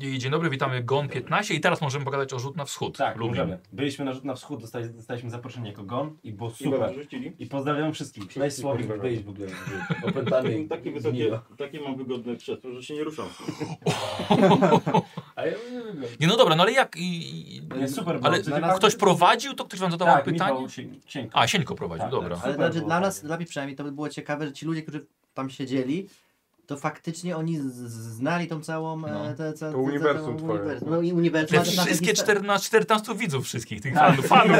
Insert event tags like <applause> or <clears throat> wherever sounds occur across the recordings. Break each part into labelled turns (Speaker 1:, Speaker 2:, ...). Speaker 1: I Dzień dobry, witamy GON 15 i teraz możemy pogadać o rzut na wschód.
Speaker 2: Tak,
Speaker 1: Lublin.
Speaker 2: możemy. Byliśmy na rzut na wschód, dostali, dostaliśmy zaproszenie jako gon i było
Speaker 3: I was
Speaker 2: super.
Speaker 3: rzucili.
Speaker 2: I pozdrawiam wszystkich. Daj Słowik
Speaker 4: pozdrawiam.
Speaker 2: wyjść w ogóle.
Speaker 4: Opętany.
Speaker 3: <laughs> Takie
Speaker 4: gnilo.
Speaker 3: wysokie, takie mam wygodne krzesło, że się nie ruszam.
Speaker 4: A ja nie wiem.
Speaker 1: Nie, no dobra, no ale jak... I, i,
Speaker 2: Nie, super, bo
Speaker 1: ale
Speaker 2: dla nas-
Speaker 1: ktoś prowadził, to ktoś wam zadawał
Speaker 2: Tak,
Speaker 1: pytanie?
Speaker 2: Michał Sienk- Sienko.
Speaker 1: A, Sieńko prowadził,
Speaker 2: Tak,
Speaker 1: dobra.
Speaker 2: tak.
Speaker 5: Ale
Speaker 2: Super
Speaker 5: znaczy,
Speaker 2: było.
Speaker 5: dla nas, dla mnie przynajmniej, to by było ciekawe, że ci ludzie, którzy tam siedzieli, to faktycznie oni z- z- znali tą całą...
Speaker 1: No.
Speaker 5: E, te, te,
Speaker 4: To uniwersum twoje.
Speaker 5: No i uniwersum.
Speaker 1: Te
Speaker 5: ale też nasze
Speaker 1: wszystkie
Speaker 5: histo-
Speaker 1: 14, 14 widzów wszystkich, tych fanów. fanów.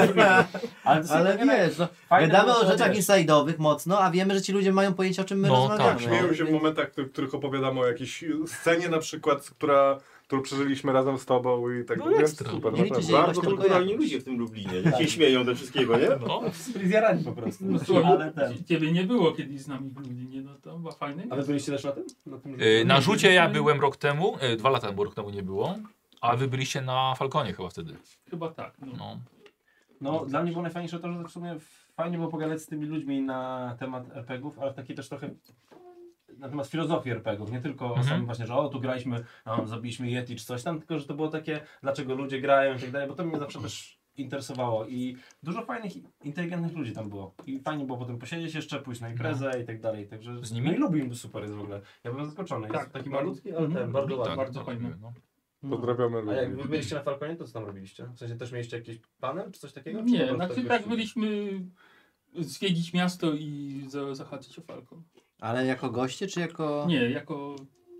Speaker 2: Ale, to są
Speaker 5: Ale
Speaker 2: takie
Speaker 5: wiesz, no,
Speaker 2: fajne,
Speaker 5: gadamy
Speaker 2: bo
Speaker 5: o
Speaker 2: to
Speaker 5: rzeczach
Speaker 2: wiesz.
Speaker 5: inside'owych mocno, a wiemy, że ci ludzie mają pojęcie, o czym my
Speaker 1: No,
Speaker 5: rozmawiamy.
Speaker 1: tak,
Speaker 4: Śmieją się w
Speaker 5: Więc-
Speaker 4: momentach, w których opowiadamy o jakiejś scenie na przykład, która, którą przeżyliśmy razem z tobą i tak
Speaker 1: No
Speaker 4: dalej.
Speaker 1: ekstra.
Speaker 4: Super,
Speaker 5: Nie liczy
Speaker 4: naprawdę.
Speaker 5: się
Speaker 3: Bardzo
Speaker 5: tylko
Speaker 3: kulturalni
Speaker 5: jakość.
Speaker 3: ludzie w tym Lublinie.
Speaker 1: Tak.
Speaker 3: Jak się śmieją do wszystkiego, nie?
Speaker 1: No.
Speaker 2: Spryzjarani po prostu.
Speaker 6: No, słuchaj,
Speaker 2: ale ten.
Speaker 6: Ciebie nie było kiedyś z nami w Lublinie, no to była fajna
Speaker 4: Ale byliście też na tym? Na tym
Speaker 1: Y, Na rzucie ja byłem rok temu, y, dwa lata, bo rok temu nie było. A wy byliście na Falconie chyba wtedy.
Speaker 6: Chyba tak. No.
Speaker 1: No.
Speaker 2: No, dla mnie było najfajniejsze to, że w sumie fajnie było pogadać z tymi ludźmi na temat RPGów, ale taki też trochę na temat filozofii RPGów, nie tylko
Speaker 1: Mhm.
Speaker 2: samym właśnie, że o, tu graliśmy, no, zabiliśmy Yeti czy coś tam, tylko że to było takie, dlaczego ludzie grają i tak dalej, bo to mnie zawsze też interesowało i dużo fajnych, inteligentnych ludzi tam było i fajnie było potem posiedzieć jeszcze, pójść na imprezę i tak dalej, także
Speaker 1: No. Z nimi?
Speaker 2: No i lubię im, super jest w ogóle, ja byłem zaskoczony,
Speaker 6: Tak,
Speaker 2: jest taki
Speaker 6: bardzo-
Speaker 2: malutki, ale
Speaker 6: mhm,
Speaker 2: ten, bardzo
Speaker 1: Tak,
Speaker 2: ładny.
Speaker 6: bardzo fajne.
Speaker 1: No.
Speaker 4: Pozdrawiamy
Speaker 7: A jak
Speaker 4: ludzi.
Speaker 7: wy byliście na Falconie, to co tam robiliście? W sensie też mieliście jakiś panel czy coś takiego? Czy po
Speaker 6: Nie,
Speaker 7: prostu
Speaker 6: znaczy
Speaker 7: tak
Speaker 6: tak
Speaker 7: byliście?
Speaker 6: byliśmy zwiedzić miasto i za, zahaczyć o Falcon.
Speaker 5: Ale jako goście, czy jako...
Speaker 6: Nie, jako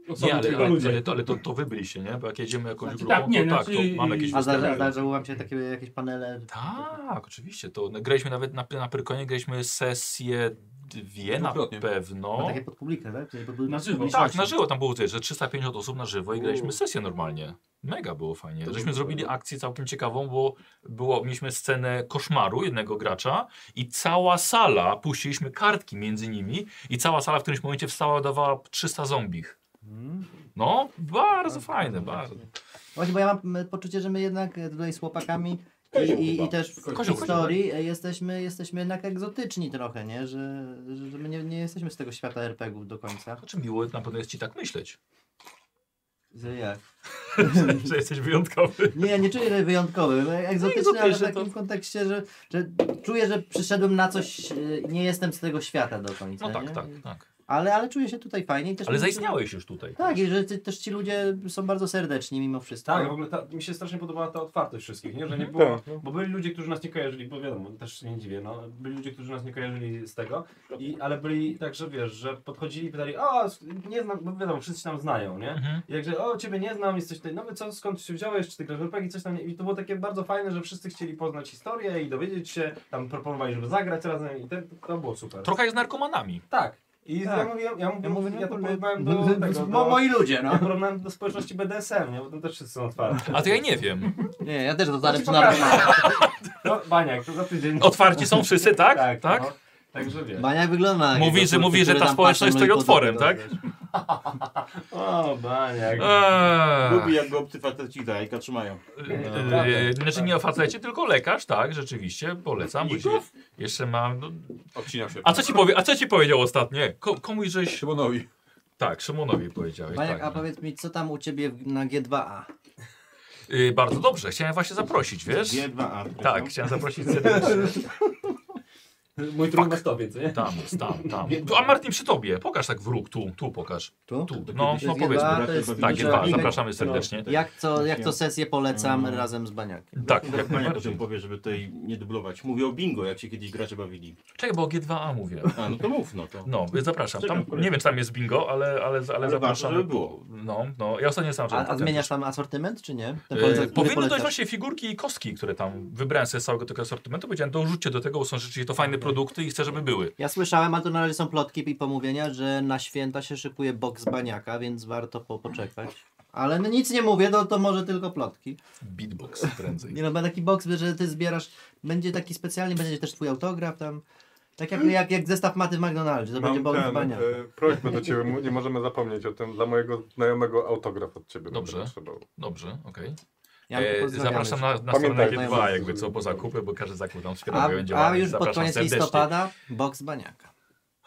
Speaker 6: osoby,
Speaker 1: Nie, ale,
Speaker 6: które-
Speaker 1: ale, ale, to, ale to, to wy byliście, nie? Bo jak jedziemy jakąś
Speaker 6: Znaczy,
Speaker 1: grupą,
Speaker 6: tak, nie,
Speaker 1: to tak,
Speaker 6: znaczy-
Speaker 1: to mamy jakieś
Speaker 5: A
Speaker 6: za-
Speaker 1: wystawy.
Speaker 6: za-
Speaker 5: zda- zdarzyło wam się takie jakieś panele?
Speaker 1: Tak, oczywiście. To graliśmy nawet na, na Pyrkonie, graliśmy sesję dwie na
Speaker 8: Dwukrotnie.
Speaker 5: No,
Speaker 1: pewno.
Speaker 5: Takie pod publikę, tak? Czyli pod-
Speaker 6: Na żywo.
Speaker 1: Tak, na żywo tam było tyle, że 350 osób na żywo i graliśmy sesję normalnie. Mega było fajnie.
Speaker 7: To
Speaker 1: Żeśmy
Speaker 7: było
Speaker 1: zrobili
Speaker 7: fajne.
Speaker 1: akcję całkiem ciekawą, bo było, mieliśmy scenę koszmaru jednego gracza i cała sala, puściliśmy kartki między nimi i cała sala w którymś momencie wstała, dawała 300 zombich. No, bardzo fajne, bardzo.
Speaker 5: Właśnie, bo ja mam m, poczucie, że my jednak e, tutaj z chłopakami i, i, i też w
Speaker 1: Kozioł.
Speaker 5: historii e, jesteśmy, jesteśmy jednak egzotyczni trochę, nie? Że, że że my nie, nie jesteśmy z tego świata RPG-ów do końca.
Speaker 1: Znaczy miło na pewno jest ci tak myśleć,
Speaker 5: Że jak?
Speaker 1: że jesteś wyjątkowy.
Speaker 5: Nie, ja nie czuję że wyjątkowym. e, Egzotyczny, ale w
Speaker 1: egzotyczny
Speaker 5: takim
Speaker 1: to-
Speaker 5: kontekście, że, że czuję, że przyszedłem na coś, e, nie jestem z tego świata do końca.
Speaker 1: No tak,
Speaker 5: nie?
Speaker 1: tak, tak.
Speaker 5: Ale, ale czuję się tutaj fajnie. i Też
Speaker 1: Ale zaistniałeś już tutaj.
Speaker 5: Tak, i że ty, też ci ludzie są bardzo serdeczni mimo wszystko.
Speaker 2: Tak, w ogóle ta, mi się strasznie podobała ta otwartość wszystkich, nie? że nie było
Speaker 4: Tak, no.
Speaker 2: Bo byli ludzie, którzy nas nie kojarzyli, bo wiadomo, też się nie dziwię, no, byli ludzie, którzy nas nie kojarzyli z tego, i, ale byli tak, że wiesz, że podchodzili i pytali, o, nie znam, bo wiadomo, wszyscy się tam znają, nie?
Speaker 1: Mhm.
Speaker 2: I Jakże, o, ciebie nie znam, jesteś tutaj nowy, co, skąd się wziąłeś, czy ty grasz w RPG, coś tam, nie? i to było takie bardzo fajne, że wszyscy chcieli poznać historię i dowiedzieć się, tam proponowali, żeby zagrać razem i te, to było super.
Speaker 1: Trochę jak z narkomanami.
Speaker 2: tak. I
Speaker 5: Tak.
Speaker 2: ja mówiłem, ja, mówię, ja,
Speaker 5: mówię,
Speaker 2: to
Speaker 5: no,
Speaker 2: porównałem
Speaker 5: <laughs>
Speaker 2: do tego,
Speaker 5: Mo,
Speaker 2: do,
Speaker 5: moi ludzie,
Speaker 2: ja
Speaker 5: no.
Speaker 2: porównałem do społeczności BDSM, nie? Bo tam też wszyscy są otwarci.
Speaker 1: A to ja nie wiem.
Speaker 5: Nie, ja też dotarłem
Speaker 2: ci
Speaker 5: przy narkomana.
Speaker 2: No, Baniak, to za tydzień.
Speaker 1: Otwarci są wszyscy, tak? Tak.
Speaker 2: No. Także wiesz.
Speaker 5: Baniak wygląda.
Speaker 1: Mówi, że- mówi, że ta społeczność jest otworem, tak?
Speaker 2: O, Baniak.
Speaker 3: Lubi
Speaker 1: Eee.
Speaker 3: jak go obcy faceci za jajka trzymają.
Speaker 1: Eee, Znaczy nie o facecie, tylko lekarz, tak, rzeczywiście, polecam. Bo się, jeszcze mam. No.
Speaker 8: Obcina się.
Speaker 1: A co ci powie, a co ci powiedział ostatnio? Ko, komuś żeś.
Speaker 8: Szymonowi.
Speaker 1: Tak, Szymonowi powiedziałeś.
Speaker 5: Baniak,
Speaker 1: Tak,
Speaker 5: a powiedz mi, co tam u ciebie w- na G2A?
Speaker 1: Eee, bardzo dobrze, chciałem właśnie zaprosić, wiesz?
Speaker 3: Biedna Arka.
Speaker 1: Tak, chciałem zaprosić serdecznie.
Speaker 7: Mój trójmastowiec, nie?
Speaker 1: Tam jest, tam, tam. A Martin przy tobie, pokaż tak w róg, tu, tu pokaż.
Speaker 5: Tu?
Speaker 1: Tu, no,
Speaker 5: To
Speaker 1: no
Speaker 5: jest
Speaker 1: powiedzmy.
Speaker 5: G2A, to jest
Speaker 1: Tak,
Speaker 5: że-
Speaker 1: dwa, zapraszamy serdecznie.
Speaker 5: Jak co, jak co sesję polecam
Speaker 1: Mm.
Speaker 5: razem z Baniakiem?
Speaker 1: Tak, jak
Speaker 3: Jak pani o tym
Speaker 1: najbardziej.
Speaker 3: powie, żeby tutaj nie dublować. Mówię o bingo, jak się kiedyś gracze bawili.
Speaker 1: Czekaj, bo o G2A mówię.
Speaker 3: A, no to mów, no to.
Speaker 1: No, zapraszam.
Speaker 3: Czekam
Speaker 1: Tam,
Speaker 3: w kolejce.
Speaker 1: nie wiem, czy tam jest bingo, ale, ale, ale,
Speaker 3: warto,
Speaker 1: zapraszam.
Speaker 3: żeby było.
Speaker 1: No, no. Ja ostatnio sam
Speaker 5: A, a
Speaker 1: tak.
Speaker 5: zmieniasz tam asortyment, czy nie? Ten poleca-
Speaker 1: E,
Speaker 5: który
Speaker 1: powinny dojść
Speaker 5: polecasz?
Speaker 1: właśnie figurki i kostki, które tam wybrałem sobie z całego tego asortymentu. Powiedziałem, dorzućcie do tego, bo są rzeczywiście to fajne produkty i chcę, żeby były.
Speaker 5: Ja słyszałem, ale to na razie są plotki i pomówienia, że na święta się szykuje boks Baniaka, więc warto po, poczekać. Ale no nic nie mówię, to, to może tylko plotki.
Speaker 1: Beatbox prędzej.
Speaker 5: Nie no, ma taki boks, że ty zbierasz, będzie taki specjalny, będzie też twój autograf tam. Tak jak, jak, jak zestaw maty w McDonaldzie, to będzie
Speaker 4: Mam
Speaker 5: boks
Speaker 4: ten,
Speaker 5: Baniaka.
Speaker 4: e, prośbę do ciebie, mu- nie możemy zapomnieć o tym. Dla mojego znajomego autograf od ciebie.
Speaker 1: Dobrze.
Speaker 4: będę potrzebował.
Speaker 1: Dobrze, okej.
Speaker 5: Ja bym
Speaker 1: E,
Speaker 5: pozdrawiam
Speaker 1: zapraszam
Speaker 5: jeszcze.
Speaker 1: na, na stronę
Speaker 4: Pamiętajcie.
Speaker 1: G2, jakby co, po zakupy, bo każdy zakup tam wspieramy
Speaker 5: A, a
Speaker 1: działalność.
Speaker 5: już pod
Speaker 1: Zapraszam
Speaker 5: koniec
Speaker 1: serdecznie.
Speaker 5: listopada boks Baniaka.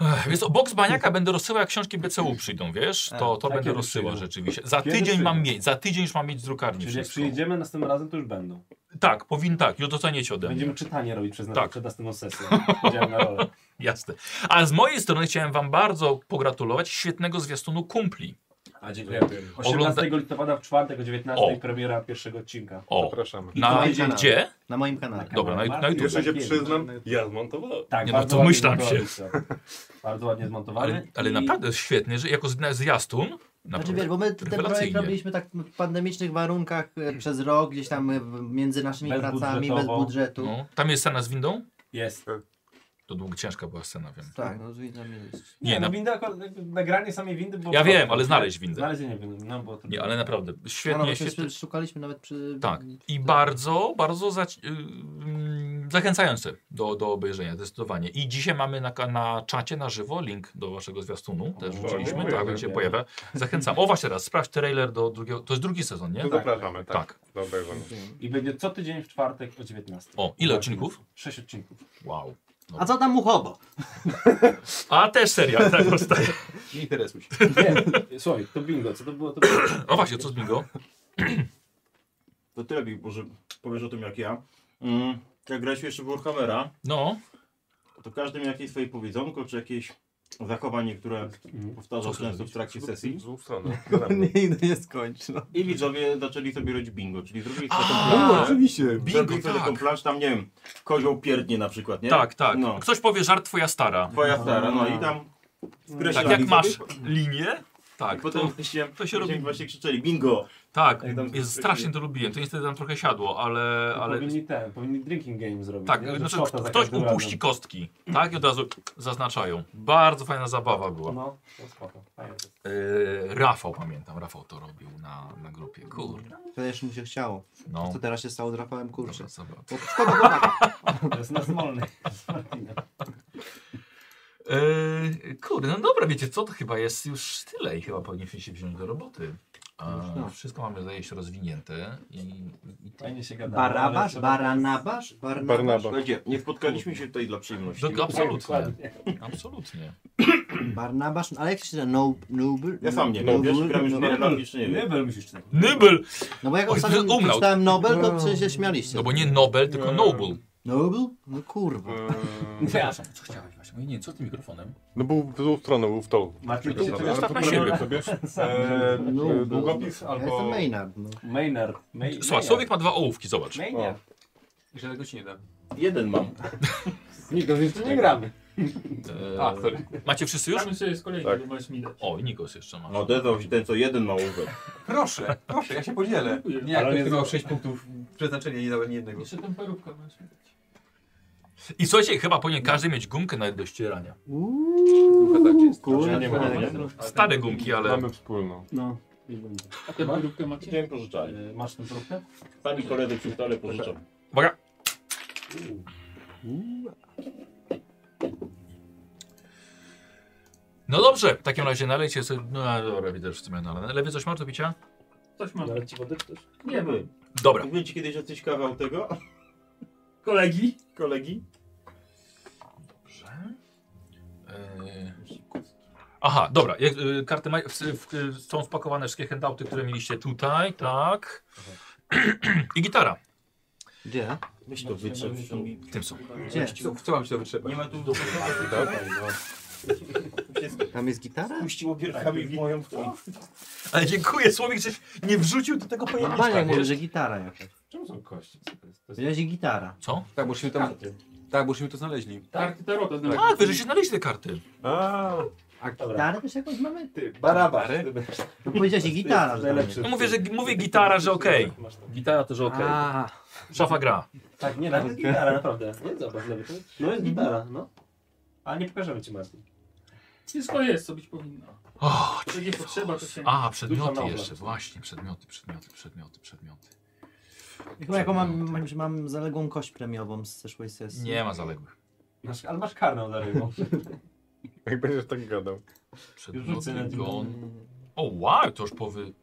Speaker 1: Ech, <laughs> Więc o boks baniaka będę rozsyłał, jak książki BCU przyjdą, wiesz?
Speaker 5: Tak.
Speaker 1: To, to
Speaker 2: A,
Speaker 1: będę
Speaker 2: Tak kiedy
Speaker 1: rozsyłał
Speaker 2: przyjdą?
Speaker 1: rzeczywiście. Za
Speaker 2: Kiedy
Speaker 1: tydzień mam
Speaker 2: przyjdą?
Speaker 1: mieć, za tydzień już mam mieć z drukarni
Speaker 2: Czyli jak
Speaker 1: wszystko.
Speaker 2: przyjedziemy następnym razem, to już będą.
Speaker 1: Tak, powinien tak, już dostaniecie ode mnie.
Speaker 2: Będziemy czytanie robić przez
Speaker 1: Tak.
Speaker 2: tak. przed następną sesją. Idziemy na rolę.
Speaker 1: Jasne. A z mojej strony chciałem wam bardzo pogratulować świetnego zwiastunu kumpli.
Speaker 2: A dziękuję. 18 listopada w czwartek o 19
Speaker 1: O.
Speaker 2: premiera pierwszego odcinka.
Speaker 1: O,
Speaker 4: Zapraszamy.
Speaker 1: na
Speaker 5: I to będzie-
Speaker 1: gdzie?
Speaker 5: Na moim kanale.
Speaker 1: Dobra, na- na YouTube.
Speaker 4: Jeszcze się przyznam, ja zmontowałem.
Speaker 2: Tak,
Speaker 1: Nie no,
Speaker 2: bardzo
Speaker 1: to
Speaker 2: ładnie
Speaker 1: myślam się.
Speaker 2: zmontowali to. Bardzo ładnie zmontowany.
Speaker 1: Ale, ale
Speaker 2: i-
Speaker 1: naprawdę świetnie, że jako zna- zwiastun.
Speaker 5: Znaczy
Speaker 1: Naprawdę.
Speaker 5: wiesz, bo my t- ten projekt
Speaker 1: Rewelacyjnie.
Speaker 5: robiliśmy tak w pandemicznych warunkach e, przez rok, gdzieś tam e, w- między naszymi pracami, bez
Speaker 2: Bezbudżetowo.
Speaker 5: budżetu.
Speaker 1: No, tam jest scena z windą?
Speaker 2: Jest.
Speaker 1: To długo ciężka była scena, wiem.
Speaker 5: Tak, no z widzami jest.
Speaker 1: Nie,
Speaker 2: Nie, no,
Speaker 1: na-
Speaker 2: windy akurat, jakby nagranie samej windy było...
Speaker 1: Ja wiem,
Speaker 2: proste.
Speaker 1: ale znaleźć windę.
Speaker 2: Znaleźć nie wiem, no bo...
Speaker 1: Nie, ale naprawdę,
Speaker 5: no, no,
Speaker 1: świetnie,
Speaker 5: przecież
Speaker 1: świetnie.
Speaker 5: szukaliśmy nawet przy...
Speaker 1: Tak. I bardzo, bardzo za, ym, zachęcające do, do obejrzenia, zdecydowanie. I dzisiaj mamy na, ka- na czacie na żywo link do waszego zwiastunu, też
Speaker 3: No,
Speaker 4: o,
Speaker 1: wrzuciliśmy,
Speaker 4: dziękuję,
Speaker 1: tak, jak się
Speaker 2: dziękuję.
Speaker 1: pojawia. Zachęcam. O właśnie teraz, sprawdź trailer do drugiego, to jest drugi sezon, nie?
Speaker 4: To zapraszamy, tak.
Speaker 1: Tak.
Speaker 4: Do obejrzenia.
Speaker 2: I będzie co tydzień w czwartek o 19.
Speaker 1: O, ile odcinków?
Speaker 2: Sześć odcinków.
Speaker 1: Wow.
Speaker 5: A co tam Muchobo?
Speaker 1: A też serial, tak <laughs> powstaje.
Speaker 3: Nie interesuj się.
Speaker 2: Nie, słuchaj, to bingo, co to było? To było...
Speaker 1: O właśnie, co z bingo?
Speaker 3: To ty lepiej może powiesz o tym jak ja. Mm, jak graliśmy jeszcze w Warhammera,
Speaker 1: No,
Speaker 3: to każdy miał jakieś swoje powiedzonko, czy jakieś zachowanie, które powtarzał
Speaker 1: Co
Speaker 3: często
Speaker 1: zrobić?
Speaker 3: w trakcie sesji.
Speaker 4: Złów
Speaker 1: <laughs>
Speaker 4: stronę. za nami.
Speaker 5: Nigdy nie skończy. No.
Speaker 3: I widzowie zaczęli sobie robić bingo, czyli zrobili
Speaker 1: A,
Speaker 3: taką planszę.
Speaker 4: Oczywiście.
Speaker 1: bingo,
Speaker 3: Zrobili sobie taką
Speaker 1: tak.
Speaker 3: planszę, tam nie wiem, kozioł pierdnie na przykład, nie?
Speaker 1: tak, tak.
Speaker 3: No.
Speaker 1: Ktoś powie żart twoja stara.
Speaker 3: Twoja stara, no i tam
Speaker 1: Tak,
Speaker 3: wkreślali
Speaker 1: jak
Speaker 3: sobie.
Speaker 1: masz linię,
Speaker 3: I
Speaker 1: tak,
Speaker 3: potem
Speaker 1: to,
Speaker 3: właśnie,
Speaker 1: to się robi.
Speaker 3: właśnie krzyczeli bingo.
Speaker 1: tak,
Speaker 3: Jak tam-
Speaker 1: jest, strasznie to lubiłem, to niestety tam trochę siadło, ale,
Speaker 2: Ale...
Speaker 1: ale
Speaker 2: Powinni ten, powinni drinking game zrobić.
Speaker 1: Tak,
Speaker 2: nie? Że
Speaker 1: znaczy,
Speaker 2: szota za
Speaker 1: ktoś
Speaker 2: każdym
Speaker 1: upuści
Speaker 2: razem.
Speaker 1: kostki, tak? I od razu zaznaczają. Bardzo fajna zabawa była.
Speaker 2: No, to spoko. fajnie.
Speaker 1: Yy, Rafał, pamiętam, Rafał to robił na, na grupie. Kurde,
Speaker 5: To jeszcze mu się chciało.
Speaker 1: no.
Speaker 5: Co teraz się stało z Rafałem, kurczę.
Speaker 1: Dobra, zabawa.
Speaker 5: Bo Szkoda chłopaka.
Speaker 2: To jest na smolny. <laughs>
Speaker 1: Yy, kurde, no dobra, wiecie co, to chyba jest już tyle i chyba powinniśmy się wziąć do roboty. A,
Speaker 5: tak.
Speaker 1: wszystko mamy, zdaje się, rozwinięte. I, i, i
Speaker 2: Fajnie się gada.
Speaker 5: Barabasz? Baranabasz? Barnabasz?
Speaker 4: Barnaba.
Speaker 3: Słuchajcie, nie spotkaliśmy się tutaj dla przyjemności.
Speaker 1: do, absolutnie, absolutnie.
Speaker 5: Barnabasz? Ale jak się nazywa? Noob? Noob?
Speaker 3: Ja sam nie
Speaker 5: Noob-
Speaker 3: wiem, wiesz, gram już
Speaker 5: Noob-
Speaker 3: wiele lat, już nie wiem.
Speaker 2: Nobel musisz tak. czytać.
Speaker 1: Nobel!
Speaker 5: No bo jak
Speaker 1: Oj,
Speaker 5: ostatnio
Speaker 1: umlał.
Speaker 5: przeczytałem Nobel, to przecież się śmialiście.
Speaker 1: No bo nie Nobel, tylko
Speaker 4: Nie.
Speaker 1: Noble.
Speaker 5: Nobel? No kurwa.
Speaker 4: Eee,
Speaker 1: Co chciałeś właśnie? Mówię, Nie, co z tym mikrofonem?
Speaker 4: No był w złą stronę, był w tą.
Speaker 2: Marcin,
Speaker 4: Dobra,
Speaker 2: ty
Speaker 1: to jest
Speaker 4: ale
Speaker 1: tak
Speaker 4: to
Speaker 1: na
Speaker 4: planuję
Speaker 1: siebie.
Speaker 4: sobie.
Speaker 2: Sam.
Speaker 4: Eee,
Speaker 5: Nobel.
Speaker 4: Długopis
Speaker 5: Ja jestem
Speaker 4: albo...
Speaker 5: Maynard. No.
Speaker 2: Maynard. May-
Speaker 1: Słuchaj, człowiek ma dwa ołówki, zobacz.
Speaker 2: Maynard.
Speaker 6: I żadnego ci nie da.
Speaker 3: Jeden mam.
Speaker 2: Nigdy jeszcze nie gramy.
Speaker 1: Eee,
Speaker 6: A, sorry.
Speaker 1: Macie wszyscy już?
Speaker 6: Tam sobie z kolei
Speaker 4: Tak.
Speaker 6: tak. możesz mi dać.
Speaker 1: O, i Nikos jeszcze ma.
Speaker 3: No odezwał się ten, co jeden ma łówek.
Speaker 7: Proszę, proszę, ja się podzielę.
Speaker 6: Dziękuję.
Speaker 7: Nie, jak
Speaker 2: Ale
Speaker 7: ktoś
Speaker 2: nie
Speaker 7: tylko 6 punktów przeznaczenia nie dałem jednego.
Speaker 6: Jeszcze tam parówka masz mi dać.
Speaker 1: I słuchajcie, chyba powinien każdy mieć gumkę nawet do ścierania.
Speaker 7: tak
Speaker 5: Kurwa.
Speaker 3: nie ma, nie?
Speaker 1: Stare gumki, ale...
Speaker 4: Mamy wspólną.
Speaker 2: No.
Speaker 6: A tę parówkę macie?
Speaker 3: Chciałem pożyczali.
Speaker 2: Eee, Masz tę próbkę?
Speaker 3: Pani koledzy przy stole pożyczam.
Speaker 1: Uwaga! No dobrze, w takim razie nalejcie sobie... No a dobra, widzę, że co miałem nalane. Lewy coś masz do picia?
Speaker 6: Coś mam.
Speaker 2: Naleć ci wody też?
Speaker 6: Nie wiem.
Speaker 1: Dobra.
Speaker 3: Mówiłem ci kiedyś jacyś kawał tego, <laughs>
Speaker 6: Kolegi?
Speaker 3: kolegi?
Speaker 1: Dobrze. Eee, Aha, dobra. Jak, y, karty ma... w, w, y, są spakowane wszystkie handouty, które mieliście tutaj, tak. <clears throat> I gitara.
Speaker 5: Gdzie?
Speaker 3: Weź to wytrzep.
Speaker 1: W tym są.
Speaker 5: Gdzie?
Speaker 7: tak, Co mam się to wytrzepać?
Speaker 3: Nie ma tu do
Speaker 5: Tam jest gitara?
Speaker 3: Puściło pierchami w moją stronę.
Speaker 1: Ale dziękuję, Słowik, żeś nie wrzucił do tego
Speaker 5: Normalnie
Speaker 1: pojemniczka,
Speaker 5: mówię,
Speaker 1: wiesz?
Speaker 5: No, że gitara jakaś.
Speaker 2: Czemu są kości? Co to jest? To jest
Speaker 5: Wziąłeś gitara.
Speaker 1: Co?
Speaker 7: Tak, bośmy tam... Tak, bośmy to znaleźli.
Speaker 6: Tak, tarota znaleźli.
Speaker 1: Tak, wy żeście znaleźli te karty.
Speaker 4: A,
Speaker 5: A gitarę też jakąś mamy?
Speaker 7: Ty, barabasz.
Speaker 5: No powiedziałeś i gitara, że tam
Speaker 2: najlepszy.
Speaker 5: jest.
Speaker 1: No mówię, że mówię gitara, że okej.
Speaker 2: Masz tam.
Speaker 1: Gitara to, że okej.
Speaker 5: A,
Speaker 1: Szafa gra.
Speaker 2: Tak, nie, nawet jest gitara, naprawdę. No jest zobacz, lewy. to jest- No jest gitara, no. A nie pokażemy ci Marcin.
Speaker 6: Wszystko jest, co być powinno.
Speaker 1: O,
Speaker 6: Jak nie potrzeba, to się...
Speaker 1: a,
Speaker 2: Duża
Speaker 1: przedmioty
Speaker 2: małpa.
Speaker 1: jeszcze. Właśnie, przedmioty, przedmioty, przedmioty, przedmioty.
Speaker 5: chyba jaką mam, mam, że mam zaległą kość premiową z zeszłej sesji.
Speaker 1: Nie ma zaległych.
Speaker 2: Masz, ale masz karną za <laughs> rybą.
Speaker 4: jak będziesz tak gadał.
Speaker 1: Przedmioty,
Speaker 2: rzucę na tym.
Speaker 1: gon. O, wow, to już powy...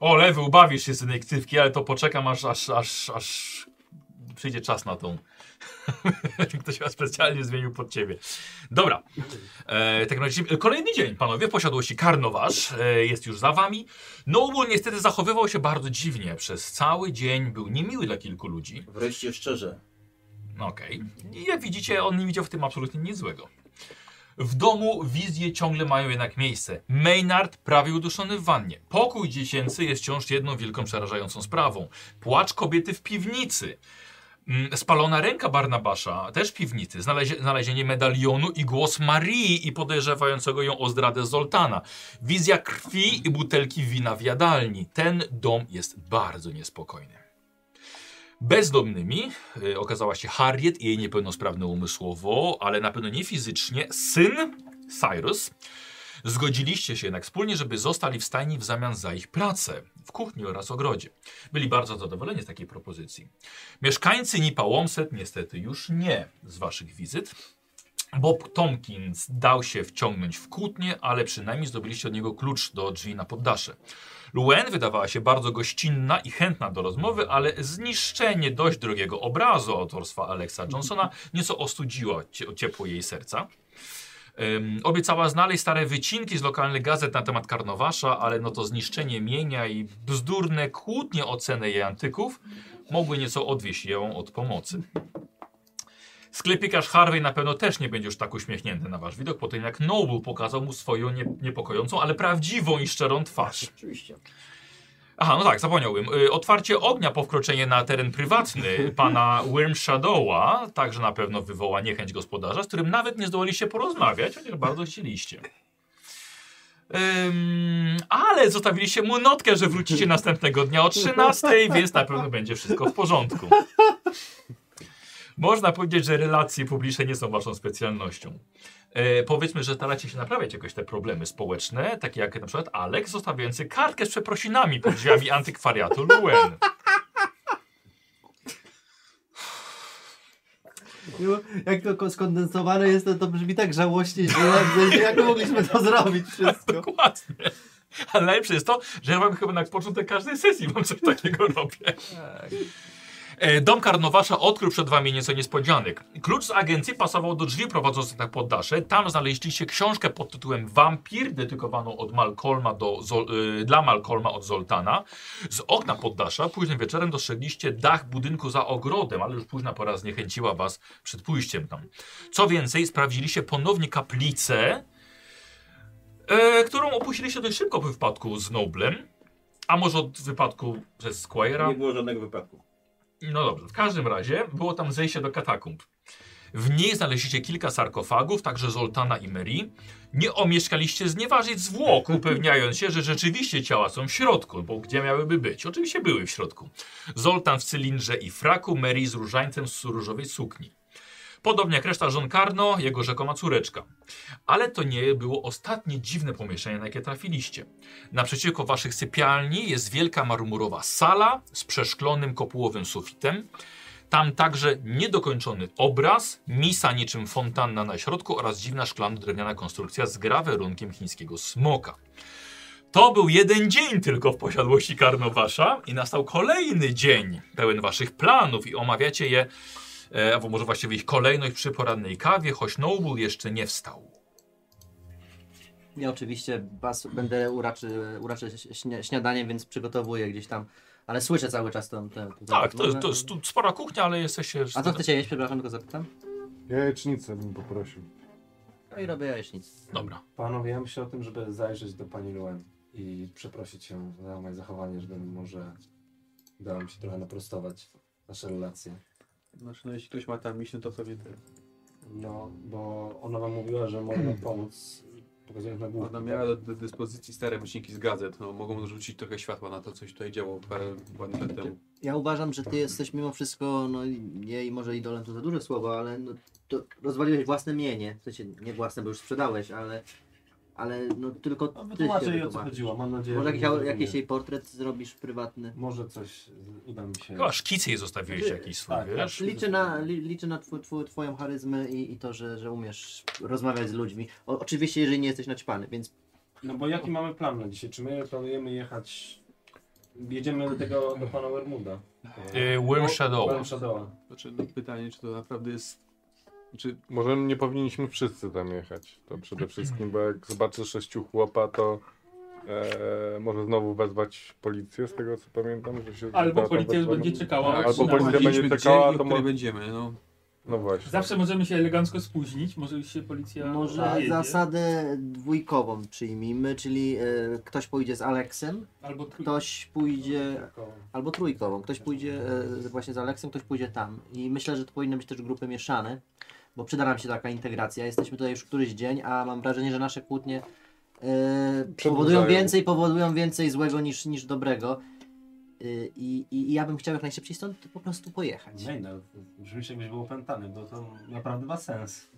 Speaker 1: O, lewy, ubawisz się z tej ktywki, ale to poczekam aż, aż, aż, aż przyjdzie czas na tą. <laughs> Ktoś chyba specjalnie zmienił pod ciebie. Dobra. E, tak razie, kolejny dzień, panowie, w posiadłości Karnowasz e, jest już za wami. Noble niestety zachowywał się bardzo dziwnie. Przez cały dzień był niemiły dla kilku ludzi.
Speaker 3: Wreszcie szczerze.
Speaker 1: No Okej. I Jak widzicie, on nie widział w tym absolutnie nic złego. W domu wizje ciągle mają jednak miejsce. Maynard prawie uduszony w wannie. Pokój dziecięcy jest wciąż jedną wielką przerażającą sprawą. Płacz kobiety w piwnicy. Mm, Spalona ręka Barnabasza, też w piwnicy. Znalezie, znalezienie medalionu i głos Marii i podejrzewającego ją o zdradę Zoltana. Wizja krwi i butelki wina w jadalni. Ten dom jest bardzo niespokojny. Bezdomnymi y, okazała się Harriet i jej niepełnosprawny umysłowo, ale na pewno nie fizycznie, syn Cyrus. Zgodziliście się jednak wspólnie, żeby zostali w stajni w zamian za ich pracę w kuchni oraz ogrodzie. Byli bardzo zadowoleni z takiej propozycji. Mieszkańcy Nipa Łomset niestety już nie z waszych wizyt. Bob Tompkins dał się wciągnąć w kłótnię, ale przynajmniej zdobyliście od niego klucz do drzwi na poddasze. Luen wydawała się bardzo gościnna i chętna do rozmowy, ale zniszczenie dość drogiego obrazu autorstwa Alexa Johnsona nieco ostudziło cie- ciepło jej serca. Ym, obiecała znaleźć stare wycinki z lokalnych gazet na temat Karnowasza, ale no to zniszczenie mienia i bzdurne kłótnie o cenę jej antyków mogły nieco odwieść ją od pomocy. Sklepikarz Harvey na pewno też nie będzie już tak uśmiechnięty na wasz widok, po tym jak Noble pokazał mu swoją nie, niepokojącą, ale prawdziwą i szczerą twarz.
Speaker 3: Oczywiście.
Speaker 1: Aha, no tak, zapomniałbym. Y, Otwarcie ognia po wkroczeniu na teren prywatny pana Worm Shadowa także na pewno wywoła niechęć gospodarza, z którym nawet nie zdołaliście porozmawiać, chociaż bardzo chcieliście. Ym, ale zostawiliście mu notkę, że wrócicie następnego dnia o 13, więc na pewno będzie wszystko w porządku. Można powiedzieć, że relacje publiczne nie są waszą specjalnością. E, powiedzmy, że staracie się naprawiać jakoś te problemy społeczne, takie jak na przykład Alex zostawiający kartkę z przeprosinami pod drzwiami antykwariatu Luen.
Speaker 5: Jak to ko- skondensowane jest, to, to brzmi tak żałośnie źle, w sensie, jak mogliśmy to zrobić wszystko.
Speaker 1: Dokładnie. Ale najlepsze jest to, że ja wam chyba na początek każdej sesji wam coś takiego robię. E, Dom Karnowasza odkrył przed wami nieco niespodzianek. Klucz z agencji pasował do drzwi prowadzących na poddasze. Tam znaleźliście książkę pod tytułem Wampir, dedykowaną od Malcolma do Zol y, dla Malcolma od Zoltana. Z okna poddasza późnym wieczorem dostrzegliście dach budynku za ogrodem, ale już późna pora zniechęciła was przed pójściem tam. Co więcej, sprawdziliście ponownie kaplicę, e, którą opuściliście dość szybko po wypadku z Noblem. A może od wypadku przez Squire'a?
Speaker 3: Nie było żadnego wypadku.
Speaker 1: No dobrze, w każdym razie było tam zejście do katakumb. W niej znaleźliście kilka sarkofagów, także Zoltana i Mary. Nie omieszkaliście znieważyć zwłok, upewniając się, że rzeczywiście ciała są w środku, bo gdzie miałyby być? Oczywiście były w środku. Zoltan w cylindrze i fraku, Mary z różańcem z różowej sukni. Podobnie jak reszta żon Karno, jego rzekoma córeczka. Ale to nie było ostatnie dziwne pomieszczenie, na jakie trafiliście. Naprzeciwko waszych sypialni jest wielka marmurowa sala z przeszklonym kopułowym sufitem. Tam także niedokończony obraz, misa niczym fontanna na środku oraz dziwna szklano-drewniana konstrukcja z grawerunkiem chińskiego smoka. To był jeden dzień tylko w posiadłości Karnowasza i nastał kolejny dzień pełen waszych planów i omawiacie je, e, albo może właściwie ich kolejność przy porannej kawie, choć Noble jeszcze nie wstał.
Speaker 5: Ja oczywiście was będę uraczy, uraczy śnie, śniadaniem, więc przygotowuję gdzieś tam, ale słyszę cały czas tę... tę, tę
Speaker 1: Tak, to jest, to jest tu spora kuchnia, ale jesteście...
Speaker 5: No, A co chcecie jeść, przepraszam, tylko zapytam?
Speaker 4: Jajecznicę bym poprosił.
Speaker 5: No i robię jajecznicę.
Speaker 1: Dobra.
Speaker 2: Panowie, ja myślę o tym, żeby zajrzeć do pani Luen i przeprosić ją za moje zachowanie, żeby może udało mi się trochę naprostować nasze relacje.
Speaker 7: Znaczy, no jeśli ktoś ma tam miśny, to sobie ty.
Speaker 2: No, bo ona wam mówiła, że może <clears throat> nam pomóc, pokazując na głowę.
Speaker 7: Ona miała do, do dyspozycji stare myślniki z gazet. No, mogą rzucić trochę światła na to, co się tutaj działo parę ładnych lat temu.
Speaker 5: Ja uważam, że ty jesteś mimo wszystko, no i- nie i może idolem to za duże słowo, ale no, to rozwaliłeś własne mienie, w sensie nie własne, bo już sprzedałeś, ale, ale no tylko
Speaker 2: No,
Speaker 5: ty
Speaker 2: wytłumaczę
Speaker 5: się
Speaker 2: jej o co
Speaker 5: wytłumaczysz.
Speaker 2: chodziło, mam nadzieję,
Speaker 5: Może
Speaker 2: że
Speaker 5: jakiś,
Speaker 2: nie
Speaker 5: jakiś
Speaker 2: zrozumie.
Speaker 5: jej portret zrobisz prywatny.
Speaker 2: Może coś z- uda mi się...
Speaker 1: Chyba szkicy jej zostawiłeś jakiś swój,
Speaker 2: Tak, tak.
Speaker 1: wiesz?
Speaker 5: Liczę na, li, liczę na tw, tw, twoją charyzmę i, i to, że, że umiesz rozmawiać z ludźmi. O, oczywiście, jeżeli nie jesteś naćpany, więc
Speaker 2: No bo jaki mamy plan na dzisiaj? Czy my planujemy jechać... Jedziemy do tego, do pana Wermuda.
Speaker 1: Y, Worm Shadow.
Speaker 2: Powiem Shadowa.
Speaker 7: Znaczy, no, pytanie, czy to naprawdę jest... Czy
Speaker 4: Może nie powinniśmy wszyscy tam jechać. To przede wszystkim, bo jak zobaczy sześciu chłopa, to e, może znowu wezwać policję, z tego co pamiętam. Że się
Speaker 6: Albo
Speaker 4: da to
Speaker 6: policja
Speaker 4: wezwana.
Speaker 6: będzie czekała,
Speaker 4: Tak,
Speaker 6: aż
Speaker 4: albo
Speaker 6: na-
Speaker 4: policja będzie
Speaker 7: Wiedzieliśmy,
Speaker 4: czekała,
Speaker 7: gdzie i
Speaker 4: to
Speaker 7: o której
Speaker 4: mo-
Speaker 7: będziemy, no.
Speaker 4: No właśnie.
Speaker 6: Zawsze możemy się elegancko spóźnić, może już się policja
Speaker 5: A
Speaker 6: jedzie,
Speaker 5: zasadę dwójkową przyjmijmy, czyli e, ktoś pójdzie z Aleksem,
Speaker 6: albo trój...
Speaker 5: ktoś pójdzie, albo trójkową, ktoś pójdzie e, z- właśnie z Aleksem, ktoś pójdzie tam. I myślę, że to powinny być też grupy mieszane, bo przyda nam się taka integracja. Jesteśmy tutaj już któryś dzień, a mam wrażenie, że nasze kłótnie e, powodują więcej, powodują więcej złego niż, niż dobrego. Y, I, i, I ja bym chciał jak najszybciej stąd po prostu pojechać.
Speaker 2: Nie no, brzmisz jakbyś był opętany, bo to naprawdę ma sens.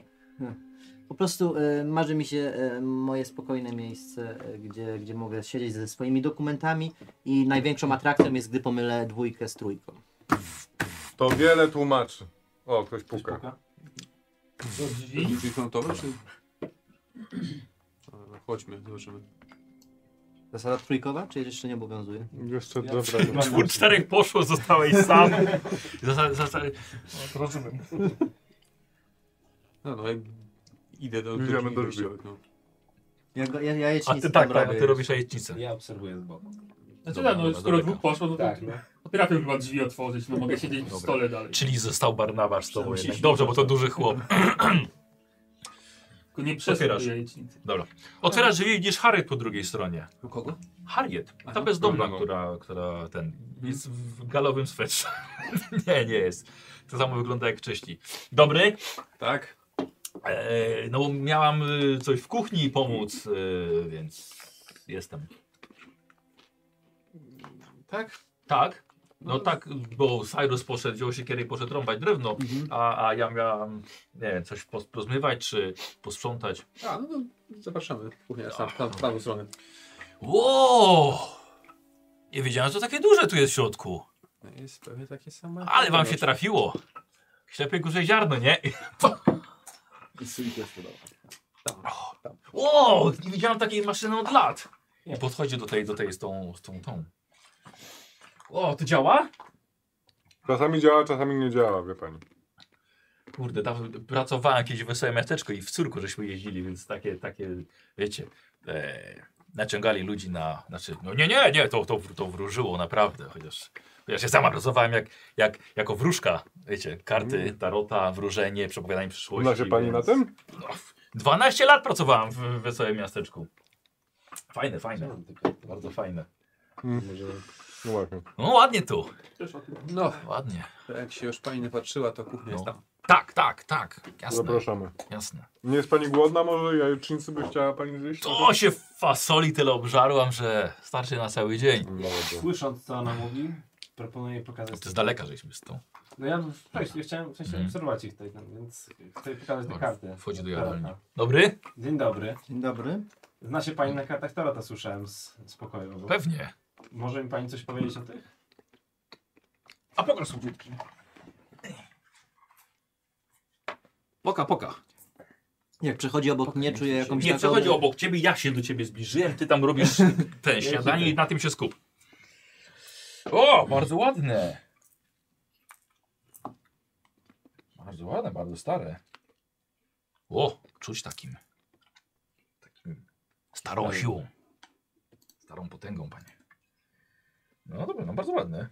Speaker 5: Po prostu e, marzy mi się e, moje spokojne miejsce, e, gdzie, gdzie mogę siedzieć ze swoimi dokumentami i największą atrakcją jest, gdy pomylę dwójkę z trójką.
Speaker 4: To wiele tłumaczy. O, ktoś
Speaker 2: Ktoś
Speaker 4: puka.
Speaker 2: puka?
Speaker 6: do drzwi.
Speaker 7: Drzwi frontowe, czy... Dobra, chodźmy, zobaczymy.
Speaker 5: Zasada trójkowa, czy jeszcze nie obowiązuje?
Speaker 4: Jeszcze
Speaker 2: Ja-
Speaker 4: dobra.
Speaker 2: Chyba na-
Speaker 1: Czwór, czterech poszło, zostałeś sam. Zasa, zasa,
Speaker 6: Rozumiem.
Speaker 7: No, no, jak idę do,
Speaker 4: Idziemy do drzwi.
Speaker 7: wyjściowych, no.
Speaker 5: Ja, go- ja, ja
Speaker 1: a
Speaker 5: jajecznicę
Speaker 1: ty
Speaker 5: tam
Speaker 1: tak, tak,
Speaker 5: robię
Speaker 1: a ty
Speaker 5: już.
Speaker 1: robisz jajecznicę.
Speaker 2: Ja obserwuję z boku.
Speaker 6: Znaczy
Speaker 1: Dobra,
Speaker 6: tak, no
Speaker 1: dobra,
Speaker 6: skoro
Speaker 1: daleko.
Speaker 6: dwóch poszło, no to
Speaker 2: Tak, no.
Speaker 6: potrafię chyba drzwi otworzyć, no mogę siedzieć
Speaker 1: Dobra.
Speaker 6: przy stole dalej.
Speaker 1: Czyli został Barnabasz z tobą
Speaker 2: Musieliśmy-
Speaker 1: jednak. Dobrze, bo to duży chłop.
Speaker 6: Tylko nie przesuń
Speaker 1: Otwierasz.
Speaker 6: do jajecznicy.
Speaker 1: Dobra. Otwierasz drzwi i widzisz Harriet po drugiej stronie.
Speaker 7: U kogo?
Speaker 1: Harriet, ta
Speaker 7: Aha, no.
Speaker 1: bezdomna,
Speaker 7: dobra.
Speaker 1: która, która ten jest w galowym swetrze. <laughs> nie, nie jest. To samo wygląda jak wcześniej. Dobry?
Speaker 7: Tak.
Speaker 1: E, no bo miałam y, coś w kuchni pomóc, y, więc jestem.
Speaker 7: Tak?
Speaker 1: Tak? No tak, bo Cyrus poszedł, wziął siekierę i poszedł rąbać drewno,
Speaker 7: Mhm.
Speaker 1: a, a ja miałam, nie wiem, coś pos- pozmywać czy posprzątać.
Speaker 7: A, no to zapraszamy. Kuchnia jest tam, tam, w prawą stronę.
Speaker 1: Wow! Nie wiedziałem, że to takie duże tu jest w środku.
Speaker 7: No Jest prawie takie same.
Speaker 1: Ale wam się trafiło. Ślepie górze ziarno, nie?
Speaker 3: I syn też podał.
Speaker 1: Wow! Nie widziałem takiej maszyny od lat. I podchodzi do tej, do tej z tą, z tą, tą. O, to działa?
Speaker 4: Czasami działa, czasami nie działa, wie pani.
Speaker 1: Kurde, tam pracowałem kiedyś w Wesołe Miasteczko i w córku żeśmy jeździli, więc takie, takie wiecie, e, naciągali ludzi na, znaczy, no nie, nie, nie, to, to, to wróżyło naprawdę, chociaż, chociaż ja sama pracowałem jak, jak, jako wróżka, wiecie, karty, tarota, wróżenie, przepowiadanie przyszłości.
Speaker 4: Zna się Mm. Znaczy pani na
Speaker 1: więc-
Speaker 4: tym?
Speaker 1: No, w- 12 lat pracowałem w Wesołym Miasteczku. Fajne, fajne, bardzo fajne.
Speaker 4: No właśnie.
Speaker 1: No ładnie tu,
Speaker 6: Też o tym.
Speaker 7: No,
Speaker 1: ładnie.
Speaker 7: jak się już pani nie patrzyła, to kuchnia jest
Speaker 1: No.
Speaker 7: tam.
Speaker 1: Tak, tak, tak, jasne,
Speaker 4: Zapraszamy.
Speaker 1: jasne.
Speaker 4: Nie jest pani głodna może? Jajecznicy by chciała pani zjeść?
Speaker 1: To się fasoli tyle obżarłam, że starczy na cały dzień.
Speaker 4: No dobrze.
Speaker 2: Słysząc co ona mówi, proponuję
Speaker 1: To
Speaker 2: pokazać.
Speaker 1: z daleka żeśmy z tą.
Speaker 2: No ja wcześniej ja chciałem w sensie
Speaker 1: Mhm.
Speaker 2: obserwować ich tutaj, no, więc chcę jej pokazać te
Speaker 1: Dobra,
Speaker 2: karty.
Speaker 1: wchodzi do
Speaker 2: Tarota.
Speaker 1: jadalni. Dobry?
Speaker 2: tak. Dzień dobry.
Speaker 5: Dzień dobry.
Speaker 2: Zna się pani na kartach Torota, słyszałem z, z pokoju.
Speaker 1: Pewnie.
Speaker 2: Może mi pani coś powiedzieć o tych?
Speaker 1: A pokaż słuchutki. Poka, poka.
Speaker 5: Jak przechodzi obok mnie, czuję jakąś
Speaker 1: Nie
Speaker 5: taką...
Speaker 1: przechodzi obok ciebie, ja się do ciebie zbliżyłem, ty tam robisz <laughs> ten śniadanie i na tym się skup. O, bardzo ładne. Bardzo ładne, bardzo stare. O, czuć takim. Takim starą siłą. Starą potęgą, panie. No dobra, no bardzo ładne.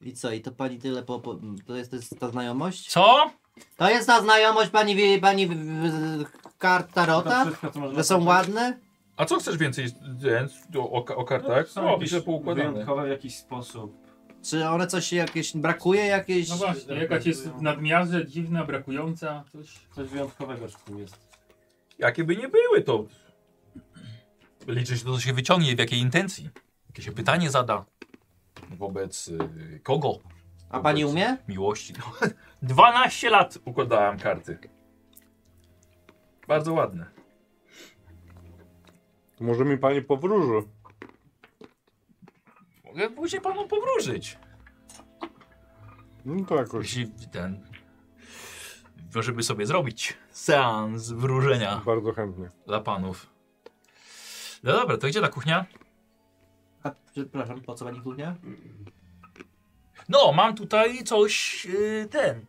Speaker 5: I co, i to pani tyle po... po to, jest, to jest ta znajomość?
Speaker 1: Co?
Speaker 5: To jest ta znajomość pani, wi- pani w- w- kart
Speaker 2: To
Speaker 6: No
Speaker 5: Tarota?
Speaker 2: wszystko, co można
Speaker 5: Że są
Speaker 2: powiedzieć.
Speaker 5: ładne?
Speaker 1: A co chcesz więcej e, o, o, o kartach?
Speaker 2: Są
Speaker 1: No,
Speaker 2: jakieś
Speaker 1: piszę poukładane.
Speaker 2: wyjątkowe w jakiś sposób.
Speaker 5: Czy one coś jakieś... brakuje jakieś...
Speaker 6: No właśnie, jakaś jest w nadmiarze, dziwna, brakująca, coś.
Speaker 2: Coś wyjątkowego w tym jest.
Speaker 1: Jakie by nie były, to liczy się to, co się wyciągnie, w jakiej intencji. Jakie się pytanie zada. Wobec y, kogo?
Speaker 5: A pani
Speaker 1: Wobec
Speaker 5: umie?
Speaker 1: <laughs> Miłości. 12 lat układałem karty. Bardzo ładne.
Speaker 4: To może mi pani powróży.
Speaker 1: Mogę później panu powróżyć.
Speaker 4: No to jakoś
Speaker 1: Jeśli ten... Możemy sobie zrobić seans wróżenia
Speaker 4: bardzo chętnie.
Speaker 1: dla panów. No dobra, to gdzie ta kuchnia?
Speaker 5: A, przepraszam, po co pani kuchnia?
Speaker 1: No, mam tutaj coś, yy, ten.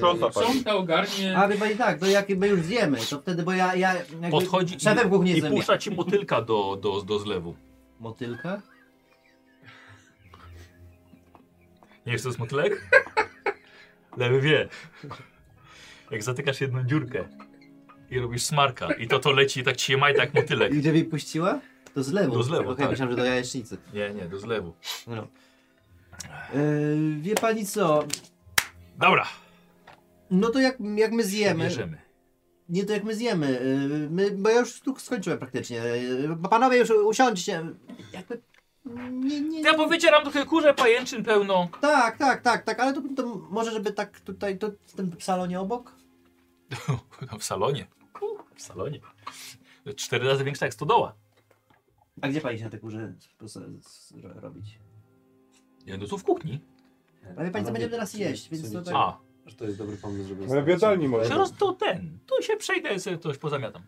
Speaker 4: Prosta pani.
Speaker 6: Książka ogarnie.
Speaker 5: A chyba i tak, to jak my już zjemy, to wtedy, bo ja. ja jakby
Speaker 1: Podchodzi i-
Speaker 5: Szefem głównie
Speaker 1: I
Speaker 5: jestem. ja.
Speaker 1: puszcza ci motylka do, do, do zlewu.
Speaker 5: Motylka?
Speaker 1: Nie wiesz, co to jest motylek? Lewy wie. Jak zatykasz jedną dziurkę i robisz smarka i to to leci i tak ci je majta jak motylek.
Speaker 5: I gdzie mi puściła? Do zlewu.
Speaker 1: Do zlewu,
Speaker 5: Okej,
Speaker 1: tak.
Speaker 5: myślałem, że do jajecznicy.
Speaker 1: Nie, nie, do zlewu.
Speaker 5: No. E, wie pani co?
Speaker 1: Dobra,
Speaker 5: No to jak, jak my zjemy.
Speaker 1: bierzemy.
Speaker 5: Nie to jak my zjemy. y, My, bo ja już tu skończyłem praktycznie. Y, Panowie już usiądźcie. Jakby. Nie, nie.
Speaker 1: Ja powycieram trochę kurze pajęczyn pełno.
Speaker 5: Tak, tak, tak, tak, ale to, to może żeby tak tutaj, to w tym salonie obok?
Speaker 1: No, w salonie. W salonie. Cztery razy większa jak stodoła.
Speaker 5: A gdzie pani się na te kurze z- z- robić?
Speaker 1: Nie, no tu w kuchni.
Speaker 5: Ale wie pani co będziemy teraz jeść, więc to tak...
Speaker 1: A,
Speaker 2: Że to jest dobry pomysł, żeby...
Speaker 4: Ale w jadalni może.
Speaker 1: teraz to ten. Tu się przejdę, sobie coś pozamiatam.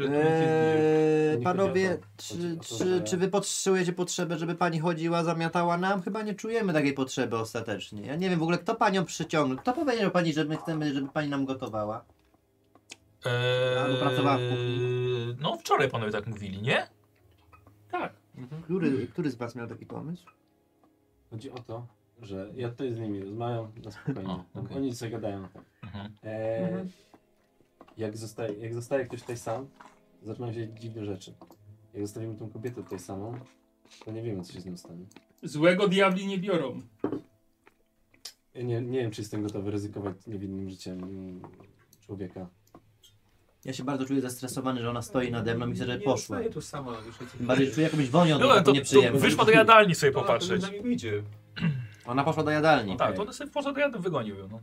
Speaker 5: Eee,
Speaker 2: Nie
Speaker 5: panowie,
Speaker 2: chodzi o to.
Speaker 5: czy,
Speaker 2: Chodzi o to,
Speaker 5: czy,
Speaker 2: że-
Speaker 5: czy wy potrzebujecie potrzebę, żeby pani chodziła, zamiatała nam? Chyba nie czujemy takiej potrzeby ostatecznie. Ja nie wiem w ogóle, kto panią przyciągnął. Kto powiedział pani, że my chcemy, żeby pani nam gotowała? Albo pracowała w
Speaker 1: Eee, no wczoraj panowie tak mówili, nie?
Speaker 6: Tak.
Speaker 5: Który, który z was miał taki pomysł?
Speaker 2: Chodzi o to, że ja tutaj z nimi rozmawiam na spokojnie.
Speaker 1: O,
Speaker 2: Tam
Speaker 1: okej.
Speaker 2: Oni sobie gadają na temat. Eee,
Speaker 6: Mhm.
Speaker 2: jak, zostaje, jak zostaje ktoś tutaj sam, zaczynają się dziać dziwne rzeczy. Jak zostawimy tą kobietę tutaj samą, to nie wiemy, co się z nią stanie.
Speaker 6: Złego diabli nie biorą.
Speaker 2: Ja nie, nie wiem, czy jestem gotowy ryzykować niewinnym życiem mm, człowieka.
Speaker 5: Ja się bardzo czuję zestresowany, że ona stoi nade mną i chce, żeby poszła.
Speaker 7: Nie, tu sama. Już jest-
Speaker 5: Tym bardziej czuję jakąś wonią
Speaker 1: Dobra,
Speaker 5: taką
Speaker 1: to, to
Speaker 5: nieprzyjemną.
Speaker 1: wyszła do jadalni sobie
Speaker 7: Ona
Speaker 1: popatrzeć.
Speaker 7: pewnie za nami wyjdzie.
Speaker 5: Ona poszła do jadalni.
Speaker 1: No tak, to ona sobie poszła do jadalni, wygonił ją. No.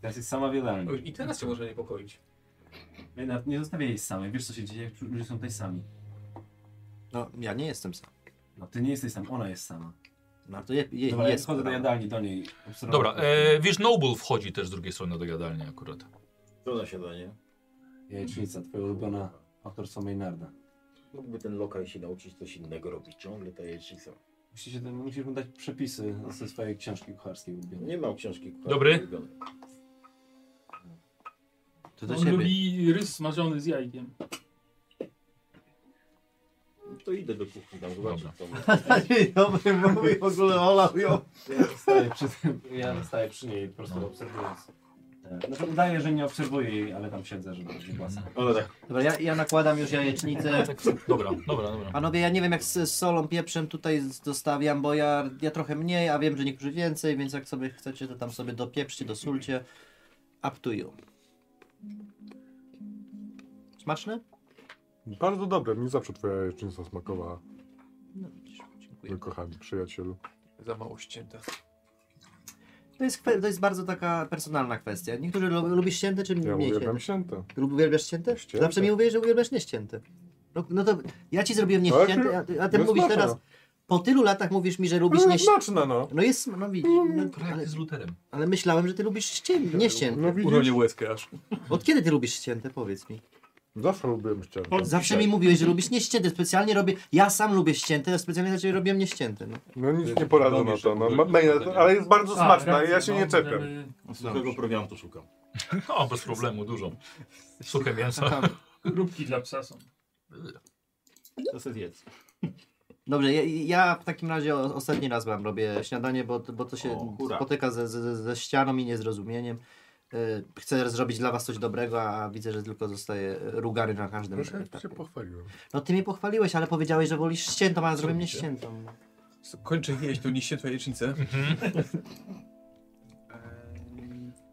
Speaker 2: Teraz jest sama w jadalni.
Speaker 7: I teraz się może niepokoić.
Speaker 2: Ja nawet Nie zostawię jej samej. Wiesz, co się dzieje, jak ludzie są tutaj sami.
Speaker 5: No, ja nie jestem sam.
Speaker 2: No, ty nie jesteś sam, ona jest sama.
Speaker 5: No to je, je,
Speaker 2: Dobra, ja
Speaker 5: jest.
Speaker 2: schodzę do jadalni, do niej. obserwować.
Speaker 1: Dobra, eee, wiesz, Noble wchodzi też z drugiej strony do jadalni akurat.
Speaker 3: To na siadanie.
Speaker 2: Jajecznica, twoja ulubiona autorstwo Maynarda.
Speaker 3: Mógłby ten lokal się nauczyć coś innego robić, ciągle tak ta jajecznica.
Speaker 2: Musisz, się- musisz mu dać przepisy ze swojej książki kucharskiej ulubionej.
Speaker 3: Nie mam książki kucharskiej
Speaker 1: Dobry.
Speaker 3: ulubionej.
Speaker 5: To do
Speaker 6: On
Speaker 5: siebie. <laughs>
Speaker 6: lubi rys smażony z jajkiem.
Speaker 3: No To idę do kuchni tam zobaczyć. co ma. <laughs>
Speaker 5: Dobry mówi w ogóle olał ją.
Speaker 2: Ja staję przy, tym, ja staję przy niej, po prostu
Speaker 1: No.
Speaker 2: obserwując. E, Znaczy udaję, że nie obserwuję jej, ale tam siedzę, żeby nie głasa.
Speaker 3: Ona tak,
Speaker 5: Dobra, ja, ja nakładam już jajecznicę.
Speaker 1: Tak, dobra, dobra, dobra.
Speaker 5: Panowie, ja nie wiem jak z, z solą, pieprzem tutaj z- dostawiam, bo ja, ja trochę mniej, a wiem, że niektórzy więcej, więc jak sobie chcecie, to tam sobie dopieprzcie, dosulcie. Up to you. Smaczne?
Speaker 4: Bardzo dobre, mi zawsze twoja jajecznica smakowała.
Speaker 5: No widzisz, dziękuję.
Speaker 4: Mój kochany przyjacielu.
Speaker 7: Za mało ścięta.
Speaker 5: To jest, kwe- to jest bardzo taka personalna kwestia. Niektórzy lu- lubisz ścięte czy
Speaker 4: Ja
Speaker 5: mniej ścięte?
Speaker 4: uwielbiam święta.
Speaker 5: Lub uwielbiasz ścięte?
Speaker 4: Ścięte.
Speaker 5: Zawsze mi mówiłeś, że uwielbiasz nieścięte. No, no to ja ci zrobiłem nieścięte, a ty, a ty
Speaker 4: No
Speaker 5: mówisz
Speaker 4: smaczne.
Speaker 5: teraz... Po tylu latach mówisz mi, że lubisz
Speaker 4: No,
Speaker 5: nieścięte.
Speaker 4: Znaczne no.
Speaker 5: No jest, no widzisz, no, ale,
Speaker 1: Ale z luterem.
Speaker 5: ale myślałem, że ty lubisz ścięte, nieścięte.
Speaker 4: No widzisz,
Speaker 7: łezkę aż.
Speaker 5: Od kiedy ty lubisz ścięte, powiedz mi?
Speaker 4: zawsze lubiłem ścięta.
Speaker 5: Zawsze mi mówiłeś, że lubisz nieścięte, specjalnie robię, ja sam lubię ścięte, a specjalnie dla ciebie robiłem nieścięte. No.
Speaker 4: No nic nie poradzę na to. No. Ma, ma- ale jest bardzo
Speaker 5: Tak,
Speaker 6: A,
Speaker 4: smaczna,
Speaker 6: racja,
Speaker 4: ja się
Speaker 6: no,
Speaker 4: nie czepiam.
Speaker 6: możemy-
Speaker 3: suchego prowiantu szukam.
Speaker 1: No, bez problemu, dużo. Suche mięso.
Speaker 6: Róbki dla psa są.
Speaker 3: To sobie zjedz.
Speaker 5: Dobrze, ja, ja w takim razie o- ostatni raz wam robię śniadanie, bo, bo to się
Speaker 3: O, hura.
Speaker 5: spotyka ze, ze, ze ścianą i niezrozumieniem. Y, Chcę zrobić dla was coś dobrego, a widzę, że tylko zostaje rugary na każdym
Speaker 4: Proszę, ja
Speaker 5: etapie.
Speaker 4: cię pochwaliłem.
Speaker 5: No ty mnie pochwaliłeś, ale powiedziałeś, że wolisz ściętą, a ja zrobię mnie
Speaker 7: Zrobicie.
Speaker 5: ściętą.
Speaker 7: Kończę jeść tą liście twojej jajecznicę.
Speaker 1: Mhm.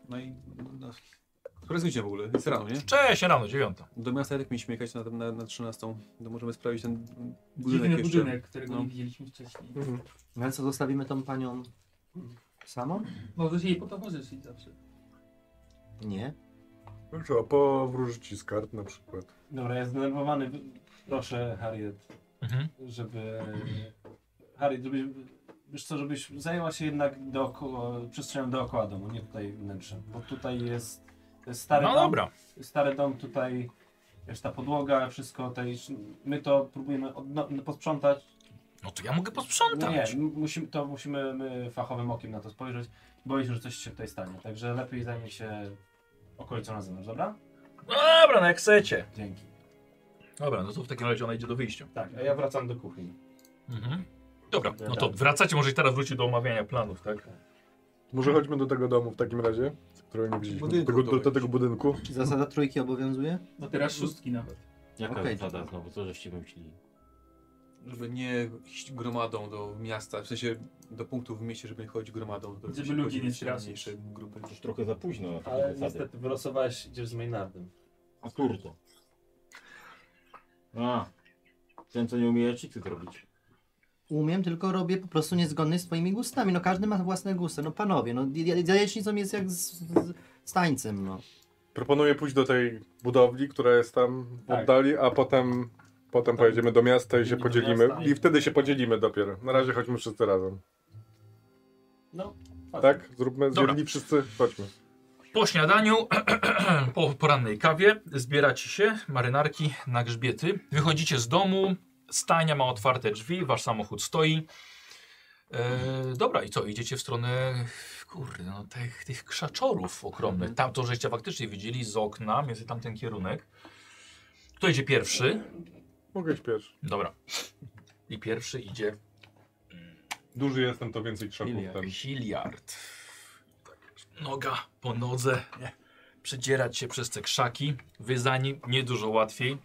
Speaker 7: No i... No. Które godzina w ogóle? Jest rano, nie?
Speaker 1: Cześć, rano, dziewiąta.
Speaker 7: Do miasta i tak mieliśmy jechać na, na, na 13. To możemy sprawić ten budynek
Speaker 6: Dziwny
Speaker 7: jeszcze.
Speaker 6: budynek, którego
Speaker 7: No.
Speaker 6: nie widzieliśmy wcześniej.
Speaker 5: No ale co, zostawimy tą panią samą?
Speaker 6: Możesz jej potowarzyszyć zawsze.
Speaker 5: Nie.
Speaker 4: No co, po wróżyci z kart na przykład.
Speaker 2: Dobra, ja zdenerwowany. Proszę, Harriet,
Speaker 1: Mhm.
Speaker 2: żeby... Harriet, żebyś... Wiesz co, żebyś zajęła się jednak dookoła, przestrzenią dookoła domu, nie tutaj wnętrzem, bo tutaj jest to jest stary
Speaker 1: No
Speaker 2: dom,
Speaker 1: dobra.
Speaker 2: stary dom tutaj, wiesz, ta podłoga, wszystko tej, my to próbujemy odno- no, posprzątać,
Speaker 1: No to ja mogę posprzątać.
Speaker 2: Nie, m- musimy, to musimy my fachowym okiem na to spojrzeć. Boję się, że coś się tutaj stanie, także lepiej zajmij się okolicą na zewnątrz, dobra?
Speaker 1: Dobra, no jak chcecie.
Speaker 2: Dzięki.
Speaker 1: Dobra, no to w takim razie ona idzie do wyjścia.
Speaker 2: Tak, a ja wracam do kuchni.
Speaker 1: Mhm. Dobra, no to wracacie, może i teraz wrócić do omawiania planów, tak?
Speaker 4: Może chodźmy do tego domu w takim razie, którego nie widzieliśmy.
Speaker 7: Budynku
Speaker 4: Tego, do,
Speaker 7: to
Speaker 4: do tego budynku.
Speaker 5: Czy zasada trójki obowiązuje?
Speaker 6: No teraz szóstki nawet.
Speaker 8: Jaka
Speaker 5: Okej.
Speaker 8: okay. zasada znowu? Co żeście wymyślili?
Speaker 7: Żeby nie iść gromadą do miasta, w sensie do punktów w mieście, żeby nie chodzić gromadą. To
Speaker 6: Żeby ludzi nie straszyć.
Speaker 7: mniejsze grupy.
Speaker 3: Już trochę za późno na takie
Speaker 2: Ale
Speaker 3: zasady.
Speaker 2: niestety wylosowałeś, idziesz z Maynardem.
Speaker 3: A kurde. A. Ten, co nie umie jaczycy zrobić.
Speaker 5: Umiem, tylko robię po prostu niezgodny z swoimi gustami. No każdy ma własne gusty. No panowie, no ja- jajecznicą jest jak z, z, z tańcem, no.
Speaker 4: Proponuję pójść do tej budowli, która jest tam w
Speaker 2: Tak.
Speaker 4: oddali, a potem,
Speaker 1: Tak.
Speaker 4: potem pojedziemy do miasta i się
Speaker 2: do
Speaker 4: podzielimy.
Speaker 2: miasta i-
Speaker 4: I wtedy się podzielimy dopiero. Na razie chodźmy wszyscy razem.
Speaker 2: No,
Speaker 4: Tak? Zróbmy,
Speaker 1: Dobra.
Speaker 4: zjedli wszyscy, chodźmy.
Speaker 1: Po śniadaniu, <clears throat> po porannej kawie, zbieracie się, marynarki na grzbiety. Wychodzicie z domu, stajnia ma otwarte drzwi, wasz samochód stoi. E, dobra, i co? Idziecie w stronę, kurde, no tych, tych krzaczorów okromnych. Tam to żeście faktycznie widzieli z okna, między tamten kierunek. Kto idzie pierwszy?
Speaker 4: Mogę iść pierwszy.
Speaker 1: Dobra. I pierwszy idzie
Speaker 4: Duży jestem, to więcej krzaków tam.
Speaker 1: Hiliard. Tak, Noga po nodze. Nie. Przedzierać się przez te krzaki. Wy za nim niedużo łatwiej.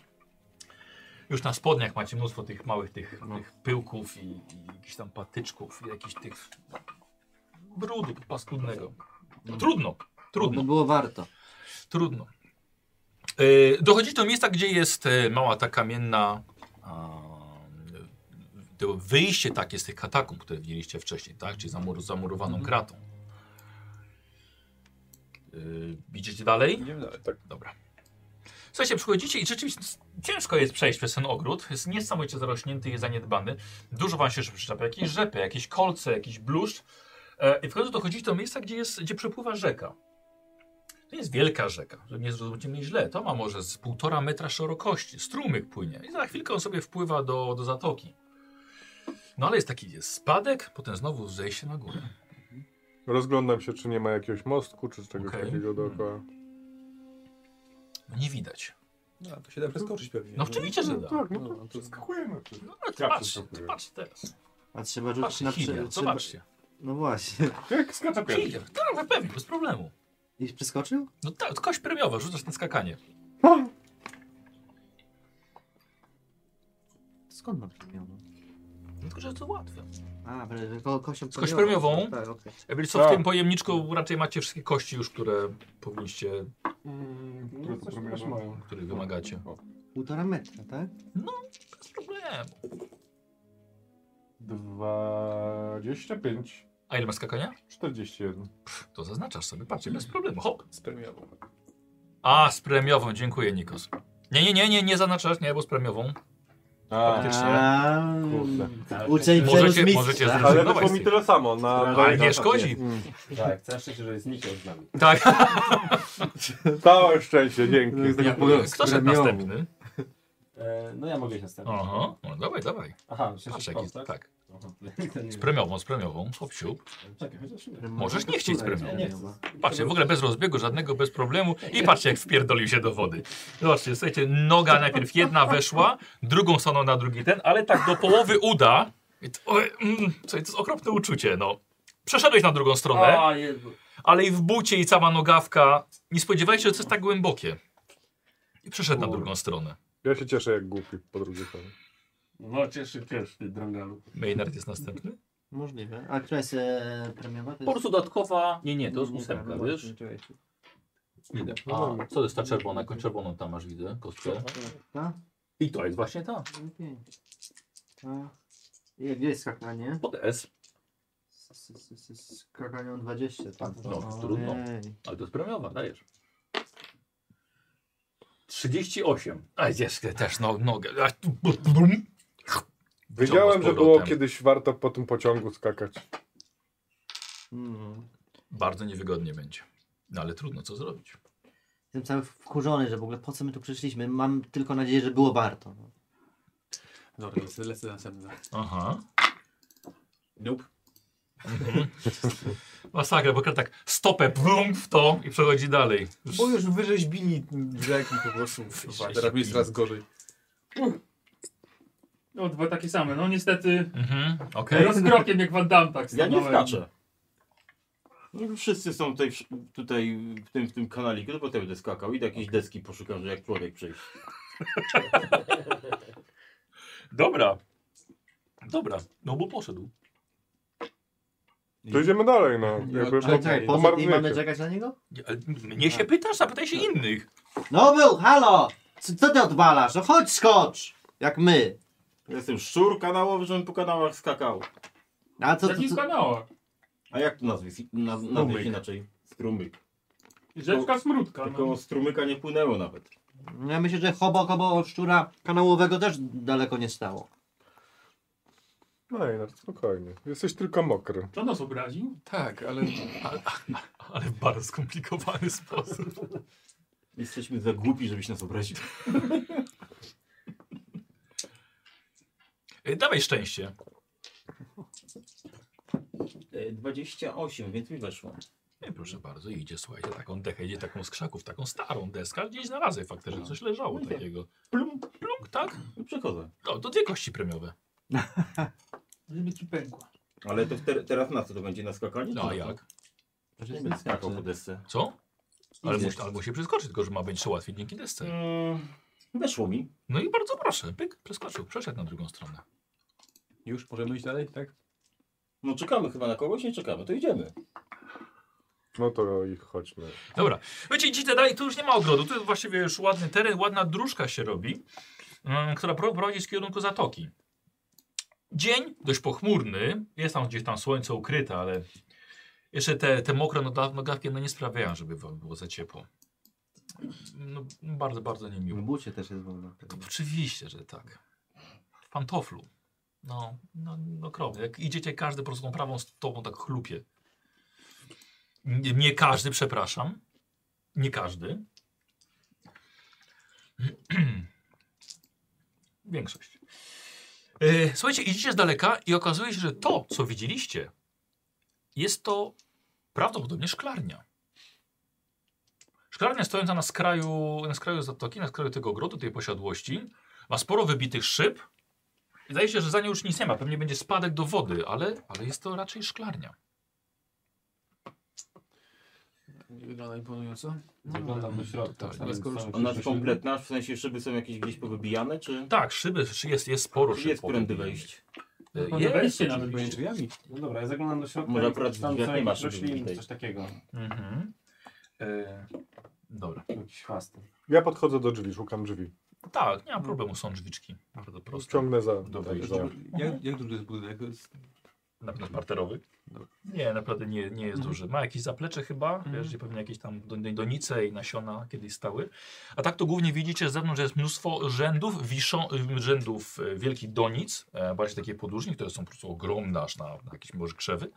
Speaker 1: Już na spodniach macie mnóstwo tych małych tych, tych pyłków i, i jakichś tam patyczków i jakichś tych brudu paskudnego. No, trudno,
Speaker 5: No
Speaker 1: trudno,
Speaker 5: było warto.
Speaker 1: trudno. Yy, dochodzi do miejsca, gdzie jest e, mała ta kamienna a, y, to wyjście takie z tych katakumb, które widzieliście wcześniej, tak? Czyli zamur, zamurowaną
Speaker 7: Mhm.
Speaker 1: kratą. Yy, idziecie dalej?
Speaker 7: Idziemy dalej. tak.
Speaker 1: Dobra. Słuchajcie, przychodzicie i rzeczywiście s- ciężko jest przejść przez ten ogród. Jest niesamowicie zarośnięty i zaniedbany. Dużo wam się jeszcze przyczepia. Jakieś rzepy, jakieś kolce, jakiś bluszcz. E, I w końcu dochodzicie do miejsca, gdzie, jest, gdzie przepływa rzeka. To jest wielka rzeka, żeby nie zrozumieć mnie źle. To ma może z półtora metra szerokości. Strumyk płynie i za chwilkę on sobie wpływa do, do zatoki. No ale jest taki jest spadek, potem znowu zejście na górę.
Speaker 4: Rozglądam się, czy nie ma jakiegoś mostku, czy czegoś
Speaker 1: Okej. Mhm.
Speaker 4: takiego dookoła.
Speaker 1: No Nie widać.
Speaker 7: No, to się da przeskoczyć pewnie.
Speaker 1: No oczywiście, że da.
Speaker 4: tak, no
Speaker 7: No,
Speaker 4: to
Speaker 7: to-
Speaker 4: przeskakujemy.
Speaker 1: No, ale ty
Speaker 4: Ja
Speaker 1: patrz,
Speaker 4: przystępuję.
Speaker 1: ty patrz teraz.
Speaker 5: A trzeba rzucić
Speaker 1: Patrz,
Speaker 5: na
Speaker 1: Hilia,
Speaker 5: prze... trzeba...
Speaker 1: zobaczcie.
Speaker 5: No właśnie.
Speaker 4: Jak skacze pierwszy.
Speaker 1: Killer, tak, pewnie, bez problemu.
Speaker 5: I przeskoczył?
Speaker 1: No tak, kość premiowa, rzucasz na skakanie.
Speaker 5: Skąd ma premiową?
Speaker 1: No Tylko, że to łatwe.
Speaker 5: A, pre- ko kosią
Speaker 1: Z kością premiową?
Speaker 5: Tak, okej.
Speaker 1: Jakby co w
Speaker 4: Tak.
Speaker 1: tym pojemniczku raczej macie wszystkie kości już, które powinniście, No,
Speaker 4: Które to premiowa?
Speaker 1: których wymagacie.
Speaker 5: Półtora metra, tak?
Speaker 1: Bez problemu.
Speaker 4: 25,
Speaker 1: A ile masz skakania?
Speaker 4: 41.
Speaker 1: To zaznaczasz sobie, patrzcie, bez problemu. Hop.
Speaker 7: Z premiową.
Speaker 1: A, z premiową, dziękuję Nikos. Nie, nie, nie, nie, nie zaznaczasz, nie, bo z premiową.
Speaker 4: A,
Speaker 1: Faktycznie.
Speaker 5: A,
Speaker 4: Kurde.
Speaker 2: Tak,
Speaker 5: Uczeń
Speaker 1: Możecie-
Speaker 5: przerósł
Speaker 1: możecie
Speaker 5: mistrza.
Speaker 1: zrezygnować.
Speaker 4: ale
Speaker 1: Zrezygnować
Speaker 4: wyszło
Speaker 1: z
Speaker 4: mi
Speaker 1: tych.
Speaker 4: tyle samo. Na
Speaker 1: Ale nie szkodzi.
Speaker 4: Mm.
Speaker 2: Tak, całe szczęście, że jest Nikos z nami.
Speaker 1: Tak.
Speaker 4: Całe szczęście, dzięki.
Speaker 5: Ja-
Speaker 1: Kto szedł
Speaker 5: premiową.
Speaker 1: następny?
Speaker 2: E, no ja mogę iść następnie.
Speaker 1: Aha, no dawaj, dawaj.
Speaker 2: Aha, się
Speaker 1: Patrz,
Speaker 2: szybko,
Speaker 1: jaki, tak.
Speaker 2: Aha, to nie
Speaker 1: Z
Speaker 2: wiem.
Speaker 1: premiową, z premiową. Hop, siup.
Speaker 2: Czekaj, chociaż nie.
Speaker 1: Możesz nie chcieć z
Speaker 5: Która
Speaker 1: premią.
Speaker 5: jest premiowa?
Speaker 1: Patrzcie, w ogóle bez rozbiegu, żadnego, bez problemu. I patrzcie, jak wpierdolił się do wody. Zobaczcie, słuchajcie, noga najpierw jedna weszła, drugą stanął na drugi ten, ale tak do połowy uda. I to, oj, mm, słuchaj, to jest okropne uczucie, no. Przeszedłeś na drugą stronę,
Speaker 6: A, Jezu.
Speaker 1: ale i w bucie, i cała nogawka. Nie spodziewałeś się, że to jest tak głębokie. I przeszedł na drugą stronę.
Speaker 4: Ja się cieszę jak głupi po drugiej stronie.
Speaker 2: No cieszy też, ty drągalu.
Speaker 1: Maynard jest następny.
Speaker 5: Możliwe. A która jest e, premiowa? To
Speaker 8: Po
Speaker 5: jest-
Speaker 8: prostu dodatkowa... Nie, nie, to jest
Speaker 5: Nie,
Speaker 8: ósemka,
Speaker 5: no
Speaker 8: wiesz?
Speaker 5: właśnie, czekajcie.
Speaker 8: Idę. A, co to jest ta czerwona? Jaką czerwoną tam masz widzę, kostkę.
Speaker 5: Ta?
Speaker 8: I to jest właśnie ta.
Speaker 5: No pięć. Ta. I Gdzie jest skakanie?
Speaker 8: Pod S,
Speaker 5: S- s- s- s- Skakanie o 20, tak.
Speaker 8: No, trudno.
Speaker 5: Ojej.
Speaker 8: ale to jest premiowa, dajesz. 38.
Speaker 1: A jest też no, nogę. A, tu, bu- bu- bum.
Speaker 4: Wiedziałem,
Speaker 1: z
Speaker 4: że było
Speaker 1: powrotem.
Speaker 4: kiedyś warto po tym pociągu skakać.
Speaker 5: Mm.
Speaker 1: Bardzo niewygodnie będzie. No ale trudno, co zrobić.
Speaker 5: Jestem cały wkurzony, że w ogóle po co my tu przyszliśmy. Mam tylko nadzieję, że było warto. No.
Speaker 7: Dobra, lecę, lecę następny.
Speaker 1: Aha.
Speaker 7: Nope.
Speaker 1: Mhm. Masakra, bo tak stopę plump w to i przechodzi dalej.
Speaker 7: Bo już wyrzeźbili drzeki po prostu. Teraz jest coraz gorzej.
Speaker 6: No dwa takie same, no niestety
Speaker 1: Mhm, okej.
Speaker 6: rozkrokiem jak Van Damme tak
Speaker 3: Ja nie
Speaker 6: stanąłem.
Speaker 3: skaczę. No, Wszyscy są tutaj, w- tutaj w tym, w tym kanaliku, to potem będę skakał. Idę jakieś deski poszukam, że jak człowiek przejść.
Speaker 1: Dobra. Dobra, no bo poszedł.
Speaker 4: To idziemy dalej, no. Jakby
Speaker 7: Ale czekaj,
Speaker 5: Czekaj,
Speaker 4: po-
Speaker 5: po co i mamy
Speaker 4: pomarnujecie.
Speaker 5: czekać na niego?
Speaker 1: Nie, ale Mnie się pytasz, zapytaj się innych.
Speaker 5: No był, halo! Co, co ty odwalasz? No chodź skocz! Jak my.
Speaker 3: Ja Jestem szczur kanałowy, żebym po kanałach skakał.
Speaker 5: A co,
Speaker 6: W
Speaker 5: co,
Speaker 6: jakich
Speaker 5: co?
Speaker 6: kanałach?
Speaker 3: A jak to nazwisk, naz, nazwisk
Speaker 7: Strumyk.
Speaker 3: inaczej? Strumyk.
Speaker 6: Rzeczka Smródka.
Speaker 3: Tylko
Speaker 6: No.
Speaker 3: strumyka nie płynęło nawet.
Speaker 5: Ja myślę, że hobo, hobo szczura kanałowego też daleko nie stało.
Speaker 4: No i no, spokojnie. Jesteś tylko mokry.
Speaker 6: Czy on nas obraził?
Speaker 7: Tak, ale
Speaker 1: Ale w bardzo skomplikowany sposób.
Speaker 3: Jesteśmy za głupi, żebyś nas obraził.
Speaker 1: E, Dawaj szczęście.
Speaker 3: E, 28, więc mi weszło.
Speaker 1: Nie, E, proszę bardzo, idzie, słuchajcie, taką dechę, idzie taką z krzaków, taką starą deskę, ale gdzieś znalazłem faktycznie, coś leżało takiego. Plump, plump, tak?
Speaker 3: No Przechodzę.
Speaker 1: No, to dwie kości premiowe.
Speaker 6: Żeby ci pękła.
Speaker 3: Ale to te, teraz na co to będzie? Na skakanie?
Speaker 1: No, a
Speaker 3: Czy na co?
Speaker 1: jak?
Speaker 3: Nie będę skakał po desce.
Speaker 1: Co? Ale
Speaker 3: Idzie.
Speaker 1: musi, albo się przeskoczy, tylko że ma być jeszcze łatwiej dzięki desce.
Speaker 3: Mm, weszło mi.
Speaker 1: No i bardzo proszę, pyk, przeskoczył, przeszedł na drugą stronę.
Speaker 7: już możemy iść dalej, tak?
Speaker 3: No czekamy chyba na kogoś? Nie czekamy, to idziemy.
Speaker 4: No to ich chodźmy.
Speaker 1: Dobra. Wiecie, idziecie dalej, tu już nie ma ogrodu, tu jest właściwie już ładny teren, ładna dróżka się robi, mm, która pro- prowadzi z kierunku zatoki. Dzień dość pochmurny, jest tam gdzieś tam słońce ukryte, ale jeszcze te, te mokre noga- nogawki no nie sprawiają, żeby wam było za ciepło. No, bardzo, bardzo niemiło.
Speaker 5: W bucie też jest wolno.
Speaker 1: To oczywiście, że tak. W pantoflu. No, no, no krowny. Jak idziecie, każdy po prostu tą prawą stopą tak chlupie. Nie, nie każdy, przepraszam. Nie każdy. <clears throat> Większość. E, Słuchajcie, idziecie z daleka i okazuje się, że to, co widzieliście, jest to prawdopodobnie szklarnia. Szklarnia stojąca na skraju, na skraju zatoki, na skraju tego ogrodu, tej posiadłości, ma sporo wybitych szyb. Wydaje się, że za nią już nic nie ma. Pewnie będzie spadek do wody, ale, ale jest to raczej szklarnia.
Speaker 7: Nie wygląda imponująco.
Speaker 2: No, Zaglądam do środka.
Speaker 1: Tak,
Speaker 7: ale skoro
Speaker 2: Staram się
Speaker 3: Ona jest
Speaker 2: przyjrzeć.
Speaker 3: kompletna, w sensie szyby są jakieś gdzieś powybijane, czy
Speaker 1: Tak, szyby, szy- jest, jest sporo szyb.
Speaker 3: jest prędy
Speaker 1: powybijanych.
Speaker 3: wejść?
Speaker 1: E,
Speaker 6: No,
Speaker 1: Jest,
Speaker 6: wejście nawet
Speaker 1: oczywiście.
Speaker 6: będzie.
Speaker 7: Drzwiami.
Speaker 2: No dobra, ja zaglądam do środka.
Speaker 3: Może
Speaker 2: i
Speaker 3: akurat
Speaker 2: tam
Speaker 3: drzwiach
Speaker 2: co
Speaker 3: nie ma
Speaker 2: jakieś
Speaker 3: szyby
Speaker 2: rośliny,
Speaker 3: widać.
Speaker 2: Coś takiego.
Speaker 1: Mhm. E, dobra.
Speaker 2: Jakiś chwast.
Speaker 4: Ja podchodzę do drzwi, szukam drzwi.
Speaker 1: Tak, nie ma problemu, są drzwiczki. Bardzo proste.
Speaker 4: Ciągnę za.
Speaker 1: Do
Speaker 4: tak,
Speaker 1: wyjścia.
Speaker 4: za.
Speaker 7: Jak, jak duży jest budynek?
Speaker 1: Na pewno parterowy? Nie, naprawdę nie, nie jest duży. Ma jakieś zaplecze chyba, wiesz, gdzie pewnie jakieś tam do- donice i nasiona kiedyś stały. A tak to głównie widzicie z zewnątrz, że jest mnóstwo rzędów, wiszą, rzędów e, wielkich donic, e, bardziej takie podłużni, które są po prostu ogromne aż na, na jakieś może krzewy.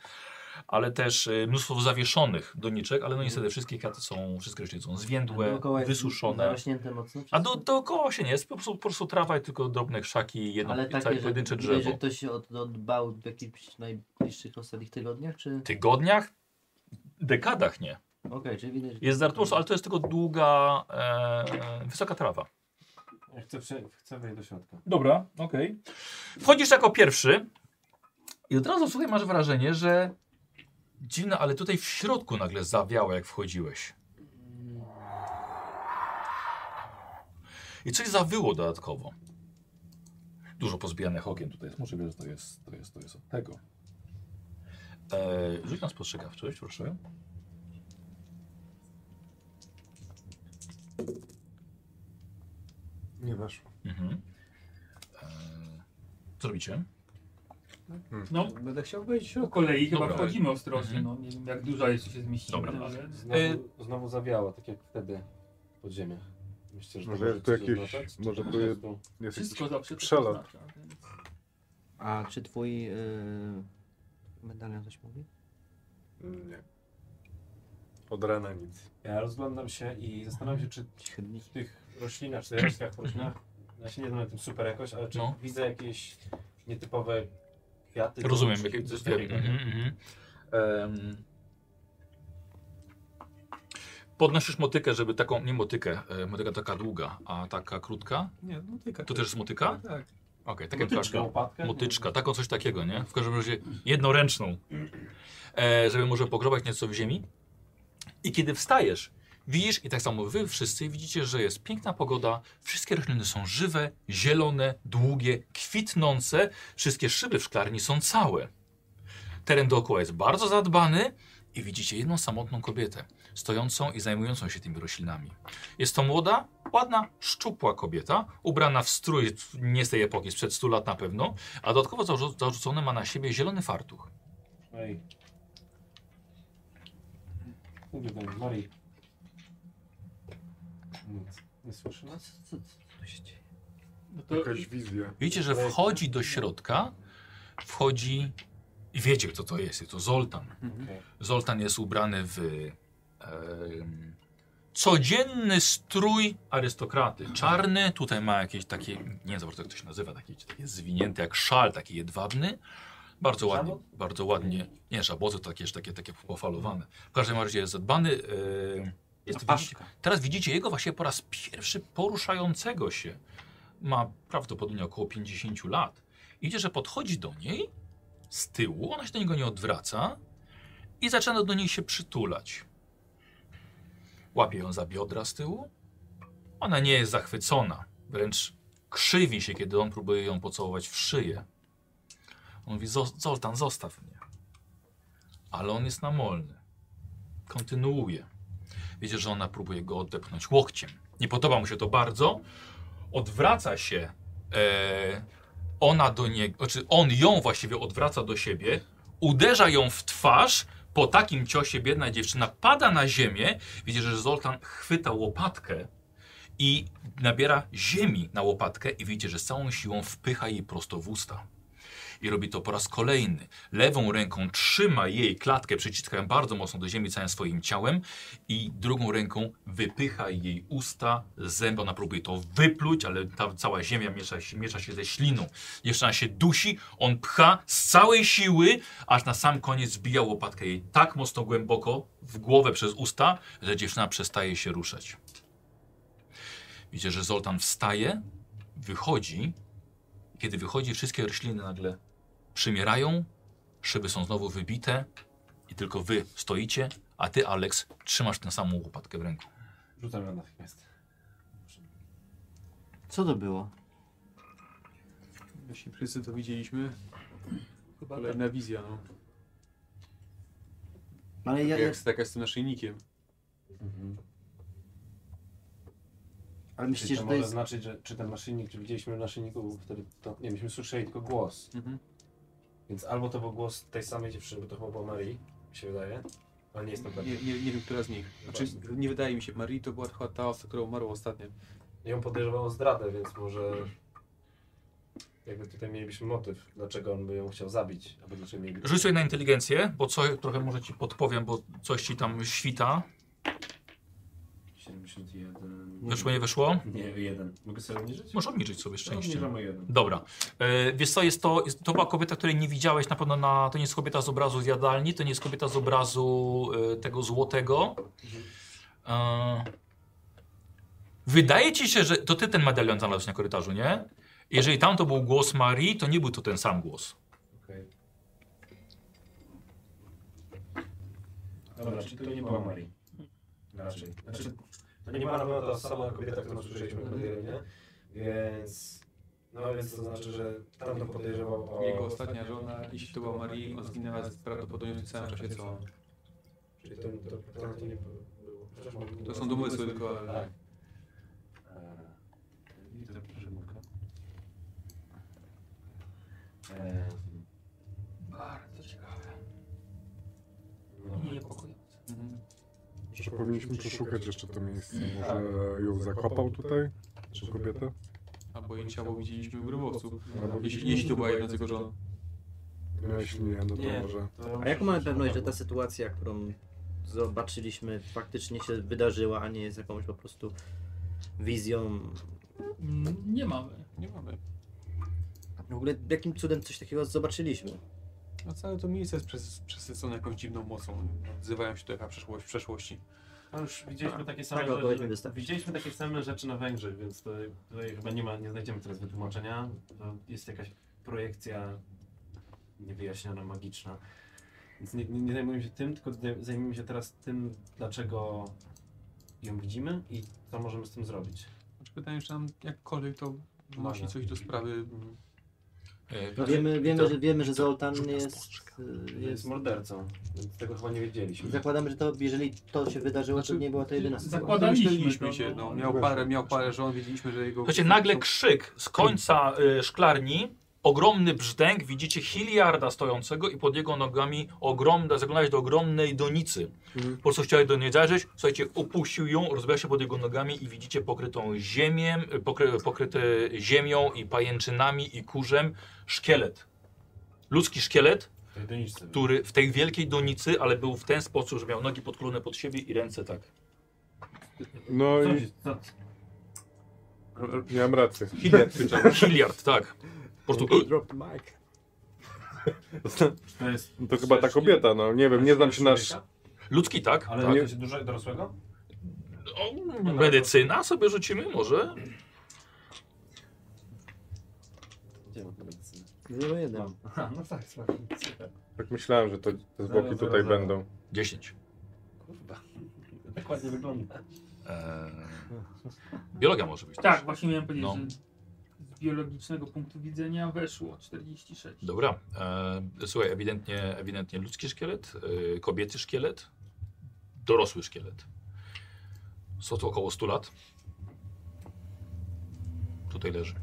Speaker 1: Ale też e, mnóstwo zawieszonych doniczek, ale no niestety wszystkie kwiaty są, wszystkie rośliny są zwiędłe, wysuszone.
Speaker 5: Zarośnięte mocno.
Speaker 1: A do, dookoła się nie jest, po prostu, po prostu trawa i tylko drobne krzaki, jedno
Speaker 5: Ale
Speaker 1: no, całe
Speaker 5: takie, że,
Speaker 1: pojedyncze
Speaker 5: widać,
Speaker 1: drzewo.
Speaker 5: że ktoś się od, odbał w jakichś najbliższych ostatnich tygodniach, czy...
Speaker 1: Tygodniach? Dekadach nie.
Speaker 5: Okej, czy widać... że-
Speaker 1: Jest zartmus, ale to jest tylko długa, e, wysoka trawa.
Speaker 2: Ja Chcę, prze- chcę wejść do środka.
Speaker 1: Dobra, okej. Wchodzisz jako pierwszy i od razu słuchaj, masz wrażenie, że dziwne, ale tutaj w środku nagle zawiało, jak wchodziłeś. I coś zawyło dodatkowo. Dużo pozbijanych okien tutaj jest. Możliwe, że to jest, to jest, to jest od tego. E, rzuć na spostrzegawczość, proszę.
Speaker 4: Nie weszło.
Speaker 1: Mhm. E, co robicie?
Speaker 6: No,
Speaker 7: Będę chciał wejść w
Speaker 6: po
Speaker 7: środku.
Speaker 6: kolei chyba
Speaker 1: Dobra.
Speaker 6: wchodzimy ostrożnie,
Speaker 1: Mhm.
Speaker 6: no nie wiem jak duża jest, czy się zmieścimy,
Speaker 1: Dobra.
Speaker 6: ale...
Speaker 2: Znowu, znowu zawiało, tak jak wtedy pod ziemię. Myślę, że to
Speaker 4: Może
Speaker 2: może
Speaker 4: tu
Speaker 2: coś
Speaker 4: jakieś-
Speaker 2: oznaczać?
Speaker 4: może
Speaker 2: Po
Speaker 4: tu je-
Speaker 2: prostu-
Speaker 4: Jest jakiś
Speaker 6: Wszystko zawsze coś
Speaker 4: przelot.
Speaker 6: oznacza, więc-
Speaker 5: A czy twój yy, medalion coś mówi?
Speaker 4: Nie. Od rana nic.
Speaker 2: Ja rozglądam się i zastanawiam się, czy
Speaker 5: Chyba nie.
Speaker 2: w tych roślinach, czy jaskach, roślinach Ja się nie znam na tym super jakoś, ale czy
Speaker 1: No.
Speaker 2: widzę jakieś nietypowe kwiaty?
Speaker 1: Rozumiem, mhm.
Speaker 2: czy
Speaker 1: jakie
Speaker 2: coś
Speaker 1: coś
Speaker 2: takiego.
Speaker 1: Podnosisz motykę, żeby taką, nie motykę, e, motyka taka długa, a taka krótka.
Speaker 7: Nie, no tyka.
Speaker 1: To też jest motyka?
Speaker 7: Tak.
Speaker 1: Okej, no. taka
Speaker 2: Czy
Speaker 1: plaszka.
Speaker 2: łopatkę?
Speaker 1: Motyczka, taką coś takiego, nie? W każdym razie jednoręczną, e, żeby może pogrzebać nieco w ziemi. I kiedy wstajesz, widzisz, i tak samo wy wszyscy widzicie, że jest piękna pogoda, wszystkie rośliny są żywe, zielone, długie, kwitnące, wszystkie szyby w szklarni są całe. Teren dookoła jest bardzo zadbany i widzicie jedną samotną kobietę, stojącą i zajmującą się tymi roślinami. Jest to młoda, ładna, szczupła kobieta, ubrana w strój nie z tej epoki, sprzed 100 lat na pewno, a dodatkowo zarzu- zarzucony ma na siebie zielony fartuch.
Speaker 2: Ej. Mówię do niej, Marii. Nic, nie słyszy nas?
Speaker 5: No, Co, co, co tu się dzieje?
Speaker 6: No to
Speaker 4: Jakaś wizja.
Speaker 1: Widzicie, że wchodzi do środka, wchodzi i wiecie kto to jest, jest to Zoltan. Zoltan jest ubrany w em, codzienny strój arystokraty. Czarny, tutaj ma jakieś takie, nie wiem za bardzo jak to się nazywa, takie, takie zwinięte jak szal, taki jedwabny. Bardzo ładnie,
Speaker 2: Żabot?
Speaker 1: bardzo ładnie. Nie, żaboty to takie, takie, takie pofalowane. W każdym razie jest zadbany. em, jest, widzicie, teraz widzicie jego właśnie po raz pierwszy poruszającego się. Ma prawdopodobnie około 50 lat. Idzie, że podchodzi do niej z tyłu, ona się do niego nie odwraca i zaczyna do niej się przytulać. Łapie ją za biodra z tyłu. Ona nie jest zachwycona, wręcz krzywi się, kiedy on próbuje ją pocałować w szyję. On mówi, "Zo- Zoltan, zostaw mnie. Ale on jest namolny. Kontynuuje. Wiecie, że ona próbuje go odepchnąć łokciem. Nie podoba mu się to bardzo. Odwraca się e, ona do niego, znaczy on ją właściwie odwraca do siebie, uderza ją w twarz. Po takim ciosie biedna dziewczyna pada na ziemię. Widzisz, że Zoltan chwyta łopatkę i nabiera ziemi na łopatkę i widzicie, że z całą siłą wpycha jej prosto w usta. I robi to po raz kolejny. Lewą ręką trzyma jej klatkę, przyciska ją bardzo mocno do ziemi całym swoim ciałem i drugą ręką wypycha jej usta, zęby. Ona próbuje to wypluć, ale ta cała ziemia miesza się, miesza się ze śliną. Jeszcze ona się dusi, on pcha z całej siły, aż na sam koniec zbija łopatkę jej tak mocno głęboko w głowę przez usta, że dziewczyna przestaje się ruszać. Widzicie, że Zoltan wstaje, wychodzi. Kiedy wychodzi, wszystkie rośliny nagle przymierają, szyby są znowu wybite i tylko wy stoicie, a ty, Alex, trzymasz tę samą łopatkę w ręku.
Speaker 2: Rzucam ją natychmiast.
Speaker 5: Co to było?
Speaker 7: Jeśli wszyscy to widzieliśmy,
Speaker 6: chyba tak.
Speaker 7: kolejna wizja, no.
Speaker 5: Ale ja, ja,
Speaker 7: Jak taka z tym naszyjnikiem.
Speaker 2: Mhm.
Speaker 5: ale
Speaker 2: Myślicie, to
Speaker 5: myślicie, że to
Speaker 2: może
Speaker 5: jest...
Speaker 2: znaczyć, że czy ten maszynik, czy widzieliśmy w naszyjniku, bo wtedy to, nie, myśmy słyszeli tylko głos.
Speaker 7: Mhm.
Speaker 2: Więc albo to był głos tej samej dziewczyny, bo to chyba była Marii, mi się wydaje. Ale nie jestem
Speaker 7: Nie,
Speaker 2: pewien.
Speaker 7: nie, nie wiem, która z nich. Znaczy, nie wydaje mi się. Marie to była chyba ta osoba, która umarła ostatnio.
Speaker 2: Ją podejrzewał o zdradę, więc może... Jakby tutaj mielibyśmy motyw, dlaczego on by ją chciał zabić, albo dlaczego mieliby...
Speaker 1: Rzuć sobie na inteligencję, bo co, trochę może ci podpowiem, bo coś ci tam świta.
Speaker 2: 71...
Speaker 1: Wyszło, nie wyszło?
Speaker 2: Nie, jeden. Mogę sobie obniżyć?
Speaker 1: Możesz obniżyć sobie szczęście.
Speaker 2: Obniżamy jeden.
Speaker 1: Dobra. E, wiesz co, jest to, jest, to była kobieta, której nie widziałeś na pewno na... To nie jest kobieta z obrazu z jadalni, to nie jest kobieta z obrazu e, tego złotego. E, wydaje ci się, że... To ty ten medalion znalazłeś na korytarzu, nie? Jeżeli tam to był głos Marii, to nie był to ten sam głos.
Speaker 2: Okej. Dobra, czyli to nie była Marii. Raczej. Znaczy, to nie była na pewno ta sama kobieta, którą słyszeliśmy w nie? Więc... No więc to znaczy, że tamten podejrzewał o...
Speaker 7: Jego ostatnia żona, jeśli to była Marie, on zginęła z- prawdopodobnie w tym samym czasie co on.
Speaker 2: Czyli to, to, to, to nie było. Chociaż mogę-
Speaker 7: To są domysły tylko, ale tak.
Speaker 2: E, Widzę Rzymka. Eee,
Speaker 6: Bardzo ciekawe.
Speaker 2: no.
Speaker 6: I niepokojące.
Speaker 7: Mhm.
Speaker 4: Że powinniśmy przeszukać jeszcze to miejsce. Może ją zakopał tutaj? Czy kobietę?
Speaker 7: Albo jej ciało widzieliśmy w grobowcu.
Speaker 4: Albo
Speaker 7: Jeśli, jeśli to była jedna z jego żon.
Speaker 4: No, jeśli nie, no to
Speaker 5: Nie.
Speaker 4: może.
Speaker 5: A jaką mamy pewność, że ta sytuacja, którą zobaczyliśmy, faktycznie się wydarzyła, a nie jest jakąś po prostu wizją
Speaker 6: Mm, Nie mamy.
Speaker 7: Nie mamy.
Speaker 5: W ogóle jakim cudem coś takiego zobaczyliśmy?
Speaker 7: A No całe to miejsce jest przes- przesycone jakąś dziwną mocą. Odzywają się do jaka przeszłość, w przeszłości.
Speaker 2: No już widzieliśmy takie same
Speaker 5: Tak, odpowiedź mi
Speaker 2: rzeczy.
Speaker 5: wystarczy.
Speaker 2: Widzieliśmy takie same rzeczy na Węgrzech, więc to, tutaj chyba nie ma, nie znajdziemy teraz wytłumaczenia. To jest jakaś projekcja niewyjaśniona, magiczna. Więc nie, nie, nie zajmujemy się tym, tylko zaj- zajmijmy się teraz tym, dlaczego ją widzimy i co możemy z tym zrobić.
Speaker 7: Znaczy pytanie, czy nam jakkolwiek to wnosi
Speaker 2: Dobra.
Speaker 7: coś do sprawy mm,
Speaker 1: E,
Speaker 5: Wiemy, wiemy,
Speaker 1: to-
Speaker 5: że, wiemy, że Zoltan
Speaker 1: rzuć na
Speaker 5: jest,
Speaker 1: spostrzeg.
Speaker 5: y,
Speaker 2: Jest
Speaker 5: jest...
Speaker 2: mordercą, więc tego chyba nie wiedzieliśmy.
Speaker 5: Zakładamy, że to, jeżeli to się wydarzyło, to
Speaker 7: Znaczy,
Speaker 5: nie była to jedyna sytuacja.
Speaker 6: Zakładaliśmy
Speaker 7: Domyśleliśmy
Speaker 6: to,
Speaker 7: się,
Speaker 6: no.
Speaker 7: no. Miał parę, miał parę żon, wiedzieliśmy, że jego...
Speaker 1: Słuchajcie, nagle krzyk z końca e, szklarni, ogromny brzdęk, widzicie Hilliarda stojącego i pod jego nogami ogromna, zaglądałeś do ogromnej donicy.
Speaker 5: Mhm.
Speaker 1: Po prostu chciałeś do niej zajrzeć, słuchajcie, opuścił ją, rozbija się pod jego nogami i widzicie pokrytą ziemię, pokry, pokryte ziemią i pajęczynami i kurzem szkielet. Ludzki szkielet,
Speaker 2: To jedynistce.
Speaker 1: który w tej wielkiej donicy, ale był w ten sposób, że miał nogi podkulone pod siebie i ręce tak.
Speaker 4: No
Speaker 2: Co,
Speaker 4: i
Speaker 2: się- co,
Speaker 4: miałem rację.
Speaker 1: Hilliard, Hilliard tak. Po prostu...
Speaker 5: Drop mic.
Speaker 2: to jest...
Speaker 4: <laughs> To chyba ta kobieta, no nie wiem, nie znam się na... sz-
Speaker 1: Ludzki, tak?
Speaker 2: Ale
Speaker 1: tak.
Speaker 2: tak. coś dużego, dorosłego?
Speaker 1: O, medycyna sobie rzucimy może?
Speaker 2: Gdzie mam powiedz?
Speaker 5: Zero jeden.
Speaker 2: No. Aha, no tak, tak.
Speaker 4: Tak myślałem, że to te zwłoki
Speaker 2: Zaraz,
Speaker 4: tutaj
Speaker 2: zaraz, zaraz.
Speaker 4: będą.
Speaker 1: 10.
Speaker 2: Kurwa. Dokładnie wygląda.
Speaker 1: Eee, biologia może być.
Speaker 6: Tak,
Speaker 1: Też.
Speaker 6: właśnie miałem powiedzieć,
Speaker 1: No.
Speaker 6: że z biologicznego punktu widzenia weszło 46.
Speaker 1: Dobra. Eee, słuchaj, ewidentnie, ewidentnie ludzki szkielet, eee, kobiecy szkielet, dorosły szkielet. Są to około 100 lat. Tutaj leży.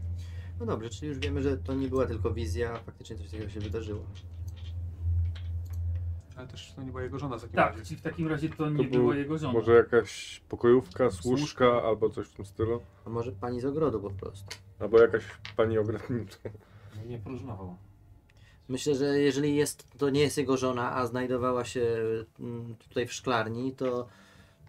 Speaker 5: No dobrze, czyli już wiemy, że to nie była tylko wizja, faktycznie coś takiego się wydarzyło.
Speaker 7: Ale też to nie była jego żona w takim
Speaker 6: Tak,
Speaker 7: razie.
Speaker 6: czyli w takim razie to nie
Speaker 4: był
Speaker 6: była jego żona.
Speaker 4: Może jakaś pokojówka, służka
Speaker 7: Służka.
Speaker 4: albo coś w tym stylu?
Speaker 5: A może pani z ogrodu po prostu.
Speaker 4: Albo jakaś pani ogrodnicza.
Speaker 2: No Nie próżnował.
Speaker 5: Myślę, że jeżeli jest, to nie jest jego żona, a znajdowała się mm, tutaj w szklarni, to,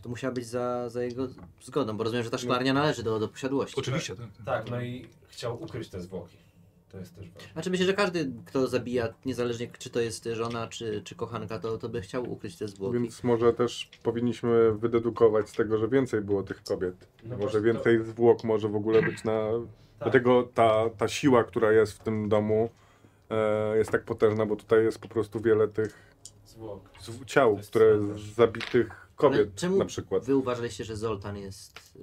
Speaker 5: to musiała być za, za jego zgodą, bo rozumiem, że ta szklarnia należy do, do posiadłości.
Speaker 1: Oczywiście. Tak.
Speaker 2: Tak, no i chciał ukryć te zwłoki. To jest też ważne.
Speaker 5: Znaczy myślę, że każdy, kto zabija, niezależnie czy to jest żona, czy, czy kochanka, to, to by chciał ukryć te zwłoki.
Speaker 4: Więc może też powinniśmy wydedukować z tego, że więcej było tych kobiet.
Speaker 2: No
Speaker 4: może
Speaker 2: właśnie,
Speaker 4: więcej zwłok może w ogóle być na...
Speaker 2: Tak.
Speaker 4: Dlatego ta, ta siła, która jest w tym domu e, jest tak potężna, bo tutaj jest po prostu wiele tych
Speaker 2: Zwłok.
Speaker 4: zw-
Speaker 2: To
Speaker 4: ciał,
Speaker 2: jest
Speaker 4: które
Speaker 2: cmentarz.
Speaker 4: z zabitych kobiet
Speaker 5: Ale czemu
Speaker 4: na przykład.
Speaker 5: Wy uważaliście, że Zoltan jest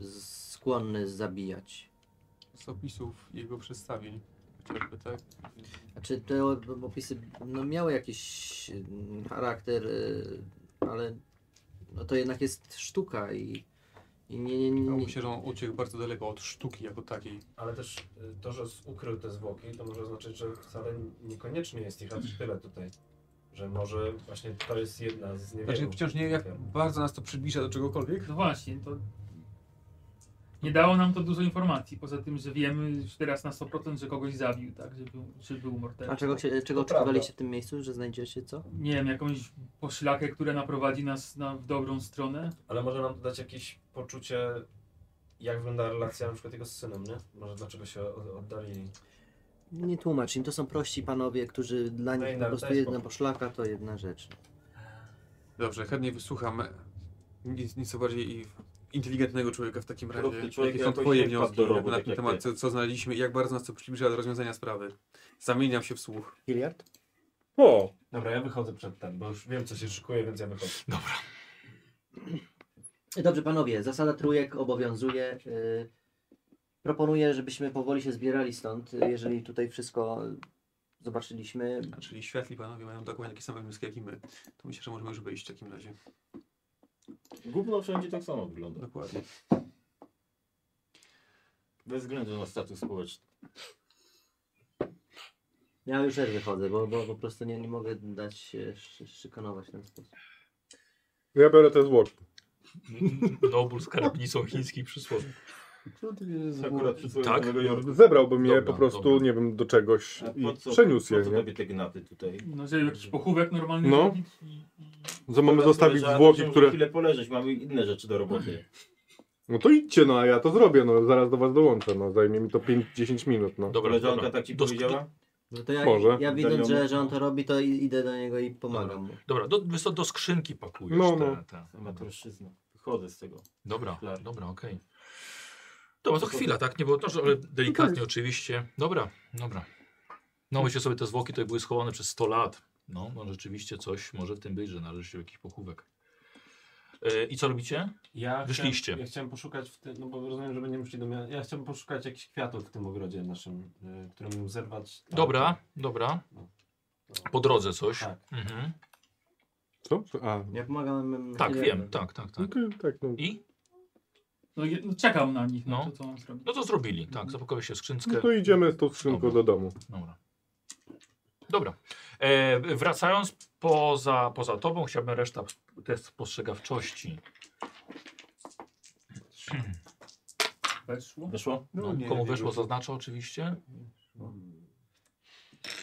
Speaker 5: y, z- skłonny zabijać.
Speaker 7: Z opisów jego przedstawień. Chociażby, tak?
Speaker 5: A czy Znaczy, te o- opisy no, miały jakiś mm, charakter, y, ale no, to jednak jest sztuka i, i nie, nie,
Speaker 2: No,
Speaker 5: nie,
Speaker 7: Wydawało mi się, że on uciekł bardzo daleko od sztuki jako takiej.
Speaker 2: Ale też y, to, że z- ukrył te zwłoki, to może oznaczać, że wcale niekoniecznie jest ich aż tyle tutaj. Że może właśnie to jest jedna z niewielu.
Speaker 7: Znaczy wciąż nie wiem, jak bardzo nas to przybliża do czegokolwiek.
Speaker 6: No właśnie, to nie dało nam to dużo informacji, poza tym, że wiemy już teraz na 100%, że kogoś zabił, tak, że był, że był mordercą.
Speaker 5: A czego, się, czego
Speaker 2: To prawda.
Speaker 5: oczekiwaliście w tym miejscu, że znajdziecie co?
Speaker 6: Nie wiem, jakąś poszlakę, która naprowadzi nas na, w dobrą stronę.
Speaker 2: Ale może nam dać jakieś poczucie, jak wygląda relacja na przykład jego z synem, nie? Może dlaczego się o- oddalili.
Speaker 5: Nie tłumacz im, to są prości panowie, którzy dla
Speaker 2: No i
Speaker 5: nich
Speaker 2: na-
Speaker 5: po prostu
Speaker 2: daj
Speaker 5: jedna
Speaker 2: spokój.
Speaker 5: poszlaka to jedna rzecz.
Speaker 7: Dobrze, chętnie wysłucham nic, nieco bardziej i inteligentnego człowieka w takim razie.
Speaker 3: Dorosły człowiek
Speaker 7: Jakie są
Speaker 3: jakoś
Speaker 7: twoje
Speaker 3: nie wpadł
Speaker 7: wnioski
Speaker 3: do rowu,
Speaker 7: na
Speaker 3: tak
Speaker 7: ten
Speaker 3: jak
Speaker 7: temat,
Speaker 3: ty.
Speaker 7: co, co znaliśmy i jak bardzo nas to przybliża do rozwiązania sprawy. Zamieniam się w słuch.
Speaker 5: Hilliard?
Speaker 4: O,
Speaker 2: Dobra, ja wychodzę przed ten, bo już wiem co się szykuje, więc ja wychodzę.
Speaker 5: Dobrze, panowie, zasada trójek obowiązuje. y, Proponuję, żebyśmy powoli się zbierali stąd, y, jeżeli tutaj wszystko zobaczyliśmy.
Speaker 7: A, Czyli światli panowie mają dokładnie takie same wnioski jak i my. To myślę, że możemy już wyjść w takim razie.
Speaker 3: Gówno wszędzie tak samo wygląda.
Speaker 7: Dokładnie.
Speaker 3: Bez względu na status społeczny.
Speaker 5: Ja już też wychodzę, bo, bo po prostu nie, nie mogę dać się szy- szykonować w ten sposób.
Speaker 4: ja biorę te zwłoki.
Speaker 1: Dobór skarbnicą chińskich przysłowów.
Speaker 3: Akurat przy
Speaker 1: Tak?
Speaker 3: tak? Jorku.
Speaker 4: Zebrałbym je
Speaker 1: Dobra,
Speaker 4: po prostu,
Speaker 1: dobra.
Speaker 4: nie wiem, do czegoś
Speaker 3: A
Speaker 4: i
Speaker 3: po co,
Speaker 4: przeniósł
Speaker 3: po
Speaker 4: je,
Speaker 3: co
Speaker 4: nie?
Speaker 3: tobie te gnaty tutaj?
Speaker 6: No, że jakiś pochówek normalny
Speaker 4: No.
Speaker 6: zrobić i, i
Speaker 4: Że mamy zostawić
Speaker 3: Leżała,
Speaker 4: zwłoki,
Speaker 3: żeby
Speaker 4: które...
Speaker 1: Mhm.
Speaker 3: Chwilę poleżeć, mamy inne rzeczy do roboty.
Speaker 4: No to idźcie, no a ja to zrobię, no zaraz do was dołączę, no zajmie mi to 5-10 minut, no.
Speaker 1: Dobra,
Speaker 3: Koleżanka
Speaker 1: dobra.
Speaker 3: tak ci
Speaker 1: Do-
Speaker 3: powiedziała?
Speaker 5: No to ja,
Speaker 4: Może.
Speaker 5: ja widząc,
Speaker 3: Daniel.
Speaker 5: że, że on to robi, to i- idę do niego i pomagam mu.
Speaker 1: Dobra, do, wiesz co, do skrzynki pakujesz
Speaker 4: No,
Speaker 1: no,
Speaker 4: no.
Speaker 1: Te, te.
Speaker 3: Amatorszczyzna. Wychodzę z tego.
Speaker 1: Dobra,
Speaker 3: Klar.
Speaker 1: dobra, okej. Dobra, to chwila, tak? Nie było to, że, ale delikatnie oczywiście. Dobra, dobra. No myślę sobie, te zwłoki tutaj były schowane przez 100 lat. No, no rzeczywiście coś może w tym być, że należy się jakiś pochówek. E, I co robicie?
Speaker 2: Ja
Speaker 1: Wyszliście.
Speaker 2: Chciałem, ja chciałem poszukać w tym, no bo rozumiem, że będziemy szli do miasta. Ja chciałem poszukać jakichś kwiatów w tym ogrodzie naszym, y, które mógł zerwać. Tak, tam.
Speaker 1: Dobra, dobra. Po drodze coś.
Speaker 2: Tak.
Speaker 1: Mhm.
Speaker 4: Co? A,
Speaker 5: Ja pomagam. mm, em,
Speaker 1: Tak,
Speaker 5: ile-
Speaker 1: wiem, tak, tak,
Speaker 4: no
Speaker 1: tak.
Speaker 4: to tak, no.
Speaker 1: I?
Speaker 6: No, je- no czekam na nich, no,
Speaker 1: No.
Speaker 6: to co mam zrobić.
Speaker 1: No to zrobili, tak, zapakowały się w
Speaker 4: no
Speaker 1: skrzynkę.
Speaker 4: to idziemy z tą skrzynką
Speaker 1: Dobra.
Speaker 4: do domu.
Speaker 1: Dobra. Dobra. E, wracając poza, poza tobą, chciałbym reszta test spostrzegawczości.
Speaker 6: Weszło.
Speaker 3: Weszło?
Speaker 1: No, komu weszło zaznacza oczywiście.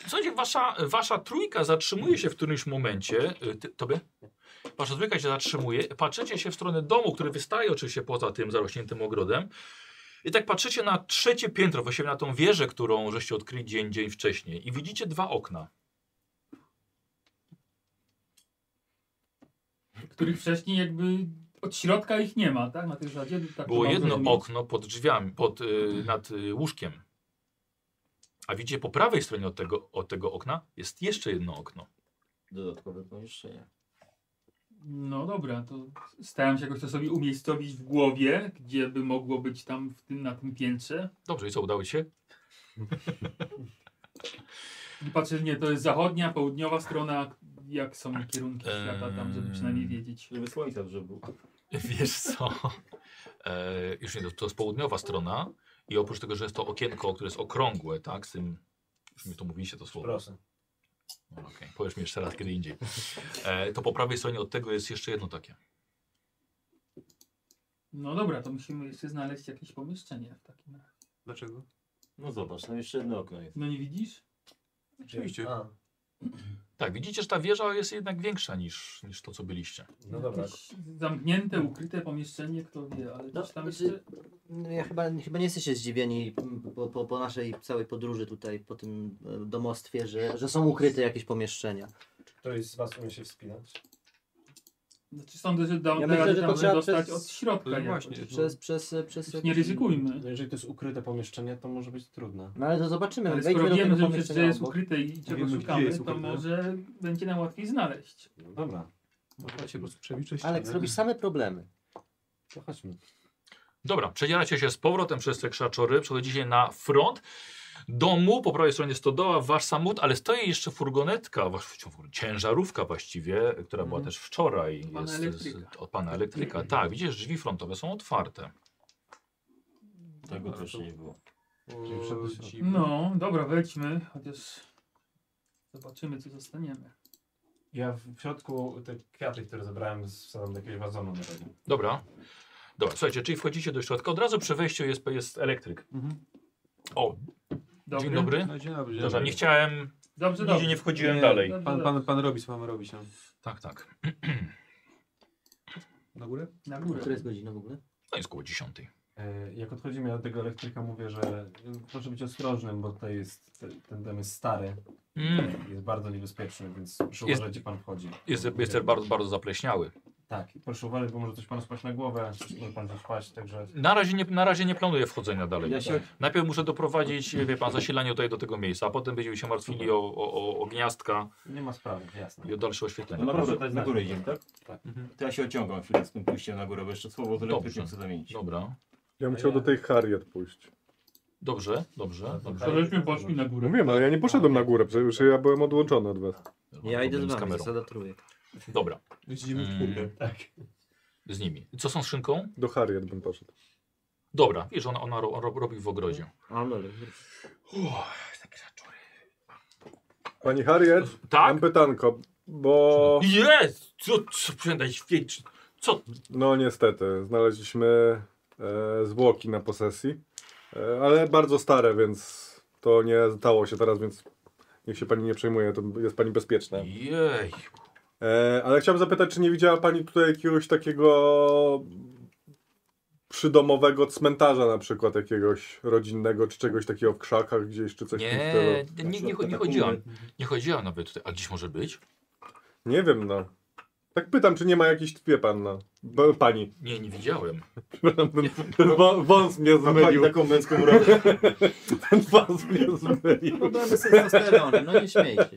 Speaker 1: Słuchajcie, wasza, wasza trójka zatrzymuje się w którymś momencie. y, Ty, tobie? Wasza trójka się zatrzymuje. Patrzycie się w stronę domu, który wystaje oczywiście poza tym zarośniętym ogrodem. I tak patrzycie na trzecie piętro, właściwie na tą wieżę, którą żeście odkryli dzień, dzień wcześniej. I widzicie dwa okna.
Speaker 6: Których wcześniej jakby od środka ich nie ma, tak? Na tej zasadzie. Tak
Speaker 1: Było
Speaker 6: to mam
Speaker 1: jedno
Speaker 6: zrozumieć.
Speaker 1: okno pod drzwiami, pod, y, nad y, łóżkiem. A widzicie po prawej stronie od tego, od tego okna jest jeszcze jedno okno.
Speaker 3: Dodatkowe pomieszczenie.
Speaker 6: No dobra, to starałem się jakoś to sobie umiejscowić w głowie, gdzie by mogło być tam w tym, na tym piętrze.
Speaker 1: Dobrze, i co udało ci się?
Speaker 6: I patrzę, nie, to jest zachodnia, południowa strona, jak są kierunki
Speaker 1: Eee.
Speaker 6: świata tam, żeby przynajmniej wiedzieć.
Speaker 3: Żeby słońca w żebu.
Speaker 1: <laughs> Wiesz co? E, już nie, to- to jest południowa strona i oprócz tego, że jest to okienko, które jest okrągłe, tak, z tym, już mi to mówiliście to słowo.
Speaker 2: Proszę.
Speaker 1: No, Okej, powiesz mi jeszcze raz kiedy indziej. E, to po prawej stronie od tego jest jeszcze jedno takie.
Speaker 6: No dobra, to musimy jeszcze znaleźć jakieś pomieszczenie w takim razie.
Speaker 7: Dlaczego?
Speaker 3: No zobacz, tam jeszcze jedno okno jest.
Speaker 6: No nie widzisz?
Speaker 7: Oczywiście.
Speaker 2: A,
Speaker 1: Tak, widzicie, że ta wieża jest jednak większa niż, niż to, co byliście.
Speaker 2: no
Speaker 3: Tak.
Speaker 2: dobra.
Speaker 6: Jakieś zamknięte, ukryte pomieszczenie, kto wie, ale
Speaker 5: No,
Speaker 6: gdzieś tam
Speaker 5: znaczy,
Speaker 6: jeszcze...
Speaker 5: no ja chyba, chyba nie jesteście zdziwieni m, po, po, po naszej całej podróży tutaj, po tym e, domostwie, że, że są ukryte jakieś pomieszczenia.
Speaker 2: Ktoś tak. z was umie się wspinać?
Speaker 6: Znaczy sądzę, że da,
Speaker 5: Ja
Speaker 6: da
Speaker 5: myślę,
Speaker 6: radę
Speaker 5: że to
Speaker 6: tam
Speaker 5: trzeba
Speaker 6: dostać
Speaker 5: przez-
Speaker 6: od środka
Speaker 7: No
Speaker 6: jakoś.
Speaker 7: właśnie,
Speaker 6: No.
Speaker 5: Przez, przez, przez
Speaker 6: Nie
Speaker 5: jakieś-
Speaker 6: ryzykujmy.
Speaker 2: No jeżeli to jest ukryte pomieszczenie, to może być trudne.
Speaker 5: No ale to zobaczymy.
Speaker 6: Ale
Speaker 5: Wejdźmy
Speaker 6: skoro
Speaker 5: do
Speaker 6: wiemy,
Speaker 5: tego
Speaker 6: że przecież to
Speaker 5: pomieszczenia
Speaker 6: jest
Speaker 5: obok.
Speaker 6: ukryte i czego
Speaker 7: Wiemy, gdzie
Speaker 6: szukamy,
Speaker 7: jest
Speaker 6: to
Speaker 7: ukryte.
Speaker 6: może będzie nam łatwiej znaleźć.
Speaker 2: No dobra,
Speaker 7: Można się po prostu przewiczyć.
Speaker 5: Aleks, robisz same problemy.
Speaker 2: to chodźmy.
Speaker 1: Dobra, przedzieracie się z powrotem przez te krzaczory, przechodzicie na front domu, po prawej stronie stodoła, wasz samochód, ale stoi jeszcze furgonetka, wasz, furgon- ciężarówka właściwie, która była też wczoraj
Speaker 6: Mhm. Od pana
Speaker 1: jest z,
Speaker 6: elektryka.
Speaker 1: od pana elektryka. Tak, widzisz, drzwi frontowe są otwarte.
Speaker 3: Tego też nie było.
Speaker 6: No, dobra, wejdźmy, chociaż zobaczymy, co zostaniemy.
Speaker 2: Ja w w środku te kwiaty, które zebrałem, wsadzam do jakiegoś wazonu na razie.
Speaker 1: Dobra. Dobra, słuchajcie, czyli wchodzicie do środka, od razu przy wejściu jest, jest elektryk.
Speaker 7: Mhm.
Speaker 1: O,
Speaker 6: Dobry?
Speaker 1: dzień dobry.
Speaker 7: No dzień dobry. Dzień
Speaker 1: Dobra,
Speaker 7: dobry.
Speaker 1: nie chciałem,
Speaker 6: Dobrze,
Speaker 1: nigdzie
Speaker 6: dobrze.
Speaker 1: nie wchodziłem
Speaker 7: Nie,
Speaker 1: dalej.
Speaker 6: Dobrze,
Speaker 7: Pan,
Speaker 6: dobrze.
Speaker 7: pan, pan robi, co mamy robić. No.
Speaker 1: Tak, tak.
Speaker 7: Na górę?
Speaker 6: Na
Speaker 5: Która
Speaker 6: górę.
Speaker 5: jest godzina w ogóle?
Speaker 1: No jest koło dziesiątej.
Speaker 2: E, Jak odchodzimy od tego elektryka, mówię, że y, proszę być ostrożnym, bo tutaj jest, te- ten dom jest stary,
Speaker 1: Mm.
Speaker 2: jest bardzo niebezpieczny, więc proszę
Speaker 1: Jest-
Speaker 2: uważać, gdzie pan wchodzi.
Speaker 1: Jest, jest też bardzo, bardzo zapleśniały.
Speaker 2: Tak, i proszę uważać, bo może coś panu spaść na głowę, coś może pan spaść, także...
Speaker 1: Na razie nie, na razie nie planuję wchodzenia dalej.
Speaker 7: Ja się
Speaker 1: Najpierw muszę doprowadzić, wie pan, zasilanie tutaj do tego miejsca, a potem będziemy się martwili o, o, o, o gniazdka
Speaker 2: Nie ma sprawy, jasne.
Speaker 1: i o dalsze
Speaker 3: No
Speaker 1: oświetlenie.
Speaker 3: na
Speaker 2: proszę
Speaker 3: górę,
Speaker 2: dać
Speaker 3: na
Speaker 2: znać.
Speaker 3: górę idziemy, tak?
Speaker 2: Tak.
Speaker 3: Mhm. To ja się ociągam chwilę z tym pójściem na górę, bo jeszcze słowo z elektrykiem
Speaker 1: Dobrze. No.
Speaker 3: chcę zamienić.
Speaker 1: Dobra,
Speaker 4: Ja bym chciał do tej Harriet pójść.
Speaker 1: dobrze,
Speaker 5: Tak,
Speaker 1: dobrze, dobrze.
Speaker 6: To żeśmy poszli na górę.
Speaker 4: No wiem, ale ja nie poszedłem na górę, przecież ja byłem odłączony od was.
Speaker 5: Ja idę z
Speaker 1: Problem
Speaker 5: wami,
Speaker 1: kamerą.
Speaker 5: zasada trójek.
Speaker 1: Dobra,
Speaker 7: Widzimy w
Speaker 1: Mm.
Speaker 7: górę.
Speaker 1: z nimi. Co są z szynką?
Speaker 4: Do Harriet bym poszedł.
Speaker 1: Dobra, wiesz, ona, ona ro, ro, robi w ogrodzie.
Speaker 5: A, no,
Speaker 1: Uff, takie zaczury.
Speaker 4: Pani Harriet,
Speaker 1: Tak?
Speaker 4: mam pytanko, bo...
Speaker 1: Jest! Co, co, przynajmniej świeci. Co?
Speaker 4: No niestety, znaleźliśmy e, zwłoki na posesji, e, ale bardzo stare, więc to nie stało się teraz, więc niech się pani nie przejmuje, to jest pani bezpieczna.
Speaker 1: Jej.
Speaker 4: E, ale chciałem zapytać, czy nie widziała pani tutaj jakiegoś takiego przydomowego cmentarza na przykład jakiegoś rodzinnego, czy czegoś takiego w krzakach gdzieś, czy coś w tym stylu.
Speaker 1: Nie, nie, nie, nie, nie chodziłam. Nie chodziłam nawet tutaj. A gdzieś może być?
Speaker 4: Nie wiem, no. Tak pytam, czy nie ma jakiejś, wie pan, no. B- Pani.
Speaker 1: Nie, nie widziałem.
Speaker 4: Ten wą- wąs mnie
Speaker 3: Ma pani
Speaker 4: zmylił.
Speaker 3: taką męską radę.
Speaker 4: <laughs> Ten wąs mnie zmylił.
Speaker 5: Problemy z testosteronem, no nie śmiej się.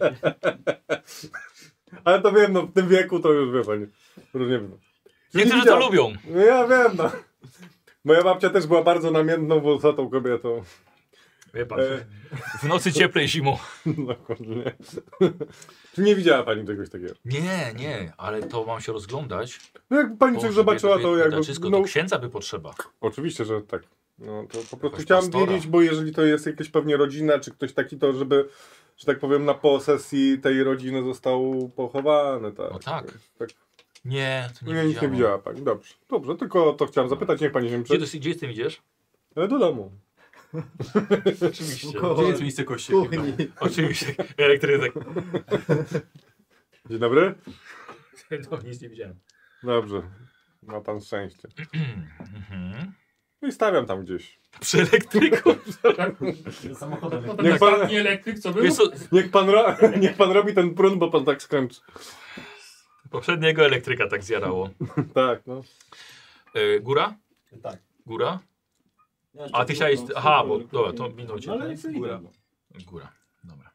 Speaker 4: Ale to wiem, no w tym wieku to już wie pani. Różnie wiem.
Speaker 1: Niektórzy to
Speaker 4: widziałem.
Speaker 1: lubią.
Speaker 4: No ja wiem, no. Moja babcia też była bardzo namiętną, wąsatą kobietą.
Speaker 1: Wie pan,
Speaker 4: E,
Speaker 1: w nocy cieplej zimą.
Speaker 4: <laughs> dokładnie. Czy nie widziała pani czegoś takiego?
Speaker 1: Nie, nie, ale to mam się rozglądać.
Speaker 4: No jak pani
Speaker 1: Boże,
Speaker 4: coś zobaczyła,
Speaker 1: bieda,
Speaker 4: to
Speaker 1: bieda,
Speaker 4: jakby...
Speaker 1: Wszystko, tak
Speaker 4: no,
Speaker 1: to księdza by potrzeba.
Speaker 4: Oczywiście, że tak. No, to po prostu
Speaker 1: Jakaś
Speaker 4: chciałem
Speaker 1: pastora.
Speaker 4: wiedzieć, bo jeżeli to jest jakaś pewnie rodzina, czy ktoś taki, to żeby, że tak powiem, na posesji tej rodziny został pochowany, tak?
Speaker 1: No tak.
Speaker 4: tak.
Speaker 1: Nie, to nie, No.
Speaker 4: Nie, nic nie
Speaker 1: widziałem.
Speaker 4: widziała pani. Dobrze, dobrze, tylko to chciałem zapytać, niech pani się
Speaker 1: Gdzie,
Speaker 4: przed...
Speaker 1: ty, gdzie z tym idziesz?
Speaker 4: Ale do domu.
Speaker 1: Oczywiście.
Speaker 7: Gdzie jest miejsce kości?
Speaker 5: Kuchni.
Speaker 1: <laughs> Oczywiście. Elektryk.
Speaker 4: Dzień dobry.
Speaker 1: <laughs> No, nic nie widziałem.
Speaker 4: Dobrze, ma pan szczęście.
Speaker 1: Mhm.
Speaker 4: No I stawiam tam gdzieś.
Speaker 1: Przy
Speaker 4: <laughs>
Speaker 1: elektryku.
Speaker 6: Tak?
Speaker 2: Samochodem.
Speaker 6: No ten
Speaker 4: Niech pan-
Speaker 6: ostatni elektryk, co był?
Speaker 1: Wiesz co,
Speaker 4: Niech pan, ro... <laughs> niech pan robi ten prun, bo pan tak skończy.
Speaker 1: poprzedniego elektryka tak zjarało.
Speaker 4: Tak, no.
Speaker 1: E, góra?
Speaker 2: Tak.
Speaker 1: Góra? A ty chciałeś... Aha, bo dobra, to minął cię.
Speaker 3: No, ale
Speaker 1: tak?
Speaker 3: nie
Speaker 1: Góra. Góra, dobra.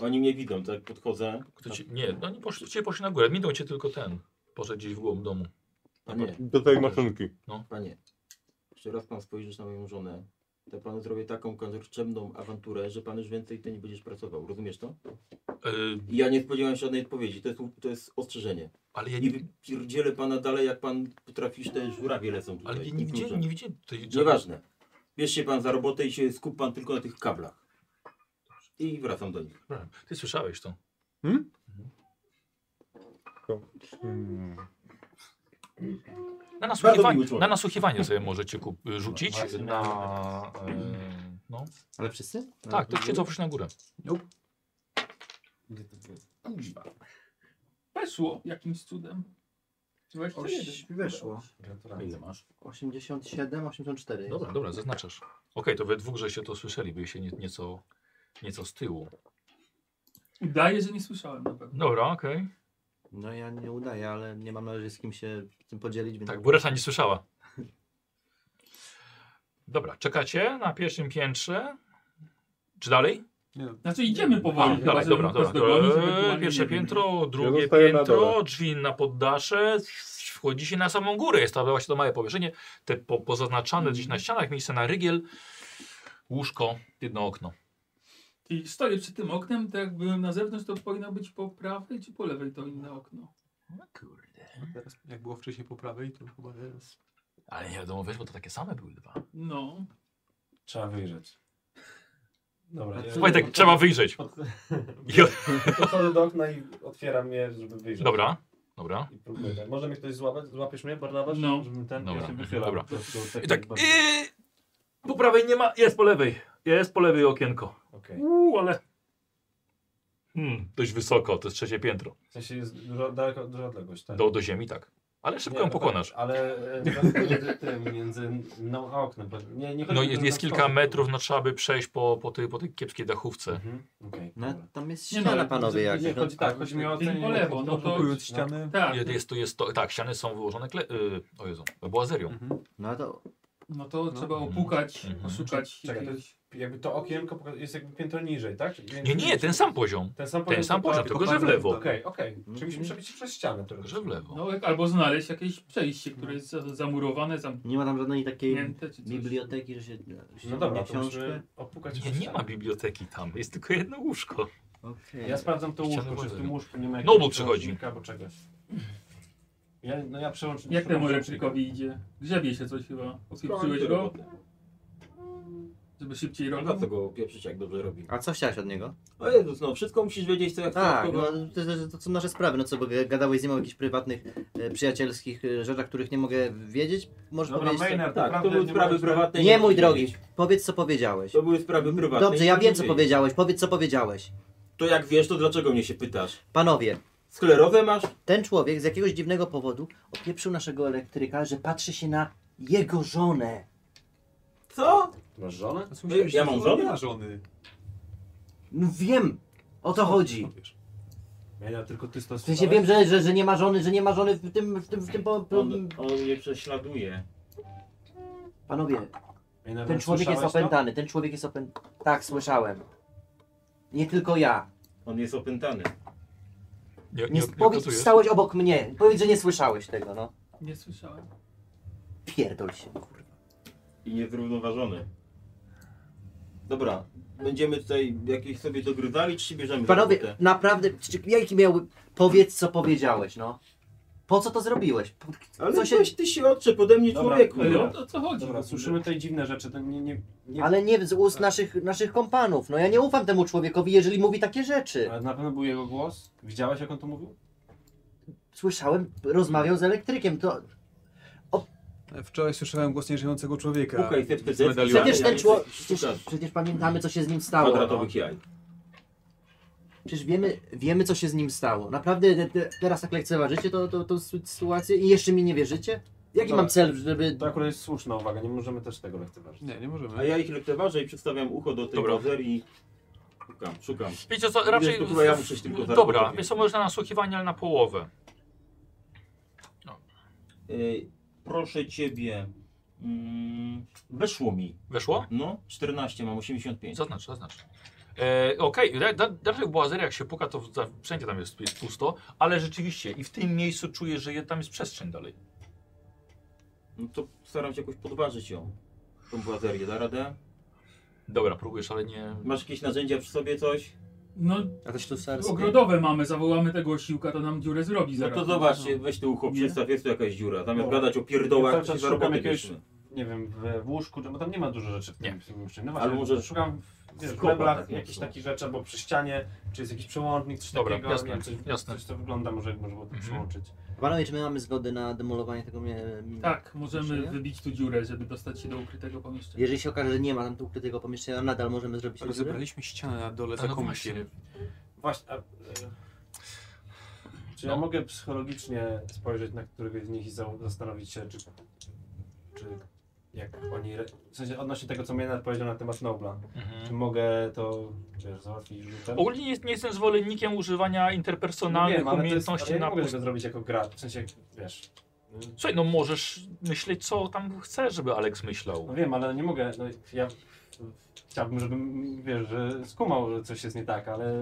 Speaker 3: Oni mnie widzą, tak podchodzę.
Speaker 1: Kto ci... Nie, no nie poszli, cię poszli na górę. Minął cię tylko ten. Poszedł gdzieś w głąb domu.
Speaker 3: A nie,
Speaker 4: Do tej maszynki.
Speaker 3: panie. Jeszcze raz pan spojrzysz na moją żonę. To panu zrobię taką kończemną awanturę, że pan już więcej ty nie będziesz pracował. Rozumiesz to?
Speaker 1: E,
Speaker 3: I ja nie spodziewałem się żadnej odpowiedzi. To jest, to jest ostrzeżenie.
Speaker 1: ale ja
Speaker 3: Ja
Speaker 1: nie...
Speaker 3: nie wypierdzielę pana dalej, jak pan potrafisz, te żurawie lecą tutaj.
Speaker 1: Ale ja nie widziałem, nie widziałem tutaj...
Speaker 3: Nieważne. Bierz się pan za robotę i się skup pan tylko na tych kablach. I wracam do nich.
Speaker 1: Dobra, Ty słyszałeś to.
Speaker 4: Hmm.
Speaker 1: Na
Speaker 3: Bardzo miły
Speaker 1: nasłuchiwanie,
Speaker 3: człowiek.
Speaker 1: na nasłuchiwanie sobie możecie kup, y, rzucić.
Speaker 2: Właśnie.
Speaker 1: Na, e, no.
Speaker 5: Ale wszyscy?
Speaker 1: Tak, to się cofnąć na górę.
Speaker 2: Kuźwa.
Speaker 6: Weszło jakimś cudem. 21.
Speaker 5: Weszło.
Speaker 1: Ile masz?
Speaker 5: 87, 84.
Speaker 1: No Dobra, dobra, zaznaczasz. Okej, to we dwóch że się to słyszeli, by się nie, nieco, nieco z tyłu.
Speaker 6: Udaje, że nie słyszałem na pewno.
Speaker 1: Dobra, okej.
Speaker 5: No ja nie udaję, ale nie mam na razie z kim się tym podzielić, więc...
Speaker 1: Tak, Buresa nie słyszała. Dobra, czekacie na pierwszym piętrze. Czy dalej?
Speaker 6: Znaczy idziemy powoli. chyba,
Speaker 1: dalej,
Speaker 6: żeby
Speaker 1: dobra,
Speaker 6: ktoś
Speaker 1: dobra.
Speaker 6: dogonić,
Speaker 1: Eee,
Speaker 6: ewentualnie,
Speaker 1: Pierwsze
Speaker 6: nie wiem.
Speaker 1: piętro, drugie
Speaker 4: zostaję na
Speaker 1: piętro,
Speaker 4: dole.
Speaker 1: drzwi na poddasze, wchodzi się na samą górę, jest to właśnie to małe powierzchnie, te po, pozaznaczane gdzieś
Speaker 6: Mhm.
Speaker 1: na ścianach, miejsce na rygiel, łóżko, jedno okno.
Speaker 6: I stoję przy tym oknem, tak jak byłem na zewnątrz, to powinno być po prawej czy po lewej to inne okno.
Speaker 1: No
Speaker 7: Teraz, jak było wcześniej po prawej, to chyba teraz.
Speaker 1: Ale nie wiadomo, wiesz, bo to takie same były dwa.
Speaker 6: No.
Speaker 2: Trzeba wyjrzeć. Dobra. ja-
Speaker 1: Słuchaj, tak,
Speaker 2: pod-
Speaker 1: trzeba
Speaker 4: <laughs>
Speaker 1: wyjrzeć.
Speaker 2: pod-
Speaker 1: I-
Speaker 2: Podchodzę do okna i otwieram je, żeby wyjrzeć.
Speaker 1: Dobra, dobra.
Speaker 2: I próbuję. tak. Może mnie ktoś złapać? Złapiesz mnie, Barnabasz?
Speaker 6: No.
Speaker 2: Żebym ten
Speaker 1: Dobra,
Speaker 2: ja się wychylam.
Speaker 1: dobra.
Speaker 2: Po prostu
Speaker 1: I tak,
Speaker 2: bardziej-
Speaker 1: i... po prawej nie ma, jest po lewej, jest po lewej okienko.
Speaker 2: Okej.
Speaker 1: Uuu, ale... Hmm, dość wysoko, to jest trzecie piętro.
Speaker 2: W sensie jest dużo, daleko, duża odległość, tak?
Speaker 1: Do, do ziemi, tak. Ale szybko ją
Speaker 2: no tak,
Speaker 1: pokonasz.
Speaker 2: Ale e, teraz między tym, między mną a oknem. bo Nie, nie chodzi
Speaker 1: No
Speaker 2: mi
Speaker 1: jest,
Speaker 2: na
Speaker 1: jest
Speaker 2: wschody.
Speaker 1: kilka metrów, no trzeba by przejść po, po, tej, po tej kiepskiej dachówce.
Speaker 2: Mhm, okej,
Speaker 5: No,
Speaker 2: dobra.
Speaker 5: tam jest
Speaker 6: Nie, no,
Speaker 5: ściana,
Speaker 6: ale-
Speaker 5: panowie, jak...
Speaker 2: Nie, chodzi tak, chodzi mi o
Speaker 6: Tym
Speaker 2: ten...
Speaker 6: po lewo, no to-
Speaker 7: Kupując ścianę.
Speaker 6: Tak.
Speaker 1: Jest, jest, to jest to, tak, ściany są wyłożone kle... Yy, o Jezu, boazerią.
Speaker 5: No to...
Speaker 6: No to trzeba opukać,
Speaker 1: Mhm.
Speaker 6: poszukać
Speaker 2: Czekaj, to
Speaker 6: jakiegoś-
Speaker 2: tak, Jakby to okienko poka- jest jakby piętro niżej, tak? Między-
Speaker 1: Nie, nie, ten sam poziom.
Speaker 2: Ten sam
Speaker 1: Ten
Speaker 2: poziom,
Speaker 1: sam
Speaker 2: tylko-
Speaker 1: poziom, tylko że w lewo.
Speaker 2: Okej, okej.
Speaker 5: Mhm.
Speaker 2: Czyli musimy przebić się przez ścianę.
Speaker 1: Tylko że w lewo.
Speaker 6: No, jak- albo znaleźć jakieś przejście, które jest za- zamurowane,
Speaker 5: Nie ma tam żadnej takiej
Speaker 6: zamknięte czy coś.
Speaker 5: biblioteki, że się...
Speaker 2: No dobra, to
Speaker 5: książkę.
Speaker 2: musimy opukać
Speaker 1: Nie,
Speaker 2: przez
Speaker 1: nie ma
Speaker 2: ścianę.
Speaker 1: biblioteki tam, jest tylko jedno łóżko.
Speaker 5: Okej.
Speaker 2: Ja sprawdzam to
Speaker 1: Ściany
Speaker 2: łóżko, czy w tym
Speaker 1: wodzy.
Speaker 2: łóżku nie ma
Speaker 1: Nobu
Speaker 2: jakiegoś
Speaker 1: przychodzi.
Speaker 2: przełącznika albo czegoś. Ja, no ja przełączę.
Speaker 6: Jak temu
Speaker 2: przełączę-
Speaker 6: elektrykowi idzie? Grzebie się coś chyba. Odpieprzyłeś go, żeby szybciej robił.
Speaker 3: Dlaczego go pieprzyć, jak dobrze robi?
Speaker 5: A co chciałeś od niego?
Speaker 3: O Jezus, no wszystko musisz wiedzieć, co jak
Speaker 5: Tak, no, to, to, to są nasze sprawy, no co, bo g- gadałeś z nim o jakichś prywatnych, e, przyjacielskich e, rzeczach, których nie mogę wiedzieć, możesz
Speaker 2: Dobra,
Speaker 5: powiedzieć...
Speaker 2: Maynard,
Speaker 3: Tak, to
Speaker 2: naprawdę
Speaker 3: były
Speaker 2: nie
Speaker 3: sprawy
Speaker 2: możesz-
Speaker 3: prywatne.
Speaker 5: Nie, mój
Speaker 3: musisz
Speaker 5: drogi,
Speaker 3: wiedzieć.
Speaker 5: powiedz co powiedziałeś.
Speaker 3: To były sprawy prywatne.
Speaker 5: Dobrze,
Speaker 3: i
Speaker 5: ja
Speaker 3: nie
Speaker 5: wiem co
Speaker 3: wiedzieć.
Speaker 5: powiedziałeś, powiedz co powiedziałeś.
Speaker 3: To jak wiesz, to dlaczego mnie się pytasz?
Speaker 5: Panowie,
Speaker 3: Sklerowe masz?
Speaker 5: Ten człowiek z jakiegoś dziwnego powodu opieprzył naszego elektryka, że patrzy się na jego żonę.
Speaker 3: Co?
Speaker 2: Masz żonę?
Speaker 3: Ja mam żonę?
Speaker 7: Nie ma żony.
Speaker 5: No wiem, o to chodzi.
Speaker 2: Ja tylko ty
Speaker 5: W sensie wiem, że, że, że nie ma żony, że nie ma żony w tym, w tym, w tym, po, po,
Speaker 3: On, on mnie prześladuje.
Speaker 5: Panowie, ten człowiek jest opętany, ten człowiek jest opętany. Tak, słyszałem. Nie tylko ja.
Speaker 3: On jest opętany.
Speaker 1: Nie,
Speaker 5: Nie,
Speaker 1: nie,
Speaker 5: powiedz,
Speaker 1: okazujesz?
Speaker 5: stałeś obok mnie. Powiedz, że nie słyszałeś tego, no.
Speaker 6: Nie słyszałem.
Speaker 5: Pierdol się.
Speaker 3: I niezrównoważony. Dobra, będziemy tutaj jakieś sobie dogrywali, czy się bierzemy za
Speaker 5: Panowie,
Speaker 3: robotę?
Speaker 5: naprawdę, czy, jaki miałby... Powiedz, co powiedziałeś, no. Po co to zrobiłeś? Po,
Speaker 3: Ale
Speaker 5: co się...
Speaker 3: weź ty się odczep ode mnie
Speaker 2: Dobra,
Speaker 3: człowieku.
Speaker 2: dobra.
Speaker 6: O to co chodzi?
Speaker 2: Dobra, słyszymy tutaj dziwne rzeczy, to nie, nie, nie...
Speaker 5: Ale nie z ust naszych, naszych kompanów. No ja nie ufam temu człowiekowi, jeżeli mówi takie rzeczy.
Speaker 2: Ale na pewno był jego głos? Widziałeś jak on to mówił?
Speaker 5: Słyszałem, rozmawiał z elektrykiem, to...
Speaker 7: Wczoraj słyszałem głos nieżyjącego człowieka.
Speaker 3: Szukaj te
Speaker 7: z
Speaker 3: PZ.
Speaker 7: medalionu.
Speaker 5: Przecież ten
Speaker 3: Ja jestem
Speaker 5: człowiek... Przecież,
Speaker 3: szukacz.
Speaker 5: przecież pamiętamy, co się z nim stało. No.
Speaker 3: Kwadratowych jaj.
Speaker 5: Przecież wiemy, wiemy, co się z nim stało. Naprawdę te, te, teraz tak lekceważycie tą, tą, tą sy- sytuację i jeszcze mi nie wierzycie? Jaki
Speaker 2: Dobra.
Speaker 5: mam cel, żeby...
Speaker 2: To akurat jest słuszna uwaga, nie możemy też tego lekceważyć.
Speaker 7: Nie, nie możemy.
Speaker 3: A ja ich lekceważę i przedstawiam ucho do tej
Speaker 1: Dobra.
Speaker 3: bazerii. Szukam, szukam.
Speaker 1: Wiecie co,
Speaker 3: Wiesz,
Speaker 1: raczej...
Speaker 3: to chyba ja muszę się tylko
Speaker 1: Dobra,
Speaker 3: zaraz
Speaker 1: więc to może na nasłuchiwanie, ale na połowę.
Speaker 3: Ej, E, proszę ciebie. Mm, weszło mi.
Speaker 1: Weszło?
Speaker 3: No, 14, mam 85.
Speaker 1: Zaznacz, zaznacz. E, Okej, okay. raczej w błazerie jak się puka, to za- wszędzie tam jest, jest pusto, ale rzeczywiście i w tym miejscu czuję, że je- tam jest przestrzeń dalej.
Speaker 3: No to staram się jakoś podważyć ją. Tą błazerię, da radę?
Speaker 1: Dobra, próbujesz, ale nie...
Speaker 3: Masz jakieś narzędzia przy sobie, coś?
Speaker 6: No,
Speaker 5: A to
Speaker 6: ogrodowe mamy, zawołamy tego siłka, to nam dziurę zrobi
Speaker 3: No
Speaker 6: zaraz.
Speaker 3: to zobaczcie, weź te ucho,
Speaker 6: Nie.
Speaker 3: przestaw, jest tu jakaś dziura. Zamiast
Speaker 2: Dobra.
Speaker 3: gadać o
Speaker 2: Ja
Speaker 3: pierdołach,
Speaker 2: cały
Speaker 3: to się
Speaker 2: czas
Speaker 3: za
Speaker 2: szukam
Speaker 3: robotę
Speaker 2: jakiegoś-
Speaker 3: bierzmy.
Speaker 2: Nie wiem, w, w łóżku, no bo tam nie ma dużo rzeczy w tym,
Speaker 1: Nie.
Speaker 2: w tym mieszczeniu. No właśnie,
Speaker 3: Ale może-
Speaker 2: szukam w, wiesz, w
Speaker 3: Skopa,
Speaker 2: meblach
Speaker 3: tak, nie?
Speaker 2: jakichś takich rzeczy, albo przy ścianie, czy jest jakiś przełącznik, coś
Speaker 1: Dobra,
Speaker 2: takiego.
Speaker 1: jasne,
Speaker 2: nie wiem, coś,
Speaker 1: jasne.
Speaker 2: coś co wygląda, może można było to
Speaker 1: Mhm.
Speaker 2: przełączyć.
Speaker 5: Panowie, czy my mamy zgodę na demolowanie tego... Mie...
Speaker 6: Tak, możemy
Speaker 5: Słyszenie?
Speaker 6: wybić tu dziurę, żeby dostać się do ukrytego pomieszczenia.
Speaker 5: Jeżeli się okaże, że nie ma tam tu ukrytego pomieszczenia, nadal możemy zrobić tę dziurę?
Speaker 7: Rozebraliśmy ścianę na dole
Speaker 1: A
Speaker 7: za
Speaker 1: no
Speaker 7: komisję.
Speaker 1: właśnie.
Speaker 2: Właśnie. A, e, czy
Speaker 1: No.
Speaker 2: ja mogę psychologicznie spojrzeć na któregoś z nich i za- zastanowić się, czy, czy jak oni. re- W sensie odnośnie tego, co Maynard powiedział na temat Nobla. Czy
Speaker 1: Mhm.
Speaker 2: mogę to wiesz, załatwić rzutem?
Speaker 1: Ogólnie nie, nie jestem zwolennikiem używania interpersonalnych
Speaker 2: Wiem, ale to jest-
Speaker 1: umiejętności
Speaker 2: ale ja
Speaker 1: na
Speaker 2: nie mogę
Speaker 1: pust-
Speaker 2: tego zrobić jako gra. W sensie, wiesz.
Speaker 1: Słuchaj, no możesz myśleć, co tam chcesz, żeby Alex myślał.
Speaker 2: No wiem, ale nie mogę. No, ja chciałbym, żebym wiesz, że skumał, że coś jest nie tak, ale.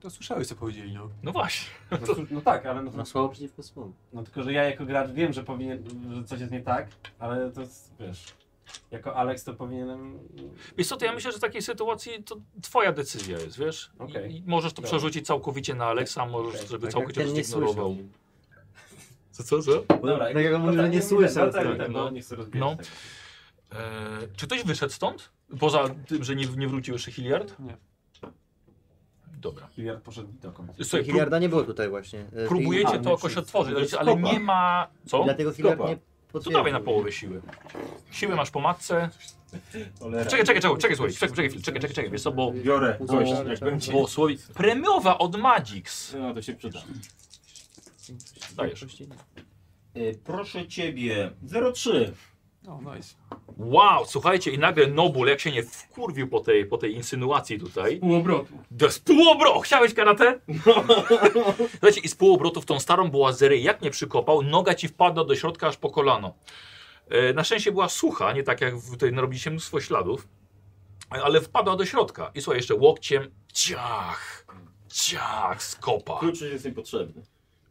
Speaker 7: To słyszałeś, co powiedzieli, no.
Speaker 1: No właśnie.
Speaker 2: No, cóż, no tak, ale no,
Speaker 5: No słabo przeciwko słowu.
Speaker 2: No tylko, że ja jako gracz wiem, że powinien, że coś jest nie tak, ale to jest, wiesz, jako Alex to powinienem...
Speaker 1: Wiesz co, to ja myślę, że w takiej sytuacji to twoja decyzja jest, wiesz? I-
Speaker 2: Okej.
Speaker 1: I możesz to
Speaker 2: Dobra.
Speaker 1: przerzucić całkowicie na Alexa, możesz,
Speaker 2: Okej.
Speaker 1: żeby
Speaker 2: Tak,
Speaker 1: całkowicie
Speaker 5: ten
Speaker 1: to
Speaker 5: nie
Speaker 1: zignorował. Co, co, co?
Speaker 2: Dobra,
Speaker 5: tak jak on
Speaker 2: no
Speaker 5: mówił, że nie słyszał,
Speaker 2: No, tak,
Speaker 5: tak,
Speaker 2: tak,
Speaker 1: no.
Speaker 2: no, nie chcę rozbijać
Speaker 1: No.
Speaker 2: tego.
Speaker 1: Eee, czy ktoś wyszedł stąd? Poza tym, że nie, nie wrócił jeszcze Hilliard?
Speaker 7: Nie.
Speaker 1: Dobra.
Speaker 2: Hilliard poszedł dokąd.
Speaker 1: Słuchaj, prób,
Speaker 5: Hiliarda nie było tutaj właśnie. E,
Speaker 1: próbujecie
Speaker 5: tej-
Speaker 1: to jakoś otworzyć, ale nie ma... Co?
Speaker 5: Dlatego Hiliard
Speaker 3: Stopa.
Speaker 5: nie
Speaker 1: To
Speaker 5: potwierdził.
Speaker 1: dawaj na połowę siły. Siły masz po matce.
Speaker 3: Cholera.
Speaker 1: Czekaj, czekaj, czekaj, czekaj, słuchaj, czekaj, czekaj, chwilę, czekaj, czekaj, czekaj, wiesz co, bo,
Speaker 3: Biorę
Speaker 5: Bo-
Speaker 3: coś, jak będzie.
Speaker 1: bo słowi... Premiowa od Magix.
Speaker 3: No to się przyda.
Speaker 1: Dajesz.
Speaker 3: E, proszę ciebie, 03.
Speaker 7: No, nice.
Speaker 1: Wow, słuchajcie, i nagle Nobul, jak się nie wkurwił po tej, po tej insynuacji tutaj,
Speaker 6: Pół obrotu.
Speaker 1: do z pół obrotu, chciałeś karate? Słuchajcie, i z pół obrotu w tą starą bołazerię, jak nie przykopał, noga ci wpadła do środka aż po kolano. E, na szczęście była sucha, nie tak jak w- tutaj narobiliście mnóstwo śladów, e, ale wpadła do środka. I słuchaj, jeszcze łokciem, ciach, ciach, skopa.
Speaker 3: Klucz już jest mi potrzebny.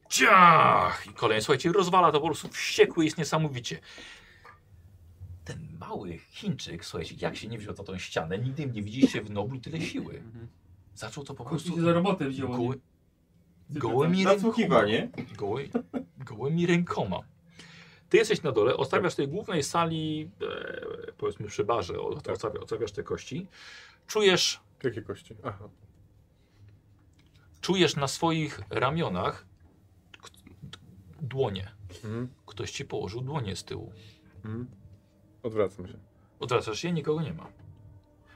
Speaker 1: Ciach! I kolejny, słuchajcie, rozwala to po prostu wściekły jest niesamowicie. Ten mały Chińczyk, słuchajcie, jak się nie wziął na tą ścianę, nigdy nie widzieliście w Noblu tyle siły.
Speaker 7: Mhm.
Speaker 1: Zaczął to po
Speaker 6: Kogoś
Speaker 1: prostu
Speaker 6: się za robotę wzięło. nie?
Speaker 1: goły, gołymi, rękoma,
Speaker 3: Zasłuchiwanie.
Speaker 1: goły, gołymi rękoma. Ty jesteś na dole, odstawiasz w tej głównej sali, e, powiedzmy przy barze, o- odstawia- odstawiasz te kości. Czujesz
Speaker 4: Jakie kości? Aha.
Speaker 1: czujesz na swoich ramionach k- d- dłonie.
Speaker 4: Mhm.
Speaker 1: Ktoś ci położył dłonie z tyłu.
Speaker 4: Mhm. Odwracam się.
Speaker 1: Odwracasz się, nikogo nie ma.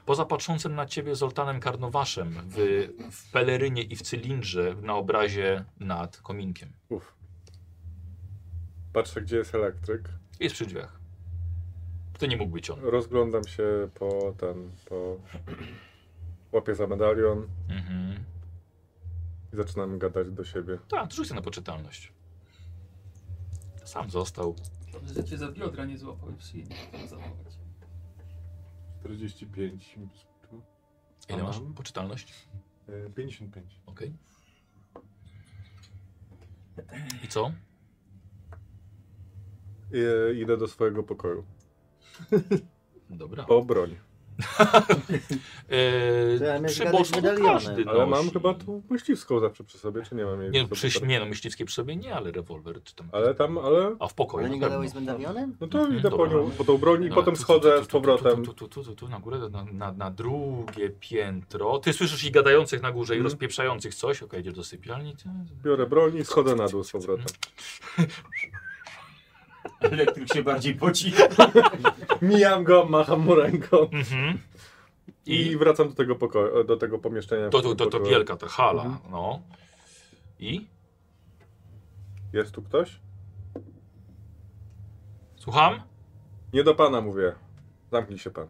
Speaker 1: Poza patrzącym na ciebie Zoltanem Karnowaszem w, w pelerynie i w cylindrze na obrazie nad kominkiem.
Speaker 4: Uf. Patrzę, gdzie jest elektryk.
Speaker 1: Jest przy drzwiach. To nie mógł być on.
Speaker 4: Rozglądam się po ten, po... Łapię za medalion
Speaker 1: Mhm.
Speaker 4: i zaczynam gadać do siebie.
Speaker 1: Tak, rzuć sobie na poczytalność. Sam został.
Speaker 6: Dobrze, że cię za biodra nie złapał i przyjemnie to zachować.
Speaker 4: 45.
Speaker 1: Ile
Speaker 4: A
Speaker 1: masz
Speaker 4: mam?
Speaker 1: poczytalność?
Speaker 4: e, 55.
Speaker 1: Okej. I co?
Speaker 4: I, e, idę do swojego pokoju.
Speaker 1: Dobra.
Speaker 4: Po broń.
Speaker 5: To ja
Speaker 1: Eee,
Speaker 5: miałem
Speaker 1: przy
Speaker 5: gadać
Speaker 1: boczku
Speaker 5: medalionem.
Speaker 1: każdy
Speaker 4: Ale mam
Speaker 1: nosi.
Speaker 4: chyba tu myśliwską zawsze przy sobie, czy nie mam jej?
Speaker 1: Nie,
Speaker 4: przy
Speaker 1: przy,
Speaker 4: sobie?
Speaker 1: nie no, myśliwskie przy sobie nie, ale rewolwer czy tam...
Speaker 4: Ale tam, ale...
Speaker 1: A w pokoju
Speaker 5: Ale nie
Speaker 1: na pewno.
Speaker 5: gadałeś z medalionem?
Speaker 4: No to
Speaker 1: Mhm,
Speaker 4: idę po,
Speaker 1: dobra.
Speaker 4: nią, po tą broń i
Speaker 1: No,
Speaker 4: potem
Speaker 1: tu, tu,
Speaker 4: schodzę
Speaker 1: tu, tu,
Speaker 4: z powrotem.
Speaker 1: Tu, tu, tu, tu, tu, tu na górę, na, na, na drugie piętro. Ty słyszysz i gadających na górze, i
Speaker 4: Mhm.
Speaker 1: rozpieprzających coś. Okej, idziesz do sypialni. ty-
Speaker 4: Biorę broń i schodzę na dół z powrotem.
Speaker 3: Elektryk się bardziej poci.
Speaker 4: Mijam go, macham mu ręką.
Speaker 1: Mhm.
Speaker 4: I
Speaker 1: I
Speaker 4: wracam do tego pokoju, e, do tego pomieszczenia.
Speaker 1: Mhm. to, to, to, to
Speaker 4: Pokoju.
Speaker 1: wielka ta hala,
Speaker 4: Mhm.
Speaker 1: no. I?
Speaker 4: Jest tu ktoś?
Speaker 1: Słucham?
Speaker 4: Nie do pana mówię. Zamknij się pan.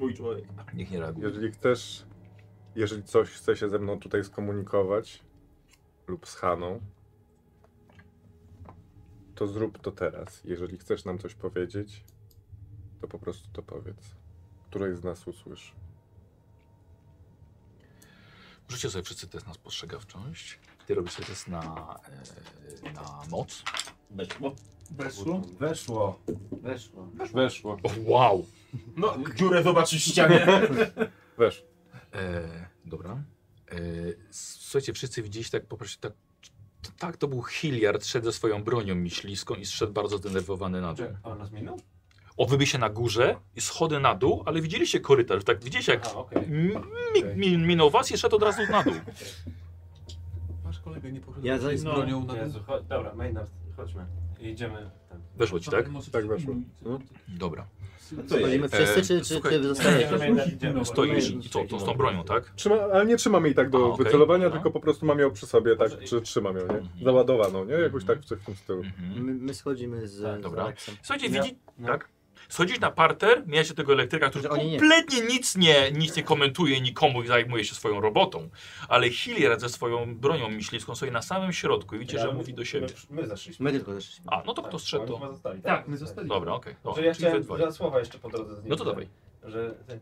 Speaker 3: Mój człowiek.
Speaker 1: Nikt nie reaguje.
Speaker 4: Jeżeli chcesz, jeżeli coś chce się ze mną tutaj skomunikować lub z Haną, to zrób to teraz. Jeżeli chcesz nam coś powiedzieć, to po prostu to powiedz. Której z nas usłyszy?
Speaker 1: Rzućcie sobie wszyscy test na spostrzegawczość. Ty robisz sobie test na, e, na moc.
Speaker 3: Weszło.
Speaker 6: Weszło?
Speaker 2: Weszło.
Speaker 5: Weszło.
Speaker 4: Weszło.
Speaker 1: O, wow!
Speaker 3: No, dziurę zobaczysz w ścianie.
Speaker 4: Weszło.
Speaker 1: E, dobra. E, słuchajcie, wszyscy widzieliście tak po prostu tak. t- Tak, to był Hilliard, szedł ze swoją bronią myśliską i zszedł bardzo zdenerwowany na dół.
Speaker 2: Czy- A on nas minął?
Speaker 1: Obyby się na górze i schody na dół, ale widzieliście korytarz, tak widzieliście jak
Speaker 2: A, okej.
Speaker 1: mi, mi, minął was i szedł od razu na dół.
Speaker 7: Masz kolegę, nie poszedł
Speaker 5: Ja za-
Speaker 7: z
Speaker 6: no,
Speaker 7: bronią na
Speaker 2: Jezu, chodź, dobra, Maynard, chodźmy. Idziemy tam.
Speaker 1: Weszło ci, tak?
Speaker 6: Może
Speaker 4: Tak weszło.
Speaker 6: przypilnuj, co-
Speaker 4: No.
Speaker 1: Dobra.
Speaker 3: Co jest?
Speaker 5: Chodzimy wszyscy, czy, czy
Speaker 1: słuchaj-
Speaker 5: ty
Speaker 2: <laughs>
Speaker 5: zostajesz?
Speaker 2: Idziemy, Maynard, idziemy.
Speaker 1: Stoisz i co, to z tą bronią, tak?
Speaker 4: Trzyma, ale nie trzymam jej tak do
Speaker 1: A, okej.
Speaker 4: wycelowania,
Speaker 1: No.
Speaker 4: tylko po prostu mam ją przy sobie, tak,
Speaker 2: Może i-
Speaker 4: czy trzymam ją,
Speaker 1: Mhm.
Speaker 4: nie? Załadowaną, nie? Jakoś
Speaker 1: Mhm.
Speaker 4: tak w coś w tym stylu.
Speaker 1: Mhm.
Speaker 5: My, my schodzimy z,
Speaker 2: Tak,
Speaker 5: z
Speaker 1: dobra.
Speaker 5: Aleksem.
Speaker 1: Słuchajcie,
Speaker 2: Ja-
Speaker 1: widzi,
Speaker 2: No.
Speaker 1: Tak? Schodzisz na parter, mijacie tego elektryka, który
Speaker 5: Że oni nie.
Speaker 1: kompletnie nic nie, nic nie komentuje nikomu i zajmuje się swoją robotą. Ale Hilliard ze swoją bronią myśliwską stoi na samym środku i widzicie, że
Speaker 2: Ja-
Speaker 1: mówi do siebie.
Speaker 2: My, my zeszliśmy.
Speaker 5: My tylko też.
Speaker 1: A, no to kto strzedł
Speaker 2: oni
Speaker 1: to?
Speaker 2: chyba zostali,
Speaker 6: Tak, my zostaliśmy.
Speaker 1: Dobra, okej.
Speaker 2: Że
Speaker 1: Okay.
Speaker 2: ja
Speaker 1: Czyli wy
Speaker 2: chciałem
Speaker 1: dwaj.
Speaker 2: dwa słowa jeszcze po drodze z nim.
Speaker 1: No to dawaj.
Speaker 2: Że ten...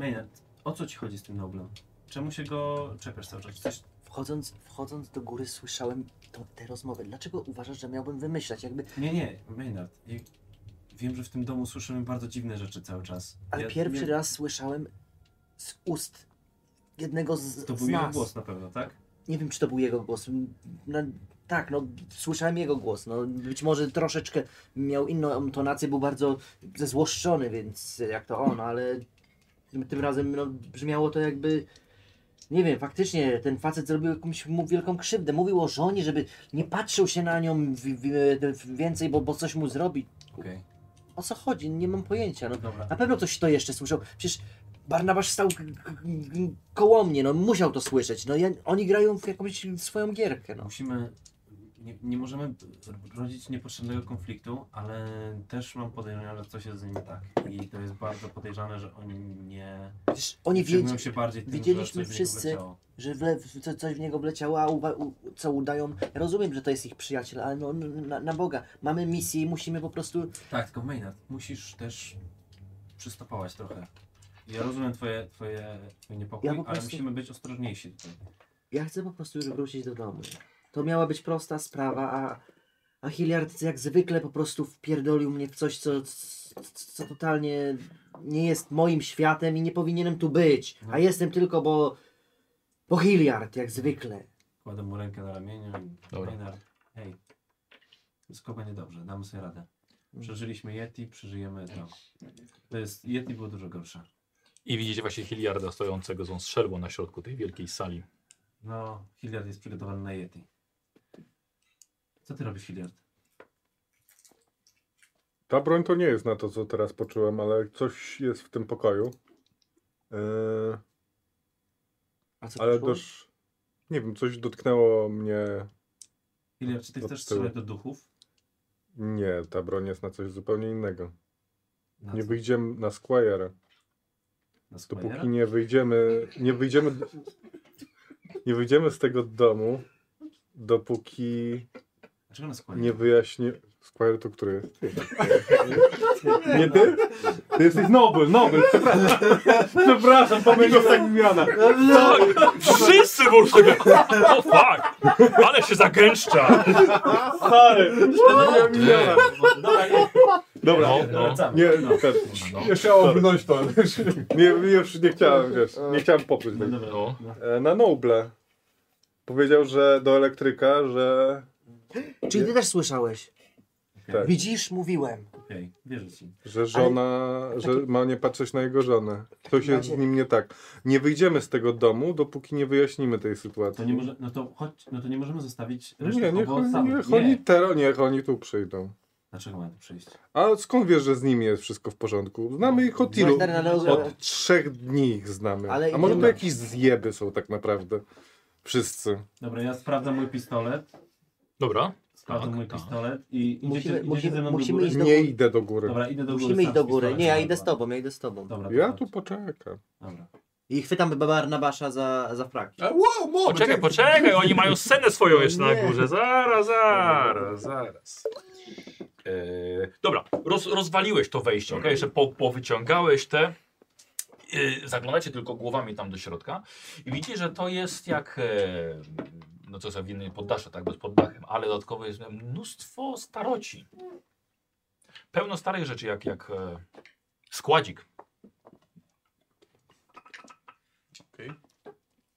Speaker 2: Maynard, o co ci chodzi z tym Noblem? Czemu się go czepiasz cały czas? Coś...
Speaker 5: Wchodząc, wchodząc do góry słyszałem to, te rozmowy. Dlaczego uważasz, że miałbym wymyślać? Jakby,
Speaker 2: Nie, nie, Maynard. Ja... Wiem, że w tym domu słyszymy bardzo dziwne rzeczy cały czas.
Speaker 5: ale
Speaker 2: ja,
Speaker 5: pierwszy
Speaker 2: nie...
Speaker 5: raz słyszałem z ust jednego z,
Speaker 2: To
Speaker 5: z
Speaker 2: był jego
Speaker 5: nas.
Speaker 2: głos na pewno, tak?
Speaker 5: Nie wiem, czy to był jego głos. No, tak, no, słyszałem jego głos. No, być może troszeczkę miał inną intonację, był bardzo zezłoszczony, więc jak to on, ale tym, tym razem no, brzmiało to jakby. Nie wiem, faktycznie ten facet zrobił jakąś mu wielką krzywdę. Mówił o żonie, żeby nie patrzył się na nią w, w, w więcej, bo, bo coś mu zrobi.
Speaker 2: Okej.
Speaker 5: O co chodzi? Nie mam pojęcia. No,
Speaker 2: Dobra.
Speaker 5: na pewno ktoś to jeszcze słyszał. Przecież Barnabasz stał k- k- k- koło mnie, no musiał to słyszeć. No ja, oni grają w jakąś swoją gierkę, no.
Speaker 2: Musimy. Nie, nie możemy rodzić niepotrzebnego konfliktu, ale też mam podejrzenie, że coś jest z nim tak. I to jest bardzo podejrzane, że oni nie.
Speaker 5: Przecież oni
Speaker 2: przejmują
Speaker 5: wiedzieli,
Speaker 2: się bardziej tym,
Speaker 5: wiedzieliśmy
Speaker 2: że coś w niego
Speaker 5: wszyscy.
Speaker 2: wleciało.
Speaker 5: że wle, co, coś w niego wleciało, a uwa, u, co udają. Ja rozumiem, że to jest ich przyjaciel, ale no, n- na, na Boga. Mamy misję i musimy po prostu...
Speaker 2: Tak, tylko Maynard, musisz też przystopować trochę. Ja rozumiem twoje, twoje, twoje niepokój,
Speaker 5: Ja po
Speaker 2: ale
Speaker 5: prostu-
Speaker 2: musimy być ostrożniejsi tutaj.
Speaker 5: Ja chcę po prostu już wrócić do domu. To miała być prosta sprawa, a, a Hilliard jak zwykle po prostu wpierdolił mnie w coś, co, co, co totalnie nie jest moim światem i nie powinienem tu być. A jestem tylko, bo, bo Hilliard jak zwykle.
Speaker 2: Kładę mu rękę na ramieniu i
Speaker 1: Dobra.
Speaker 2: Maynard, hej, wszystko będzie dobrze, damy sobie radę.
Speaker 5: Mm.
Speaker 2: Przeżyliśmy Yeti, przeżyjemy to. To jest, Yeti było dużo gorsze.
Speaker 1: I widzicie właśnie Hilliarda stojącego z tą strzelbą na środku tej wielkiej sali.
Speaker 2: No, Hilliard jest przygotowany na Yeti. Co ty robisz, Hilliard?
Speaker 4: Ta broń to nie jest na to, co teraz poczułem, ale coś jest w tym pokoju. Yy,
Speaker 5: A co
Speaker 4: ale
Speaker 5: poszło?
Speaker 4: też. Nie wiem, coś dotknęło mnie.
Speaker 2: Ile, czy ty
Speaker 4: To
Speaker 2: chcesz
Speaker 4: tyle.
Speaker 2: strzelać do duchów?
Speaker 4: Nie, ta broń jest na coś zupełnie innego.
Speaker 2: Na
Speaker 4: Nie
Speaker 2: co?
Speaker 4: wyjdziemy na Squire'a.
Speaker 2: Na Square'a?
Speaker 4: Dopóki nie wyjdziemy. Nie wyjdziemy. Nie wyjdziemy z tego domu, dopóki
Speaker 2: Dlaczego na składzie?
Speaker 4: nie wyjaśnię. Squire to który <laughs> jest? Ty. Nie ty? Ty jesteś Nobel, Nobel, przepraszam. Przepraszam, pomyliłem tak imiona.
Speaker 2: Tak!
Speaker 1: Wszyscy muszą <laughs> go... O fuck! Ale się zagęszcza!
Speaker 4: Stary, pomyliłem imiona.
Speaker 2: no. Dobra, nie,
Speaker 4: Dobra,
Speaker 1: No, no.
Speaker 2: wracamy.
Speaker 4: nie, ten,
Speaker 1: No,
Speaker 4: nie chciałem ominąć to. Nie, już nie chciałem, wiesz, nie chciałem popluć.
Speaker 2: No dobra.
Speaker 1: no.
Speaker 4: E, Na Noble. Powiedział, że do elektryka, że
Speaker 5: Czyli ty też słyszałeś.
Speaker 4: Tak.
Speaker 5: Widzisz, mówiłem.
Speaker 2: Okej, wierzę ci.
Speaker 4: Że żona, że ma nie patrzeć na jego żonę. Coś
Speaker 5: takim
Speaker 4: jest z
Speaker 5: razie-
Speaker 4: nim nie tak. Nie wyjdziemy z tego domu, dopóki nie wyjaśnimy tej
Speaker 2: To
Speaker 4: sytuacji.
Speaker 2: nie może, no to chodź, no to nie możemy zostawić reszty
Speaker 4: nie, niech
Speaker 2: kogo
Speaker 4: oni,
Speaker 2: samych.
Speaker 4: niech
Speaker 2: Nie.
Speaker 4: oni teraz, niech oni tu przyjdą.
Speaker 2: Dlaczego mamy tu przyjść?
Speaker 4: A skąd wiesz, że z nimi jest wszystko w porządku? Znamy ich od ilu?
Speaker 5: Byłeś na Leo-
Speaker 4: Od trzech dni ich znamy.
Speaker 5: Ale
Speaker 4: A może
Speaker 5: i-
Speaker 4: to jakieś zjeby są tak naprawdę. Wszyscy.
Speaker 2: Dobra, ja sprawdzam mój pistolet.
Speaker 1: Dobra.
Speaker 2: Sprawdzam
Speaker 1: Tak,
Speaker 2: mój
Speaker 1: tak.
Speaker 2: pistolet i idziecie,
Speaker 5: Musimy-
Speaker 2: idziecie
Speaker 5: musimy-
Speaker 2: ze mną do
Speaker 5: musimy
Speaker 2: góry.
Speaker 5: iść do
Speaker 4: Nie
Speaker 5: góry.
Speaker 4: idę do góry.
Speaker 2: Dobra, idę do góry.
Speaker 5: Musimy
Speaker 2: sam
Speaker 5: iść do
Speaker 2: z
Speaker 5: góry.
Speaker 2: pistoletem,
Speaker 5: Nie, ja
Speaker 2: dobra.
Speaker 5: idę z tobą, ja idę z tobą.
Speaker 2: Dobra,
Speaker 4: Ja
Speaker 2: dobra.
Speaker 4: tu poczekam.
Speaker 2: Dobra.
Speaker 5: I chwytam Babarna Basza za, za fraki.
Speaker 8: A, wow, moment,
Speaker 1: Poczekaj,
Speaker 8: jak-
Speaker 1: poczekaj, oni mają scenę swoją jeszcze na
Speaker 5: Nie.
Speaker 1: górze. Zaraz, zaraz, zaraz. Eee, dobra, roz, rozwaliłeś to wejście, okej? Jeszcze po, powyciągałeś te. Yy, zaglądacie tylko głowami tam do środka i widzicie, że to jest jak. E, no co jest jak w innej poddasze, tak? Bez pod dachem, ale dodatkowo jest mnóstwo staroci. Pełno starych rzeczy, jak, jak e, składzik.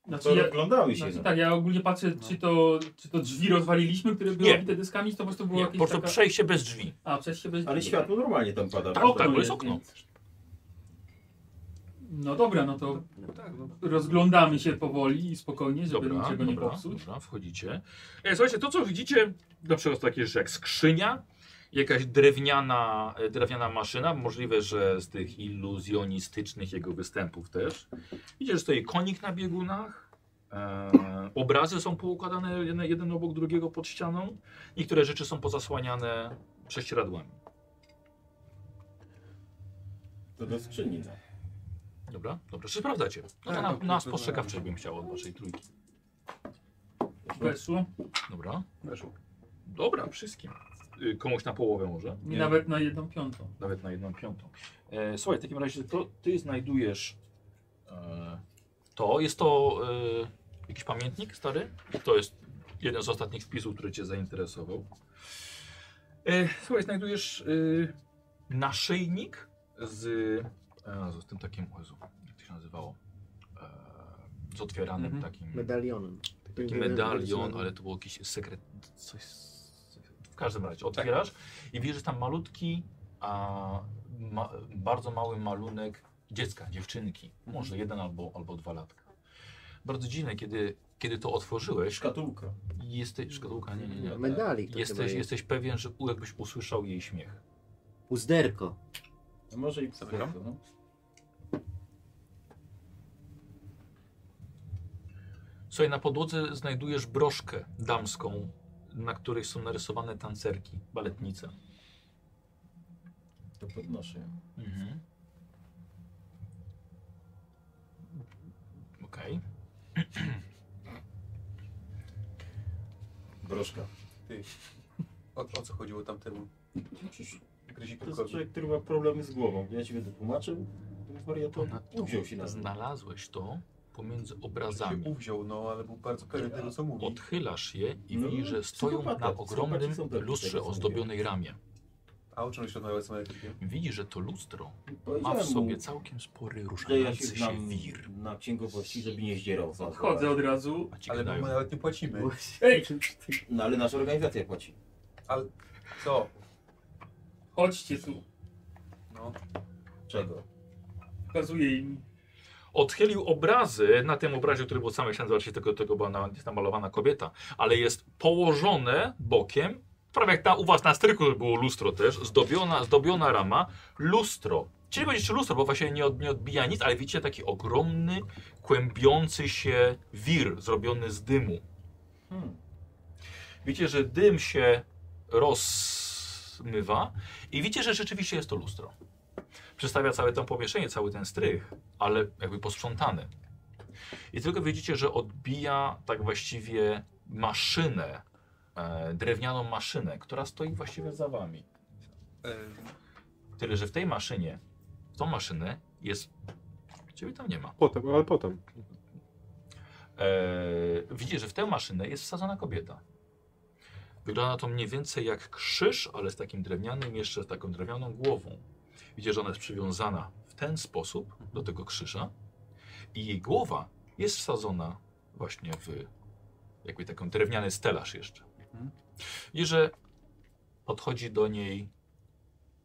Speaker 6: Znaczy,
Speaker 3: To
Speaker 6: ja,
Speaker 3: oglądałeś się. no.
Speaker 6: znaczy, tak, ja ogólnie patrzę, czy, to, czy to drzwi rozwaliliśmy, które były
Speaker 1: Nie.
Speaker 6: obite dyskami, czy to po prostu było
Speaker 1: Nie, po
Speaker 6: jakieś
Speaker 1: prostu
Speaker 6: taka...
Speaker 1: przejście bez drzwi.
Speaker 6: A, przejście bez
Speaker 3: Ale światło normalnie tam pada.
Speaker 1: Tak, tak, bo
Speaker 2: to
Speaker 1: jest
Speaker 2: jest-
Speaker 1: okno.
Speaker 6: No dobra, no to
Speaker 4: tak,
Speaker 6: rozglądamy się powoli i spokojnie, żeby
Speaker 1: Dobra,
Speaker 6: niczego
Speaker 1: dobra,
Speaker 6: nie popsuć.
Speaker 1: dobra, wchodzicie. E, słuchajcie, to co widzicie, na przykład takie rzeczy jak skrzynia, jakaś drewniana, e, drewniana maszyna, możliwe, że z tych iluzjonistycznych jego występów też. Widzicie, że stoi konik na biegunach, e, obrazy są poukładane jeden, jeden obok drugiego pod ścianą, niektóre rzeczy są pozasłaniane prześcieradłami.
Speaker 3: To do skrzyni. no.
Speaker 1: Dobra, dobra, czy sprawdzacie? No to
Speaker 7: Tak,
Speaker 1: na,
Speaker 7: tak,
Speaker 1: na
Speaker 7: tak,
Speaker 1: spostrzegawczość bym chciał od waszej trójki.
Speaker 6: Weszło.
Speaker 1: Dobra. Weszło. Dobra, wszystkim. Y, Komuś na połowę może?
Speaker 6: I nawet na jedną piątą.
Speaker 1: Nawet na jedną piątą. E, słuchaj, w takim razie to ty znajdujesz e, to. Jest to e, jakiś pamiętnik stary? To jest jeden z ostatnich wpisów, który cię zainteresował. E, słuchaj, znajdujesz e, naszyjnik z, e, z tym takim, o Jezu, jak to się nazywało? E, z otwieranym
Speaker 6: Mhm.
Speaker 1: takim
Speaker 5: Medalionem.
Speaker 1: taki medalion, ale to był jakiś sekret, coś. z- W każdym razie otwierasz i widzisz że tam malutki, a ma, bardzo mały malunek dziecka, dziewczynki. Może jeden albo, albo dwa latka. Bardzo dziwne, kiedy, kiedy to otworzyłeś,
Speaker 3: Szkatułka.
Speaker 1: jesteś, szkatułka, nie, nie, nie.
Speaker 5: Medalik to chyba
Speaker 1: Jesteś,
Speaker 5: jest.
Speaker 1: jesteś pewien, że u- jakbyś usłyszał jej śmiech.
Speaker 5: Uzderko.
Speaker 3: No Może i psaka.
Speaker 7: Zabieram.
Speaker 3: no.
Speaker 1: Słuchaj, na podłodze znajdujesz broszkę damską, na której są narysowane tancerki, baletnice.
Speaker 3: To podnoszę. ją.
Speaker 1: Mhm. Okej.
Speaker 3: Broszka.
Speaker 7: O, o co chodziło tamtemu?
Speaker 3: No Przecież To jest
Speaker 7: Gryzikowi.
Speaker 3: człowiek, który ma problemy z głową. Ja ci będę tłumaczył. Wariatom. Wziął się na
Speaker 1: Znalazłeś to pomiędzy
Speaker 7: Się
Speaker 1: obrazami.
Speaker 7: uwziął, no, ale był bardzo pewien tego, co mówi.
Speaker 1: Odchylasz je i
Speaker 3: No,
Speaker 1: widzisz, że stoją
Speaker 3: psychopata,
Speaker 1: na ogromnym
Speaker 3: psychopaci są tacy,
Speaker 1: lustrze
Speaker 3: tak jak
Speaker 1: ozdobionej ramie.
Speaker 7: A o czym się odmawiał z elektrykiem?
Speaker 1: Widzisz, że to lustro ma
Speaker 3: Powiedziałem
Speaker 1: w sobie
Speaker 3: mu,
Speaker 1: całkiem spory
Speaker 3: że ja się
Speaker 1: ruszający się
Speaker 3: znam
Speaker 1: wir.
Speaker 3: na księgowości, żeby nie zdzierał. za-
Speaker 6: Chodzę od razu.
Speaker 1: A ci
Speaker 7: Ale my
Speaker 1: gadają.
Speaker 7: nawet nie płacimy.
Speaker 6: Ej,
Speaker 3: No ale nasza organizacja płaci.
Speaker 7: Co?
Speaker 6: chodźcie tu.
Speaker 7: No.
Speaker 3: Czego?
Speaker 6: Pokazuję im.
Speaker 1: Odchylił obrazy, na tym obrazie, który był od samej ściany, zobaczcie, tego, tego była na, jest namalowana kobieta, ale jest położone bokiem prawie jak na, u was na stryku było lustro też, zdobiona, zdobiona rama, lustro. Czyli będzie jeszcze lustro, bo właśnie nie, od, nie odbija nic, ale widzicie taki ogromny, kłębiący się wir zrobiony z dymu.
Speaker 7: Hmm.
Speaker 1: Widzicie, że dym się rozmywa i widzicie, że rzeczywiście jest to lustro. Przedstawia całe to pomieszczenie, cały ten strych, ale jakby posprzątany. I tylko widzicie, że odbija tak właściwie maszynę, e, drewnianą maszynę, która stoi właściwie za wami.
Speaker 7: E,
Speaker 1: Tyle, że w tej maszynie, w tą maszynę jest... Ciebie tam nie ma.
Speaker 4: Potem, ale potem.
Speaker 1: Eee, widzisz, że w tę maszynę jest wsadzona kobieta. Wygląda to mniej więcej jak krzyż, ale z takim drewnianym, jeszcze z taką drewnianą głową. Widzisz, że ona jest przywiązana w ten sposób do tego krzyża i jej głowa jest wsadzona właśnie w jakby taką drewniany stelaż jeszcze. I że podchodzi do niej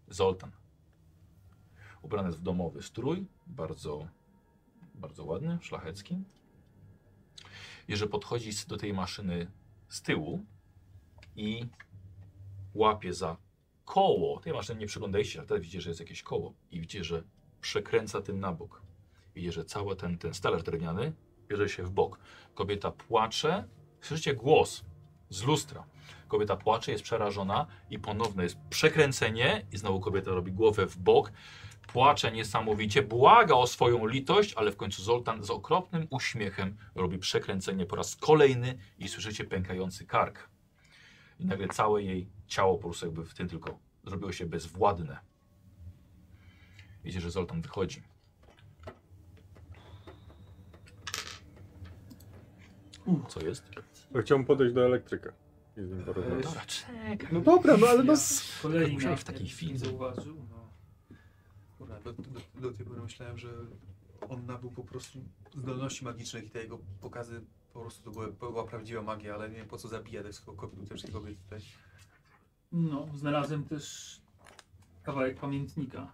Speaker 1: Zoltan. Ubrany jest w domowy strój, bardzo, bardzo ładny, szlachecki i że podchodzi z- do tej maszyny z tyłu i łapie za koło. Tej maszyny nie przyglądajcie, ale teraz widzicie, że jest jakieś koło i widzicie, że przekręca tym na bok. Widzicie, że cały ten, ten stelaż drewniany bierze się w bok. Kobieta płacze, słyszycie głos z lustra. Kobieta płacze, jest przerażona i ponowne jest przekręcenie i znowu kobieta robi głowę w bok. Płacze niesamowicie, błaga o swoją litość, ale w końcu Zoltan z okropnym uśmiechem robi przekręcenie po raz kolejny i słyszycie pękający kark. I nagle całe jej ciało po prostu jakby w tym tylko zrobiło się bezwładne. Widzicie, że Zoltan wychodzi. Co jest?
Speaker 4: Chciałbym podejść do elektryka i z nim porozmawiać.
Speaker 1: Dobra, czekaj.
Speaker 4: No dobra, no ale no...
Speaker 6: Kolejna,
Speaker 1: Tak musiałeś w
Speaker 6: jak
Speaker 1: takiej
Speaker 6: nikt
Speaker 1: chwili.
Speaker 6: Nie zauważył, no.
Speaker 7: Kurwa, do, do, do tej pory myślałem, że on nabył po prostu zdolności magicznych i te jego pokazy po prostu to były, była prawdziwa magia, ale nie wiem po co zabija tych wszystkich kobiet, te wszystkie kobiety tutaj.
Speaker 6: No, znalazłem też kawałek pamiętnika.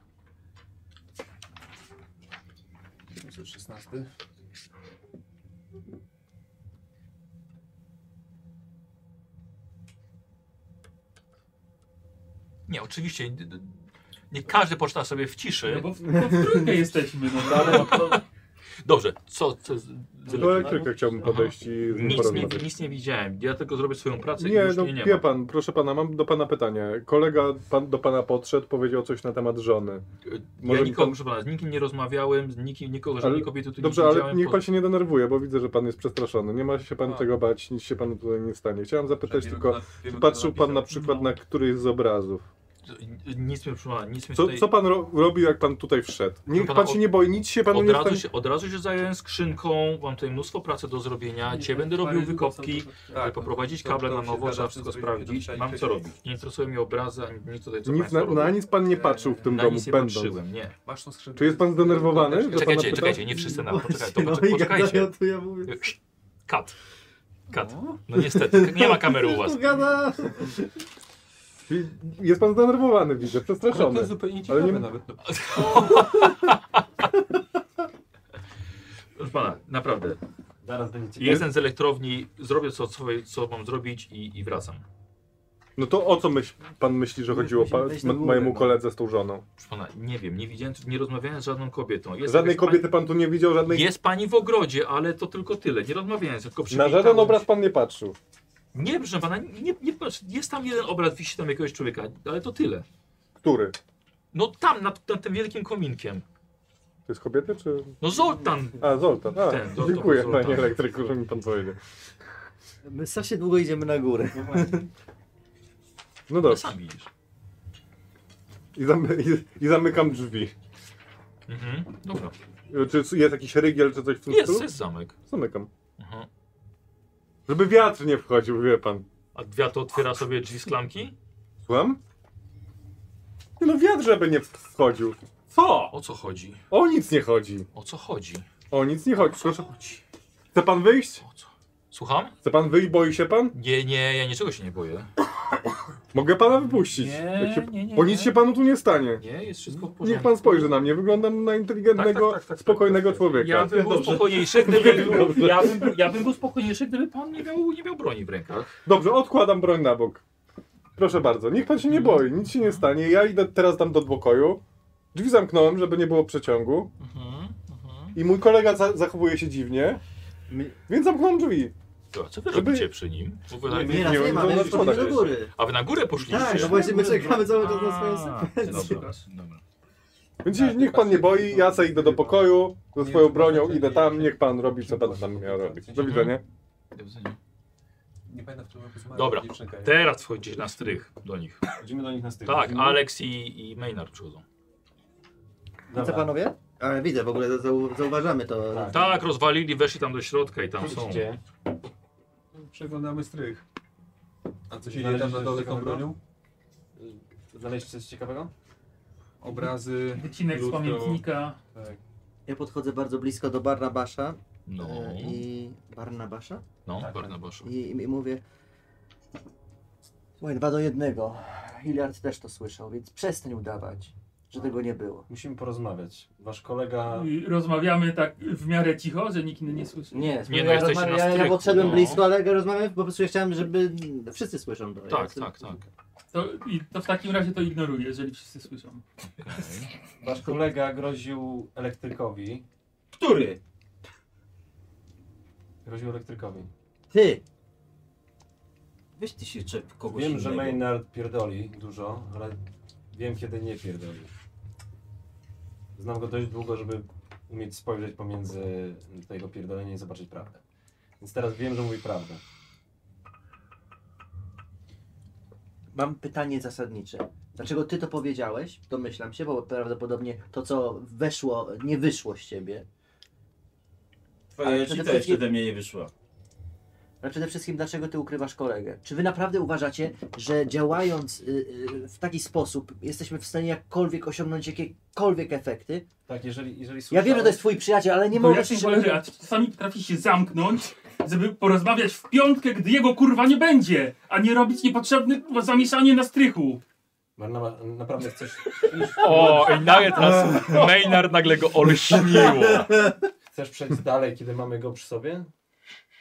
Speaker 7: 716.
Speaker 1: Nie, oczywiście. d- d- Nie każdy poczyta sobie w
Speaker 6: No
Speaker 1: ciszy.
Speaker 6: bo w, bo w trójkę jesteśmy, no.
Speaker 1: <laughs> Dobrze, co? co z, z
Speaker 4: Do elektryka chciałbym
Speaker 1: Aha.
Speaker 4: podejść i z nim
Speaker 1: nic, nie,
Speaker 4: porozmawiać.
Speaker 1: nic nie widziałem. Ja tylko zrobię swoją pracę i
Speaker 4: Nie,
Speaker 1: już
Speaker 4: no
Speaker 1: mnie nie
Speaker 4: wie
Speaker 1: ma.
Speaker 4: pan, proszę pana, mam do pana pytanie. Kolega pan, do pana podszedł, powiedział coś na temat żony.
Speaker 1: ja
Speaker 4: Może
Speaker 1: nikogo,
Speaker 4: pan-
Speaker 1: proszę pana, z nikim nie rozmawiałem, z nikim, nikogo, żadnej
Speaker 4: Ale-
Speaker 1: kobiety tu
Speaker 4: Dobrze,
Speaker 1: nie
Speaker 4: ale
Speaker 1: widziałem.
Speaker 4: niech
Speaker 1: po-
Speaker 4: pan się nie denerwuje, bo widzę, że pan jest przestraszony. Nie ma się pan
Speaker 7: A.
Speaker 4: tego bać, nic się panu tutaj nie stanie. Chciałem zapytać
Speaker 7: Wiemy,
Speaker 4: tylko,
Speaker 7: kto- wiemy,
Speaker 4: czy
Speaker 7: kto
Speaker 4: patrzył pan na
Speaker 7: napisał.
Speaker 4: przykład na któryś z obrazów?
Speaker 1: Nic mi, proszę pana, nic mi
Speaker 4: Co,
Speaker 1: No tutaj...
Speaker 4: co pan ro robił, jak pan tutaj wszedł? Niech
Speaker 1: pana,
Speaker 4: pan się
Speaker 1: od-
Speaker 4: nie boi, nic się panu
Speaker 1: od,
Speaker 4: nie
Speaker 1: razu
Speaker 4: stanie.
Speaker 1: się, od razu się zająłem skrzynką, mam tutaj mnóstwo pracy do zrobienia, cię będę robił wykopki,
Speaker 4: tak,
Speaker 1: żeby poprowadzić
Speaker 7: Tak, to-
Speaker 1: kable
Speaker 7: to
Speaker 1: na
Speaker 7: się
Speaker 1: nowo,
Speaker 7: zgadza,
Speaker 1: trzeba
Speaker 7: że to
Speaker 1: wszystko
Speaker 7: się
Speaker 1: sprawdzić,
Speaker 7: domyślali
Speaker 1: mam co
Speaker 7: wcześniej.
Speaker 1: robić. Nie interesują mnie obrazy, ani nic tutaj, co
Speaker 4: Nic
Speaker 1: państwo
Speaker 4: na,
Speaker 1: robią.
Speaker 4: na nic pan nie patrzył w tym
Speaker 1: na
Speaker 4: domu,
Speaker 1: nic nie
Speaker 4: będąc.
Speaker 1: patrzyłem, nie.
Speaker 7: Masz tą skrzynkę. No,
Speaker 4: Czy jest pan zdenerwowany?
Speaker 7: Czy-
Speaker 4: Że pana
Speaker 1: Czekajcie,
Speaker 4: pyta?
Speaker 1: czekajcie, nie wszyscy na poczekaj, to poczekaj,
Speaker 5: Właśnie, no i jak
Speaker 1: poczekajcie.
Speaker 5: daję, to ja mówię.
Speaker 1: Kat. Kat. No niestety, nie ma kamery u was.
Speaker 5: Tu gada.
Speaker 4: Jest pan zdenerwowany, widzę,
Speaker 7: Ale to
Speaker 4: przestraszony.
Speaker 7: jest zupełnie
Speaker 4: Ale nie-
Speaker 7: ciekawe nawet. No,
Speaker 1: Proszę pana, naprawdę.
Speaker 2: Zaraz będzie ciekawe.
Speaker 1: Jestem z elektrowni, zrobię co, co, co mam zrobić i, i wracam.
Speaker 4: No to o co myśl, pan myśli, że chodziło
Speaker 5: musimy
Speaker 4: pa,
Speaker 5: wejść na
Speaker 4: mo-
Speaker 5: górę,
Speaker 4: mojemu
Speaker 5: no.
Speaker 4: koledze z tą żoną?
Speaker 1: Proszę pana, nie wiem, nie widziałem, nie rozmawiałem z żadną kobietą. Jest
Speaker 4: Żadnej
Speaker 1: jakaś
Speaker 4: kobiety pan tu nie widział, żadnej.
Speaker 1: Pani, jest pani w ogrodzie, ale to tylko tyle. Nie rozmawiałem, tylko
Speaker 4: Na
Speaker 1: przywitałem.
Speaker 4: żaden obraz pan nie patrzył.
Speaker 1: Nie, proszę pana, nie, nie, jest tam jeden obraz, wisi tam jakiegoś człowieka, ale to tyle.
Speaker 4: Który?
Speaker 1: No tam, nad, nad tym wielkim kominkiem.
Speaker 4: To jest kobiety czy.
Speaker 1: No Zoltan,
Speaker 4: A, Zoltan. A,
Speaker 1: Ten, Zoltan,
Speaker 4: dziękuję,
Speaker 1: Zoltan.
Speaker 4: panie elektryku, że mi pan powiedział.
Speaker 5: My strasznie długo idziemy na górę.
Speaker 4: No
Speaker 1: no
Speaker 4: dobrze.
Speaker 1: sam widzisz.
Speaker 4: I, zamy i, i zamykam drzwi.
Speaker 1: Mhm, dobra.
Speaker 4: Czy jest jakiś rygiel, czy coś w tym
Speaker 1: Jest,
Speaker 4: stylu?
Speaker 1: jest zamek.
Speaker 4: Zamykam.
Speaker 1: Mhm.
Speaker 4: Żeby wiatr nie wchodził, wie pan.
Speaker 1: A wiatr otwiera sobie drzwi z klamki?
Speaker 4: Słucham? Nie no, wiatr, żeby nie wchodził. Co?
Speaker 1: O co chodzi?
Speaker 4: O nic nie chodzi.
Speaker 1: O co chodzi?
Speaker 4: O nic nie chodzi.
Speaker 1: O co
Speaker 4: Proszę.
Speaker 1: chodzi?
Speaker 4: Chce pan wyjść?
Speaker 1: O co? Słucham?
Speaker 4: Chce pan wyjść, boi się pan?
Speaker 1: Nie, nie, ja niczego się nie boję.
Speaker 4: Mogę pana wypuścić.
Speaker 1: Nie,
Speaker 4: Jak się...
Speaker 1: nie, nie.
Speaker 4: Bo nic się panu tu nie stanie.
Speaker 1: Nie, jest wszystko w porządku.
Speaker 4: Niech pan spojrzy na mnie, wyglądam na inteligentnego,
Speaker 1: Tak, tak, tak, tak,
Speaker 4: spokojnego
Speaker 1: tak, tak.
Speaker 4: człowieka.
Speaker 1: Ja bym był spokojniejszy, gdyby, ja bym, był- ja bym był spokojniejszy, gdyby pan nie miał, nie miał broni w rękach.
Speaker 4: Dobrze, odkładam broń na bok. Proszę bardzo, niech pan się nie boi, nic się nie stanie. Ja idę teraz tam do pokoju. Drzwi zamknąłem, żeby nie było przeciągu.
Speaker 7: Mhm, mhm.
Speaker 4: I mój kolega za zachowuje się dziwnie,
Speaker 3: My-
Speaker 4: więc zamknąłem drzwi.
Speaker 1: To, a co wy
Speaker 4: Żeby-
Speaker 1: robicie przy nim? Bo wy na-
Speaker 5: Nie, raz
Speaker 4: nie,
Speaker 5: nie ma,
Speaker 4: no,
Speaker 5: my
Speaker 4: no,
Speaker 5: już podjemy do
Speaker 4: szkoda,
Speaker 5: góry.
Speaker 1: A wy na górę poszliście?
Speaker 5: Tak, no właśnie my czekamy cały czas na swoją
Speaker 1: A,
Speaker 5: sekwencję.
Speaker 1: Dobra, dobra.
Speaker 4: Więc się- niech pan nie boi, ja se idę do pokoju ze swoją bronią, idę tam, niech pan robi, co pan tam miał robić. Do widzenia.
Speaker 7: Nie pamiętam, w którym roku zmarła
Speaker 1: Dobra.
Speaker 7: dziewczynka.
Speaker 1: Teraz wchodzicie na strych do nich.
Speaker 2: Chodzimy do nich na styk.
Speaker 1: Tak, Alex i, i Maynard przychodzą.
Speaker 5: Widzę panowie? Ale widzę, w ogóle zau- zauważamy to.
Speaker 2: Tak.
Speaker 1: Tak, rozwalili, weszli tam do środka i tam są.
Speaker 2: Gdzie?
Speaker 7: Przeglądamy strych. A co się
Speaker 2: Znaleźliście
Speaker 7: dzieje tam na
Speaker 2: coś
Speaker 7: dole tą
Speaker 2: ciekawego?
Speaker 7: bronią?
Speaker 2: Znaleźliście coś ciekawego?
Speaker 7: Obrazy...
Speaker 6: Wycinek z
Speaker 7: lustro.
Speaker 6: pamiętnika.
Speaker 2: Tak.
Speaker 5: Ja podchodzę bardzo blisko do Barnabasza
Speaker 1: No,
Speaker 5: e, i... Barnabasza?
Speaker 1: no,
Speaker 2: tak.
Speaker 1: Barnabaszu.
Speaker 5: I, i mówię... Słuchaj, dwa do jednego. Hilliard też to słyszał, więc przestań udawać, że tego nie było.
Speaker 2: Musimy porozmawiać. Wasz kolega...
Speaker 6: I Rozmawiamy tak w miarę cicho, że nikt inny nie słyszy.
Speaker 5: Nie,
Speaker 1: Nie,
Speaker 5: ja,
Speaker 1: no, jesteście
Speaker 5: rozmawiam-
Speaker 1: na
Speaker 5: ja, ja
Speaker 1: strychu,
Speaker 5: podszedłem
Speaker 1: no.
Speaker 5: blisko, ale rozmawiam, po prostu ja chciałem, żeby wszyscy słyszą. To. ja
Speaker 1: Tak,
Speaker 5: jestem-
Speaker 1: tak, tak.
Speaker 6: To, i to w takim razie to ignoruję, jeżeli wszyscy słyszą.
Speaker 2: Wasz kolega groził elektrykowi.
Speaker 3: Który?
Speaker 2: Groził elektrykowi.
Speaker 5: Ty!
Speaker 3: Weź ty się czep kogoś
Speaker 2: Wiem, że
Speaker 3: innego.
Speaker 2: Maynard pierdoli dużo, ale wiem kiedy nie pierdoli. Znam go dość długo, żeby umieć spojrzeć pomiędzy to jego pierdolenie i zobaczyć prawdę. Więc teraz wiem, że mówi prawdę.
Speaker 5: Mam pytanie zasadnicze. Dlaczego ty to powiedziałeś? Domyślam się, bo prawdopodobnie to, co weszło, nie wyszło z ciebie.
Speaker 3: Twoja
Speaker 5: Ale
Speaker 3: jajcika
Speaker 5: przede
Speaker 3: jeszcze
Speaker 5: wszystkim-
Speaker 3: ode mnie nie wyszła.
Speaker 5: Ale przede wszystkim, dlaczego ty ukrywasz kolegę? Czy wy naprawdę uważacie, że działając y, y, w taki sposób jesteśmy w stanie jakkolwiek osiągnąć jakiekolwiek efekty?
Speaker 2: Tak, jeżeli, jeżeli
Speaker 5: Ja wiem, że to
Speaker 2: słyszałeś-
Speaker 5: jest twój przyjaciel, ale
Speaker 1: No,
Speaker 5: nie
Speaker 6: Bo
Speaker 5: mogę
Speaker 6: ja się boję, a czasami potrafi się zamknąć, żeby porozmawiać w piątkę, gdy jego kurwa nie będzie, a nie robić niepotrzebnych kurwa, zamieszanie na strychu.
Speaker 2: Barnaba- Naprawdę chcesz...
Speaker 1: O, i nagle teraz Maynard nagle go olśniło.
Speaker 2: Chcesz przejść dalej, kiedy mamy go przy sobie?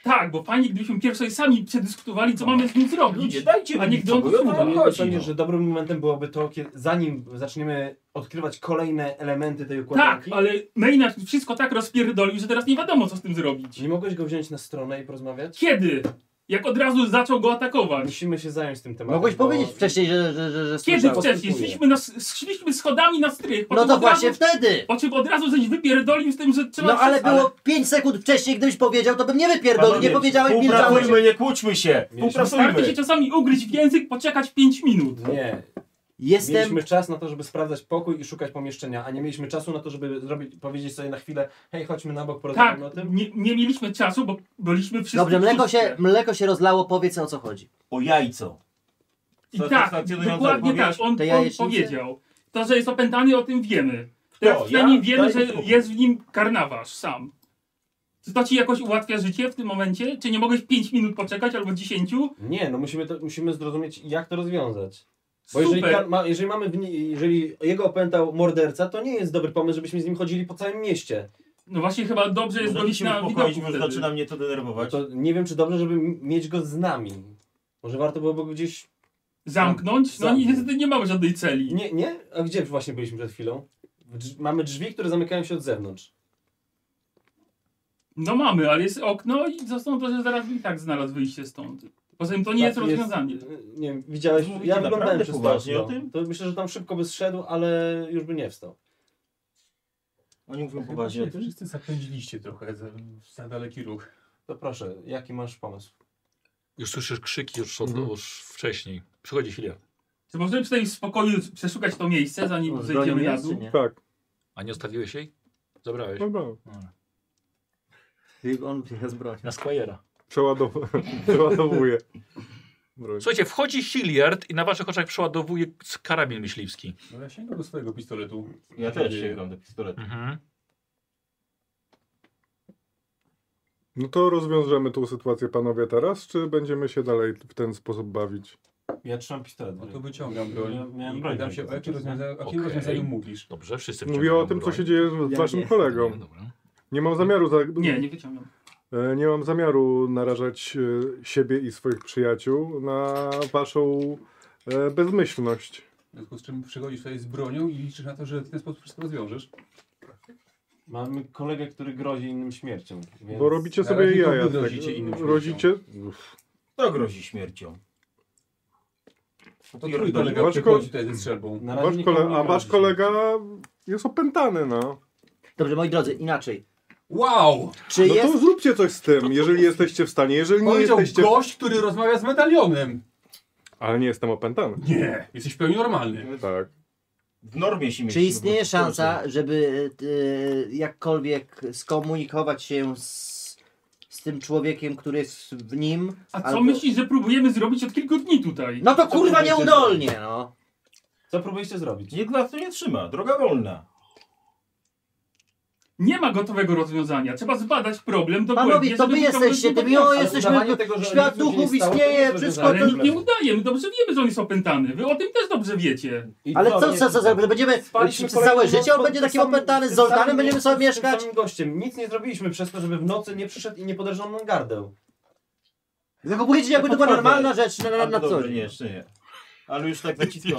Speaker 6: Tak, bo fajnie, gdybyśmy pierwszej sami przedyskutowali, co mamy z nim zrobić.
Speaker 3: Ludzie, dajcie
Speaker 6: A
Speaker 3: mi
Speaker 6: niech on
Speaker 3: spokój, o co
Speaker 6: odsuwa.
Speaker 3: wam
Speaker 2: Myślę,
Speaker 3: chodzi, no.
Speaker 2: sądzisz, że dobrym momentem byłoby to, kiedy, zanim zaczniemy odkrywać kolejne elementy tej układanki.
Speaker 6: Tak, ale Maynard wszystko tak rozpierdolił, że teraz nie wiadomo, co z tym zrobić.
Speaker 2: Nie mogłeś go wziąć na stronę i porozmawiać?
Speaker 6: Kiedy? Jak od razu zaczął go atakować.
Speaker 2: Musimy się zająć tym tematem.
Speaker 5: Mogłeś
Speaker 2: bo-
Speaker 5: powiedzieć wcześniej, że, że, że, że
Speaker 6: Kiedy
Speaker 5: słyszałeś.
Speaker 6: wcześniej? Szliśmy, na, szliśmy schodami na strych, po
Speaker 5: No
Speaker 6: czym
Speaker 5: to
Speaker 6: od razu-
Speaker 5: właśnie wtedy!
Speaker 6: Po czym od razu żeś wypierdolił z tym, że trzeba...
Speaker 5: No ale
Speaker 6: wszystko-
Speaker 5: było 5 sekund wcześniej, gdybyś powiedział, to bym nie wypierdolił, nie powiedziałem, milczałeś.
Speaker 3: Współpracujmy, nie kłóćmy się!
Speaker 2: Mieliśmy-
Speaker 6: Starczy się
Speaker 3: Współpracujmy!
Speaker 6: czasami ugryźć w język, poczekać 5 minut.
Speaker 2: Nie,
Speaker 5: Jestem...
Speaker 2: mieliśmy czas na to, żeby sprawdzać pokój i szukać pomieszczenia, a nie mieliśmy czasu na to, żeby zrobić, powiedzieć sobie na chwilę, hej, chodźmy na bok,
Speaker 6: Tak,
Speaker 2: porozmawiamy
Speaker 3: no
Speaker 2: o tym.
Speaker 6: nie, nie mieliśmy czasu, bo byliśmy wszyscy
Speaker 5: Dobrze,
Speaker 6: w
Speaker 5: mleko
Speaker 6: szóstce.
Speaker 5: się, mleko się rozlało, powiedz o co chodzi.
Speaker 3: O jajco.
Speaker 6: I
Speaker 3: Co to
Speaker 6: tak,
Speaker 3: stacjonująca
Speaker 6: dokładnie tak,
Speaker 3: odpowiedź?
Speaker 6: on,
Speaker 5: Te
Speaker 6: on
Speaker 5: jajecznice?
Speaker 6: powiedział. To, że jest opętany, o tym wiemy. Teraz
Speaker 3: ja?
Speaker 6: przynajmniej wiemy,
Speaker 3: Daj
Speaker 6: że
Speaker 3: spokój.
Speaker 6: jest w nim karnawasz sam. Czy to ci jakoś ułatwia życie w tym momencie? Czy nie mogłeś 5 minut poczekać albo 10?
Speaker 2: Nie, no musimy, to, musimy zrozumieć, jak to rozwiązać. Bo jeżeli,
Speaker 6: Super.
Speaker 2: kar- ma, jeżeli mamy, w nie, jeżeli jego opętał morderca, to nie jest dobry pomysł, żebyśmy z nim chodzili po całym mieście.
Speaker 6: No właśnie chyba dobrze jest go
Speaker 3: Możecie
Speaker 6: mieć
Speaker 3: się
Speaker 6: na
Speaker 3: uspokoić,
Speaker 6: widoku
Speaker 3: bo
Speaker 6: wtedy.
Speaker 3: zaczyna mnie to denerwować.
Speaker 2: To nie wiem, czy dobrze, żeby m- mieć go z nami. Może warto byłoby go gdzieś...
Speaker 6: Zamknąć? No
Speaker 2: Zamknąć.
Speaker 6: niestety nie mamy żadnej celi.
Speaker 2: Nie, nie? A gdzie właśnie byliśmy przed chwilą? W drz- mamy drzwi, które zamykają się od zewnątrz.
Speaker 6: No mamy, ale jest okno i zasądzę, że zaraz i tak znalazł wyjście stąd. Poza tym to nie jest
Speaker 2: Tak,
Speaker 6: rozwiązanie.
Speaker 2: Nie wiem, widziałeś,
Speaker 3: Mówicie
Speaker 2: ja
Speaker 3: naprawdę
Speaker 2: wyglądałem przez to
Speaker 3: poważnie
Speaker 2: okno.
Speaker 3: o tym?
Speaker 2: To myślę, że tam szybko by zszedł, ale już by nie wstał.
Speaker 3: Oni mówią
Speaker 7: Chyba
Speaker 3: poważnie o
Speaker 7: się
Speaker 3: tym.
Speaker 7: wszyscy zapędziliście trochę za, za daleki ruch.
Speaker 2: To proszę, jaki masz pomysł?
Speaker 1: Już słyszysz krzyki już, od, już wcześniej. Przychodzi chwilę.
Speaker 6: Czy możemy przynajmniej w spokoju przeszukać to miejsce, zanim
Speaker 5: On z bronią
Speaker 6: zejdziemy na
Speaker 5: jest, czy
Speaker 6: dół?
Speaker 5: nie?
Speaker 4: Tak, No
Speaker 1: A nie zostawiłeś jej? Zabrałeś.
Speaker 4: dobra.
Speaker 5: I On jest broń.
Speaker 1: Na Squires.
Speaker 4: Przeładow... <laughs> Przeładowuję. Broń.
Speaker 1: Słuchajcie, wchodzi Hilliard i na waszych oczach przeładowuje karabin myśliwski.
Speaker 7: No ja sięgam do swojego pistoletu.
Speaker 3: Ja też sięgam do pistoletu.
Speaker 1: Mhm.
Speaker 4: No to rozwiążemy tą sytuację, panowie, teraz, czy będziemy się dalej w ten sposób bawić?
Speaker 2: Ja trzymam pistolet.
Speaker 7: No to wyciągam
Speaker 2: Ja
Speaker 7: broń.
Speaker 2: miałem
Speaker 7: i
Speaker 2: broń
Speaker 7: pytam się,
Speaker 2: cały
Speaker 7: o jakim
Speaker 2: czas,
Speaker 7: rozwiązaniu, o jakim
Speaker 1: Okej.
Speaker 7: rozwiązaniu mówisz?
Speaker 1: Dobrze, wszyscy
Speaker 4: Mówię
Speaker 1: wciągają
Speaker 4: o tym, co
Speaker 1: broń.
Speaker 4: się dzieje z
Speaker 5: Ja
Speaker 4: waszym
Speaker 5: nie.
Speaker 1: Nie,
Speaker 4: kolegą.
Speaker 1: dobra.
Speaker 4: Nie mam zamiaru za...
Speaker 6: Nie, nie wyciągam.
Speaker 4: E, nie mam zamiaru narażać e, siebie i swoich przyjaciół na waszą E, bezmyślność.
Speaker 7: W związku z czym przychodzisz tutaj z bronią i liczysz na to, że w ten sposób wszystko rozwiążesz.
Speaker 2: Mamy kolegę, który grozi innym śmiercią. Więc...
Speaker 4: Bo robicie
Speaker 7: na
Speaker 4: sobie
Speaker 7: razie
Speaker 4: jaja.
Speaker 7: nikogo
Speaker 4: z tego.
Speaker 7: grozicie innym śmiercią.
Speaker 4: Rodzicie?
Speaker 3: To grozi śmiercią.
Speaker 7: No to twój kolega
Speaker 4: Wasz
Speaker 7: przychodzi
Speaker 4: ko-
Speaker 7: tutaj ze strzelbą.
Speaker 2: Na razie
Speaker 4: Wasz
Speaker 2: nikomu
Speaker 4: kole-
Speaker 2: nie
Speaker 4: a wasz
Speaker 2: grozi.
Speaker 4: kolega jest opętany, no.
Speaker 5: Dobrze, moi drodzy, inaczej.
Speaker 7: Wow!
Speaker 5: Czy
Speaker 4: No
Speaker 5: jest...
Speaker 4: to zróbcie coś z tym, jeżeli jesteście w stanie. Jeżeli nie
Speaker 7: Powiedział
Speaker 4: jesteście.
Speaker 7: gość, który rozmawia z medalionem.
Speaker 4: Ale nie jestem opętany.
Speaker 7: Nie, jesteś w pełni normalny.
Speaker 4: Tak.
Speaker 3: W normie się
Speaker 5: Czy
Speaker 3: mieści,
Speaker 5: istnieje
Speaker 3: bo-
Speaker 5: szansa, żeby e, jakkolwiek skomunikować się z, z tym człowiekiem, który jest w nim?
Speaker 6: A co
Speaker 5: albo-
Speaker 6: myślisz, że próbujemy zrobić od kilku dni tutaj?
Speaker 5: No to
Speaker 2: Co
Speaker 5: kurwa
Speaker 2: próbujecie
Speaker 5: nieudolnie, no.
Speaker 2: Co próbujecie zrobić?
Speaker 3: Nikt nas tu nie trzyma, droga wolna.
Speaker 6: Nie ma gotowego rozwiązania. Trzeba zbadać problem
Speaker 2: No
Speaker 6: dokładnie.
Speaker 5: Panowie, to
Speaker 6: żeby
Speaker 5: wy
Speaker 6: wyciągnąć
Speaker 5: jesteście, to
Speaker 6: jego
Speaker 5: my o,
Speaker 6: wniosek.
Speaker 5: jesteśmy,
Speaker 2: udawanie tego, że
Speaker 5: świat
Speaker 2: nic mu się nie
Speaker 5: duchów
Speaker 2: stało,
Speaker 5: istnieje,
Speaker 2: to jest
Speaker 5: wszystko
Speaker 6: Ale
Speaker 5: to...
Speaker 2: rozwiązanie.
Speaker 6: nikt nie udaje. My dobrze wiemy, że on jest opętany. Wy o tym też dobrze wiecie.
Speaker 2: I
Speaker 5: Ale co, co, co, co, będziemy
Speaker 2: Spaliśmy
Speaker 5: przez całe
Speaker 2: kolejną
Speaker 5: życie, on
Speaker 2: noc
Speaker 5: będzie
Speaker 2: pod tym
Speaker 5: takim
Speaker 2: samym-
Speaker 5: opętany, z
Speaker 2: tym
Speaker 5: Zoltanem
Speaker 2: samym-
Speaker 5: będziemy sobie
Speaker 2: tym
Speaker 5: mieszkać?
Speaker 2: samym gościem. Nic nie zrobiliśmy przez to, żeby w nocy nie przyszedł i nie poderżał nam gardeł.
Speaker 5: Zachowujecie się, jakby to była
Speaker 3: Naprawdę.
Speaker 5: normalna rzecz na, na, na
Speaker 3: Ale
Speaker 5: co
Speaker 3: dobrze,
Speaker 5: dzień.
Speaker 3: nie, jeszcze nie. Ale już tak naciskam.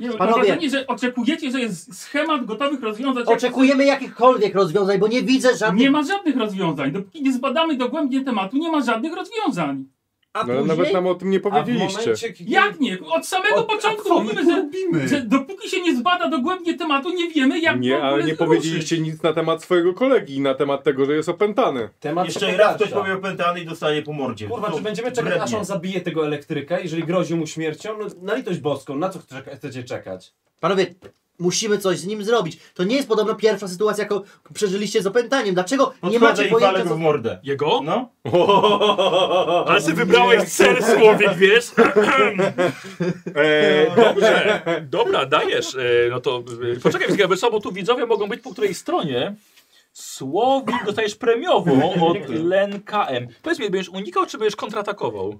Speaker 6: Nie, mam
Speaker 5: Panowie.
Speaker 6: wrażenie, że oczekujecie, że jest schemat gotowych rozwiązań. jak-
Speaker 5: Oczekujemy jakichkolwiek rozwiązań, bo nie widzę żadnych...
Speaker 6: Nie ma żadnych rozwiązań. Dopóki nie zbadamy dogłębnie tematu, nie ma żadnych rozwiązań.
Speaker 2: A
Speaker 4: No ale nawet nam o tym nie
Speaker 2: a w
Speaker 4: powiedzieliście.
Speaker 2: momencie, kiedy...
Speaker 6: Jak nie? Od samego
Speaker 7: O, a
Speaker 6: początku
Speaker 7: co my
Speaker 6: mówimy,
Speaker 7: tu
Speaker 6: że,
Speaker 7: robimy?
Speaker 6: że dopóki się nie zbada dogłębnie tematu, nie wiemy jak to
Speaker 4: Nie,
Speaker 6: w ogóle
Speaker 4: ale nie
Speaker 6: ruszyć.
Speaker 4: powiedzieliście nic na temat swojego kolegi i na temat tego, że jest opętany.
Speaker 2: Temat
Speaker 3: Jeszcze
Speaker 2: się
Speaker 3: raz
Speaker 2: powtarza.
Speaker 3: ktoś powie opętany i dostanie po mordzie.
Speaker 2: Kurwa,
Speaker 3: To
Speaker 2: czy będziemy czekać, aż
Speaker 3: brednie.
Speaker 2: on zabije tego elektryka, jeżeli grozi mu śmiercią? No, na litość boską, na co chce- chcecie czekać?
Speaker 5: Panowie, musimy coś z nim zrobić. To nie jest podobno pierwsza sytuacja, jaką przeżyliście z opętaniem. Dlaczego nie
Speaker 3: Podchodzę
Speaker 5: macie
Speaker 3: i palę
Speaker 5: pojęcia,
Speaker 3: go
Speaker 5: co...
Speaker 3: w mordę.
Speaker 1: Jego?
Speaker 3: No?
Speaker 1: Ale ty wybrałeś ser słowik, <laughs> wiesz?
Speaker 4: Eee,
Speaker 1: Dobrze, dobra, dajesz. E, No to e, poczekaj, Zgaby, bo tu widzowie mogą być po której stronie. Słowik dostajesz premiową od Len KM. Powiedz mi, będziesz unikał, czy będziesz kontratakował?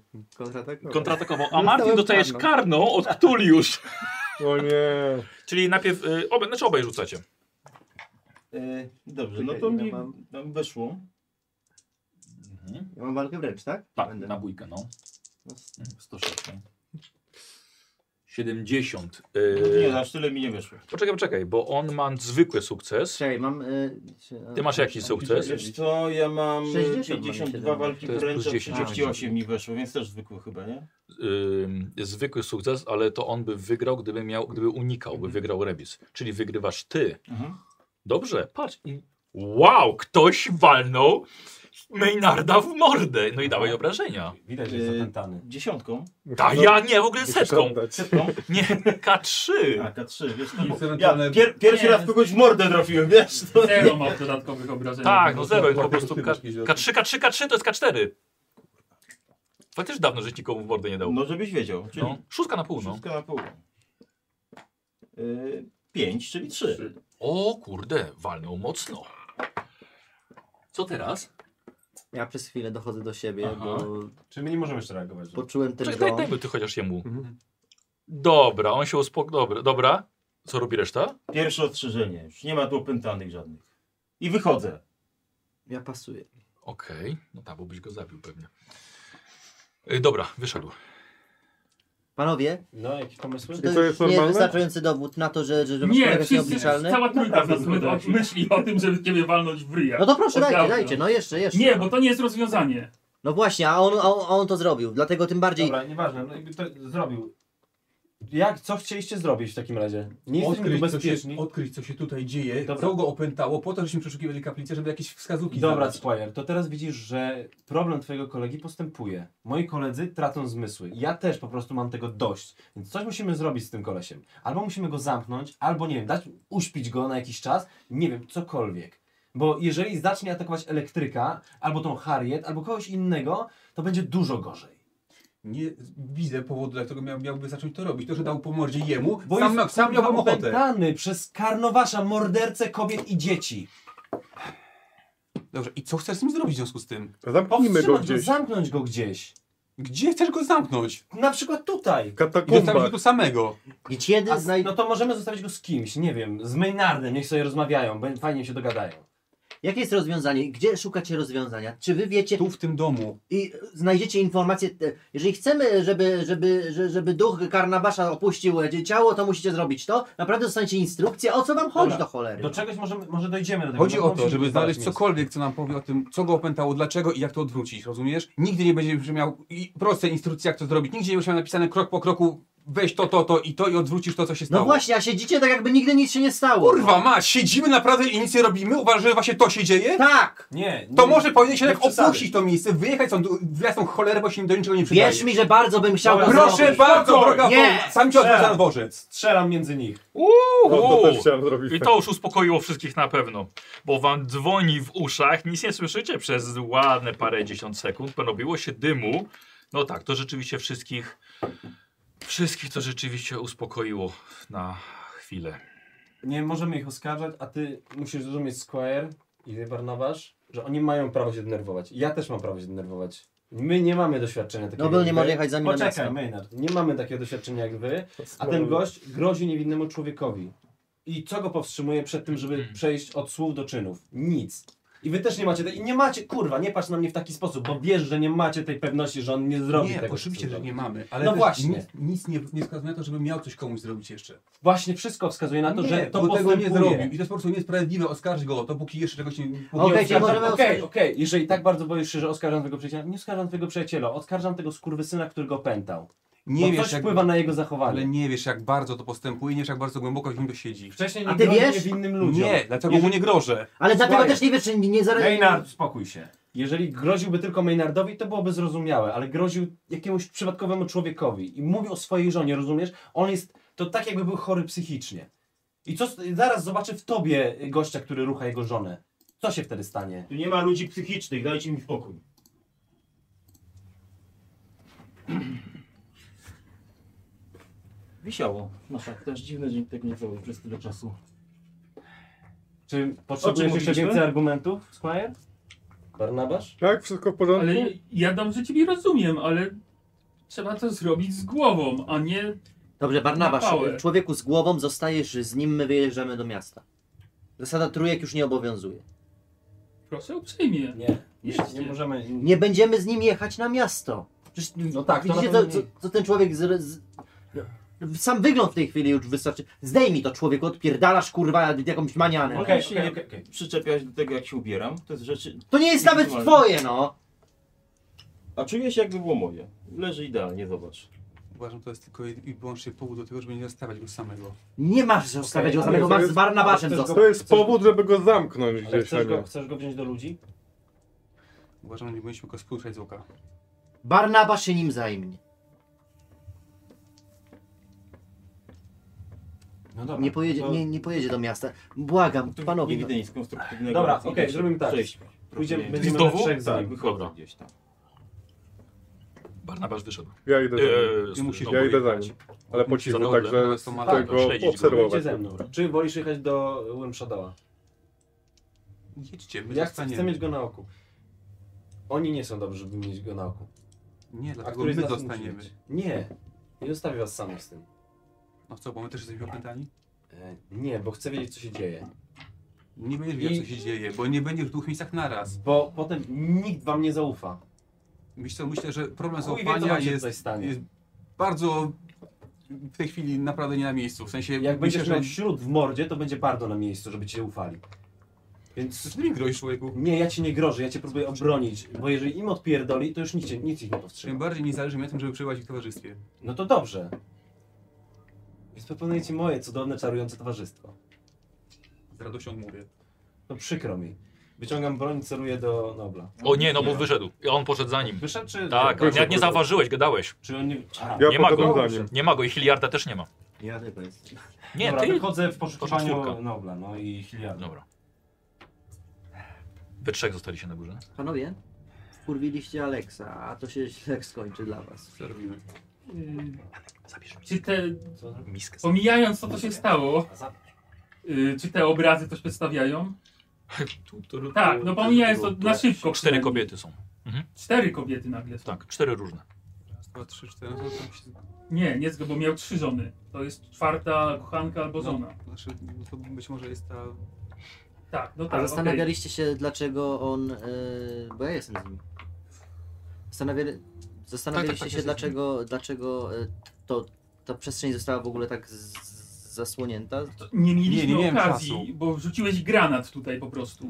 Speaker 1: Kontratakował. A Martin dostajesz
Speaker 5: karną.
Speaker 1: karną od Tuliusz.
Speaker 4: o nie.
Speaker 1: Czyli najpierw, y, obaj, znaczy obaj rzucacie.
Speaker 3: E, dobrze, no
Speaker 5: Czekaj,
Speaker 3: to
Speaker 5: ile
Speaker 3: mi
Speaker 5: mam?
Speaker 3: no, weszło.
Speaker 5: Ja mam walkę wręcz, tak?
Speaker 8: Tak,
Speaker 5: Będę.
Speaker 8: na bójkę, no.
Speaker 1: Mm,
Speaker 8: 106. no.
Speaker 1: 70.
Speaker 3: No Nie,
Speaker 1: Y,
Speaker 3: aż tyle mi nie weszło.
Speaker 1: poczekaj, poczekaj, bo on ma zwykły sukces.
Speaker 5: Czekaj, mam... Y... czy-
Speaker 1: Ty masz jakiś sukces?
Speaker 3: Wiesz co, ja mam
Speaker 5: 60 mam,
Speaker 3: 52
Speaker 5: siedem.
Speaker 3: walki
Speaker 1: To jest plus
Speaker 3: wręcz, a
Speaker 1: 10.
Speaker 3: 38 mi weszło, więc też zwykły chyba, nie?
Speaker 1: Y, zwykły sukces, ale to on by wygrał, gdyby miał, gdyby unikał, by wygrał remis. Czyli wygrywasz ty.
Speaker 3: Mhm.
Speaker 1: Dobrze, patrz. I- Wow, ktoś walnął Maynarda w mordę. No i dawaj obrażenia.
Speaker 2: Widać, że jest
Speaker 7: Y,
Speaker 3: Yy,
Speaker 2: zapętany.
Speaker 3: Dziesiątką?
Speaker 1: Ta ja nie, w ogóle
Speaker 4: Muszę
Speaker 1: setką.
Speaker 4: oddać.
Speaker 3: Setką?
Speaker 1: Nie, <laughs> K3.
Speaker 3: A, K3, wiesz co?
Speaker 7: I
Speaker 3: bo Ja
Speaker 7: ewentualne-
Speaker 3: pier pierwszy
Speaker 6: Nie.
Speaker 3: raz kogoś w mordę trafiłem, wiesz? To...
Speaker 6: Zero ma dodatkowych obrażeń.
Speaker 1: Tak, no zero, po
Speaker 7: Mordę
Speaker 1: prostu K-
Speaker 7: posypasz kiedyś do-
Speaker 1: K3, K3, K3 to jest K4. Faktycznie dawno żeś nikomu w mordę nie dał.
Speaker 3: No żebyś wiedział, czyli
Speaker 1: No, szóstka na pół, no.
Speaker 3: wszystko na pół. Yy, 5, czyli 3.
Speaker 1: O kurde, walnął mocno.
Speaker 8: Co teraz?
Speaker 5: Ja przez chwilę dochodzę do siebie,
Speaker 8: Aha.
Speaker 5: bo
Speaker 2: Czy my nie możemy jeszcze reagować? że-
Speaker 5: poczułem ten
Speaker 1: Czekaj,
Speaker 5: rząd.
Speaker 1: daj, dajmy ty chociaż jemu. Dobra, on się uspokoi. Dobra, dobra. Co robi reszta?
Speaker 3: Pierwsze ostrzeżenie, już nie ma tu opętanych żadnych. I wychodzę.
Speaker 5: Ja pasuję.
Speaker 1: Okej, no tak, bo byś go zabił pewnie. Y, Dobra, wyszedł.
Speaker 5: Panowie,
Speaker 2: No, jakieś pomysły?
Speaker 5: czy
Speaker 4: to
Speaker 5: to,
Speaker 4: jest
Speaker 5: już nie jest
Speaker 4: normalne?
Speaker 5: wystarczający dowód na to, że, że wasz kolega
Speaker 6: Nie,
Speaker 5: jest
Speaker 6: wszyscy,
Speaker 5: nieobliczalny?
Speaker 6: cała
Speaker 4: No tak,
Speaker 6: trójka z nas my, o, myśli o tym, żeby ciebie walnąć w ryja.
Speaker 5: No to proszę,
Speaker 6: Od
Speaker 5: dajcie,
Speaker 6: dawna.
Speaker 5: dajcie, no jeszcze, jeszcze.
Speaker 6: Nie, bo to nie jest rozwiązanie.
Speaker 5: No właśnie, a on, a on, a on to zrobił, dlatego tym bardziej...
Speaker 2: Dobra, nieważne, no jakby to zrobił. Jak, co chcieliście zrobić w takim razie? Nie jesteśmy tu
Speaker 7: Odkryć co, się,
Speaker 2: bezpieczni.
Speaker 7: odkryć, co się tutaj dzieje,
Speaker 2: Dobra.
Speaker 7: co go opętało, po to, żeśmy przeszukiwali kaplicę, żeby jakieś wskazówki
Speaker 2: Dobra,
Speaker 7: znaleźć.
Speaker 2: Squire, to teraz widzisz, że problem twojego kolegi postępuje. Moi koledzy tracą zmysły. Ja też po prostu mam tego dość. Więc coś musimy zrobić z tym kolesiem. Albo musimy go zamknąć, albo nie wiem, dać uśpić go na jakiś czas, nie wiem, cokolwiek. Bo jeżeli zacznie atakować elektryka, albo tą Harriet, albo kogoś innego, to będzie dużo gorzej.
Speaker 7: Nie widzę powodu, dla którego miał, miałby zacząć to robić. To, że dał po mordzie jemu,
Speaker 2: Bo
Speaker 7: sam,
Speaker 2: jest
Speaker 7: sam miałbym
Speaker 2: kurwa,
Speaker 7: ochotę.
Speaker 2: opętany przez karnowasza, mordercę kobiet i dzieci.
Speaker 7: Dobrze, i co chcesz z nim zrobić w związku z tym?
Speaker 4: Zamknijmy go
Speaker 2: Powstrzymać go,
Speaker 4: gdzieś.
Speaker 2: zamknąć go gdzieś.
Speaker 7: Gdzie chcesz go zamknąć?
Speaker 2: Na przykład tutaj.
Speaker 4: W
Speaker 7: I zostawić go
Speaker 4: Katakumbach.
Speaker 7: tu samego.
Speaker 5: I kiedy
Speaker 2: A no- z,
Speaker 5: znaj...
Speaker 2: no to możemy zostawić go z kimś, nie wiem, z Maynardem, niech sobie rozmawiają, bę- fajnie się dogadają.
Speaker 5: Jakie jest rozwiązanie? Gdzie szukacie rozwiązania? Czy wy wiecie
Speaker 9: Tu w tym domu.
Speaker 5: i znajdziecie informację? e, Jeżeli chcemy, żeby, żeby, że- żeby duch Karnabasza opuścił e, ciało, to musicie zrobić to. Naprawdę dostaniecie instrukcję, o co wam chodzi
Speaker 2: Dobra.
Speaker 5: do cholery.
Speaker 2: Do czegoś możemy, może dojdziemy do tego. No
Speaker 9: Chodzi
Speaker 7: no
Speaker 2: bo
Speaker 9: o
Speaker 2: musimy
Speaker 9: to, żeby
Speaker 2: znaleźć
Speaker 9: znaleźć
Speaker 2: mięso.
Speaker 9: cokolwiek, co nam powie o tym, co go opętało, dlaczego i jak to odwrócić, rozumiesz? Nigdy nie będziesz miał i proste instrukcje, jak to zrobić. Nigdzie nie będziesz miał napisane krok po kroku, weź to, to, to i to i odwrócisz to, co się stało.
Speaker 5: No właśnie, a siedzicie tak jakby nigdy nic się nie stało.
Speaker 9: Kurwa ma, siedzimy naprawdę i nic nie robimy? Uważasz, że właśnie to się dzieje?
Speaker 5: Tak!
Speaker 2: Nie, nie.
Speaker 9: To może powinien się
Speaker 2: nie
Speaker 9: tak
Speaker 2: przesadzaj.
Speaker 9: opuścić to miejsce, wyjechać stąd, w jasną cholerę, bo się do niczego nie przydaje.
Speaker 5: Wierz mi, że bardzo bym chciał to
Speaker 9: Proszę
Speaker 5: zrobić.
Speaker 9: bardzo, droga
Speaker 5: Nie!
Speaker 9: nie. sam cię odwrócę na
Speaker 2: Trzeba.
Speaker 9: dworzec.
Speaker 2: Strzelam między nich.
Speaker 4: No, to też chciałem
Speaker 1: I
Speaker 4: zrobić.
Speaker 1: to już uspokoiło wszystkich na pewno, bo wam dzwoni w uszach, nic nie słyszycie przez ładne parę dziesiąt sekund, porobiło się dymu. No tak, to rzeczywiście wszystkich, wszystkich to rzeczywiście uspokoiło na chwilę.
Speaker 2: Nie możemy ich oskarżać, a ty musisz zrozumieć Square i ty, Barnabasz, że oni mają prawo się denerwować. Ja też mam prawo się denerwować. My nie mamy doświadczenia takiego.
Speaker 5: No był
Speaker 2: jak
Speaker 5: nie
Speaker 2: wy.
Speaker 5: może jechać za nami na miasto.
Speaker 2: Poczekaj, Maynard. Nie mamy takiego doświadczenia jak wy, a ten gość grozi niewinnemu człowiekowi. I co go powstrzymuje przed tym, żeby
Speaker 9: Hmm.
Speaker 2: przejść od słów do czynów? Nic. I wy też nie macie tej. I nie macie, kurwa, nie patrz na mnie w taki sposób, bo wiesz, że nie macie tej pewności, że on nie zrobi
Speaker 9: Nie,
Speaker 2: tego.
Speaker 9: oczywiście,
Speaker 2: co
Speaker 9: że
Speaker 2: zrobi.
Speaker 9: nie mamy, ale
Speaker 2: No
Speaker 9: też
Speaker 2: właśnie.
Speaker 9: nic, nic nie, nie wskazuje na to, żeby miał coś komuś zrobić jeszcze.
Speaker 2: Właśnie wszystko wskazuje na to,
Speaker 9: nie,
Speaker 2: że to
Speaker 9: bo tego nie
Speaker 2: postępuje.
Speaker 9: zrobił i to jest po prostu niesprawiedliwe oskarżyć go o to, póki jeszcze czegoś nie... póki
Speaker 5: Okej,
Speaker 9: nie
Speaker 5: czy
Speaker 9: oskarża.
Speaker 5: możemy
Speaker 2: Okej, okej,
Speaker 5: oskarżyć-
Speaker 2: jeżeli tak bardzo boisz się, że oskarżam twojego przyjaciela, nie oskarżam twojego przyjaciela, oskarżam tego skurwysyna, który go pętał. Nie
Speaker 9: Nie
Speaker 2: bo wiesz, coś
Speaker 9: wiesz, jak,
Speaker 2: wpływa na jego zachowanie.
Speaker 9: No ale nie wiesz, jak bardzo to postępuje, nie wiesz, jak bardzo głęboko w nim to siedzi.
Speaker 2: Wcześniej
Speaker 5: A
Speaker 2: nie
Speaker 5: ty
Speaker 2: grozi
Speaker 5: wiesz?
Speaker 2: niewinnym ludziom.
Speaker 9: Nie, dlatego
Speaker 2: Jeżeli-
Speaker 9: mu nie grożę.
Speaker 5: Ale dlatego
Speaker 2: Słuchaj.
Speaker 5: też nie wiesz, czy nie zaraz...
Speaker 2: Maynard, spokój się. Jeżeli groziłby tylko Maynardowi, to byłoby zrozumiałe, ale groził jakiemuś przypadkowemu człowiekowi i mówił o swojej żonie, rozumiesz? On jest, to tak jakby był chory psychicznie. I co, s- zaraz zobaczy w tobie gościa, który rucha jego żonę. Co się wtedy stanie?
Speaker 3: Tu nie ma ludzi psychicznych, dajcie mi spokój. Wisiało. No tak, też dziwne, że nikt tego nie zrobił przez tyle czasu.
Speaker 2: Czy potrzebujesz jeszcze
Speaker 3: mówiliśmy?
Speaker 2: więcej argumentów, Squire? Barnabasz?
Speaker 4: Tak, wszystko w porządku?
Speaker 6: Ale ja dobrze ciebie rozumiem, ale trzeba to zrobić z głową, a nie
Speaker 5: Dobrze, Barnabasz,
Speaker 6: Na pałę.
Speaker 5: człowieku z głową zostajesz z nim, my wyjeżdżamy do miasta. Zasada trójek już nie obowiązuje.
Speaker 6: proszę uprzejmie.
Speaker 2: Nie, nie,
Speaker 6: Jeźdźcie.
Speaker 2: nie możemy.
Speaker 5: Nie będziemy z nim jechać na miasto. Przecież,
Speaker 2: No tak, to na
Speaker 5: widzicie, co,
Speaker 2: pewno
Speaker 5: co,
Speaker 2: nie.
Speaker 5: co ten człowiek z, z... no, Sam wygląd w tej chwili już wystarczy. Zdejmij to, człowieku, odpierdalasz, kurwa, jakąś manianę.
Speaker 2: Okej,
Speaker 3: Okej,
Speaker 2: okej,
Speaker 3: okej,
Speaker 2: okej, okej.
Speaker 3: Przyczepiać do tego, jak się ubieram, to jest rzeczy...
Speaker 5: To nie jest nawet
Speaker 3: Normalnie.
Speaker 5: twoje, no!
Speaker 3: A czuję się jakby było moje. Leży idealnie, zobacz.
Speaker 9: Uważam, to jest tylko i wyłącznie powód do tego, żeby nie zostawiać go samego.
Speaker 5: Nie masz zostawiać go
Speaker 2: ale
Speaker 5: samego,
Speaker 4: to
Speaker 5: masz
Speaker 4: jest-
Speaker 5: z Barnabaszem
Speaker 2: ale to jest
Speaker 5: zostać.
Speaker 4: To jest powód, żeby go zamknąć
Speaker 2: Ale
Speaker 4: gdzieś, a
Speaker 2: chcesz
Speaker 4: nie.
Speaker 2: go, chcesz go wziąć do ludzi?
Speaker 9: Uważam, że nie powinniśmy go spuszczać z łuka.
Speaker 5: Barnabasz się nim zajmie.
Speaker 2: No dobra.
Speaker 5: Nie pojedzie,
Speaker 2: to
Speaker 5: nie, nie pojedzie do miasta. Błagam,
Speaker 3: Tu
Speaker 5: panowie.
Speaker 3: Nie
Speaker 5: no.
Speaker 3: widzę nic konstruktywnego.
Speaker 2: Dobra,
Speaker 3: więc nie
Speaker 2: okej,
Speaker 3: wiem,
Speaker 2: zrobimy tak.
Speaker 3: przejdźmy.
Speaker 2: Pójdziemy,
Speaker 3: Proponuję.
Speaker 2: będziemy
Speaker 1: znowu?
Speaker 2: na trzech za
Speaker 3: Tak,
Speaker 2: nim.
Speaker 3: wychodzę
Speaker 1: Dobra.
Speaker 3: gdzieś tam.
Speaker 1: Barnabasz wyszedł.
Speaker 4: Ja idę za nim.
Speaker 1: Eee,
Speaker 9: Ty musisz-
Speaker 4: Ja
Speaker 1: znowu
Speaker 4: idę za
Speaker 1: jechać.
Speaker 4: nim. Ale po cichu,
Speaker 1: Za
Speaker 4: także
Speaker 9: Ale są
Speaker 4: chcę
Speaker 9: malaki.
Speaker 4: go
Speaker 1: śledzić go.
Speaker 2: Pójdźcie
Speaker 4: obserwować.
Speaker 2: ze mną. Czy wolisz jechać do Wimshadowa?
Speaker 9: Jedźcie, my
Speaker 2: Ja chcę,
Speaker 9: zostaniemy.
Speaker 2: chcę mieć go na oku. Oni nie są dobrzy, żeby mieć go na oku.
Speaker 9: Nie,
Speaker 2: A
Speaker 9: dlatego
Speaker 2: który z
Speaker 9: my
Speaker 2: nas musi
Speaker 9: zostaniemy.
Speaker 2: mieć? Nie. Nie zostawię was samych z tym.
Speaker 9: No co, bo my też
Speaker 2: Tak.
Speaker 9: jesteśmy opętani?
Speaker 2: E, nie, bo chcę wiedzieć, co się dzieje.
Speaker 9: Nie będziesz wiedział,
Speaker 2: I-
Speaker 9: co się dzieje, bo nie będziesz w dwóch miejscach naraz.
Speaker 2: Bo potem nikt wam nie zaufa.
Speaker 9: Myślę, co, myślę że problem
Speaker 2: Chuj wie, co
Speaker 9: zaufania
Speaker 2: wam się
Speaker 9: jest,
Speaker 2: tutaj stanie.
Speaker 9: jest bardzo w tej chwili naprawdę nie na miejscu. W sensie,
Speaker 2: Jak
Speaker 9: myślę,
Speaker 2: będziesz miał
Speaker 9: że...
Speaker 2: śród w mordzie, to będzie bardzo na miejscu, żeby cię ufali. Więc...
Speaker 9: Z nimi grozisz, człowieku.
Speaker 2: Nie, ja cię nie grożę, ja cię próbuję obronić, bo jeżeli im odpierdoli, to już nic, cię- nic ich nie powstrzyma.
Speaker 9: Tym bardziej mi zależy mi na tym, żeby przebywać w ich towarzystwie.
Speaker 2: No to dobrze. Więc proponuję ci moje cudowne, czarujące towarzystwo.
Speaker 9: Z radością mówię.
Speaker 2: No przykro mi. Wyciągam broń i celuję do Nobla.
Speaker 1: O nie, no bo wyszedł. I on poszedł za nim.
Speaker 2: Wyszedł czy...
Speaker 1: Tak,
Speaker 4: Wyszedł,
Speaker 1: jak nie
Speaker 4: wyszedł.
Speaker 1: zauważyłeś, gadałeś.
Speaker 2: Czy on nie... A,
Speaker 4: Ja
Speaker 1: Nie ma go.
Speaker 4: potem za nim.
Speaker 1: Nie ma go i Hiliarda też nie ma.
Speaker 5: Ja tylko jestem.
Speaker 6: No,
Speaker 1: Nie,
Speaker 2: Dobra,
Speaker 1: ty...
Speaker 2: wychodzę w
Speaker 1: To
Speaker 2: poszukiwaniu
Speaker 1: czwórka.
Speaker 2: Nobla, no i Hiliarda.
Speaker 1: Dobra. Wy trzech zostaliście na górze.
Speaker 5: Panowie, wkurwiliście Aleksa, a to się źle skończy dla was.
Speaker 9: Co robimy?
Speaker 1: Zabierz mi
Speaker 6: Y, Czy te,
Speaker 2: Co?
Speaker 1: miskę.
Speaker 6: pomijając to, co się stało,
Speaker 2: A za-
Speaker 6: y, czy te obrazy coś przedstawiają?
Speaker 1: Tu, tu, tu,
Speaker 6: Tak, no pomijając to
Speaker 1: tu, tu.
Speaker 6: na szybko.
Speaker 1: Cztery
Speaker 6: przynajmniej.
Speaker 1: kobiety są.
Speaker 6: Cztery kobiety nagle. są.
Speaker 1: Tak, cztery różne.
Speaker 9: Raz, dwa, trzy, cztery. No, to tam się...
Speaker 6: Nie, nie, bo miał trzy
Speaker 9: No.
Speaker 6: żony. To jest czwarta kochanka albo żona.
Speaker 9: Znaczy, no, to być może jest ta
Speaker 6: Tak, no
Speaker 5: A
Speaker 6: tak, okej.
Speaker 5: zastanawialiście się, dlaczego on. y, bo ja jestem z nim. Zastanawiali, zastanawialiście
Speaker 9: tak,
Speaker 5: się,
Speaker 9: jestem z nim.
Speaker 5: dlaczego, dlaczego y, to, ta przestrzeń została w ogóle tak z, z- zasłonięta?
Speaker 6: To Nie mieliśmy
Speaker 9: Nie, nie miałem
Speaker 6: okazji,
Speaker 9: czasu.
Speaker 6: bo rzuciłeś granat tutaj po prostu.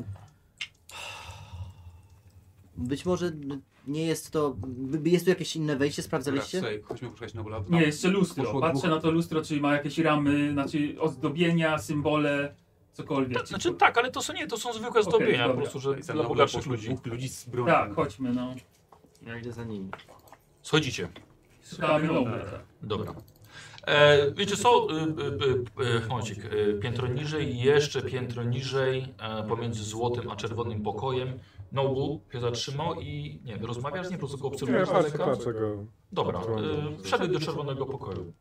Speaker 5: Być może nie jest to. by- by- Jest tu jakieś inne wejście,
Speaker 9: Dobra,
Speaker 5: sprawdzaliście?
Speaker 9: słuchaj, Chodźmy poszukać nowego labu.
Speaker 6: Nie, jeszcze lustro.
Speaker 9: Tak. poszło
Speaker 6: Patrzę
Speaker 9: dwóch.
Speaker 6: na to lustro, czy ma jakieś ramy, znaczy ozdobienia, symbole, cokolwiek.
Speaker 1: To, znaczy tak, ale to są nie, to są zwykłe
Speaker 6: Okej,
Speaker 1: zdobienia, po
Speaker 6: dobra. no,
Speaker 1: prostu, że
Speaker 3: Za
Speaker 1: dla
Speaker 3: mną
Speaker 1: bogatszych
Speaker 3: poszło
Speaker 1: ludzi.
Speaker 3: dwóch ludzi z bronią.
Speaker 6: Tak, chodźmy, no.
Speaker 5: Ja idę za nimi.
Speaker 1: Schodzicie.
Speaker 6: Szukamy nowe.
Speaker 1: Dobra. E, wiecie co, e, e, e, e, Wącik, e, piętro niżej i jeszcze piętro niżej, e, pomiędzy złotym a czerwonym pokojem, Nobu się zatrzymał i nie wiem, rozmawiasz, nie po prostu go
Speaker 4: Nie,
Speaker 1: obserwujesz z
Speaker 4: patrzę,
Speaker 1: daleka?
Speaker 4: patrzę go.
Speaker 1: Dobra, e, wszedł do czerwonego pokoju.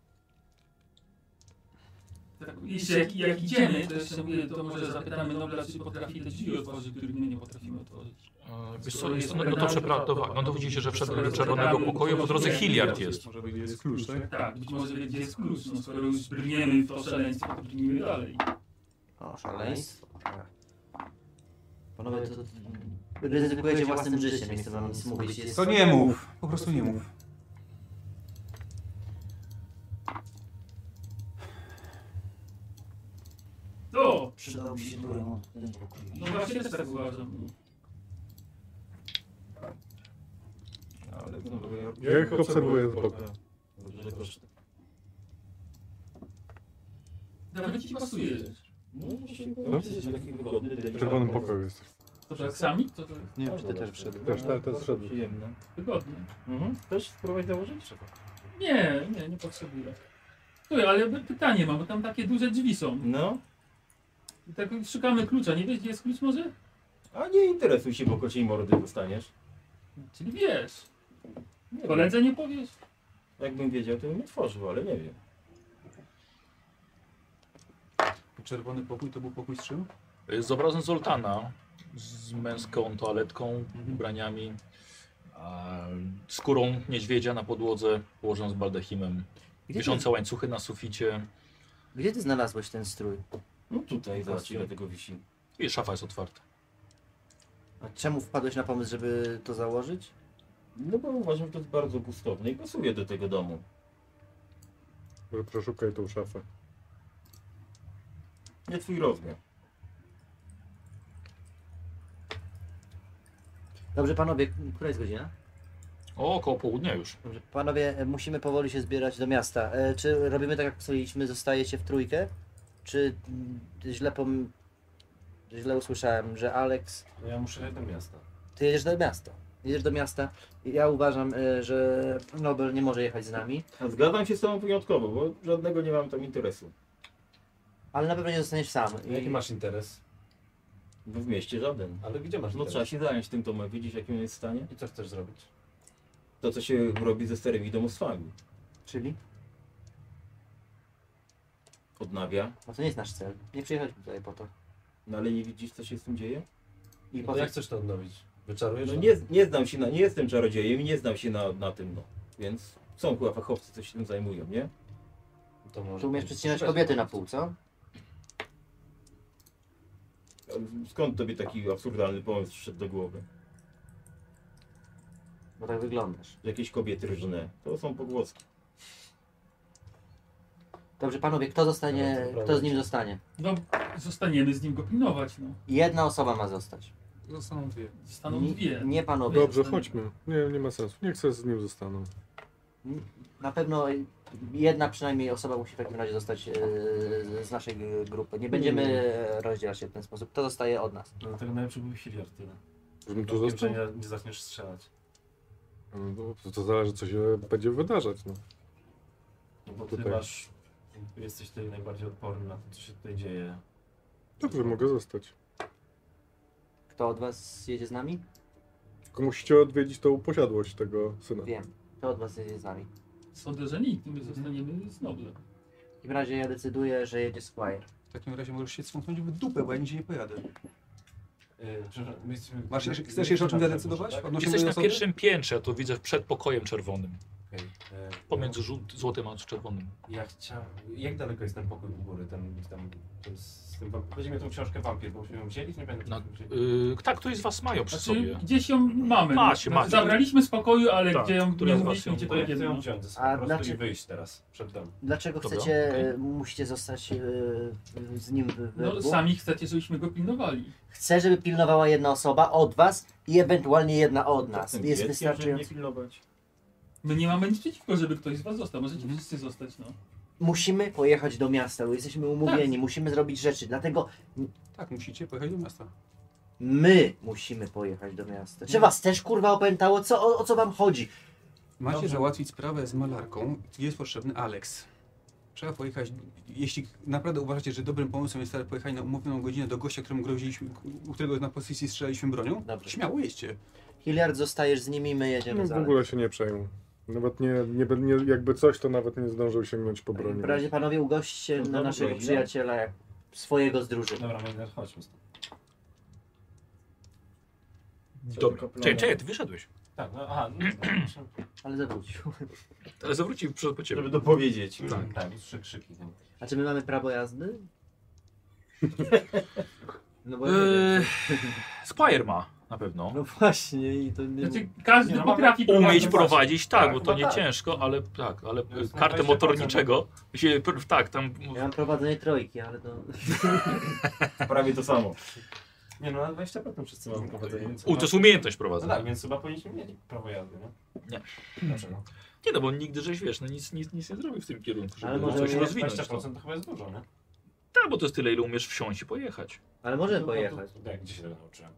Speaker 6: Jeśli Tak, jak, jak idziemy, to jeszcze mówię, to może zapytamy Nobla, czy potrafi te drzwi otworzyć, których my nie potrafimy otworzyć.
Speaker 1: E, Wiesz co, jest, no, no to przepracowałem, no to widzicie, że wszedł do czerwonego pokoju, po drodze Hilliard jest.
Speaker 7: Może będzie jest klucz, tak?
Speaker 6: Tak, być może wie, gdzie jest klucz, no skoro już brniemy w to szaleństwo, to brnijmy dalej.
Speaker 5: O, szaleństwo. Panowie, to, to ryzykujecie własnym życiem, nie chcę wam nic mówić. Jest
Speaker 9: To nie mów, po prostu nie mów.
Speaker 6: No,
Speaker 5: Przydał mi się
Speaker 6: no właśnie też tak uważam.
Speaker 3: Ale znowu ja-
Speaker 4: Ja ich obserwuję z boku.
Speaker 3: Dobrze, proszę.
Speaker 6: Nawet ci pasuje.
Speaker 3: No, się- jesteś taki wygodny,
Speaker 4: W
Speaker 3: delikatny.
Speaker 4: czerwonym pokoju jest.
Speaker 6: To tak sami? To tak
Speaker 3: Nie,
Speaker 5: Każdy
Speaker 3: to
Speaker 5: też
Speaker 3: dobrze.
Speaker 5: wszedł.
Speaker 4: Też, też, też wszedł.
Speaker 3: Przyjemne.
Speaker 6: wygodnie.
Speaker 3: Mhm. Też spróbować założyć? Trzeba.
Speaker 6: Nie, nie, nie potrzebuję. Słuchaj, ale by- pytanie mam, bo tam takie duże drzwi są.
Speaker 3: No.
Speaker 6: I tak szukamy klucza, nie wiesz gdzie jest klucz może?
Speaker 3: A nie interesuj się, bo kociej mordy dostaniesz.
Speaker 6: Czyli wiesz.
Speaker 3: Nie wiem.
Speaker 6: Koledze nie powiesz?
Speaker 3: Jakbym wiedział, to bym nie tworzył, ale nie wiem.
Speaker 9: Czerwony pokój to był pokój z czym?
Speaker 1: E, Z obrazem Zoltana, z męską toaletką, ubraniami, a, skórą niedźwiedzia na podłodze, położoną z baldachimem,
Speaker 5: Gdzie ty,
Speaker 1: wiszące łańcuchy na suficie
Speaker 5: gdzie ty znalazłeś ten strój?
Speaker 3: No tutaj, zobacz ile tego wisi.
Speaker 1: i szafa jest otwarta.
Speaker 5: A czemu wpadłeś na pomysł, żeby to założyć?
Speaker 3: No bo uważam, że to jest bardzo gustowne i pasuje do tego domu.
Speaker 4: Może Przeszukaj tą szafę.
Speaker 3: Nie twój rozmiar.
Speaker 5: Dobrze, panowie, która jest godzina?
Speaker 1: O, około południa już.
Speaker 5: Dobrze, panowie, e, musimy powoli się zbierać do miasta. E, czy robimy tak, jak ustaliliśmy, zostajecie w trójkę? Czy mm, źle pom... źle usłyszałem, że Alex...
Speaker 2: No ja muszę jechać do miasta.
Speaker 5: Ty jedziesz do miasta. Jedziesz do miasta. Ja uważam, e, że Nobel nie może jechać z nami,
Speaker 3: A zgadzam się z tobą wyjątkowo, bo żadnego nie mam tam interesu.
Speaker 5: ale na pewno nie zostaniesz sam. I-
Speaker 2: Jaki masz interes?
Speaker 3: Bo w mieście żaden.
Speaker 2: Ale gdzie masz
Speaker 3: No
Speaker 2: interes?
Speaker 3: trzeba się zająć tym domem, widzisz jakim on jest w stanie?
Speaker 2: I co chcesz zrobić?
Speaker 3: To co się robi ze starymi domostwami.
Speaker 5: Czyli?
Speaker 3: Odnawia,
Speaker 5: No to nie jest nasz cel. Nie przyjechaliśmy tutaj po to.
Speaker 3: no ale nie widzisz co się z tym dzieje?
Speaker 5: I po
Speaker 2: No
Speaker 5: to...
Speaker 2: jak chcesz to odnowić? Wyczarujesz?
Speaker 3: No nie, nie znam się na, nie jestem czarodziejem i nie znam się na, na tym no. Więc są chyba fachowcy, co się tym zajmują, nie?
Speaker 2: To może
Speaker 5: Tu umiesz przecinać
Speaker 2: Weź,
Speaker 5: kobiety na pół, co?
Speaker 3: Skąd tobie taki absurdalny pomysł przyszedł do głowy?
Speaker 5: Bo tak wyglądasz.
Speaker 3: Że Jakieś kobiety różne. To są pogłoski.
Speaker 5: Dobrze, panowie, kto zostanie, kto z nim zostanie?
Speaker 6: No, zostaniemy z nim go pilnować, no.
Speaker 5: Jedna osoba ma zostać.
Speaker 9: Zostaną dwie.
Speaker 6: Zostaną
Speaker 5: Nie-
Speaker 6: dwie.
Speaker 5: Nie panowie.
Speaker 4: Dobrze, chodźmy. Nie, nie ma sensu. Nie chcę z nim zostaną.
Speaker 5: Na pewno jedna przynajmniej osoba musi w takim razie zostać e, z naszej g- grupy. Nie będziemy e, rozdzielać się w ten sposób. To zostaje od nas.
Speaker 2: No dlatego najlepszy był Hilliard tyle.
Speaker 4: Żebym tu
Speaker 2: Tu
Speaker 4: został?
Speaker 2: że nie, nie zaczniesz strzelać.
Speaker 4: No, to, to zależy, co się będzie wydarzać. No.
Speaker 2: No bo ty
Speaker 4: Tutaj.
Speaker 2: masz... Jesteś tutaj najbardziej odporny na to, co się tutaj dzieje.
Speaker 4: Dobrze, mogę zostać.
Speaker 5: Kto od was jedzie z nami?
Speaker 4: Tylko musicie odwiedzić tą posiadłość tego syna.
Speaker 5: Wiem. Kto od was jedzie z nami?
Speaker 6: Sądzę, że nikt, my zostaniemy z Noblem.
Speaker 5: W takim razie ja decyduję, że jedzie Squire.
Speaker 9: W takim razie możesz się cmoknąć w dupę, bo ja nigdzie nie pojadę.
Speaker 2: Yy, przepraszam, my jesteśmy...
Speaker 9: Masz, jeszcze- chcesz jeszcze o czym
Speaker 2: Tak,
Speaker 9: zadecydować? No.
Speaker 2: może, tak?
Speaker 9: Odnośnie
Speaker 1: Jesteś
Speaker 9: mojej
Speaker 1: na
Speaker 9: osoby?
Speaker 1: pierwszym piętrze, ja to widzę przed pokojem czerwonym.
Speaker 2: Okej, e,
Speaker 1: Pomiędzy żół- złotym a czerwonym.
Speaker 2: Ja chciałem... Jak daleko jest ten pokój u góry? Ten, ten, ten, z tym, wam- weźmiemy tą książkę Wampir, bo myśmy ją wzięli, nie pamiętam.
Speaker 1: Na-
Speaker 2: czy myśmy wzięli.
Speaker 1: Yy, tak, któryś z was mają przy
Speaker 6: Znaczy,
Speaker 1: sobie.
Speaker 6: gdzieś ją mamy. no.
Speaker 1: Macie, macie.
Speaker 6: Zabraliśmy z pokoju, ale
Speaker 1: Tak,
Speaker 6: gdzie ją
Speaker 1: która
Speaker 6: nie
Speaker 1: z was
Speaker 6: mówiliśmy,
Speaker 1: ją
Speaker 6: gdzie
Speaker 1: ma?
Speaker 2: To ja chcę
Speaker 6: pojedziemy.
Speaker 2: ją wziąć ze sobą po
Speaker 5: A
Speaker 2: prostu
Speaker 5: znaczy-
Speaker 2: i wyjść teraz, przed dom.
Speaker 5: Dlaczego
Speaker 1: Dobra,
Speaker 5: chcecie,
Speaker 1: okej.
Speaker 5: e, musicie zostać e, z nim w, w
Speaker 6: No,
Speaker 5: dwóch?
Speaker 6: sami chcecie, żebyśmy go pilnowali.
Speaker 5: Chcę, żeby pilnowała jedna osoba od was i ewentualnie jedna od nas.
Speaker 3: Ten
Speaker 5: Jest
Speaker 3: pies, żeby nie
Speaker 5: wystarczająco.
Speaker 3: pilnować.
Speaker 6: My nie mamy nic przeciwko, żeby ktoś z was został. Możecie wszyscy zostać, no.
Speaker 5: Musimy pojechać do miasta, bo jesteśmy umówieni,
Speaker 6: Tak.
Speaker 5: musimy zrobić rzeczy. Dlatego
Speaker 9: Tak, musicie pojechać do miasta.
Speaker 5: my musimy pojechać do miasta. Czy was też kurwa opętało? Co, o, o co wam chodzi?
Speaker 9: Macie
Speaker 5: Dobrze.
Speaker 9: załatwić sprawę z malarką. Jest potrzebny Alex. Trzeba pojechać, jeśli naprawdę uważacie, że dobrym pomysłem jest pojechanie na umówioną godzinę do gościa, któremu groziliśmy, u którego na pozycji strzelaliśmy bronią,
Speaker 5: Dobrze.
Speaker 9: śmiało jedźcie.
Speaker 5: Hilliard, zostajesz z nimi, my jedziemy
Speaker 4: No,
Speaker 5: za
Speaker 4: w ogóle się nie przejmą. Nawet nie, nie, bę- nie, jakby coś, to nawet nie zdążył sięgnąć po broni.
Speaker 5: W razie panowie ugoście na naszego przyjaciela jak swojego z drużyny.
Speaker 2: Dobra, Magda, chodźmy stąd.
Speaker 1: Dobra. Czekaj, czekaj, ty wyszedłeś.
Speaker 2: Tak, no aha, no, no,
Speaker 5: Ale zawrócił.
Speaker 1: Ale zawrócił przed po ciebie.
Speaker 3: Żeby dopowiedzieć.
Speaker 2: tak, tak, trzy krzyki. No.
Speaker 5: A czy my mamy prawo jazdy? No bo...
Speaker 1: Yy, Squire ma na pewno.
Speaker 5: No właśnie i to nie...
Speaker 6: Znaczy, każdy
Speaker 2: Nie, no,
Speaker 6: potrafi
Speaker 1: Umieć
Speaker 6: prowadzić.
Speaker 1: prowadzić, tak,
Speaker 2: Tak,
Speaker 1: bo to
Speaker 2: no
Speaker 1: nie
Speaker 2: tak.
Speaker 1: ciężko, ale tak, ale
Speaker 2: No jest na
Speaker 1: kartę
Speaker 2: 20%.
Speaker 1: motorniczego się, pr- tak, tam
Speaker 5: Ja mam prowadzenie trojki, ale to...
Speaker 3: Prawie to samo.
Speaker 2: Nie no, na 20% wszyscy mamy prowadzenie. więc
Speaker 1: u,
Speaker 2: chyba-
Speaker 1: to jest umiejętność
Speaker 2: No
Speaker 1: prowadzenia.
Speaker 2: tak, więc chyba powinniśmy mieć prawo jazdy, nie?
Speaker 1: Nie.
Speaker 2: Dlaczego?
Speaker 1: Nie no, bo nigdy żeś wiesz, no nic, nic, nic nie zrobił w tym kierunku, żeby
Speaker 5: Ale może
Speaker 1: coś
Speaker 5: nie
Speaker 1: rozwinąć. To.
Speaker 2: 20% to chyba jest dużo, nie?
Speaker 1: Tak, bo to jest tyle, ile umiesz wsiąść i pojechać.
Speaker 5: Ale możemy
Speaker 2: No to-
Speaker 5: pojechać.
Speaker 2: to- Tak, gdzie się tego nauczyłem?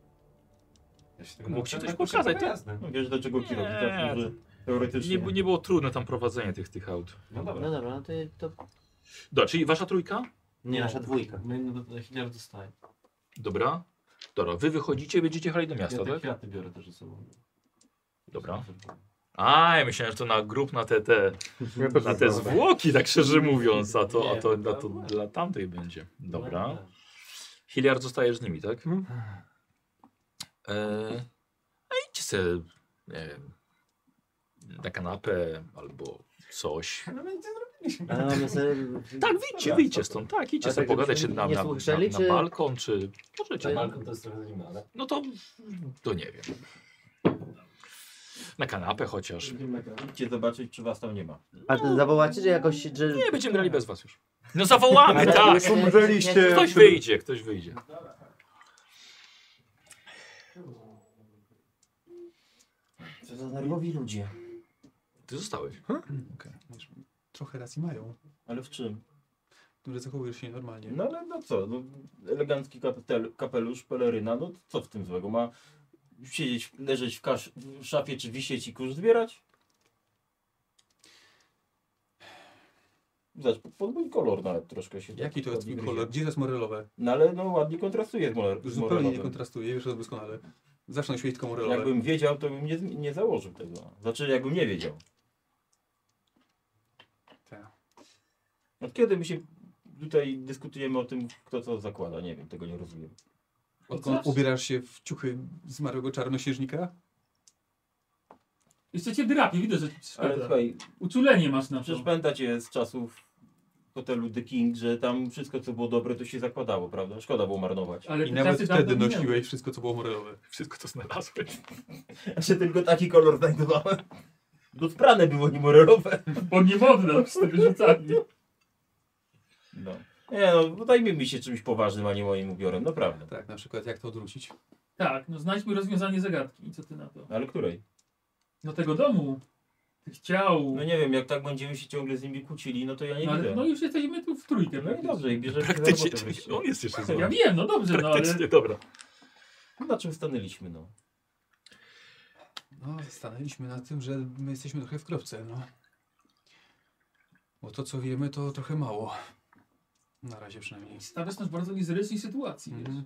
Speaker 2: Ja się tego
Speaker 1: Mógł ci
Speaker 2: nauczyłem
Speaker 1: coś
Speaker 2: na kursie
Speaker 1: pokazać,
Speaker 2: prawa
Speaker 1: tak?
Speaker 2: jazdy.
Speaker 3: No, Wiesz dlaczego
Speaker 1: Nie.
Speaker 3: kierowca?
Speaker 2: tak,
Speaker 3: Dlatego, że Teoretycznie.
Speaker 1: Nie, bu- nie było trudne tam prowadzenie tych, tych aut.
Speaker 2: No dobra.
Speaker 5: No dobra, no to... to...
Speaker 1: Dobra, czyli wasza trójka?
Speaker 5: Nie, nasza dwójka.
Speaker 2: <laughs> My no, do chwilę dostaję.
Speaker 1: Dobra. Dobra, wy wychodzicie i będziecie jechali do
Speaker 2: Ja
Speaker 1: miasta,
Speaker 2: te
Speaker 1: tak?
Speaker 2: kwiaty biorę też ze sobą.
Speaker 1: Dobra. A, ja myślałem, że to na grup, na te, te,
Speaker 6: <laughs>
Speaker 4: Ja też
Speaker 1: na
Speaker 4: nie
Speaker 1: te
Speaker 4: znam.
Speaker 1: zwłoki, tak szczerze mówiąc, a to, a to,
Speaker 2: Nie,
Speaker 1: a to
Speaker 2: dobra.
Speaker 1: dla tamtej będzie.
Speaker 2: No,
Speaker 1: Dobra. Hiliard zostajesz z nimi, tak?
Speaker 4: Mhm.
Speaker 1: Eee, a idźcie se, nie wiem, na kanapę albo coś.
Speaker 2: No będzie zrobiliśmy.
Speaker 5: Ale mamy sobie...
Speaker 1: Tak, wyjdźcie,
Speaker 2: Dobra,
Speaker 1: wyjdźcie
Speaker 2: spoko.
Speaker 1: stąd, tak, idźcie
Speaker 5: Ale
Speaker 1: sobie
Speaker 5: tak,
Speaker 1: pogadać czy
Speaker 5: żebyśmy
Speaker 1: na,
Speaker 5: nie
Speaker 1: na, na,
Speaker 5: słyszeli,
Speaker 1: na
Speaker 5: czy-
Speaker 1: balkon, czy możecie.
Speaker 5: Czy-
Speaker 1: Na,
Speaker 2: Balkon to jest trochę zimne, ale...
Speaker 1: no to, to nie wiem. Na kanapę chociaż.
Speaker 3: Idźcie zobaczyć, czy was tam nie ma.
Speaker 5: A to zawołacie, że jakoś... Że...
Speaker 1: Nie, będziemy grali bez was już. No zawołamy, tak!
Speaker 5: Ja- ja-
Speaker 4: umrzeliście.
Speaker 5: ja-
Speaker 1: Ktoś wyjdzie, ktoś wyjdzie.
Speaker 5: Co za nerwowi ludzie.
Speaker 1: Ty zostałeś.
Speaker 9: Trochę racji mają,
Speaker 3: Ale w czym?
Speaker 9: które zachowujesz się normalnie.
Speaker 3: No ale no co? No, elegancki kapetel, kapelusz, peleryna, no co w tym złego? Ma siedzieć, leżeć w, kasz, w szafie, czy wisieć i kurz zbierać? Zobacz, podbój kolor nawet troszkę się. tak
Speaker 9: Jaki to jest twój
Speaker 3: odgryzie.
Speaker 9: kolor? Gdzie to jest morelowe?
Speaker 3: No ale no ładnie kontrastuje z moler-
Speaker 9: Już
Speaker 3: z
Speaker 9: zupełnie nie
Speaker 3: morelowym.
Speaker 9: kontrastuje, wiesz to doskonale. Zacznę świecić tylko morelowe.
Speaker 3: Jakbym wiedział, to bym nie, nie założył tego. Znaczy, jakbym nie wiedział.
Speaker 9: Tak.
Speaker 3: Od No, kiedy my się tutaj dyskutujemy o tym, kto co zakłada? Nie wiem, tego nie rozumiem.
Speaker 9: Odkąd ubierasz się w ciuchy zmarłego czarnoksiężnika?
Speaker 6: Jeszcze cię drapie, widzę, że ci
Speaker 3: Ale
Speaker 6: przeszkadza.
Speaker 3: słuchaj,
Speaker 6: Uczulenie masz na
Speaker 3: przecież
Speaker 6: to.
Speaker 3: pamiętacie z czasów hotelu The King, że tam wszystko, co było dobre, to się zakładało, prawda? Szkoda było marnować.
Speaker 6: Ale
Speaker 9: I
Speaker 6: te
Speaker 9: nawet
Speaker 6: czasy
Speaker 9: wtedy
Speaker 6: dawno minęły.
Speaker 9: nosiłeś wszystko, co było morelowe.
Speaker 1: Wszystko to znalazłeś.
Speaker 3: Ja się tylko taki kolor znajdowałem. Bo sprane było, nie morelowe.
Speaker 6: <laughs> Bo nie modno z tego rzucanie.
Speaker 3: No. Nie no, zajmijmy się czymś poważnym, a nie moim ubiorem, naprawdę.
Speaker 9: Tak, na przykład jak to odwrócić.
Speaker 6: Tak, no znajdźmy rozwiązanie zagadki. Co ty na to?
Speaker 3: Ale której?
Speaker 6: No tego domu. Tych ciał.
Speaker 3: No nie wiem, jak tak będziemy się ciągle z nimi kłócili, no to ja nie
Speaker 6: No, ale,
Speaker 3: widzę.
Speaker 6: no już jesteśmy tu w trójkę.
Speaker 3: No i
Speaker 6: praktycznie.
Speaker 3: dobrze, i bierzemy się za
Speaker 1: Praktycznie,
Speaker 3: robotę wreszcie.
Speaker 1: on jest jeszcze z
Speaker 6: Ja
Speaker 1: wami.
Speaker 6: wiem, no dobrze, no ale...
Speaker 1: Praktycznie, dobra.
Speaker 3: No Na czym stanęliśmy, no?
Speaker 9: No, stanęliśmy na tym, że my jesteśmy trochę w kropce, no. Bo to, co wiemy, to trochę mało. Na razie przynajmniej.
Speaker 6: Stawiasz nas w bardzo niezręcznej sytuacji, wiesz.
Speaker 9: Mhm.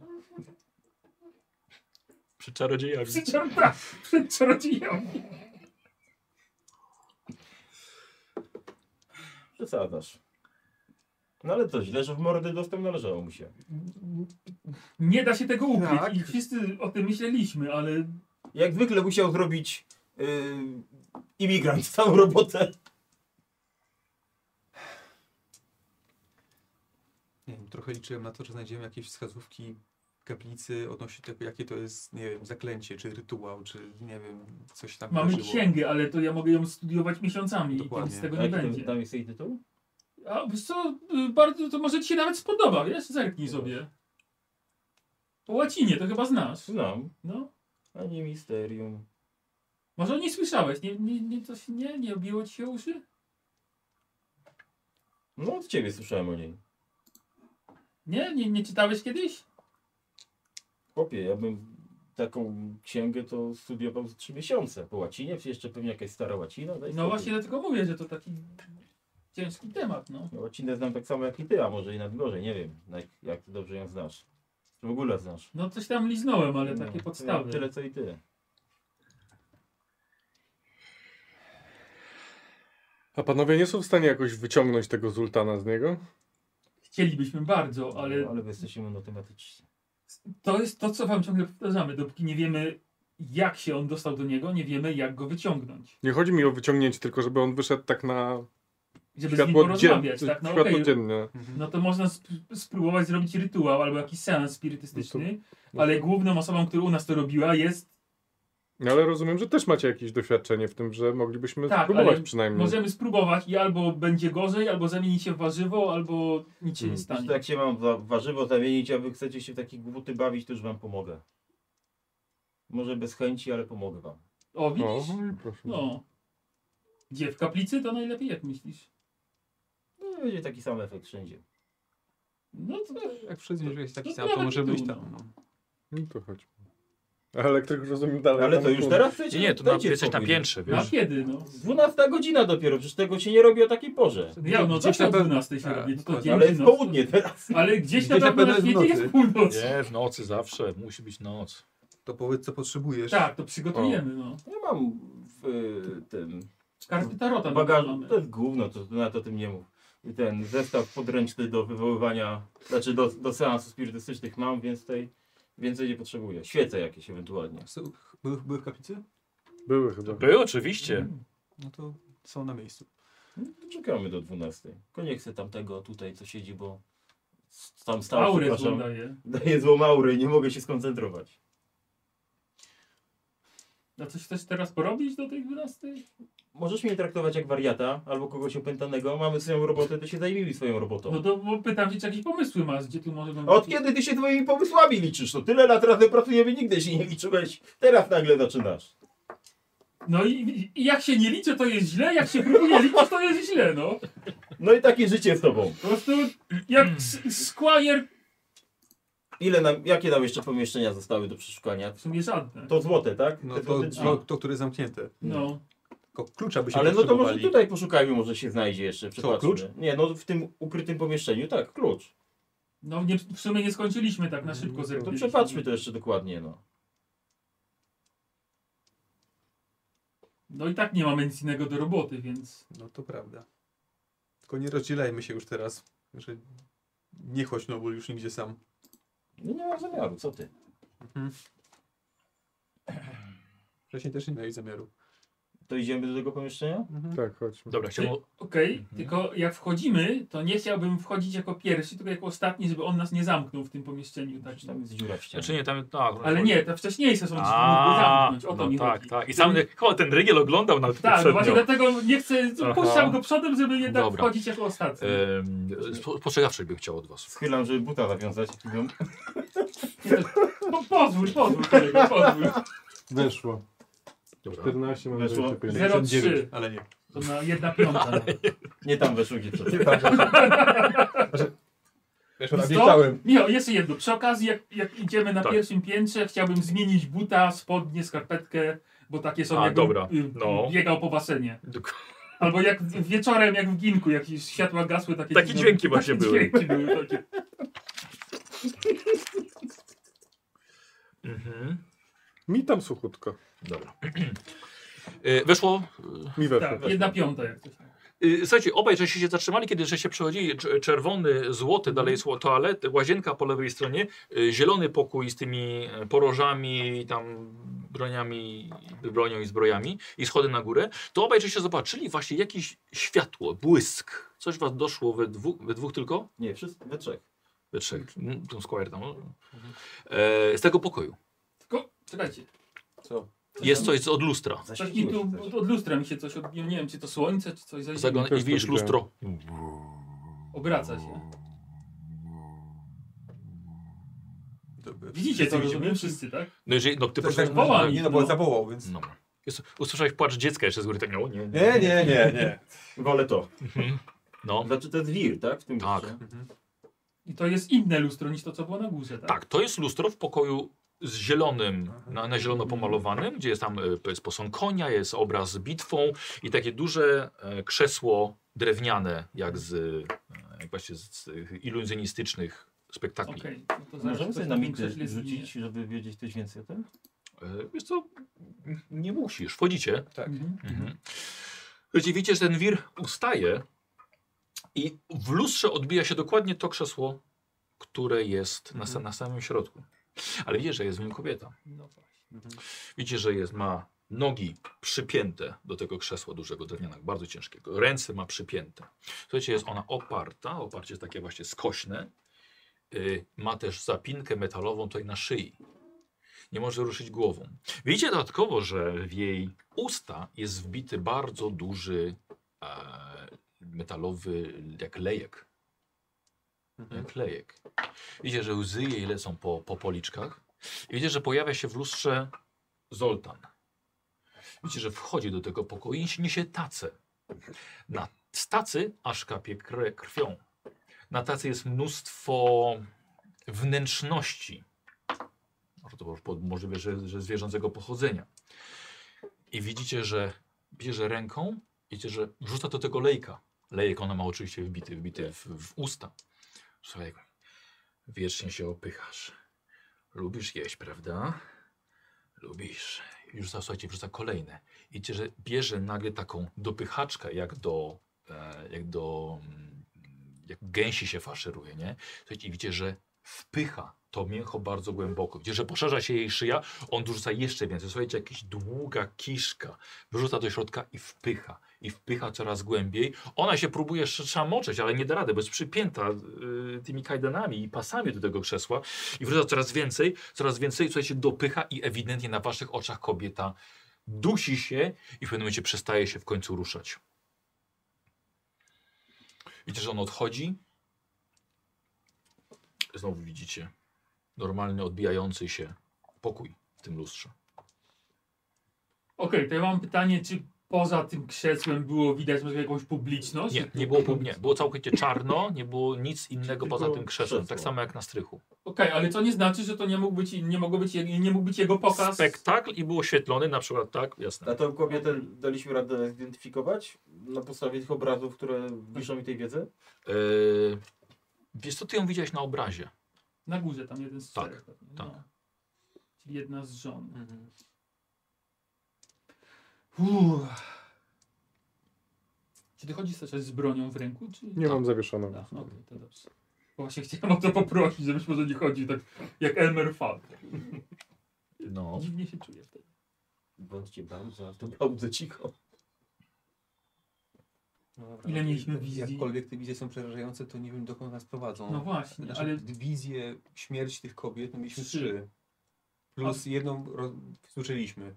Speaker 1: Przy czarodziejach.
Speaker 6: Przed czarta, przed czarodziejami.
Speaker 3: Przesadzasz. No ale co, źle, że w mordę dostęp należało mu się.
Speaker 6: Nie da się tego ukryć
Speaker 9: Tak.
Speaker 6: i wszyscy o tym myśleliśmy, ale
Speaker 3: <laughs> Jak zwykle musiał zrobić yy, imigrant całą robotę.
Speaker 9: nie wiem, trochę liczyłem na to, że znajdziemy jakieś wskazówki kaplicy odnośnie tego, jakie to jest, nie wiem, zaklęcie, czy rytuał, czy nie wiem, coś tam
Speaker 6: Mamy
Speaker 9: wydarzyło.
Speaker 6: księgę, ale to ja mogę ją studiować miesiącami
Speaker 9: tak. Dokładnie.
Speaker 6: i nic z tego nie
Speaker 3: Jaki to-
Speaker 6: będzie.
Speaker 3: Tam jest jej tytuł?
Speaker 6: A wiesz co, y, bardzo, to może ci się nawet spodoba, wiesz? Zerknij sobie. Po łacinie, to chyba znasz.
Speaker 3: Znam.
Speaker 6: No.
Speaker 3: Ani misterium.
Speaker 6: Może nie słyszałeś, nie, nie, nie, to się nie, nie obiło ci się o uszy?
Speaker 3: No od ciebie słyszałem o niej.
Speaker 6: Nie? Nie, nie czytałeś kiedyś?
Speaker 3: Chłopie, ja bym taką księgę to studiował z trzy miesiące. Po łacinie, czy jeszcze pewnie jakaś stara łacina. daj
Speaker 6: No
Speaker 3: spokój.
Speaker 6: właśnie dlatego mówię, że to taki ciężki temat, no.
Speaker 3: No, Łacinę znam tak samo jak i ty, a może i nawet gorzej, nie wiem, jak, jak ty dobrze ją znasz. Czy w ogóle znasz.
Speaker 6: No coś tam liznąłem, ale
Speaker 3: No,
Speaker 6: takie
Speaker 3: to
Speaker 6: podstawy.
Speaker 3: Tyle co i ty.
Speaker 4: A panowie nie są w stanie jakoś wyciągnąć tego zultana z niego?
Speaker 6: Chcielibyśmy bardzo, ale
Speaker 3: Ale wy jesteście monotematyczni.
Speaker 6: To jest to, co wam ciągle powtarzamy. Dopóki nie wiemy, jak się on dostał do niego, nie wiemy, jak go wyciągnąć.
Speaker 4: Nie chodzi mi o wyciągnięcie, tylko żeby on wyszedł tak na
Speaker 6: Żeby z nim
Speaker 4: światło,
Speaker 6: porozmawiać,
Speaker 4: dzien-
Speaker 6: tak? No
Speaker 4: światło
Speaker 6: okej,
Speaker 4: dzienne.
Speaker 6: no to można sp- spróbować zrobić rytuał albo jakiś seans spirytystyczny, ale główną osobą, która u nas to robiła jest...
Speaker 4: No, Ale rozumiem, że też macie jakieś doświadczenie w tym, że moglibyśmy
Speaker 6: Tak,
Speaker 4: spróbować
Speaker 6: ale
Speaker 4: przynajmniej.
Speaker 6: Możemy spróbować i albo będzie gorzej, albo zamieni się w warzywo, albo nic się nie
Speaker 4: Mhm.
Speaker 3: Znaczy,
Speaker 6: stanie.
Speaker 3: tak się mam wa- warzywo zamienić, a wy chcecie się w takie głupoty bawić, to już wam pomogę. Może bez chęci, ale pomogę wam.
Speaker 6: O,
Speaker 4: O,
Speaker 6: widzisz?
Speaker 4: no i proszę.
Speaker 6: No. Gdzie? W kaplicy to najlepiej, jak myślisz?
Speaker 3: No i będzie taki sam efekt wszędzie.
Speaker 6: No to...
Speaker 9: Jak wszędzie jest taki
Speaker 6: No
Speaker 9: sam,
Speaker 6: nawet
Speaker 9: to może być
Speaker 6: tu,
Speaker 9: tam. No.
Speaker 4: No to chodź. Ale ktoś rozumiem dalej.
Speaker 3: Ale
Speaker 4: tam
Speaker 3: to już
Speaker 4: tu-
Speaker 3: teraz chcecie?
Speaker 1: Nie, nie, to na,
Speaker 3: Dajcie
Speaker 1: jesteś na
Speaker 3: spokój.
Speaker 1: piętrze,
Speaker 6: Na
Speaker 1: wiesz.
Speaker 6: kiedy, no?
Speaker 3: 12 godzina dopiero, przecież tego się nie robi o takiej porze.
Speaker 6: Ja, no zawsze o
Speaker 9: na pe-
Speaker 6: 12 się
Speaker 9: A,
Speaker 6: robi, to
Speaker 9: dokładnie,
Speaker 6: dzień
Speaker 3: Ale
Speaker 6: czy
Speaker 3: jest
Speaker 6: noc?
Speaker 3: południe teraz.
Speaker 6: Ale gdzieś na
Speaker 9: Gdzieś na
Speaker 6: pewno na
Speaker 9: pewno jest
Speaker 6: świecie
Speaker 9: w
Speaker 6: jest północ.
Speaker 1: Nie, w nocy zawsze, musi być noc.
Speaker 7: To powiedz, co potrzebujesz.
Speaker 6: Tak, to przygotujemy, no.
Speaker 3: Ja mam w y, tym
Speaker 6: Karty tarota
Speaker 3: Bagażu,
Speaker 6: mamy.
Speaker 3: to jest gówno, to, to na to tym nie mów. I Ten zestaw podręczny do wywoływania, znaczy do, do seansów spirytystycznych mam, więc tutaj więcej nie potrzebuję. Świece jakieś ewentualnie.
Speaker 9: Są- Były, były w kaplicy?
Speaker 4: Były chyba.
Speaker 1: Były oczywiście.
Speaker 9: No to są na miejscu.
Speaker 3: Czekamy do 12. Tylko nie chcę tamtego tutaj, co siedzi, bo s- tam stał,
Speaker 6: Aurę
Speaker 3: przepraszam. <laughs>
Speaker 6: daje.
Speaker 3: Daję złą aurę i nie mogę się skoncentrować.
Speaker 6: A coś chcesz teraz porobić do tej 12?
Speaker 3: Możesz mnie traktować jak wariata albo kogoś opętanego, mamy swoją robotę, to się zajmijmy swoją
Speaker 6: No
Speaker 3: robotą.
Speaker 6: to bo pytam cię, czy jakieś pomysły masz, gdzie tu może być...
Speaker 3: Od kiedy ty się twoimi pomysłami liczysz? To tyle lat razem pracujemy, nigdy się nie liczyłeś. Teraz nagle zaczynasz.
Speaker 6: No i, i jak się nie liczy, to jest źle, jak się próbuje liczyć, to jest źle, no.
Speaker 3: No i takie życie z tobą.
Speaker 6: Po prostu jak
Speaker 3: Hmm.
Speaker 6: s- Squire...
Speaker 3: Ile nam, jakie nam jeszcze pomieszczenia zostały do przeszukania?
Speaker 6: W sumie żadne.
Speaker 3: To złote, tak?
Speaker 9: No
Speaker 3: Te
Speaker 9: to,
Speaker 3: złote drzwi.
Speaker 9: to, to które zamknięte.
Speaker 6: No.
Speaker 9: Tylko klucza by się
Speaker 3: Ale no to może
Speaker 9: potrzebowali.
Speaker 3: tutaj poszukajmy, może się znajdzie jeszcze. Przepatrzmy.
Speaker 9: klucz?
Speaker 3: Nie, no w tym ukrytym pomieszczeniu, tak, klucz.
Speaker 6: No nie, w sumie nie skończyliśmy tak na szybko
Speaker 3: To
Speaker 6: zerknąć.
Speaker 3: przepatrzmy to jeszcze dokładnie, no.
Speaker 6: No i tak nie mamy nic innego do roboty, więc...
Speaker 9: No to prawda. Tylko nie rozdzielajmy się już teraz, że nie chodź Nobul już nigdzie sam.
Speaker 3: No nie mam zamiaru, co ty?
Speaker 9: Wcześniej też nie miałeś zamiaru.
Speaker 3: To idziemy do tego pomieszczenia?
Speaker 9: Mhm.
Speaker 4: Tak, chodźmy.
Speaker 1: Dobra, chciałbym...
Speaker 6: Okej,
Speaker 1: Mhm.
Speaker 6: tylko jak wchodzimy, to nie chciałbym wchodzić jako pierwszy, tylko jako ostatni, żeby on nas nie zamknął w tym pomieszczeniu. Tak.
Speaker 3: Tam jest dziura w ścianie.
Speaker 1: Znaczy nie, tam... Tak,
Speaker 6: Ale nie, te wcześniejsze są, żeby mógł
Speaker 1: A,
Speaker 6: zamknąć. O to
Speaker 1: no
Speaker 6: mi
Speaker 1: tak,
Speaker 6: chodzi.
Speaker 1: tak. I sam chyba ten rygiel oglądał na
Speaker 6: Tak, no
Speaker 1: poprzednio.
Speaker 6: właśnie dlatego nie chcę,
Speaker 1: Aha.
Speaker 6: puszczam go przodem, żeby jednak
Speaker 1: Dobra.
Speaker 6: wchodzić jako ostatni.
Speaker 3: E,
Speaker 1: Ehm, spo- Spostrzegawczość bym chciał od was.
Speaker 3: Schylam, żeby buta nawiązać. No,
Speaker 6: Nie, to- Po, pozwól, pozwól, kolego, pozwól.
Speaker 4: Weszło.
Speaker 1: Dobra.
Speaker 4: 14 mam
Speaker 3: Weszło.
Speaker 4: 25.
Speaker 6: 0,3
Speaker 9: Ale nie.
Speaker 6: to na jedna piąta. nawet.
Speaker 3: Nie tam weszło gdzie trzeba.
Speaker 9: Weszło
Speaker 6: Wiesz co? Michał, jeszcze jedno. Przy okazji, jak, jak idziemy na
Speaker 1: Tak.
Speaker 6: pierwszym piętrze, chciałbym zmienić buta, spodnie, skarpetkę, bo takie są
Speaker 1: A,
Speaker 6: jakbym,
Speaker 1: dobra.
Speaker 6: y,
Speaker 1: No.
Speaker 6: biegał po basenie.
Speaker 1: Dok-
Speaker 6: Albo jak w- wieczorem, jak w ginku, jak już światła gasły, takie,
Speaker 1: Takie dźwięki właśnie
Speaker 6: takie
Speaker 1: były.
Speaker 6: Dźwięki były
Speaker 1: <laughs>
Speaker 6: takie.
Speaker 1: Mhm.
Speaker 4: Mi tam suchutko.
Speaker 1: Dobra. E, Weszło.
Speaker 4: Mi weszło.
Speaker 6: Tak, jedna piąta jak coś.
Speaker 1: E, Słuchajcie, obaj żeście się zatrzymali, kiedy żeście przechodzili cz- czerwony, złoty,
Speaker 6: Mhm.
Speaker 1: dalej sło- toalet, łazienka po lewej stronie, e, zielony pokój z tymi e, porożami, tam broniami, bronią i zbrojami i schody na górę, to obaj żeście zobaczyli właśnie jakieś światło, błysk. Coś was doszło we, dwu, we dwóch tylko?
Speaker 3: Nie, wszyscy, we trzech.
Speaker 1: We trzech.
Speaker 6: Mhm.
Speaker 1: Mm, Tą Squire tam. E, z tego pokoju.
Speaker 6: Tylko, czekajcie,
Speaker 3: Co?
Speaker 1: Jest coś z- od lustra.
Speaker 6: Mhm. coś mi tu od, od lustra mi się coś odbiło, nie wiem czy to słońce, czy coś zajdzie.
Speaker 1: Zagląda
Speaker 4: Też
Speaker 1: i
Speaker 4: to
Speaker 1: widzisz
Speaker 4: widziałem.
Speaker 1: lustro.
Speaker 6: Obraca się.
Speaker 7: Dobra.
Speaker 6: Widzicie to,
Speaker 7: Wszyscy
Speaker 6: rozumiem wszyscy, tak?
Speaker 1: No jeżeli, no ty
Speaker 7: Tak,
Speaker 1: poszedłeś-
Speaker 7: tak,
Speaker 6: woła.
Speaker 7: Nie no, bo
Speaker 6: No.
Speaker 7: zawołał, więc...
Speaker 1: No. Jest, usłyszałeś płacz dziecka jeszcze z góry, tak no, nie.
Speaker 3: Nie, nie, nie, nie. Wolę to.
Speaker 1: No.
Speaker 3: Znaczy to jest wir, tak? W tym
Speaker 1: Tak.
Speaker 3: liście.
Speaker 6: I to jest inne lustro niż to, co było na górze, tak?
Speaker 1: Tak, to jest lustro w pokoju z zielonym, na, na zielono pomalowanym, gdzie jest tam y, jest posąg konia, jest obraz z bitwą i takie duże e, krzesło drewniane, jak z, e, jak właśnie z, z tych iluzjonistycznych spektakli.
Speaker 6: Okej, no to
Speaker 3: To
Speaker 6: zaraz
Speaker 3: Możemy
Speaker 6: ktoś
Speaker 3: sobie
Speaker 6: na
Speaker 3: na
Speaker 6: tym
Speaker 3: mity
Speaker 6: krześle
Speaker 3: rzucić, żeby wiedzieć coś więcej o tym?
Speaker 1: E, Wiesz co, n- nie musisz, wchodzicie.
Speaker 7: Tak.
Speaker 6: Mhm.
Speaker 1: Mhm. Słuchajcie, widzicie, że ten wir ustaje i w lustrze odbija się dokładnie to krzesło, które jest na, sa- na samym środku. Ale widzisz, że jest w nim kobieta.
Speaker 6: Mhm. No właśnie.
Speaker 1: Widzicie, że jest, ma nogi przypięte do tego krzesła dużego drewnianego, bardzo ciężkiego. Ręce ma przypięte. Słuchajcie, jest ona oparta, oparcie jest takie właśnie skośne. Y, ma też zapinkę metalową tutaj na szyi. Nie może ruszyć głową. Widzicie dodatkowo, że w jej usta jest wbity bardzo duży e, metalowy jak lejek. Jak lejek. Widzicie, że łzy jej lecą po, po policzkach. I widzicie, że pojawia się w lustrze Zoltan. Widzicie, że wchodzi do tego pokoju i niesie tacę. Na z tacy aż kapie kre- krwią. Na tacy jest mnóstwo wnętrzności. Może to było pod- możliwe, że, że zwierzęcego pochodzenia. I widzicie, że bierze ręką, widzicie, że wrzuca do tego lejka. Lejek ona ma oczywiście wbity, wbity w, w usta. Słuchaj, wiecznie się opychasz. Lubisz jeść, prawda? Lubisz. Już za- słuchajcie, wrzuca kolejne. I widzicie, że bierze nagle taką dopychaczkę, jak do, e, jak do, mm, jak gęsi się faszeruje, nie? Słuchajcie, i widzicie, że wpycha to mięcho bardzo głęboko. Widzicie, że poszerza się jej szyja, on dorzuca jeszcze więcej. Słuchajcie, jakaś długa kiszka wyrzuca do środka i wpycha. I wpycha coraz głębiej. Ona się próbuje sz- szamoczeć, ale nie da rady, bo jest przypięta y, tymi kajdanami i pasami do tego krzesła. I wyrzuca coraz więcej, coraz więcej, słuchajcie, dopycha i ewidentnie na waszych oczach kobieta dusi się i w pewnym momencie przestaje się w końcu ruszać. Widzicie, że on odchodzi. Znowu widzicie normalny, odbijający się pokój w tym lustrze.
Speaker 6: Okej, to ja mam pytanie, czy poza tym krzesłem było widać może jakąś publiczność?
Speaker 1: Nie, nie było, pół- nie, było całkowicie czarno, nie było nic innego
Speaker 3: Tylko
Speaker 1: poza tym krzesłem.
Speaker 3: krzesło.
Speaker 1: Tak samo jak na strychu.
Speaker 6: Okej, ale to nie znaczy, że to nie mógł być, nie mogło być, nie mógł być jego pokaz.
Speaker 1: Spektakl i było oświetlony na przykład tak, jasne.
Speaker 3: A tą kobietę daliśmy radę zidentyfikować na podstawie tych obrazów, które wiszą mi tej wiedzy?
Speaker 1: Yy, wiesz co, ty ją widziałeś na obrazie.
Speaker 6: Na górze tam jeden z
Speaker 1: Tak,
Speaker 6: czterech. pewnie,
Speaker 1: tak.
Speaker 6: No. Czyli jedna z żon. Uff. Czy ty chodzisz też z bronią w ręku? Czy...
Speaker 4: Nie mam zawieszoną.
Speaker 6: A, okej, to dobrze. Bo właśnie chciałem o to poprosić, żebyś może nie chodził tak jak Elmer Fudd.
Speaker 1: No.
Speaker 6: Dziwnie się czuję wtedy.
Speaker 3: Bądźcie bardzo, to bardzo cicho.
Speaker 6: Ile mieliśmy wizji?
Speaker 7: Jakkolwiek te wizje są przerażające, to nie wiem dokąd nas prowadzą.
Speaker 6: No właśnie,
Speaker 7: Znaczy,
Speaker 6: ale
Speaker 7: wizję śmierci tych kobiet no mieliśmy
Speaker 6: Trzy.
Speaker 7: trzy. Plus jedną roz... słyszeliśmy.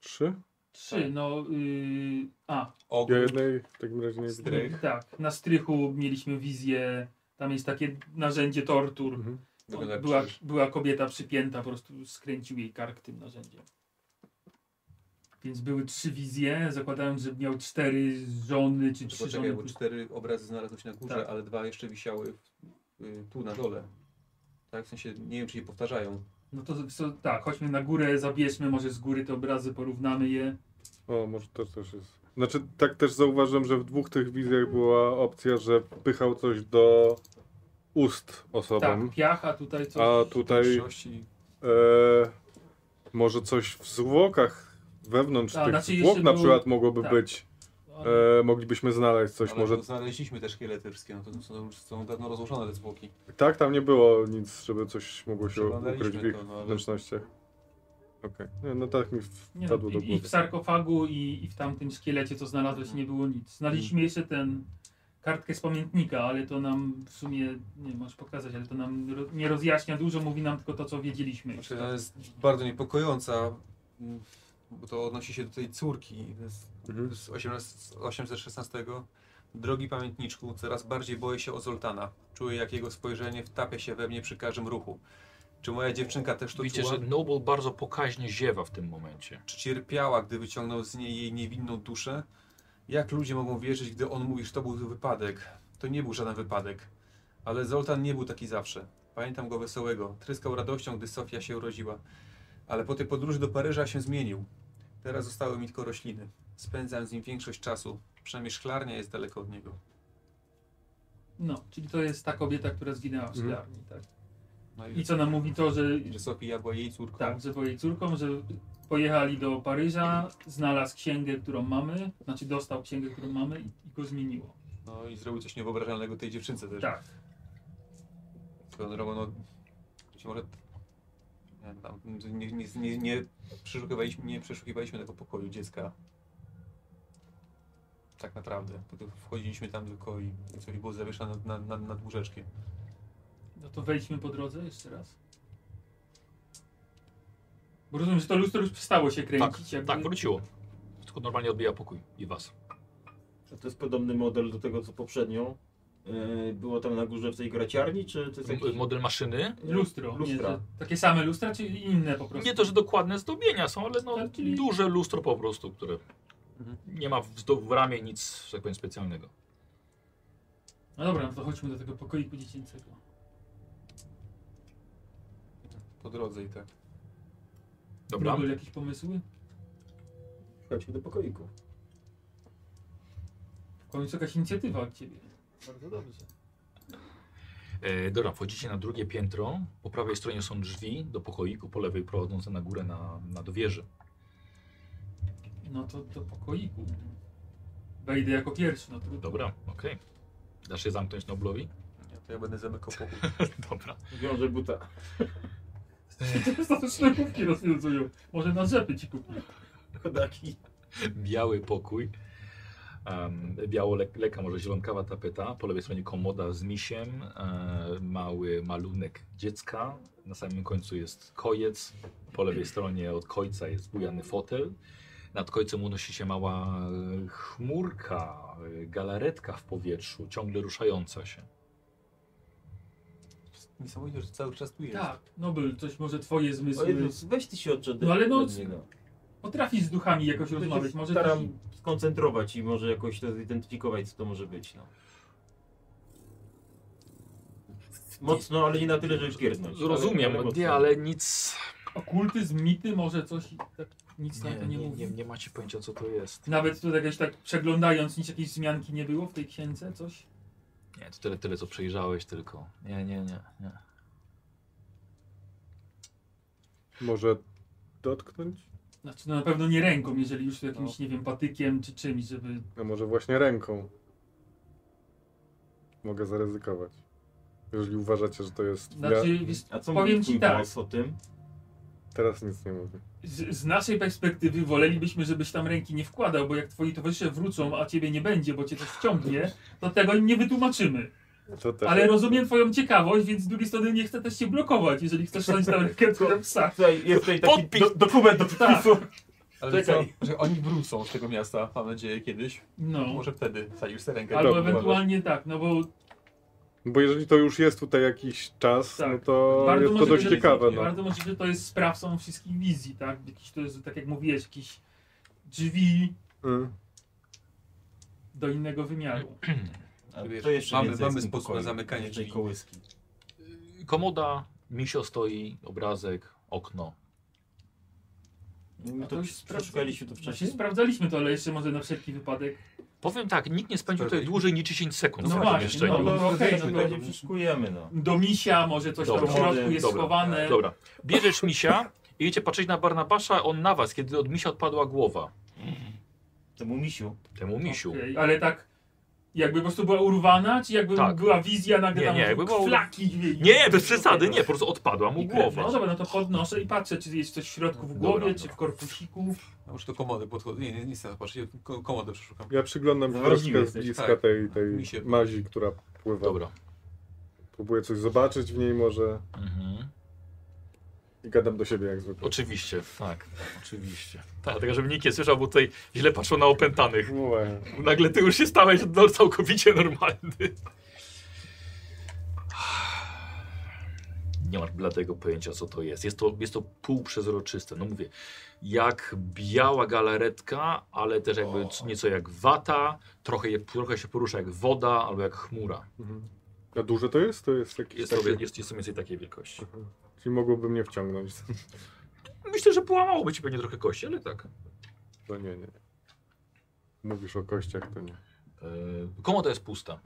Speaker 4: Trzy?
Speaker 6: trzy,
Speaker 7: Tak.
Speaker 6: no... Yy... A,
Speaker 4: Ja
Speaker 7: Ogólnie
Speaker 4: jednej w takim razie nie widzę.
Speaker 7: Strych.
Speaker 6: tak. Na strychu mieliśmy wizję, tam jest takie narzędzie tortur.
Speaker 4: Mhm.
Speaker 7: wygląda jak
Speaker 6: Była,
Speaker 7: krzyż.
Speaker 6: była kobieta przypięta, po prostu skręcił jej kark tym narzędziem. Więc były trzy wizje, zakładając, że miał cztery żony czy trzy
Speaker 7: No Poczekaj,
Speaker 6: żony.
Speaker 7: bo cztery obrazy znalazły się na górze,
Speaker 6: Tak.
Speaker 7: ale dwa jeszcze wisiały y, tu na dole. Tak, w sensie nie wiem, czy się powtarzają.
Speaker 6: No to so, tak, chodźmy na górę, zabierzmy może z góry te obrazy, porównamy je.
Speaker 4: O, może też też jest. Znaczy, tak też zauważyłem, że w dwóch tych wizjach była opcja, że pychał coś do ust osobom.
Speaker 6: Tak, piach, a tutaj coś.
Speaker 4: A tutaj
Speaker 7: Większości-
Speaker 4: e, może coś w zwłokach wewnątrz
Speaker 6: Tak,
Speaker 4: tych
Speaker 6: znaczy,
Speaker 4: zwłok
Speaker 6: jeśli
Speaker 4: na
Speaker 6: był-
Speaker 4: przykłyd mogłoby
Speaker 6: tak.
Speaker 4: być.
Speaker 6: Ale-
Speaker 4: E, moglibyśmy znaleźć coś.
Speaker 7: ale
Speaker 4: Może
Speaker 7: no, znaleźliśmy te szkielety wszystkie, no to są, są dawno rozłożone te zwłoki.
Speaker 6: Znaczy,
Speaker 4: tak, tam nie było nic, żeby coś mogło się ukryć w
Speaker 7: Przeglądaliśmy
Speaker 4: ich
Speaker 7: to, no ale...
Speaker 4: wnętrznościach. Okej, Nie, no tak mi
Speaker 6: Nie no,
Speaker 4: wpadło do
Speaker 6: i, I
Speaker 4: głowy.
Speaker 6: w sarkofagu i, i w tamtym szkielecie, co znalazłeś, nie było nic. Znaleźliśmy jeszcze ten kartkę z pamiętnika, ale to nam w sumie, nie masz pokazać, ale to nam ro, nie rozjaśnia dużo, mówi nam tylko to, co wiedzieliśmy. tak?
Speaker 9: Znaczy, ona jest bardzo niepokojąca, mm, bo to odnosi się do tej córki z,
Speaker 4: Mhm.
Speaker 9: z 18, z 816. Drogi pamiętniczku, coraz bardziej boję się o Zoltana. Czuję, jak jego spojrzenie wtapia się we mnie przy każdym ruchu. Czy moja dziewczynka też to
Speaker 1: Widzicie,
Speaker 9: czuła?
Speaker 1: że Noble bardzo pokaźnie ziewa w tym momencie.
Speaker 9: Czy cierpiała, gdy wyciągnął z niej jej niewinną duszę? Jak ludzie mogą wierzyć, gdy on mówi, że to był wypadek? To nie był żaden wypadek. Ale Zoltan nie był taki zawsze. Pamiętam go wesołego. Tryskał radością, gdy Sofia się urodziła. Ale po tej podróży do Paryża się zmienił. Teraz zostały mi tylko rośliny. Spędzam z nim większość czasu. Przynajmniej szklarnia jest daleko od niego.
Speaker 6: No, czyli to jest ta kobieta, która zginęła w
Speaker 4: Mhm.
Speaker 6: szklarni, tak?
Speaker 9: No
Speaker 6: I co nam mówi to, że
Speaker 9: Że Sofia była jej córką.
Speaker 6: Tak, ze twojej córką, że pojechali do Paryża, znalazł księgę, którą mamy, znaczy dostał księgę, którą mamy i, i go zmieniło.
Speaker 9: No i zrobił coś niewyobrażalnego tej dziewczynce też.
Speaker 6: Tak.
Speaker 9: Swoją drogą, no, być może ja tam nie, nie, nie, nie, przeszukiwaliśmy, nie przeszukiwaliśmy tego pokoju dziecka. Tak naprawdę. Bo to Wchodziliśmy tam tylko i coś było zawieszone nad, nad, nad łóżeczkiem.
Speaker 6: No to wejdźmy po drodze jeszcze raz. Bo rozumiem, że to lustro już przestało się kręcić. jakby...
Speaker 1: Tak, wróciło. Tylko normalnie odbija pokój i was.
Speaker 3: To jest podobny model do tego, co poprzednio yy, było tam na górze w tej graciarni, czy to jest jakiś...
Speaker 1: M- Model maszyny.
Speaker 6: Lustro. Nie,
Speaker 3: Lustra.
Speaker 6: że takie same lustra, czy inne po prostu?
Speaker 1: Nie to, że dokładne zdobienia są, ale no,
Speaker 6: Tak, czyli- Mhm.
Speaker 1: duże lustro po prostu, które nie ma w, zdo- w ramie nic że tak powiem, specjalnego.
Speaker 6: No dobra, no to chodźmy do tego pokoiku dziecięcego.
Speaker 9: Po drodze i tak.
Speaker 1: Dobra.
Speaker 6: Były jakieś pomysły?
Speaker 3: Chodźmy do pokoiku.
Speaker 6: W końcu jakaś inicjatywa od ciebie.
Speaker 10: Bardzo dobrze.
Speaker 1: E, dobra, wchodzicie na drugie piętro. Po prawej stronie są drzwi do pokoiku, po lewej prowadzące na górę na, na do wieży.
Speaker 6: No to do pokoiku. Wejdę jako pierwszy, no trudno.
Speaker 1: Dobra, okej. Dasz się zamknąć Noblowi?
Speaker 9: Ja to ja będę zamykał pokój.
Speaker 1: <laughs> Dobra.
Speaker 3: Wiąże buta.
Speaker 6: <laughs> Statyczne kubki rozwiązują. Może na rzepy ci kupi.
Speaker 3: Kodaki.
Speaker 1: Biały pokój. Um, biało le leka, może zielonkawa tapeta. Po lewej stronie komoda z misiem. E, mały malunek dziecka. Na samym końcu jest kojec. Po lewej stronie od kojca jest bujany fotel. Nad końcem unosi się mała e, chmurka, e, galaretka w powietrzu, ciągle ruszająca się.
Speaker 9: Niesamowite, że cały czas tu jest.
Speaker 6: Tak, Nobel, coś może twoje
Speaker 3: O
Speaker 6: zmysły.
Speaker 3: Jezus, weź ty się odczep
Speaker 6: No ale no-
Speaker 3: od niego.
Speaker 6: Potrafisz z duchami jakoś
Speaker 3: Ja się
Speaker 6: rozmawiać, może
Speaker 3: Staram
Speaker 6: ci-
Speaker 3: skoncentrować i może jakoś to zidentyfikować, co to może być. No. Mocno, ale nie na tyle, żeby pierdnąć.
Speaker 1: Rozumiem,
Speaker 3: ale, ale
Speaker 1: No, nie,
Speaker 3: mocno.
Speaker 1: ale nic.
Speaker 6: okultyzm, mity, może coś i tak nic na to
Speaker 1: Nie,
Speaker 6: nie
Speaker 1: nie,
Speaker 6: mówi.
Speaker 1: nie, nie macie pojęcia, co to jest.
Speaker 6: Nawet tu jakoś tak przeglądając, nic jakiejś wzmianki nie było w tej księdze, coś?
Speaker 1: Nie, to tyle, tyle co przejrzałeś tylko. Nie, nie, nie. nie.
Speaker 4: Może dotknąć?
Speaker 6: Znaczy no na pewno nie ręką, jeżeli już jakimś,
Speaker 1: No.
Speaker 6: nie wiem, patykiem czy czymś, żeby...
Speaker 4: A może właśnie ręką? Mogę zaryzykować. Jeżeli uważacie, że to jest. Ja
Speaker 6: Znaczy, wiesz,
Speaker 3: A co
Speaker 6: powiem
Speaker 3: mówi
Speaker 6: ci
Speaker 3: twój
Speaker 6: tak,
Speaker 3: głos o tym?
Speaker 4: teraz nic nie mówię.
Speaker 6: z, z naszej perspektywy wolelibyśmy, żebyś tam ręki nie wkładał, bo jak twoi towarzysze wrócą, a ciebie nie będzie, bo cię coś wciągnie, to tego im nie wytłumaczymy.
Speaker 4: To też.
Speaker 6: Ale rozumiem twoją ciekawość, więc z drugiej strony nie chcę też cię blokować, jeżeli chcesz stać na rękę Tak. to na psa.
Speaker 3: Tutaj jest tutaj taki
Speaker 1: Podpis!
Speaker 3: do, dokument do podpisu.
Speaker 9: Ale co,
Speaker 3: Czekaj.
Speaker 9: że oni wrócą z tego miasta, mam nadzieję, kiedyś.
Speaker 6: No.
Speaker 9: Może wtedy wsadzisz sobie rękę.
Speaker 6: Albo
Speaker 9: Dobra,
Speaker 6: ewentualnie tak, no bo
Speaker 4: Bo jeżeli to już jest tutaj jakiś czas,
Speaker 6: Tak.
Speaker 4: no to
Speaker 6: Bardzo
Speaker 4: jest to
Speaker 6: możliwe,
Speaker 4: dość
Speaker 6: że-
Speaker 4: ciekawe. No.
Speaker 6: bardzo możliwe, że to jest sprawcą wszystkich wizji, tak? Jakiś, to jest, tak jak mówiłeś, jakieś drzwi
Speaker 4: Mm.
Speaker 6: do innego wymiaru.
Speaker 3: A
Speaker 9: Wiesz,
Speaker 3: to jeszcze
Speaker 9: mamy-
Speaker 3: więcej
Speaker 9: mamy
Speaker 3: jest w tym
Speaker 9: sposób na
Speaker 3: pokoju,
Speaker 9: zamykanie
Speaker 3: niż tej
Speaker 9: drzwi.
Speaker 3: kołyski.
Speaker 1: Y, Komoda, misio stoi, obrazek, okno.
Speaker 3: No
Speaker 6: to
Speaker 1: No
Speaker 3: to
Speaker 6: już sprawdzę.
Speaker 3: przeszukaliśmy to
Speaker 6: Znaczy,
Speaker 3: wcześniej.
Speaker 6: sprawdzaliśmy to, ale jeszcze może na wszelki wypadek.
Speaker 1: Powiem tak, nikt nie spędził tutaj dłużej niż 10 sekund
Speaker 6: No
Speaker 1: w
Speaker 6: właśnie,
Speaker 1: tym pomieszczeniu.
Speaker 6: no, no, okej,
Speaker 3: Weźmy,
Speaker 6: no,
Speaker 3: tak
Speaker 6: to-
Speaker 3: nie przeszukujemy, no.
Speaker 6: do misia, może coś
Speaker 1: Dobra.
Speaker 6: tam w środku jest
Speaker 1: Dobra.
Speaker 6: schowane.
Speaker 1: Dobra, bierzesz misia i idziecie patrzeć na Barnabasza, on na was, kiedy od misia odpadła głowa.
Speaker 3: Temu misiu.
Speaker 1: Temu misiu.
Speaker 6: Okej, ale tak Jakby po prostu była urwana, czy jakby
Speaker 1: Tak.
Speaker 6: była wizja nagle
Speaker 1: Nie,
Speaker 6: tam
Speaker 1: nie, jakby była-
Speaker 6: flaki? Nie,
Speaker 1: Nie, nie, bez przesady, nie, po prostu odpadła mu
Speaker 6: No
Speaker 1: głowa.
Speaker 6: dobra, no to podnoszę i patrzę, czy jest coś w środku w
Speaker 1: Dobra,
Speaker 6: głowie,
Speaker 1: dobra.
Speaker 6: czy w korpusiku.
Speaker 7: A może to komody podchodzą. Nie, nie, nic teraz, patrz, ja ko- komodę przeszukam.
Speaker 4: Ja przyglądam się
Speaker 3: Wrażliwy
Speaker 4: troszkę z
Speaker 3: jesteś,
Speaker 4: bliska
Speaker 7: tak.
Speaker 4: tej,
Speaker 7: Mi
Speaker 4: tej
Speaker 7: się-
Speaker 4: mazi, która pływa.
Speaker 1: Dobra.
Speaker 4: Próbuję coś zobaczyć w niej może
Speaker 1: Mhm.
Speaker 4: i gadam do siebie jak zwykle.
Speaker 1: Oczywiście, tak, oczywiście. Tak, dlatego żeby nikt nie słyszał, bo tutaj źle patrzą na opętanych.
Speaker 4: No właśnie.
Speaker 1: Nagle ty już się stałeś no, całkowicie normalny. Nie masz bladego pojęcia, co to jest. Jest to, jest to półprzezroczyste. No mówię, jak biała galaretka, ale też jakby c- nieco jak wata, trochę, je, trochę się porusza jak woda albo jak chmura.
Speaker 4: Mhm. A duże to jest? To jest jakieś
Speaker 1: Jest,
Speaker 4: takie...
Speaker 1: to, jest, jest to mniej więcej takiej wielkości.
Speaker 4: Czyli mogłoby mnie wciągnąć.
Speaker 1: Myślę, że połamałoby ci pewnie trochę kości, ale tak.
Speaker 4: To No nie, nie. Mówisz o kościach, to nie.
Speaker 1: Yy, komoda jest pusta.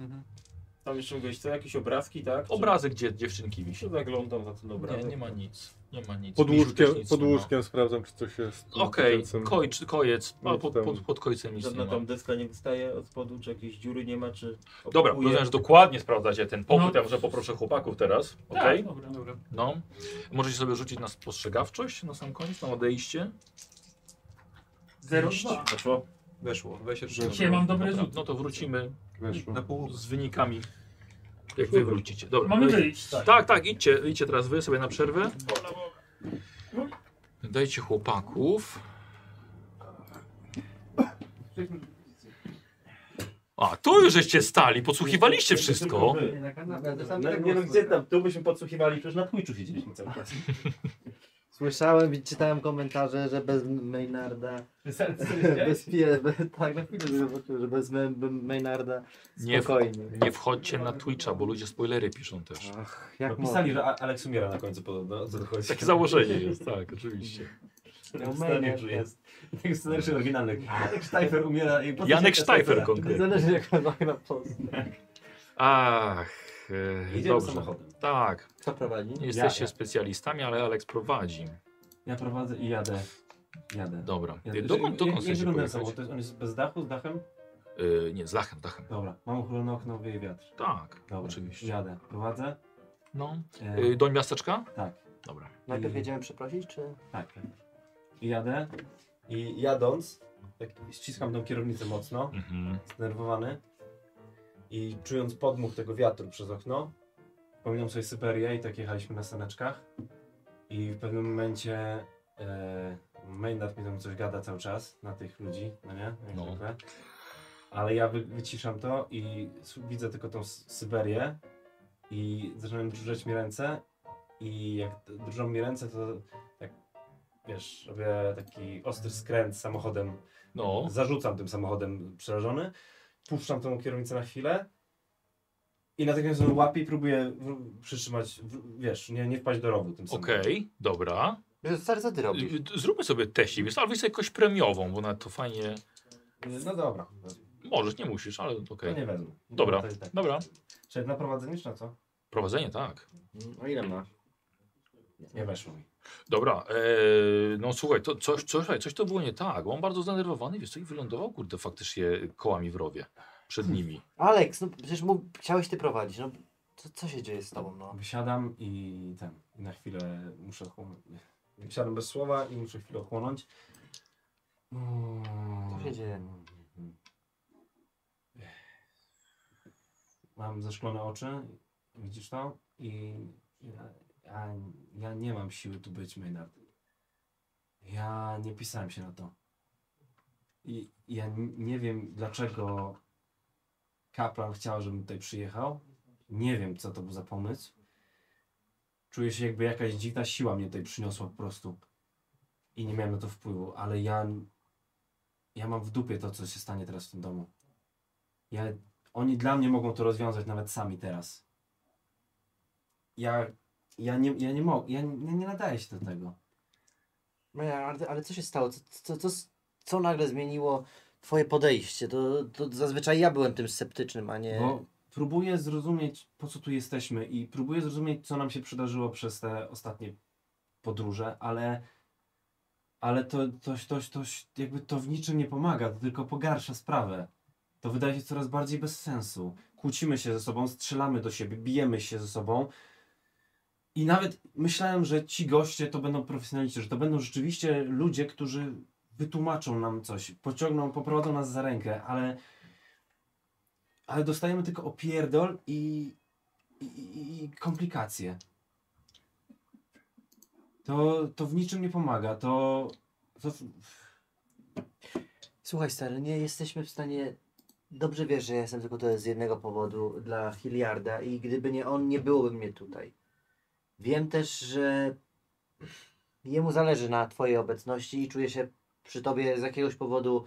Speaker 3: Tam jeszcze mówiłeś, co jakieś obrazki, tak? Czy-
Speaker 1: Obrazy, gdzie dziewczynki wisi.
Speaker 3: się zaglądam na ten obrazek.
Speaker 1: Nie, nie ma nic. Nie ma nic.
Speaker 4: Pod
Speaker 1: Misiu
Speaker 4: łóżkiem,
Speaker 1: też nic
Speaker 4: pod
Speaker 1: nie ma.
Speaker 4: łóżkiem sprawdzam, czy coś jest.
Speaker 1: Okej,
Speaker 4: No, Powiedzmy,
Speaker 1: kojcz- kojec, ale
Speaker 4: Nic
Speaker 1: pod,
Speaker 4: tam.
Speaker 1: pod, pod no. kojcem nic nie
Speaker 3: Żadna
Speaker 1: ma.
Speaker 3: tam deska nie wystaje od spodu, czy jakiejś dziury nie ma, czy...
Speaker 1: Dobra,
Speaker 3: opakuje.
Speaker 1: rozumiem, że dokładnie sprawdzacie ten popyt.
Speaker 6: No.
Speaker 1: Ja może poproszę chłopaków teraz.
Speaker 6: Tak,
Speaker 1: Okej.
Speaker 6: dobra. dobra.
Speaker 1: No. Możecie sobie rzucić na spostrzegawczość na sam koniec, na odejście.
Speaker 6: Zero dwa.
Speaker 3: Weszło?
Speaker 7: Weszło, 23.
Speaker 6: Dzisiaj mam dobre
Speaker 1: Dobra,
Speaker 6: rzuty.
Speaker 1: no to wrócimy
Speaker 4: Weszło.
Speaker 7: Na pół.
Speaker 1: z wynikami. Jak wy wrócicie. Dobra.
Speaker 6: Mamy
Speaker 1: dajcie-
Speaker 6: wyjść. Tak.
Speaker 1: Tak, tak, idźcie, idźcie teraz wy sobie na przerwę. Dajcie chłopaków. A, tu już żeście stali, podsłuchiwaliście wszystko.
Speaker 3: No, nie no, gdzie tam? Tu byśmy podsłuchiwali, przecież na Twitchu siedzieliśmy cały czas.
Speaker 5: Słyszałem i czytałem komentarze, że bez Maynarda, bez pie, be, tak na chwilę zobaczyłem, że bez Me- Be- Maynarda
Speaker 1: Nie, w,
Speaker 5: spokojnie.
Speaker 1: nie wchodźcie na Twitcha, bo ludzie spoilery piszą też.
Speaker 5: Ach,
Speaker 3: Tak,
Speaker 1: no,
Speaker 5: jak
Speaker 2: Pisali, że A- Aleks umiera na końcu podobno, o co to chodzi?
Speaker 1: Takie założenie jest, tak, oczywiście.
Speaker 2: Tak scenariusz jest. <laughs> Tak scenariusz oryginalny. Janek Sztajfer umiera i... potem
Speaker 1: Janek
Speaker 2: się
Speaker 1: Sztajfer
Speaker 5: można.
Speaker 1: konkretnie.
Speaker 5: Zależy jak na- na post.
Speaker 1: Ach, e,
Speaker 2: Jedziemy
Speaker 1: dobrze.
Speaker 2: samochodem.
Speaker 1: Tak,
Speaker 5: Co prowadzi?
Speaker 1: nie jesteście
Speaker 2: ja.
Speaker 1: specjalistami, ale Alex prowadzi.
Speaker 2: Ja prowadzę i jadę. Jadę.
Speaker 1: Dobra, E,
Speaker 2: Jadę.
Speaker 1: dokąd,
Speaker 2: Jak-
Speaker 1: dokąd
Speaker 2: Jak
Speaker 1: chcecie
Speaker 2: wygląda
Speaker 1: pojechać?
Speaker 2: samochód? To jest- On jest bez dachu, z dachem?
Speaker 1: Y, nie, z dachem, dachem.
Speaker 2: Dobra, mam uchylone okno, wieje wiatr.
Speaker 1: Tak,
Speaker 2: Dobra,
Speaker 1: oczywiście.
Speaker 2: jadę. Prowadzę?
Speaker 1: No.
Speaker 2: E,
Speaker 1: Y, do miasteczka?
Speaker 2: tak,
Speaker 1: Dobra.
Speaker 5: Najpierw jedziemy przeprosić, czy?
Speaker 2: tak. I jadę. I jadąc, tak ściskam tą kierownicę mocno,
Speaker 1: Mhm.
Speaker 2: zdenerwowany. I czując podmuch tego wiatru przez okno, Pominąłem sobie Syberię i tak jechaliśmy na saneczkach. I w pewnym momencie e, Maynard mi tam coś gada cały czas na tych ludzi, no nie? Jak
Speaker 1: No.
Speaker 2: zwykle. Ale ja wy, wyciszam to i s- widzę tylko tą S- Syberię i zaczynają drżeć mi ręce i jak d- drżą mi ręce, to tak, wiesz, robię taki ostry skręt samochodem
Speaker 1: No.
Speaker 2: zarzucam tym samochodem przerażony, puszczam tą kierownicę na chwilę i natychmiast ją łapię i próbuję w- przytrzymać, w- wiesz, nie, nie wpaść do rowu tym
Speaker 1: Okej,
Speaker 2: samochodem.
Speaker 1: dobra.
Speaker 5: Stary, co ty robisz?
Speaker 1: Y, y, Zróbmy sobie teścik, wiesz, albo sobie jakąś premiową, bo na to fajnie.
Speaker 2: No dobra,
Speaker 1: Możesz, nie musisz, ale okej.
Speaker 2: to No nie wezmę.
Speaker 1: Dobra,
Speaker 2: To i tak.
Speaker 1: dobra.
Speaker 2: Czy na prowadzenie, czy na co?
Speaker 1: Prowadzenie, tak.
Speaker 3: No,
Speaker 5: O ile masz?
Speaker 2: Nie weszło mi.
Speaker 1: Dobra, eee, no słuchaj, to coś, coś, słuchaj, coś to było nie tak. bo On bardzo zdenerwowany, wiesz, co i wylądował, kurde, faktycznie kołami w rowie. Przed nimi.
Speaker 5: Aleks, no przecież mu chciałeś ty prowadzić, no co, co się dzieje z tobą, no?
Speaker 2: Wysiadam i ten, i na chwilę muszę chłonąć. Wysiadam bez słowa i muszę chwilę chłonąć.
Speaker 5: Co się dzieje?
Speaker 2: Mam zeszklone oczy, widzisz to? I ja, ja, ja nie mam siły tu być, Maynard. Ja nie pisałem się na to. I ja n- nie wiem, dlaczego kaplan chciał, żebym tutaj przyjechał. Nie wiem, co to był za pomysł. Czuję się, jakby jakaś dziwna siła mnie tutaj przyniosła po prostu. I nie miałem na to wpływu, ale ja. Ja mam w dupie to, co się stanie teraz w tym domu. Ja, oni dla mnie mogą to rozwiązać nawet sami teraz. Ja. Ja nie, ja nie mogę. Ja nie, nie nadaję się do tego.
Speaker 5: Maja, No ale, ale co się stało? Co, co, co, co nagle zmieniło twoje podejście? To, to zazwyczaj ja byłem tym sceptycznym, a nie...
Speaker 1: No,
Speaker 2: Bo próbuję zrozumieć, po co tu jesteśmy i próbuję zrozumieć, co nam się przydarzyło przez te ostatnie podróże, ale ale to, to, to, to, to jakby to w niczym nie pomaga, to tylko pogarsza sprawę. to wydaje się coraz bardziej bez sensu. Kłócimy się ze sobą, strzelamy do siebie, bijemy się ze sobą. I nawet myślałem, że ci goście to będą profesjonaliści, że to będą rzeczywiście ludzie, którzy wytłumaczą nam coś, pociągną, poprowadzą nas za rękę, ale, ale dostajemy tylko opierdol i, i, i- i komplikacje. To, to w niczym nie pomaga, to, to
Speaker 5: Słuchaj, stary, nie jesteśmy w stanie. Dobrze wiesz, że ja jestem tylko to z jednego powodu dla Hilliarda i gdyby nie on, nie byłoby mnie tutaj. Wiem też, że jemu zależy na twojej obecności i czuję się przy tobie z jakiegoś powodu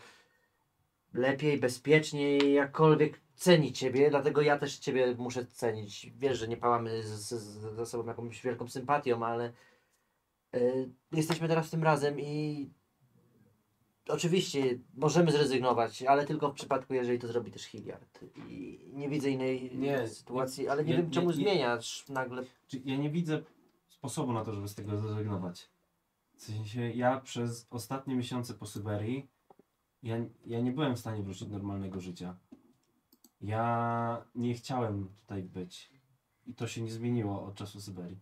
Speaker 5: lepiej, bezpieczniej, jakkolwiek ceni ciebie, dlatego ja też ciebie muszę cenić. Wiesz, że nie pałamy z- z- z- ze sobą jakąś wielką sympatią, ale y, jesteśmy teraz tym razem i Oczywiście możemy zrezygnować, ale tylko w przypadku, jeżeli to zrobi też Hilliard. I nie widzę innej
Speaker 2: Nie,
Speaker 5: sytuacji, ale nie,
Speaker 2: nie-
Speaker 5: wiem,
Speaker 2: nie-
Speaker 5: czemu
Speaker 2: nie-
Speaker 5: zmieniasz nagle.
Speaker 2: Czy ja nie widzę sposobu na to, żeby z tego zrezygnować. W sensie ja przez ostatnie miesiące po Syberii ja, ja nie byłem w stanie wrócić do normalnego życia. Ja nie chciałem tutaj być. I to się nie zmieniło od czasu Syberii.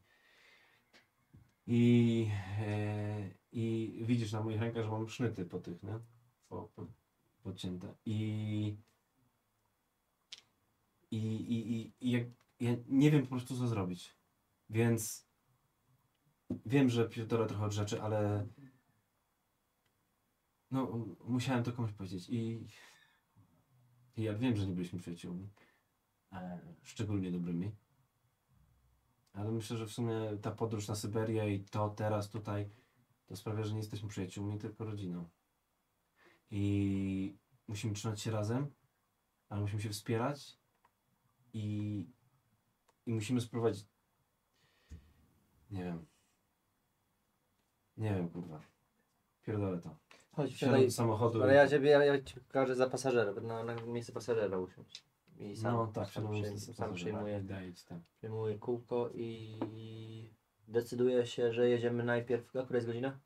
Speaker 2: I, e, i widzisz na moich rękach, że mam sznyty po tych, nie? Po, po, podcięte. I, i, i, i, i jak, ja nie wiem po prostu co zrobić. Więc wiem, że pierdolę trochę od rzeczy, ale no m- musiałem to komuś powiedzieć i, i ja wiem, że nie byliśmy przyjaciółmi, e, szczególnie dobrymi, ale myślę, że w sumie ta podróż na Syberię i to teraz tutaj to sprawia, że nie jesteśmy przyjaciółmi, tylko rodziną. I musimy trzymać się razem, ale musimy się wspierać i, i musimy sprowadzić nie wiem. Nie wiem, kurwa. Pierdolę to.
Speaker 5: Chodź,
Speaker 2: Wsiadam do samochodu.
Speaker 5: Ale
Speaker 2: i-
Speaker 5: ja ciebie, ja, ja ci pokażę za pasażera, na, na miejsce pasażera usiąść. I sam,
Speaker 2: no tak,
Speaker 5: sam,
Speaker 2: wsiadam
Speaker 5: przyjm,
Speaker 2: do
Speaker 5: sam przyjmuję,
Speaker 2: Daję ci tam.
Speaker 5: przyjmuję kółko i decyduję się, że jedziemy najpierw. A która jest godzina?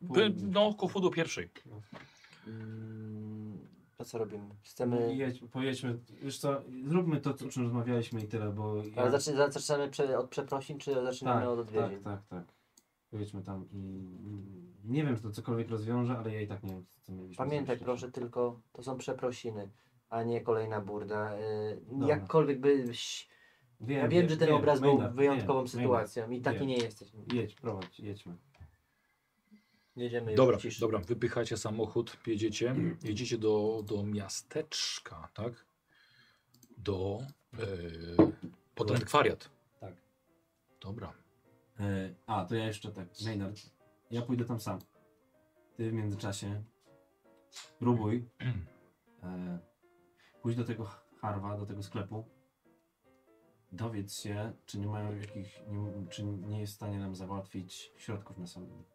Speaker 1: By, no, koło do pierwszej.
Speaker 5: Mm, to co robimy? Chcemy.
Speaker 2: Jedź, pojedźmy, wiesz co, zróbmy to, o czym rozmawialiśmy i tyle, bo... ja-
Speaker 5: Ale zaczy, zaczynamy prze, od przeprosin, czy zaczynamy
Speaker 2: Tak,
Speaker 5: od odwiedzin?
Speaker 2: Tak, tak, tak. Pojedźmy tam i... i- Nie wiem, czy to cokolwiek rozwiąże, ale ja i tak nie wiem, co mieliśmy
Speaker 5: Pamiętaj
Speaker 2: zrobić.
Speaker 5: proszę tylko, to są przeprosiny, a nie kolejna burda. Yy,
Speaker 2: Dobra.
Speaker 5: jakkolwiek byś... Ja wiem, że ten obraz był
Speaker 2: Maynard,
Speaker 5: wyjątkową
Speaker 2: Maynard,
Speaker 5: sytuacją i taki
Speaker 2: wiem.
Speaker 5: nie jesteś.
Speaker 2: Maynard. Jedź, prowadź, jedźmy.
Speaker 5: Jedziemy już
Speaker 1: Dobra,
Speaker 5: w ciszy.
Speaker 1: dobra, wypychacie samochód, jedziecie, jedziecie do, do miasteczka, tak? Do e, pod antykwariat.
Speaker 2: Tak.
Speaker 1: Dobra.
Speaker 2: E, A, to ja jeszcze tak, Maynard. Ja pójdę tam sam. Ty w międzyczasie próbuj e, pójść do tego Harwa, do tego sklepu. Dowiedz się, czy nie mają jakich, nie, czy nie jest w stanie nam załatwić środków nasennych.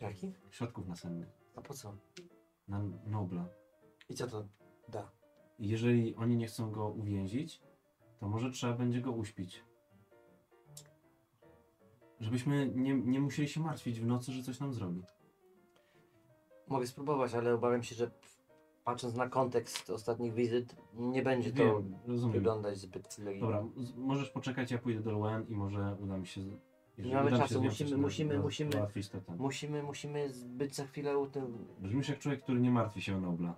Speaker 5: Jaki?
Speaker 2: Środków nasennych.
Speaker 5: A po co?
Speaker 2: Na Nobla.
Speaker 5: I co to da?
Speaker 2: I Jeżeli oni nie chcą go uwięzić, to może trzeba będzie go uśpić. Żebyśmy nie, nie musieli się martwić w nocy, że coś nam zrobi.
Speaker 5: Mogę spróbować, ale obawiam się, że patrząc na kontekst ostatnich wizyt, nie będzie to
Speaker 2: Wiem, rozumiem.
Speaker 5: wyglądać zbyt logicznie.
Speaker 2: Dobra, z- możesz poczekać, ja pójdę do Luen i może uda mi się. jeżeli
Speaker 5: mamy
Speaker 2: uda mi
Speaker 5: czasu,
Speaker 2: z nią
Speaker 5: No, musimy-
Speaker 2: coś na-
Speaker 5: musimy-
Speaker 2: na-
Speaker 5: musimy-
Speaker 2: załatwić to tam.
Speaker 5: Musimy, musimy z- być za chwilę u tym...
Speaker 2: Brzmisz jak człowiek, który nie martwi się o Nobla.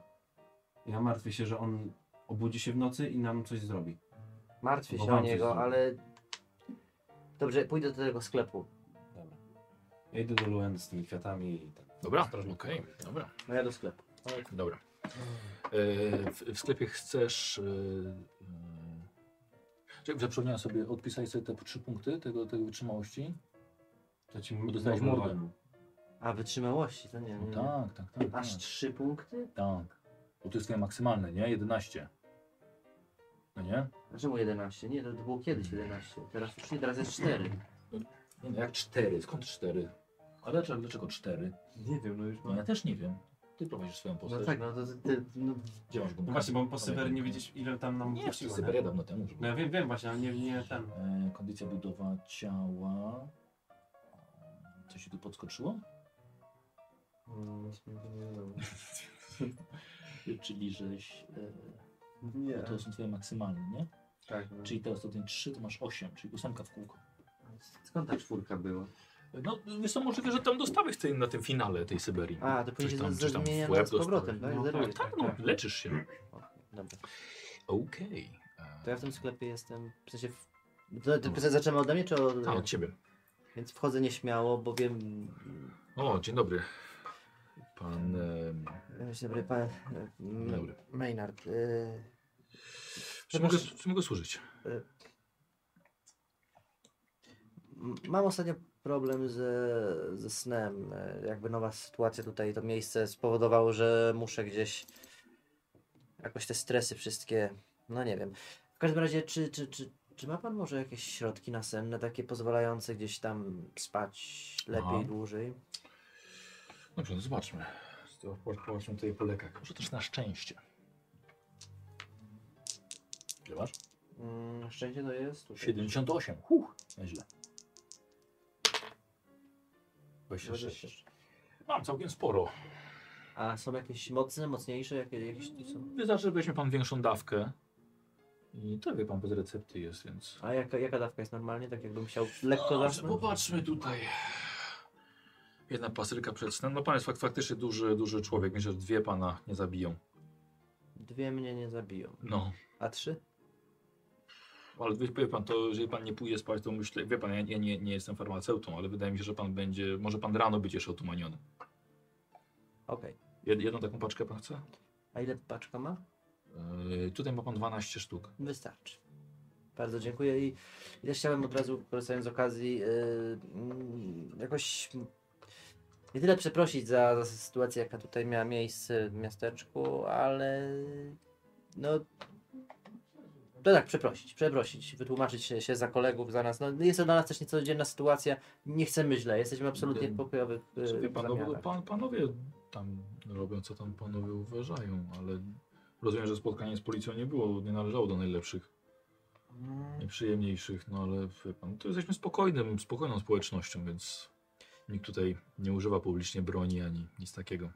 Speaker 2: Ja martwię się, że on obudzi się w nocy i nam coś zrobi.
Speaker 5: Martwię
Speaker 2: Bo
Speaker 5: się o
Speaker 2: wam coś
Speaker 5: niego,
Speaker 2: zrobię.
Speaker 5: ale... Dobrze, pójdę do tego sklepu.
Speaker 2: Dobra. Ja idę do Luen z tymi kwiatami i tak.
Speaker 1: Dobra,
Speaker 2: Ostrożnie.
Speaker 1: okej, dobra.
Speaker 5: No ja do sklepu.
Speaker 1: Dobra. E, w, w sklepie chcesz. E, e, czekaj, zapomniałem sobie, odpisać sobie te trzy punkty tego, tego wytrzymałości.
Speaker 2: To ci
Speaker 1: Bo dostałeś
Speaker 2: Nobla
Speaker 1: mordę.
Speaker 2: walną.
Speaker 5: A, wytrzymałości, to nie, nie.
Speaker 11: Mhm.
Speaker 5: nie.
Speaker 1: tak, tak, tak.
Speaker 5: Aż
Speaker 1: tak.
Speaker 5: trzy punkty?
Speaker 1: Tak. Bo to jest twoje maksymalne, nie? 11. No nie?
Speaker 5: Dlaczego 11? Nie, to, to było kiedyś 11. Teraz już nie, teraz jest 4.
Speaker 1: Nie no, jak 4? Skąd 4? A dlaczego, dlaczego 4?
Speaker 9: Nie wiem, no już
Speaker 1: No ja też nie wiem. Ty prowadzisz swoją postać.
Speaker 5: No tak, no to ty, no,
Speaker 1: Gdzie masz
Speaker 2: No
Speaker 1: gumkę?
Speaker 2: właśnie, bo po Syberii nie wiedzieć, ile tam nam
Speaker 1: Nie, w
Speaker 2: puściło,
Speaker 1: Syberia dawno temu już
Speaker 2: No ja wiem, wiem właśnie, ale nie, nie ten.
Speaker 1: E, kondycja budowa ciała. Coś ci
Speaker 5: No
Speaker 1: tu
Speaker 5: <laughs>
Speaker 1: podskoczyło?
Speaker 11: czyli żeś...
Speaker 2: Nie.
Speaker 11: E,
Speaker 1: Tak.
Speaker 11: bo to są twoje maksymalne, nie?
Speaker 2: Tak, no.
Speaker 11: Czyli teraz do tej 3 to masz 8, czyli ósemka w kółko.
Speaker 5: Skąd ta czwórka była?
Speaker 1: No, jest to możliwe, że tam dostałeś tej, na tym finale tej Syberii.
Speaker 5: A, to
Speaker 1: Coś
Speaker 5: później
Speaker 1: tam-
Speaker 5: ze-
Speaker 1: coś
Speaker 5: ze
Speaker 1: tam w
Speaker 5: zmieniana
Speaker 1: łeb
Speaker 5: z powrotem,
Speaker 1: dostałeś.
Speaker 2: No
Speaker 5: tak? Zerwali.
Speaker 2: tak.
Speaker 1: Tak, no, leczysz się.
Speaker 5: Dobra.
Speaker 1: Okej.
Speaker 5: To ja w tym sklepie jestem, w sensie... W... To, to pytanie zaczynamy ode mnie, czy od...
Speaker 1: A, od ciebie.
Speaker 5: Więc wchodzę nieśmiało, bo wiem...
Speaker 1: O, dzień dobry. Pan... e, em,
Speaker 5: Dzień dobry, pan... m-
Speaker 1: Dzień dobry.
Speaker 5: Maynard. y,
Speaker 1: Czy mogę,
Speaker 5: Przepraszam.
Speaker 1: czy mogę służyć?
Speaker 5: M- Mam ostatnio problem ze, ze snem. E, Jakby nowa sytuacja tutaj, to miejsce spowodowało, że muszę gdzieś jakoś te stresy wszystkie, no nie wiem. W każdym razie, czy, czy, czy, czy ma pan może jakieś środki nasenne, takie pozwalające gdzieś tam spać lepiej,
Speaker 1: Aha.
Speaker 5: dłużej?
Speaker 1: Dobrze, no zobaczmy. To po- Popatrzmy tutaj po lekach. Może też na szczęście. Ile masz?
Speaker 5: Mm, szczęście to jest tutaj.
Speaker 11: 78, huh, nieźle.
Speaker 1: 26.
Speaker 5: 26.
Speaker 1: Mam całkiem sporo.
Speaker 5: A są jakieś mocne, mocniejsze? Jakie, jakieś tu są?
Speaker 1: Wystarczy, że weźmie pan większą dawkę. I to wie pan bez recepty jest, więc...
Speaker 5: A jaka, jaka dawka jest normalnie? Tak jakbym chciał lekko
Speaker 1: Dobrze,
Speaker 5: zasnąć?
Speaker 1: popatrzmy tutaj. Jedna pasylka przed snem. No pan jest fak faktycznie duży, duży człowiek. Myślę, że dwie pana nie zabiją.
Speaker 5: Dwie mnie nie zabiją.
Speaker 1: No.
Speaker 5: A trzy?
Speaker 1: Ale wie, wie pan, to jeżeli pan nie pójdzie spać, to myślę, wie pan, ja, ja nie, nie jestem farmaceutą, ale wydaje mi się, że pan będzie, może pan rano być jeszcze otumaniony.
Speaker 5: Okej.
Speaker 1: Jed, jedną taką paczkę pan chce?
Speaker 5: A ile paczka ma?
Speaker 1: Yy, tutaj ma pan 12 sztuk.
Speaker 5: Wystarczy. Bardzo dziękuję i i też chciałem od razu, korzystając z okazji, yy, mm, jakoś mm, nie tyle przeprosić za, za sytuację, jaka tutaj miała miejsce w miasteczku, ale no to tak, przeprosić, przeprosić, wytłumaczyć się, się za kolegów, za nas. No, jest to dla nas też niecodzienna sytuacja, nie chcemy źle, jesteśmy absolutnie
Speaker 1: Wiem.
Speaker 5: w pokojowych
Speaker 1: Czy
Speaker 5: yy,
Speaker 1: wie pan, no, bo
Speaker 5: zamiarach.
Speaker 1: pan, panowie tam robią, co tam panowie uważają, ale rozumiem, że spotkanie z policją nie było, nie należało do najlepszych,
Speaker 5: Mm.
Speaker 1: najprzyjemniejszych, no ale wie pan, to jesteśmy spokojnym, spokojną społecznością, więc nikt tutaj nie używa publicznie broni ani nic takiego.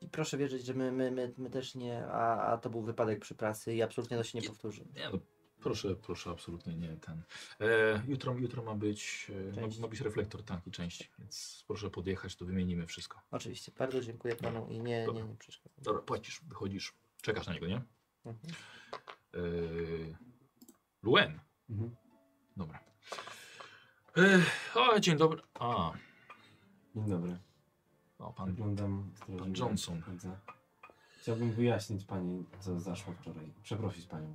Speaker 5: I proszę wierzyć, że my, my, my, my też nie, a, a to był wypadek przy pracy i absolutnie to się nie powtórzy.
Speaker 1: Nie no, proszę, proszę, absolutnie nie ten. E, jutro, jutro ma być, e, ma,
Speaker 5: Część.
Speaker 1: ma być reflektor tanki części, więc proszę podjechać, to wymienimy wszystko.
Speaker 5: Oczywiście, bardzo dziękuję panu i nie, nie, nie przeszkadzam.
Speaker 1: Dobra, płacisz, wychodzisz, czekasz na niego, nie?
Speaker 5: Mhm.
Speaker 1: E, Luen.
Speaker 2: Mhm.
Speaker 1: Dobra. E, o, dzień dobry. A,
Speaker 2: Dzień dobry.
Speaker 1: o, pan,
Speaker 2: No Wyglądam
Speaker 1: pan Johnson.
Speaker 2: Widzę. Chciałbym wyjaśnić pani, co zaszło wczoraj. Przeprosić panią.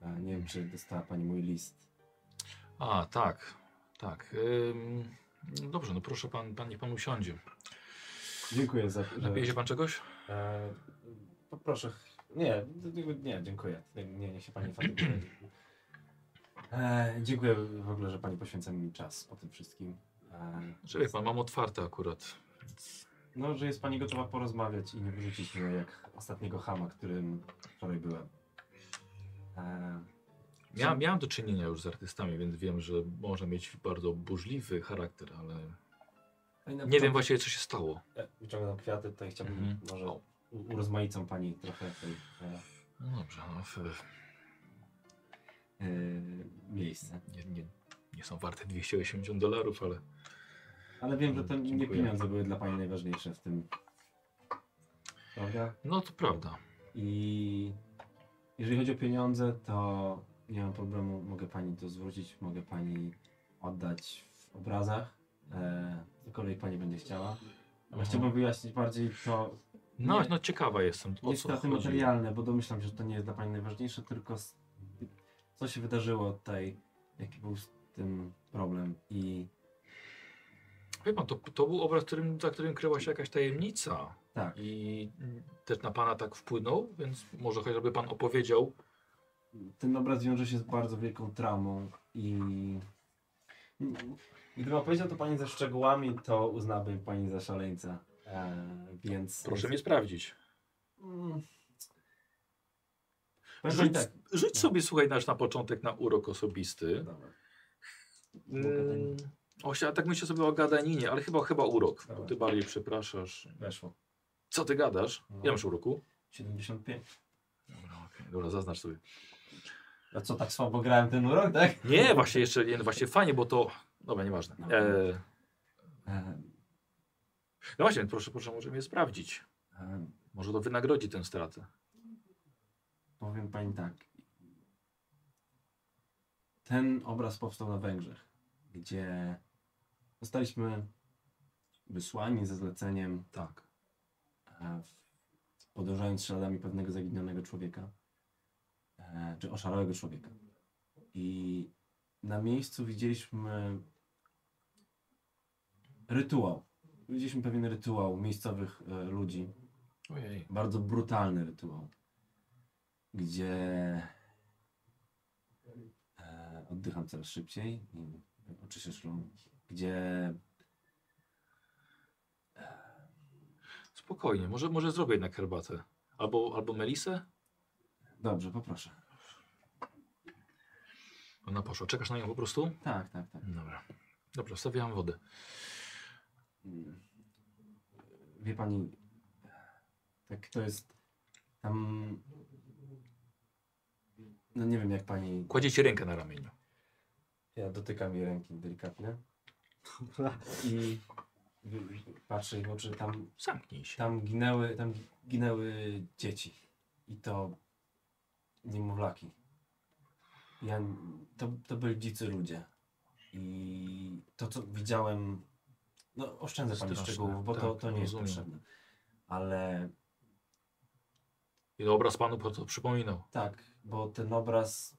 Speaker 2: E, Nie wiem, czy dostała pani mój list.
Speaker 1: A, tak, tak. Ym, no dobrze, no proszę pan, pan niech pan usiądzie.
Speaker 2: Dziękuję za.
Speaker 1: Napije się pan czegoś?
Speaker 2: E, poproszę. Nie, d- nie, dziękuję. Nie, niech się pani fatyguje. E, dziękuję w ogóle, że pani poświęca mi czas po tym wszystkim. E,
Speaker 1: Że wie pan, mam otwarte akurat.
Speaker 2: no, że jest pani gotowa porozmawiać i nie wyrzucić mnie jak ostatniego hama, którym wczoraj byłem. E,
Speaker 1: Ja, miałem do czynienia już z artystami, więc wiem, że może mieć bardzo burzliwy charakter, ale
Speaker 2: no i na
Speaker 1: nie wiem
Speaker 2: początku-
Speaker 1: właściwie, co się stało.
Speaker 2: E, Wyciągam kwiaty, tutaj chciałbym
Speaker 1: Mhm.
Speaker 2: może u- urozmaicą pani trochę tej, e,
Speaker 1: No dobrze, no, f,
Speaker 2: e, miejsce.
Speaker 1: nie, nie, nie są warte 280 dolarów, ale
Speaker 2: Ale wiem, że to nie
Speaker 1: Mhm, Dziękuję.
Speaker 2: pieniądze były dla pani najważniejsze w tym. Prawda?
Speaker 1: no to prawda.
Speaker 2: I jeżeli chodzi o pieniądze, to nie mam problemu, mogę pani to zwrócić, mogę pani oddać w obrazach, e, cokolwiek pani będzie chciała.
Speaker 1: Aha.
Speaker 2: Ale chciałbym wyjaśnić bardziej to,
Speaker 1: No,
Speaker 2: Nie.
Speaker 1: no ciekawa jestem, o
Speaker 2: nie
Speaker 1: co
Speaker 2: straty
Speaker 1: chodzi.
Speaker 2: materialne, bo domyślam się, że to nie jest dla pani najważniejsze, tylko s- co się wydarzyło tutaj, jaki był z tym problem i
Speaker 1: Wie pan, to, to był obraz, którym, za którym kryła się jakaś tajemnica.
Speaker 2: tak.
Speaker 1: I też na pana tak wpłynął, więc może chociażby pan opowiedział.
Speaker 2: ten obraz wiąże się z bardzo wielką traumą i gdybym opowiedział to pani ze szczegółami, to uznałby pani za szaleńca. E, więc.
Speaker 1: Proszę mnie sprawdzić.
Speaker 2: Mm. Powiem pani
Speaker 1: Rzuć,
Speaker 2: tak.
Speaker 1: rzuć sobie, słuchaj, nasz na początek na urok osobisty.
Speaker 2: Dobra.
Speaker 1: Mm, oś- a tak myślę sobie o gadaninie, ale chyba, chyba urok. Bo
Speaker 2: Dobra.
Speaker 1: ty bardziej przepraszasz.
Speaker 2: Weszło.
Speaker 1: Co ty gadasz?
Speaker 2: No.
Speaker 1: Ja masz uroku.
Speaker 2: 75.
Speaker 1: No, Dobra, zaznacz sobie.
Speaker 2: A co, tak słabo grałem ten urok, tak?
Speaker 1: Nie, właśnie jeszcze, nie, no właśnie fajnie, bo to... Dobra, nieważne. E, no właśnie, proszę, proszę, możemy je sprawdzić.
Speaker 2: E,
Speaker 1: Może to wynagrodzi tę stratę.
Speaker 2: Powiem pani tak. Ten obraz powstał na Węgrzech, gdzie zostaliśmy wysłani ze zleceniem,
Speaker 1: Tak.
Speaker 2: e, w- podążając śladami pewnego zaginionego człowieka, e, czy oszalałego człowieka. I na miejscu widzieliśmy rytuał. Widzieliśmy pewien rytuał miejscowych e, ludzi,
Speaker 1: Ojej.
Speaker 2: bardzo brutalny rytuał, gdzie e, oddycham coraz szybciej i oczy się szklą, gdzie
Speaker 1: Spokojnie, może, może zrobię jednak herbatę. Albo, albo melisę?
Speaker 2: dobrze, poproszę.
Speaker 1: Ona poszła. Czekasz na nią po prostu?
Speaker 2: Tak, tak, tak.
Speaker 1: Dobra. Dobra, wstawiam wodę.
Speaker 2: Mm. Wie pani, tak to jest tam. No nie wiem jak pani.
Speaker 1: Kładzie ci rękę na ramieniu.
Speaker 2: Ja dotykam jej ręki delikatnie. I patrzę jej w oczy, tam
Speaker 1: Zamknij się.
Speaker 2: Tam ginęły, tam gi- ginęły dzieci. I to niemowlaki. Ja, n- to, to byli dzicy ludzie. I to, co widziałem, no oszczędzę Pani
Speaker 1: Straszne,
Speaker 2: szczegółów, bo to,
Speaker 1: tak,
Speaker 2: to nie jest
Speaker 1: rozumiem.
Speaker 2: potrzebne. Ale
Speaker 1: I to obraz panu po to przypominał.
Speaker 2: tak, bo ten obraz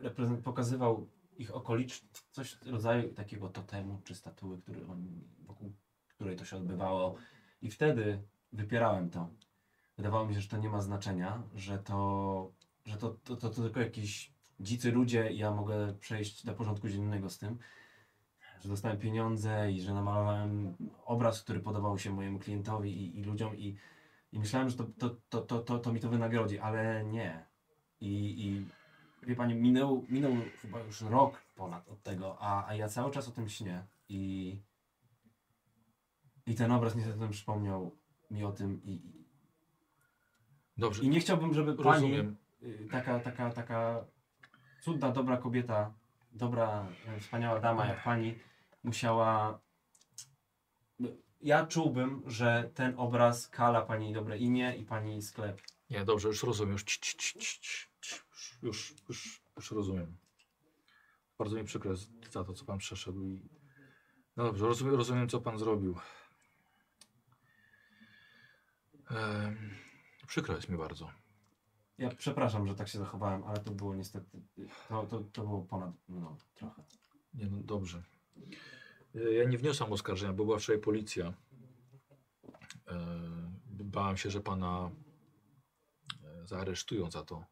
Speaker 2: reprezent- pokazywał ich okoliczność, coś w rodzaju takiego totemu czy statuły, który oni, wokół której to się odbywało. I wtedy wypierałem to. Wydawało mi się, że to nie ma znaczenia, że to, że to, to, to, to tylko jakiś dzicy ludzie i ja mogę przejść do porządku dziennego z tym, że dostałem pieniądze i że namalowałem obraz, który podobał się mojemu klientowi i, i ludziom i i myślałem, że to, to, to, to, to, to mi to wynagrodzi, ale nie. I, i wie pani, minął, minął chyba już rok ponad od tego, a, a ja cały czas o tym śnię. I, i ten obraz niestety przypomniał mi o tym. I, i-
Speaker 1: Dobrze,
Speaker 2: i nie chciałbym, żeby pani,
Speaker 1: rozumiem.
Speaker 2: y, taka, taka, taka cudna, dobra kobieta, dobra, y, wspaniała dama jak pani, musiała. y, Ja czułbym, że ten obraz kala pani dobre imię i pani sklep.
Speaker 1: Nie, dobrze, już rozumiem. Już, ci, ci, ci, ci, ci, ci. już, już, już rozumiem. Bardzo mi przykro z- za to, co pan przeszedł. I... No dobrze, rozumiem, rozumiem co pan zrobił. Em, przykro jest mi bardzo.
Speaker 2: Ja przepraszam, że tak się zachowałem, ale to było niestety. To, to, to było ponad mną trochę.
Speaker 1: Nie, no dobrze. E, Ja nie wniosłam oskarżenia, bo była wczoraj policja. E, bałem się, że pana e, zaaresztują za to.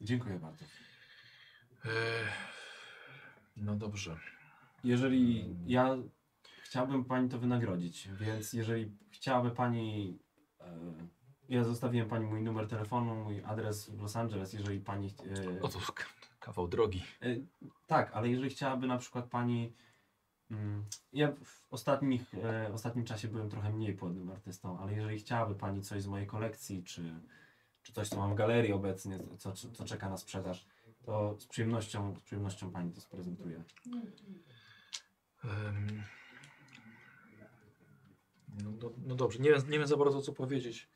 Speaker 2: Dziękuję bardzo.
Speaker 1: E, no dobrze.
Speaker 2: Jeżeli ja chciałbym pani to wynagrodzić, więc jeżeli chciałaby pani. E, ja zostawiłem pani mój numer telefonu, mój adres w Los Angeles, jeżeli pani. E,
Speaker 1: Oto k- kawał drogi.
Speaker 2: E, Tak, ale jeżeli chciałaby na przykład pani. mm, Ja w ostatnich, e, ostatnim czasie byłem trochę mniej płodnym artystą, ale jeżeli chciałaby pani coś z mojej kolekcji, czy, czy coś, co mam w galerii obecnie, co, co, co czeka na sprzedaż, to z przyjemnością, z przyjemnością pani to sprezentuję.
Speaker 1: Em, No, do, no dobrze, nie, wiem- nie wiem za bardzo co powiedzieć,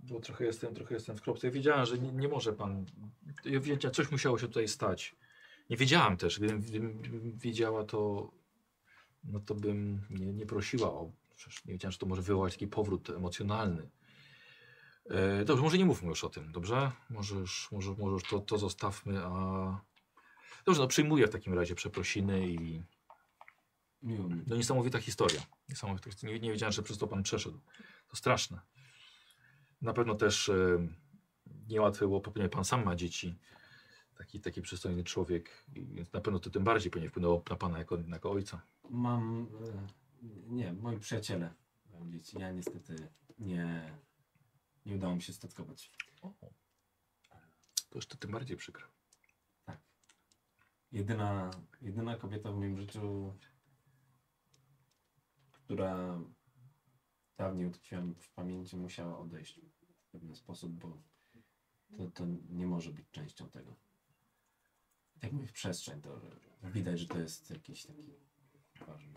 Speaker 1: bo trochę jestem, trochę jestem w kropce. Ja wiedziałem, że nie, nie może pan. Ja wiedziałem, coś musiało się tutaj stać. Nie wiedziałam też, gdybym, gdybym wiedziała to, no to bym nie, nie prosiła o. Przecież nie wiedziałem, że to może wywołać taki powrót emocjonalny. E, dobrze, może nie mówmy już o tym, dobrze? Może już, może, może już to, to zostawmy, a. Dobrze, no przyjmuję w takim razie przeprosiny i.
Speaker 2: Miło mi.
Speaker 1: No niesamowita historia. Niesamowita. historia. Nie, nie wiedziałem, że przez to pan przeszedł. To straszne. Na pewno też e, niełatwe było, pewnie pan sam ma dzieci. Taki, taki przystojny człowiek, i- więc na pewno to tym bardziej pewnie wpłynęło na pana jako, jako ojca.
Speaker 2: Mam. e, Nie, moi przyjaciele mają dzieci. Ja niestety nie, nie udało mi się statkować.
Speaker 1: To już to tym bardziej przykre.
Speaker 2: Jedyna, jedyna kobieta w moim życiu, która dawniej utraciłem w pamięci, musiała odejść w pewien sposób, bo to, to nie może być częścią tego. Jak mówię, przestrzeń, to widać, że to jest jakiś taki ważny.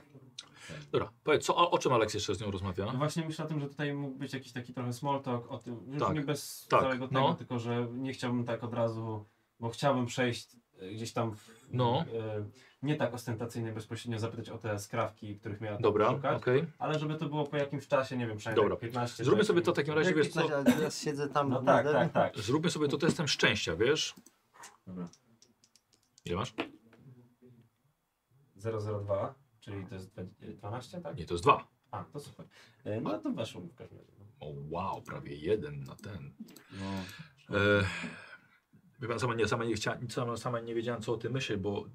Speaker 1: Dobra, powiedz, co, o, o czym Aleks jeszcze z nią rozmawia?
Speaker 2: No właśnie myślę o tym, że tutaj mógł być jakiś taki trochę small talk o tym, już
Speaker 1: Tak.
Speaker 2: nie bez
Speaker 1: Tak,
Speaker 2: całego tego,
Speaker 1: no.
Speaker 2: tylko że nie chciałbym tak od razu, bo chciałbym przejść e, gdzieś tam w,
Speaker 1: No.
Speaker 2: e, nie tak ostentacyjnie bezpośrednio zapytać o te skrawki, których miała tam
Speaker 1: Dobra, okej.
Speaker 2: szukać, ale żeby to było po jakimś czasie, nie wiem, przynajmniej
Speaker 1: Dobra.
Speaker 2: tak 15
Speaker 1: Zróbmy
Speaker 2: tak.
Speaker 1: sobie to w takim razie, wiesz co,
Speaker 5: Coś, ale teraz siedzę tam
Speaker 2: No
Speaker 5: w
Speaker 2: tak,
Speaker 5: modelu.
Speaker 2: tak, tak.
Speaker 1: zróbmy sobie to testem szczęścia, wiesz?
Speaker 2: Dobra.
Speaker 1: Ile masz?
Speaker 2: 002, czyli to jest dwa- 12, tak?
Speaker 1: Nie, to jest dwa.
Speaker 2: A, to super. E, No to weszło mi w każdym razie.
Speaker 1: O wow, prawie jeden na ten.
Speaker 2: No.
Speaker 1: E, wie pan, sama nie, sama, nie chcia, sama, sama nie wiedziałem, co o tym myślę, bo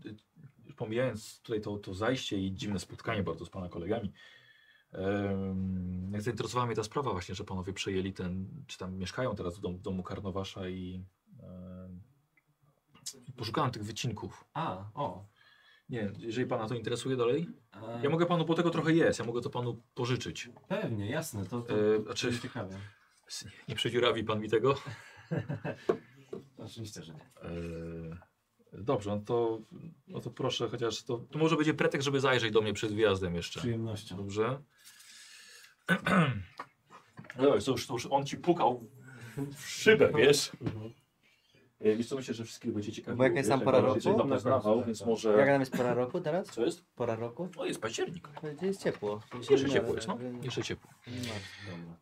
Speaker 1: y, pomijając tutaj to, to zajście i dziwne spotkanie bardzo z pana kolegami, em, jak zainteresowała mnie ta sprawa właśnie, że panowie przejęli ten, czy tam mieszkają teraz w domu, w domu Karnowasza i em, poszukałem tych wycinków.
Speaker 2: A, o.
Speaker 1: Nie, jeżeli pana to interesuje dalej,
Speaker 2: E,
Speaker 1: ja mogę panu, bo tego trochę jest, ja mogę to panu pożyczyć.
Speaker 2: Pewnie, jasne, to, to,
Speaker 1: E,
Speaker 2: to
Speaker 1: znaczy-
Speaker 2: jest ciekawe.
Speaker 1: Nie przedziurawi pan mi tego.
Speaker 2: Oczywiście, że nie.
Speaker 1: Eee, Dobrze, no to, no to proszę, chociaż to, to może będzie pretekst, żeby zajrzeć do mnie przed wyjazdem
Speaker 2: Z
Speaker 1: jeszcze.
Speaker 2: przyjemnością.
Speaker 1: Dobrze. <clears throat> No to już, to już on ci pukał w szybę, wiesz? E, Wiesz co, myślę, że wszystkich będzie ciekawe.
Speaker 5: Bo jaka jest tam pora roku?
Speaker 1: tam poznawał, więc
Speaker 5: Jak
Speaker 1: może...
Speaker 5: nam jest pora roku teraz?
Speaker 1: Co jest?
Speaker 5: Pora roku?
Speaker 1: O, jest październik.
Speaker 5: Gdzie jest ciepło?
Speaker 1: Jeszcze ciepło jest, no. Jeszcze ciepło.
Speaker 2: Nie martw, dobra.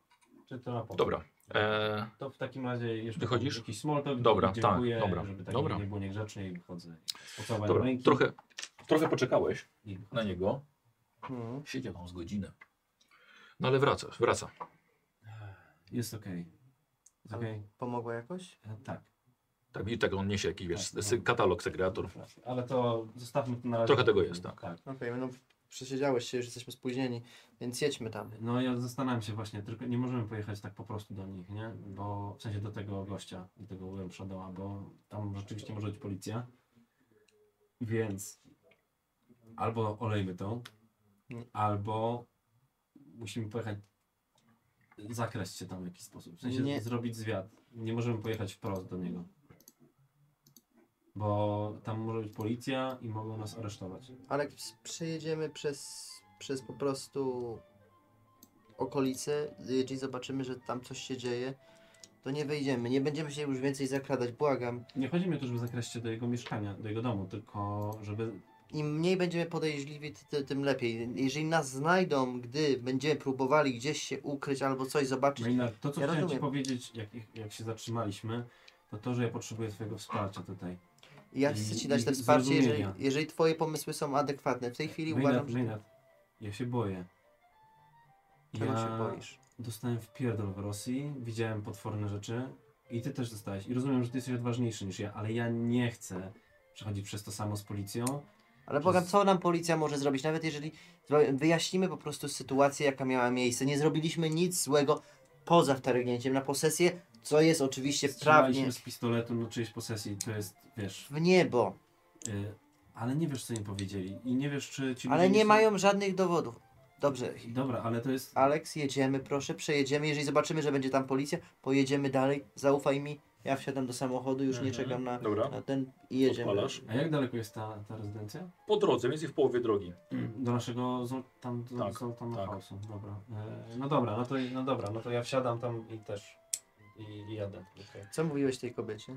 Speaker 2: Czy to na potem?
Speaker 1: Dobra. Eee,
Speaker 2: To w takim razie jeszcze
Speaker 1: Wychodzisz?
Speaker 2: jakiś small talk,
Speaker 1: Dobra,
Speaker 2: dziękuję,
Speaker 1: tak, dobra,
Speaker 2: żeby tak
Speaker 1: dobra.
Speaker 2: nie było niegrzecznie i wychodzę. Spocowałem
Speaker 1: dobra,
Speaker 2: ręki
Speaker 1: trochę, trochę poczekałeś
Speaker 2: i
Speaker 1: na niego.
Speaker 5: Mhm.
Speaker 1: Siedział tam z godzinę. No ale wracasz, wraca.
Speaker 2: Jest okej. Jest okej?
Speaker 5: Pomogło jakoś?
Speaker 2: E, Tak.
Speaker 1: Tak, i tak on niesie jakiś, wiesz,
Speaker 2: Tak,
Speaker 1: sy- katalog, segregator.
Speaker 2: Ale to zostawmy to na razie.
Speaker 1: Trochę tego jest, tak.
Speaker 5: Okej, no przesiedziałeś się, już jesteśmy spóźnieni, więc jedźmy tam.
Speaker 2: No ja zastanawiam się właśnie, tylko nie możemy pojechać tak po prostu do nich, nie? Bo w sensie do tego gościa i tego byłem przodoła, bo tam rzeczywiście może być policja. Więc albo olejmy to,
Speaker 5: Mm.
Speaker 2: albo musimy pojechać zakraść się tam w jakiś sposób. W sensie
Speaker 5: Nie.
Speaker 2: zrobić zwiat. Nie możemy pojechać wprost do niego. Bo tam może być policja i mogą nas aresztować.
Speaker 5: Ale jak ps- przejedziemy przez, przez po prostu okolice, jeżeli zobaczymy, że tam coś się dzieje, to nie wyjdziemy. Nie będziemy się już więcej zakradać, błagam.
Speaker 2: Nie chodzi mi o to, żeby zakraść się do jego mieszkania, do jego domu, tylko żeby
Speaker 5: Im mniej będziemy podejrzliwi, ty- ty- tym lepiej. Jeżeli nas znajdą, gdy będziemy próbowali gdzieś się ukryć albo coś zobaczyć,
Speaker 2: Maynard, No to co
Speaker 5: Ja
Speaker 2: chciałem
Speaker 5: rozumiem.
Speaker 2: Ci powiedzieć, jak, jak się zatrzymaliśmy, to to, że ja potrzebuję Twojego wsparcia tutaj.
Speaker 5: ja
Speaker 2: I-
Speaker 5: chcę Ci
Speaker 2: i
Speaker 5: dać te wsparcie, jeżeli,
Speaker 2: zrozumienia. No
Speaker 5: jeżeli Twoje pomysły są adekwatne. W tej chwili uważam,
Speaker 2: Maynard,
Speaker 5: że...
Speaker 2: Maynard, ja się boję.
Speaker 5: Czego
Speaker 2: ja
Speaker 5: się boisz?
Speaker 2: dostałem w pierdol w Rosji, widziałem potworne rzeczy i Ty też dostałeś. I rozumiem, że Ty jesteś odważniejszy niż ja, ale ja nie chcę przechodzić przez to samo z policją.
Speaker 5: Ale
Speaker 2: To
Speaker 5: Bogam,
Speaker 2: jest-
Speaker 5: co nam policja może zrobić? Nawet jeżeli zro- wyjaśnimy po prostu sytuację, jaka miała miejsce. Nie zrobiliśmy nic złego poza wtargnięciem na posesję, co jest oczywiście prawnie
Speaker 2: Strzelaliśmy z pistoletu na czyjejś posesji, to jest, wiesz,
Speaker 5: w niebo.
Speaker 2: y, ale nie wiesz, co im powiedzieli i nie wiesz, czy ci
Speaker 5: Ale
Speaker 2: ludzie
Speaker 5: nie
Speaker 2: są-
Speaker 5: mają żadnych dowodów. Dobrze,
Speaker 2: Dobra, ale to jest...
Speaker 5: Aleks, jedziemy, proszę, przejedziemy. Jeżeli zobaczymy, że będzie tam policja, pojedziemy dalej. Zaufaj mi, ja wsiadam do samochodu, już nie
Speaker 1: Mhm.
Speaker 5: czekam na,
Speaker 1: Dobra,
Speaker 5: na ten i jedziemy.
Speaker 1: odpalasz.
Speaker 2: A jak daleko jest ta, ta rezydencja?
Speaker 1: Po drodze, mniej więcej w połowie drogi.
Speaker 2: Do naszego Zol- tam, do
Speaker 1: Tak,
Speaker 2: Zoltana
Speaker 1: tak.
Speaker 2: House'u. Dobra. E, no dobra, no to, no dobra, no to ja wsiadam tam i też i, i jadę. Okej.
Speaker 5: Co mówiłeś tej kobiecie?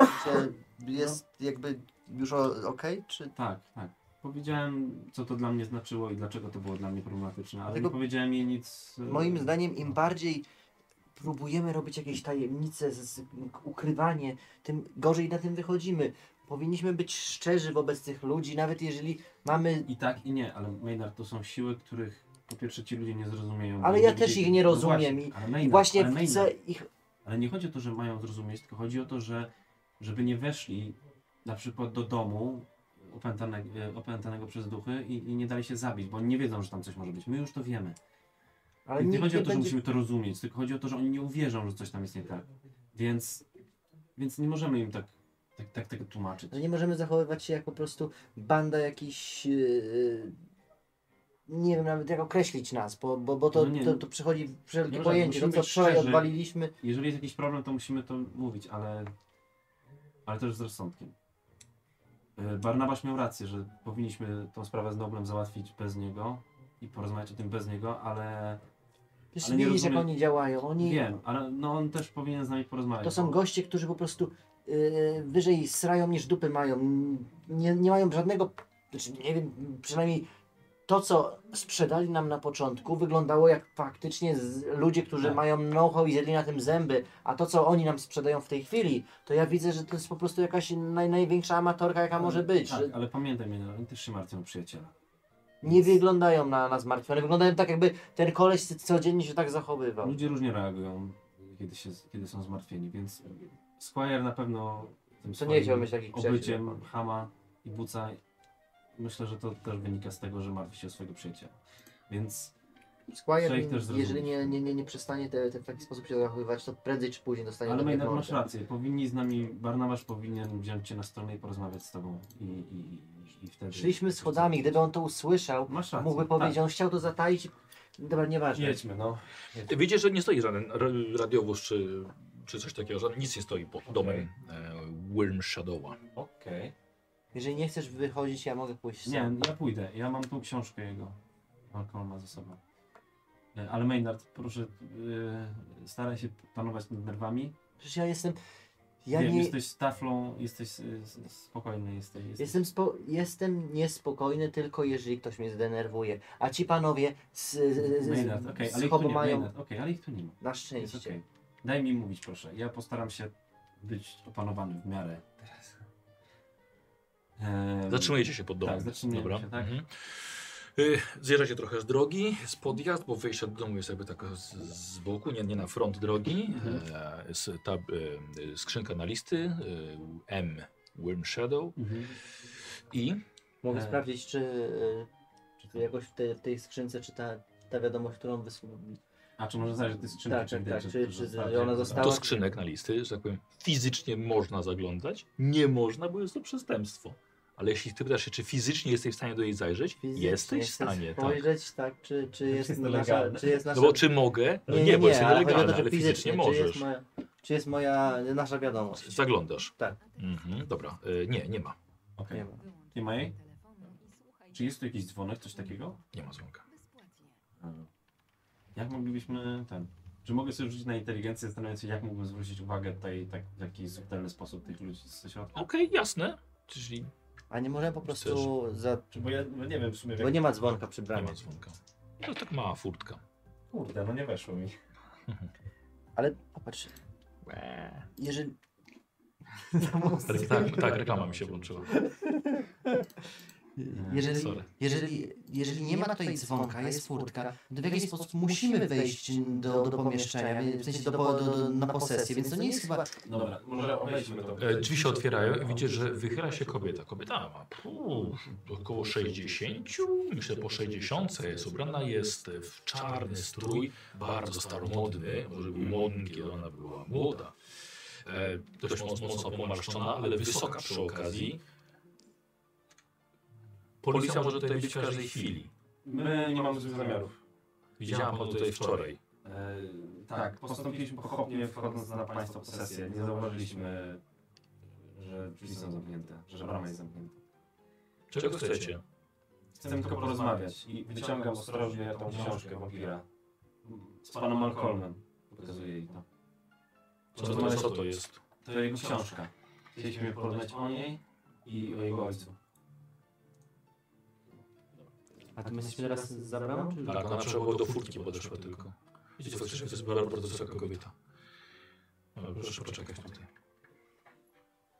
Speaker 5: Że jest jakby już o- okej, czy
Speaker 2: Tak, tak. Powiedziałem, co to dla mnie znaczyło i dlaczego to było dla mnie problematyczne, ale
Speaker 5: Dlatego-
Speaker 2: nie powiedziałem jej nic. e,
Speaker 5: Moim zdaniem im
Speaker 2: no.
Speaker 5: bardziej próbujemy robić jakieś tajemnice, z, z, ukrywanie, tym gorzej na tym wychodzimy. Powinniśmy być szczerzy wobec tych ludzi, nawet jeżeli mamy...
Speaker 2: I tak, i nie, ale Maynard to są siły, których po pierwsze ci ludzie nie zrozumieją.
Speaker 5: Ale
Speaker 2: Nie
Speaker 5: ja też
Speaker 2: wiedzieli-
Speaker 5: ich nie
Speaker 2: No
Speaker 5: rozumiem
Speaker 2: właśnie,
Speaker 5: i-
Speaker 2: ale Maynard,
Speaker 5: Właśnie
Speaker 2: ale Maynard.
Speaker 5: chcę ich...
Speaker 2: Ale nie chodzi o to, że mają zrozumieć, tylko chodzi o to, że żeby nie weszli na przykład do domu opętanego, opętanego przez duchy i, i nie dali się zabić, bo oni nie wiedzą, że tam coś może być. My już to wiemy.
Speaker 5: Ale
Speaker 2: nie
Speaker 5: nikt
Speaker 2: chodzi o
Speaker 5: nie
Speaker 2: to, że
Speaker 5: będzie...
Speaker 2: musimy to rozumieć, tylko chodzi o to, że oni nie uwierzą, że coś tam jest nie tak. Więc, więc nie możemy im tak, tak, tak tego tłumaczyć.
Speaker 5: Że nie możemy zachowywać się jak po prostu banda jakichś... Yy, nie wiem nawet jak określić nas, bo, bo, bo to,
Speaker 2: No nie.
Speaker 5: to, to przechodzi wszelkie
Speaker 2: Dobra,
Speaker 5: pojęcie. To
Speaker 2: musimy
Speaker 5: co
Speaker 2: być
Speaker 5: wczoraj
Speaker 2: szczerzy.
Speaker 5: odwaliliśmy,
Speaker 2: Jeżeli jest jakiś problem, to musimy to mówić, ale, ale też z rozsądkiem. Y, Barnabasz miał rację, że powinniśmy tą sprawę z Noblem załatwić bez niego i porozmawiać o tym bez niego, ale
Speaker 5: przecież
Speaker 2: Ale nie
Speaker 5: widzisz jak
Speaker 2: rozumiem.
Speaker 5: oni działają. Oni,
Speaker 2: wiem, ale no on też powinien z nami porozmawiać.
Speaker 5: To są
Speaker 2: bo-
Speaker 5: goście, którzy po prostu yy, wyżej srają niż dupy mają. Nie, nie mają żadnego, znaczy nie wiem, przynajmniej to, co sprzedali nam na początku, wyglądało jak faktycznie z, ludzie, którzy
Speaker 2: Tak.
Speaker 5: mają know-how i zjedli na tym zęby, a to, co oni nam sprzedają w tej chwili, to ja widzę, że to jest po prostu jakaś naj, największa amatorka, jaka może być.
Speaker 2: Tak,
Speaker 5: że
Speaker 2: ale pamiętaj mnie, no, oni też się martwią o przyjaciela.
Speaker 5: nie wyglądają na, na zmartwione, wyglądają tak, jakby ten koleś codziennie się tak zachowywał.
Speaker 2: Ludzie różnie reagują, kiedy, się, kiedy są zmartwieni, więc Squire na pewno tym
Speaker 5: To nie
Speaker 2: swoim
Speaker 5: chciałbym mieć takich przyjaciół.
Speaker 2: obyciem Hama i Buca myślę, że to też wynika z tego, że martwi się o swojego przyjaciela. Więc
Speaker 5: Squire,
Speaker 2: Trzeba ich też zrozumieć.
Speaker 5: jeżeli nie, nie, nie, nie przestanie te, te, w taki sposób się zachowywać, to prędzej czy później dostanie
Speaker 2: ale
Speaker 5: do
Speaker 2: Maynard,
Speaker 5: pierdolca.
Speaker 2: masz rację, powinni z nami, Barnabasz powinien wziąć cię na stronę i porozmawiać z tobą i, i, i, i wtedy...
Speaker 5: Szliśmy schodami, gdyby on to usłyszał,
Speaker 2: Masz rację.
Speaker 5: mógłby powiedzieć, on chciał to zataić. Dobra,
Speaker 2: tak.
Speaker 5: nieważne.
Speaker 2: Jedźmy, no.
Speaker 1: Widzisz, że nie stoi żaden ra- radiowóz czy, czy coś takiego, żaden, nic nie stoi pod domem e, Wilm Shadowa.
Speaker 2: Okej.
Speaker 5: Jeżeli nie chcesz wychodzić, ja mogę pójść sam.
Speaker 2: Nie, ja pójdę. Ja mam tu książkę jego. Malcolma ze sobą. E, Ale Maynard, proszę, y, staraj się panować nad nerwami.
Speaker 5: Przecież ja jestem... Ja
Speaker 2: Wiem,
Speaker 5: nie...
Speaker 2: jesteś staflą, jesteś y, s- spokojny, jesteś... jesteś.
Speaker 5: Jestem, spo... jestem niespokojny tylko jeżeli ktoś mnie zdenerwuje. A ci panowie z, z, z,
Speaker 2: Maynard,
Speaker 5: z,
Speaker 2: okej, ale
Speaker 5: z
Speaker 2: ich tu
Speaker 5: chobu
Speaker 2: nie ma.
Speaker 5: mają
Speaker 2: Maynard, okej, ale ich tu nie ma.
Speaker 5: na
Speaker 2: Jest
Speaker 5: szczęście.
Speaker 2: okej. Daj mi mówić, proszę. Ja postaram się być opanowany w miarę teraz. E, Em,
Speaker 1: Zatrzymujecie się pod domem.
Speaker 2: Tak, zatrzymujemy
Speaker 1: Dobra.
Speaker 2: się, tak.
Speaker 1: Mhm. Y, Zjeżdżacie trochę z drogi, z podjazd, bo wyjście do domu jest jakby tak z, z boku, nie, nie na front drogi.
Speaker 2: Mhm.
Speaker 1: E, s- ta, e, skrzynka na listy, e, M, Worm Shadow
Speaker 2: Mhm.
Speaker 1: i
Speaker 5: Mogę
Speaker 2: E.
Speaker 5: sprawdzić, czy, y, czy tu jakoś w tej, w tej skrzynce, czy ta, ta wiadomość, którą wysłałem.
Speaker 2: A czy może zajrzeć, to jest skrzynka?
Speaker 5: Tak, tak,
Speaker 2: widać,
Speaker 5: tak. Czy- czy
Speaker 2: została-
Speaker 5: ona została?
Speaker 1: do skrzynek na listy, że tak powiem, fizycznie można zaglądać, nie można, bo jest to przestępstwo. Ale jeśli ty pytasz się, czy fizycznie jesteś w stanie do niej zajrzeć, jesteś w stanie, tak.
Speaker 5: spojrzeć, tak, czy, czy jest,
Speaker 2: jest to
Speaker 5: nasza,
Speaker 2: legalne?
Speaker 5: czy jest nasza...
Speaker 1: No bo czy mogę? No nie, bo jest
Speaker 5: ale
Speaker 1: nielegalne,
Speaker 5: chodzi o to,
Speaker 1: ale
Speaker 5: że
Speaker 1: fizycznie,
Speaker 5: czy jest,
Speaker 1: możesz.
Speaker 5: moja, czy jest moja, nasza wiadomość?
Speaker 1: Zaglądasz.
Speaker 5: Tak.
Speaker 1: Mhm, dobra, y, nie, nie ma.
Speaker 2: Okej.
Speaker 5: Nie ma.
Speaker 2: Nie ma jej? Czy jest tu jakiś dzwonek, coś takiego?
Speaker 1: Nie ma dzwonka.
Speaker 2: Jak moglibyśmy ten. Czy mogę sobie rzucić na inteligencję, zastanawiając się, jak mógłbym zwrócić uwagę tutaj tak, w taki subtelny sposób tych ludzi ze środka?
Speaker 1: Okej, jasne. Czyli
Speaker 5: A nie możemy po prostu za...
Speaker 2: Czy bo ja no nie wiem w sumie.
Speaker 5: Bo
Speaker 2: Jak...
Speaker 5: nie ma dzwonka przy
Speaker 1: nie
Speaker 5: bramie.
Speaker 1: ma dzwonka. To tak mała furtka.
Speaker 2: Kurde, no nie weszło mi.
Speaker 5: Ale popatrz, jeżeli...
Speaker 1: Re- Tak, tak, reklama mi się włączyła.
Speaker 5: Jeżeli,
Speaker 1: Sorry.
Speaker 5: jeżeli, jeżeli nie ma tutaj dzwonka, jest furtka, to w jakiś sposób musimy wejść do, do pomieszczenia, w sensie do, po- do, do, na posesję, więc to nie jest chyba...
Speaker 2: Dobra, może obejdźmy to.
Speaker 1: E, Drzwi się otwierają i widzicie, że wychyla się kobieta. Kobieta ma puu, około 60, myślę po 60. Jest ubrana jest w czarny strój, bardzo staromodny, może był modny, kiedy ona była młoda. E, Dość mocno, mocno pomarszczona, ale wysoka przy okazji. Policja może tutaj być w każdej chwili.
Speaker 2: My nie mamy złych zamiarów.
Speaker 1: Widziałam pan tutaj wczoraj.
Speaker 2: E, tak, postąpiliśmy pochopnie, wchodząc na państwo posesję. Nie zauważyliśmy, że drzwi są zamknięte, że brama jest zamknięta.
Speaker 1: Czego chcecie?
Speaker 2: Chcę tylko porozmawiać i wyciągam ostrożnie tą książkę wampira. Z panem Malcolmem. Pokazuję jej to.
Speaker 1: Co to, co to jest?
Speaker 2: To jego książka. Chcieliśmy porozmawiać o niej i o jego ojcu.
Speaker 5: A to my jesteśmy teraz za bramą? czy-
Speaker 1: Tak, ona trzeba było do furtki podeszła tylko. Widzicie, faktycznie to jest bardzo, bardzo wysoka kobieta. E, Proszę poczekać tutaj.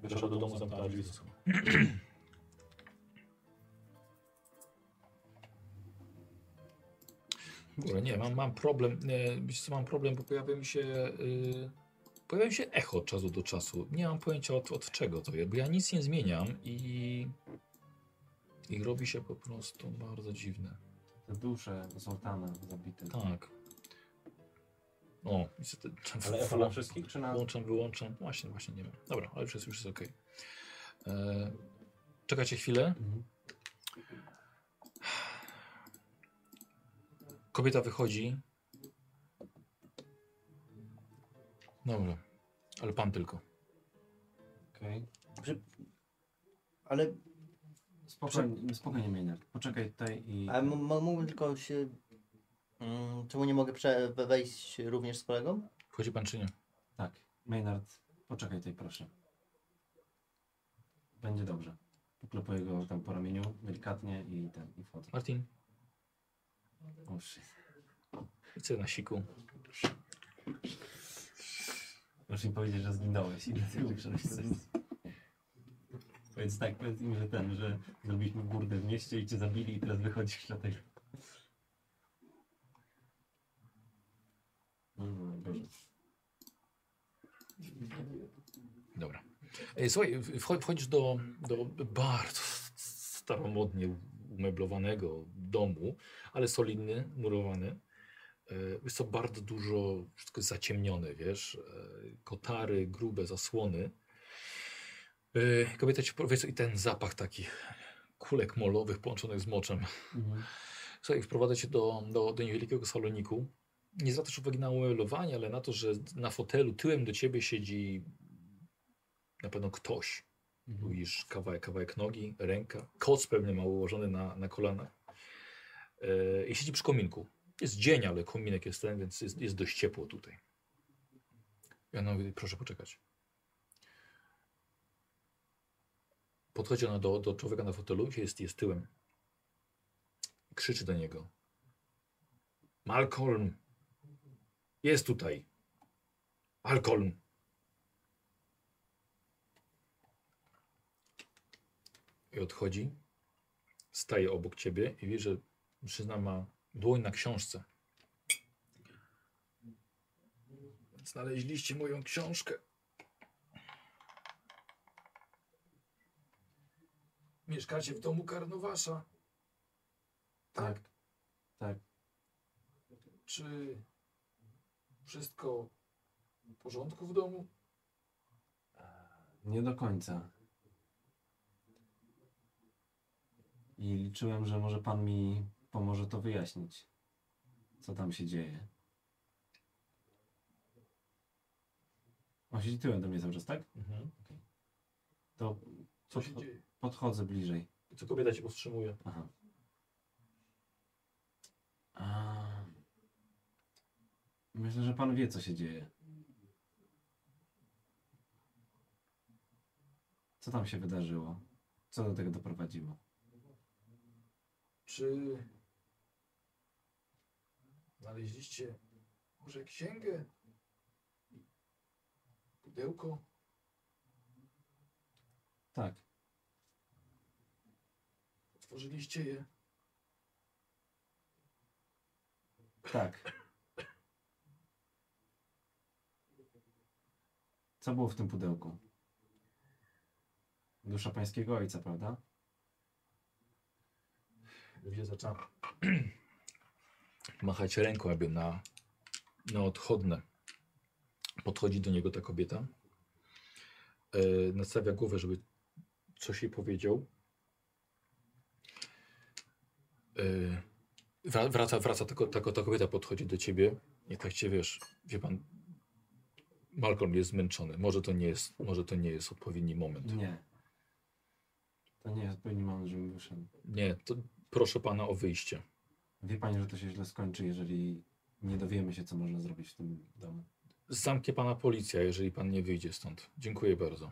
Speaker 1: Wyszła do domu, zamknęła drzwi ze sobą. Dobra, nie, mam, mam problem. E, Wiesz co, mam problem, bo pojawia mi się... Y, pojawia mi się echo od czasu do czasu. Nie mam pojęcia od, od czego to jest, bo ja nic nie zmieniam i... I robi się po prostu bardzo dziwne.
Speaker 2: Te dusze Zoltana zabite.
Speaker 1: Tak. O, niestety.
Speaker 2: Ale echo na wszystkich czy na...
Speaker 1: Włączam, wyłączam. Właśnie, właśnie nie wiem. Dobra, ale już jest, już jest E, ok. Eee, czekajcie chwilę. Kobieta wychodzi. Dobra, ale pan tylko.
Speaker 2: Okej.
Speaker 12: Ale
Speaker 2: Spokojnie, spokojnie Maynard. Poczekaj tutaj i...
Speaker 12: a m- m- mógłbym tylko się... Mm, czemu nie mogę prze- we- wejść również z kolegą?
Speaker 1: Wchodzi pan czy nie?
Speaker 2: Tak, Maynard, poczekaj tutaj proszę. Będzie dobrze. Poklepuję go tam po ramieniu, delikatnie i ten, i fotel.
Speaker 1: Martin,
Speaker 2: O, shit.
Speaker 1: widzę na siku.
Speaker 2: Możesz im powiedzieć, że zginąłeś i dlatego przeszedłeś Powiedz tak, powiedz im, że ten, że zrobiliśmy burdę w mieście i cię zabili i teraz wychodzisz dlatego.
Speaker 3: No,
Speaker 2: Mm, Boże.
Speaker 1: Dobra. Ej, Słuchaj, w- wcho- wchodzisz do, do bardzo s- staromodnie umeblowanego domu, ale solidny, murowany. E, Jest to bardzo dużo, wszystko jest zaciemnione, wiesz, e, kotary, grube zasłony. E, Kobieta ci powie, i ten zapach takich kulek molowych połączonych z moczem. Słuchaj, wprowadza cię do, do, do niewielkiego saloniku. Nie zwracasz uwagi na umeblowanie, ale na to, że na fotelu tyłem do ciebie siedzi na pewno ktoś. Widzisz kawałek, kawałek nogi, ręka, koc pewnie ma ułożony na, na kolanach. E, I siedzi przy kominku. Jest dzień, ale kominek jest ten, więc jest, jest dość ciepło tutaj. I ona mówi, proszę poczekać. Podchodzi ona do, do człowieka na fotelu, gdzie jest, jest tyłem. Krzyczy do niego. Malcolm! Jest tutaj! Malcolm! I odchodzi. Staje obok ciebie i wie, że mężczyzna ma dłoń na książce. Znaleźliście moją książkę. Mieszkacie w domu Karnowasza.
Speaker 2: Tak, tak.
Speaker 1: Tak. Czy wszystko w porządku w domu?
Speaker 2: Nie do końca. I liczyłem, że może pan mi pomoże to wyjaśnić. Co tam się dzieje. On siedzi tyłem do mnie cały czas, tak?
Speaker 1: Mhm.
Speaker 2: Okej. To
Speaker 1: Co się
Speaker 2: podcho-
Speaker 1: dzieje?
Speaker 2: podchodzę bliżej.
Speaker 1: Co kobieta cię powstrzymuje?
Speaker 2: Aha. A... Myślę, że pan wie, co się dzieje. Co tam się wydarzyło? Co do tego doprowadziło?
Speaker 1: Czy znaleźliście może księgę? Pudełko?
Speaker 2: Tak,
Speaker 1: Otworzyliście je?
Speaker 2: tak. Co było w tym pudełku? Dusza pańskiego ojca, prawda?
Speaker 1: Ludzie zaczęli machać ręką, aby na, na odchodne. Podchodzi do niego ta kobieta. Yy, nastawia głowę, żeby coś jej powiedział. Yy, wra- wraca, wraca tylko, tylko ta kobieta podchodzi do ciebie. Nie tak cię wiesz. Wie pan, Malcolm jest zmęczony. Może to nie jest, może to nie jest odpowiedni moment.
Speaker 2: Nie. To nie jest odpowiedni moment, żebym wyszedł.
Speaker 1: Nie, to proszę pana o wyjście.
Speaker 2: Wie pani, że to się źle skończy, jeżeli nie dowiemy się, co można zrobić w tym domu.
Speaker 1: Zamknie pana policja, jeżeli pan nie wyjdzie stąd. Dziękuję bardzo.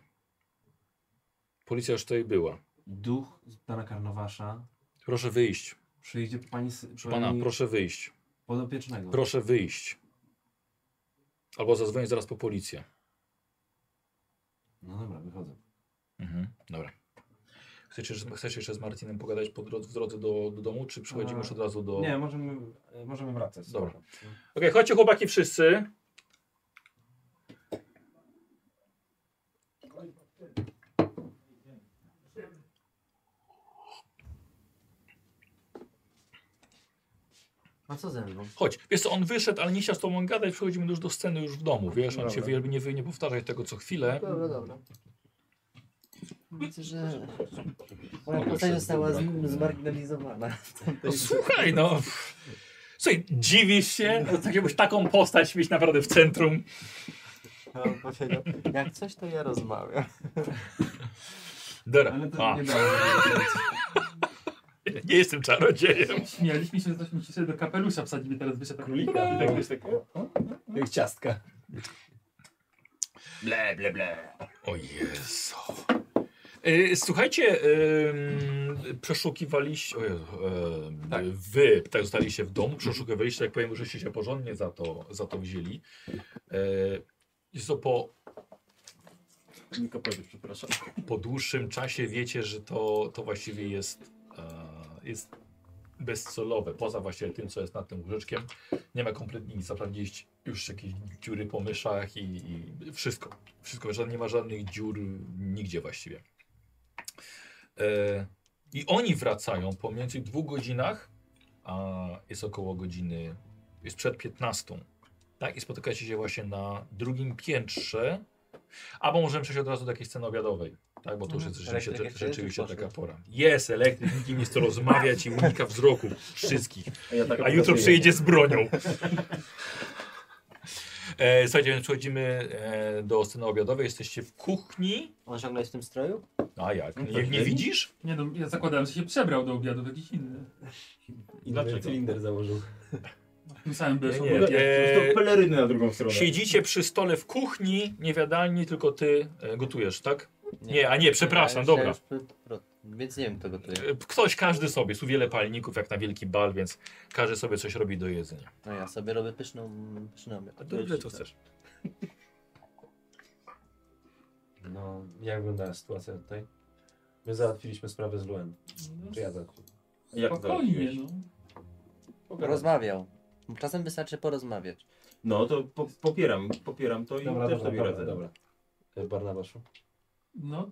Speaker 1: Policja już tutaj była.
Speaker 2: Duch z pana Karnowasza
Speaker 1: Proszę wyjść.
Speaker 2: przyjdzie po pani, sy-
Speaker 1: Proszę pana,
Speaker 2: pani
Speaker 1: proszę wyjść.
Speaker 2: podopiecznego.
Speaker 1: Proszę wyjść. Albo zadzwonię zaraz po policję.
Speaker 2: No dobra, wychodzę.
Speaker 1: Mhm, dobra. Chcesz, jeszcze- chcesz jeszcze z Martinem pogadać po drodze, w drodze do, do domu, czy przechodzimy
Speaker 2: A,
Speaker 1: już od razu do...
Speaker 2: Nie, możemy, e, możemy wracać.
Speaker 1: Dobra. Okej, chodźcie chłopaki wszyscy.
Speaker 5: A co ze mną?
Speaker 1: Chodź. Wiesz co, on wyszedł, ale nie chciał z tobą gadać, przechodzimy już do sceny już w domu, wiesz, on się wie, nie, wy- nie powtarzać tego co chwilę.
Speaker 5: Dobra, dobra. Widzę, że moja
Speaker 1: Mogę
Speaker 5: postać
Speaker 1: się
Speaker 5: została
Speaker 1: wybrać.
Speaker 5: z- zmarginalizowana.
Speaker 1: No słuchaj, no.
Speaker 13: Słuchaj, dziwisz się,
Speaker 1: tak
Speaker 13: jakbyś taką postać mieć naprawdę w centrum.
Speaker 5: Ja bym
Speaker 3: <laughs>
Speaker 5: powiedział, Jak coś, to ja rozmawiam.
Speaker 13: Dobra.
Speaker 5: Ale
Speaker 13: A.
Speaker 2: <laughs>
Speaker 13: Nie jestem czarodziejem.
Speaker 6: Śmialiśmy się, że ktoś musi sobie do kapelusza wsadzimy teraz wyszedł królika.
Speaker 13: Tak, wiesz, tak,
Speaker 6: Jak ciastka.
Speaker 13: Ble, ble, ble. O Jezu. E, Słuchajcie, em, przeszukiwaliście, o Jezu, em, wy tak zostaliście w domu, przeszukiwaliście, jak powiem, żeście się porządnie za to, za to wzięli. E, Jest to po... przepraszam. Po dłuższym czasie wiecie, że to, to właściwie jest, e, jest bezcelowe, poza właściwie tym, co jest nad tym łóżeczkiem. Nie ma kompletnie nic, sprawdziliście już jakieś dziury po myszach i, i wszystko. Wszystko, żadne, nie ma żadnych dziur nigdzie właściwie. E, I oni wracają po mniej więcej dwóch godzinach, a jest około godziny, jest przed 15. Tak? I spotykacie się właśnie na drugim piętrze, albo możemy przejść od razu do jakiej sceny obiadowej. Tak, bo to już jest
Speaker 1: Mhm.
Speaker 13: rzeczywiście,
Speaker 1: Elektryk jeszcze jest,
Speaker 13: rzeczywiście
Speaker 1: czy poszedł?
Speaker 13: taka pora. Jest elektryk, nikt nie chce rozmawiać i unika wzroku wszystkich.
Speaker 3: A ja tak
Speaker 13: A jutro
Speaker 3: pokazuję.
Speaker 13: przyjedzie z bronią. E, słuchajcie, więc przechodzimy e, do sceny obiadowej. Jesteście w kuchni.
Speaker 5: On ciągle jest w tym stroju?
Speaker 13: A jak?
Speaker 5: No to
Speaker 13: Nie, nie
Speaker 5: źle.
Speaker 13: widzisz?
Speaker 6: Nie no, ja zakładałem, że się przebrał do obiadu w jakiś inny.
Speaker 3: Dlaczego? cylinder założył.
Speaker 6: Tym samym byłeś
Speaker 13: Nie,
Speaker 6: obok.
Speaker 13: e,
Speaker 3: peleryny na drugą stronę.
Speaker 13: Siedzicie przy stole w kuchni, nie w jadalni, tylko ty e, gotujesz, tak? Nie, a nie, przepraszam,
Speaker 12: Ja
Speaker 13: dobra.
Speaker 12: już- ja już- Więc nie wiem, kto gotuje.
Speaker 13: E, Ktoś, każdy sobie, jest tu wiele palników, jak na wielki bal, więc każdy sobie coś robi do jedzenia.
Speaker 12: No ja sobie robię pyszną, pyszny obiad.
Speaker 13: A to ile to chcesz?
Speaker 2: No, jak wygląda sytuacja tutaj? My załatwiliśmy sprawę z Luen. Czy ja tak- załatwiłem?
Speaker 6: No, Spokojnie, no.
Speaker 12: Rozmawiał. Czasem wystarczy porozmawiać.
Speaker 3: No to po, popieram, popieram to i
Speaker 12: Dobra,
Speaker 3: też
Speaker 12: dobra,
Speaker 3: sobie
Speaker 12: dobra,
Speaker 3: radzę.
Speaker 12: dobra.
Speaker 2: E, Barnabaszu.
Speaker 6: No.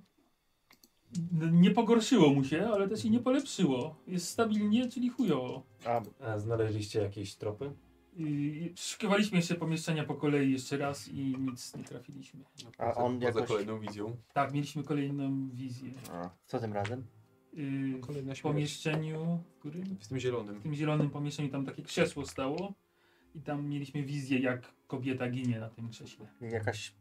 Speaker 6: N- Nie pogorszyło mu się, ale też i nie polepszyło. Jest stabilnie, czyli chujowo.
Speaker 2: A, a e, znaleźliście jakieś tropy?
Speaker 6: Yy, Przeszukiwaliśmy jeszcze pomieszczenia po kolei jeszcze raz i nic nie trafiliśmy.
Speaker 2: No
Speaker 12: A on
Speaker 7: Poza
Speaker 12: jakoś...
Speaker 7: kolejną wizją.
Speaker 6: Tak, mieliśmy kolejną wizję.
Speaker 12: A, co tym razem?
Speaker 6: Yy,
Speaker 7: Kolejna
Speaker 6: w
Speaker 7: śmierć.
Speaker 6: pomieszczeniu, w którym?
Speaker 7: W tym zielonym.
Speaker 6: W tym zielonym pomieszczeniu tam takie krzesło stało i tam mieliśmy wizję, jak kobieta ginie na tym krześle.
Speaker 12: Jakaś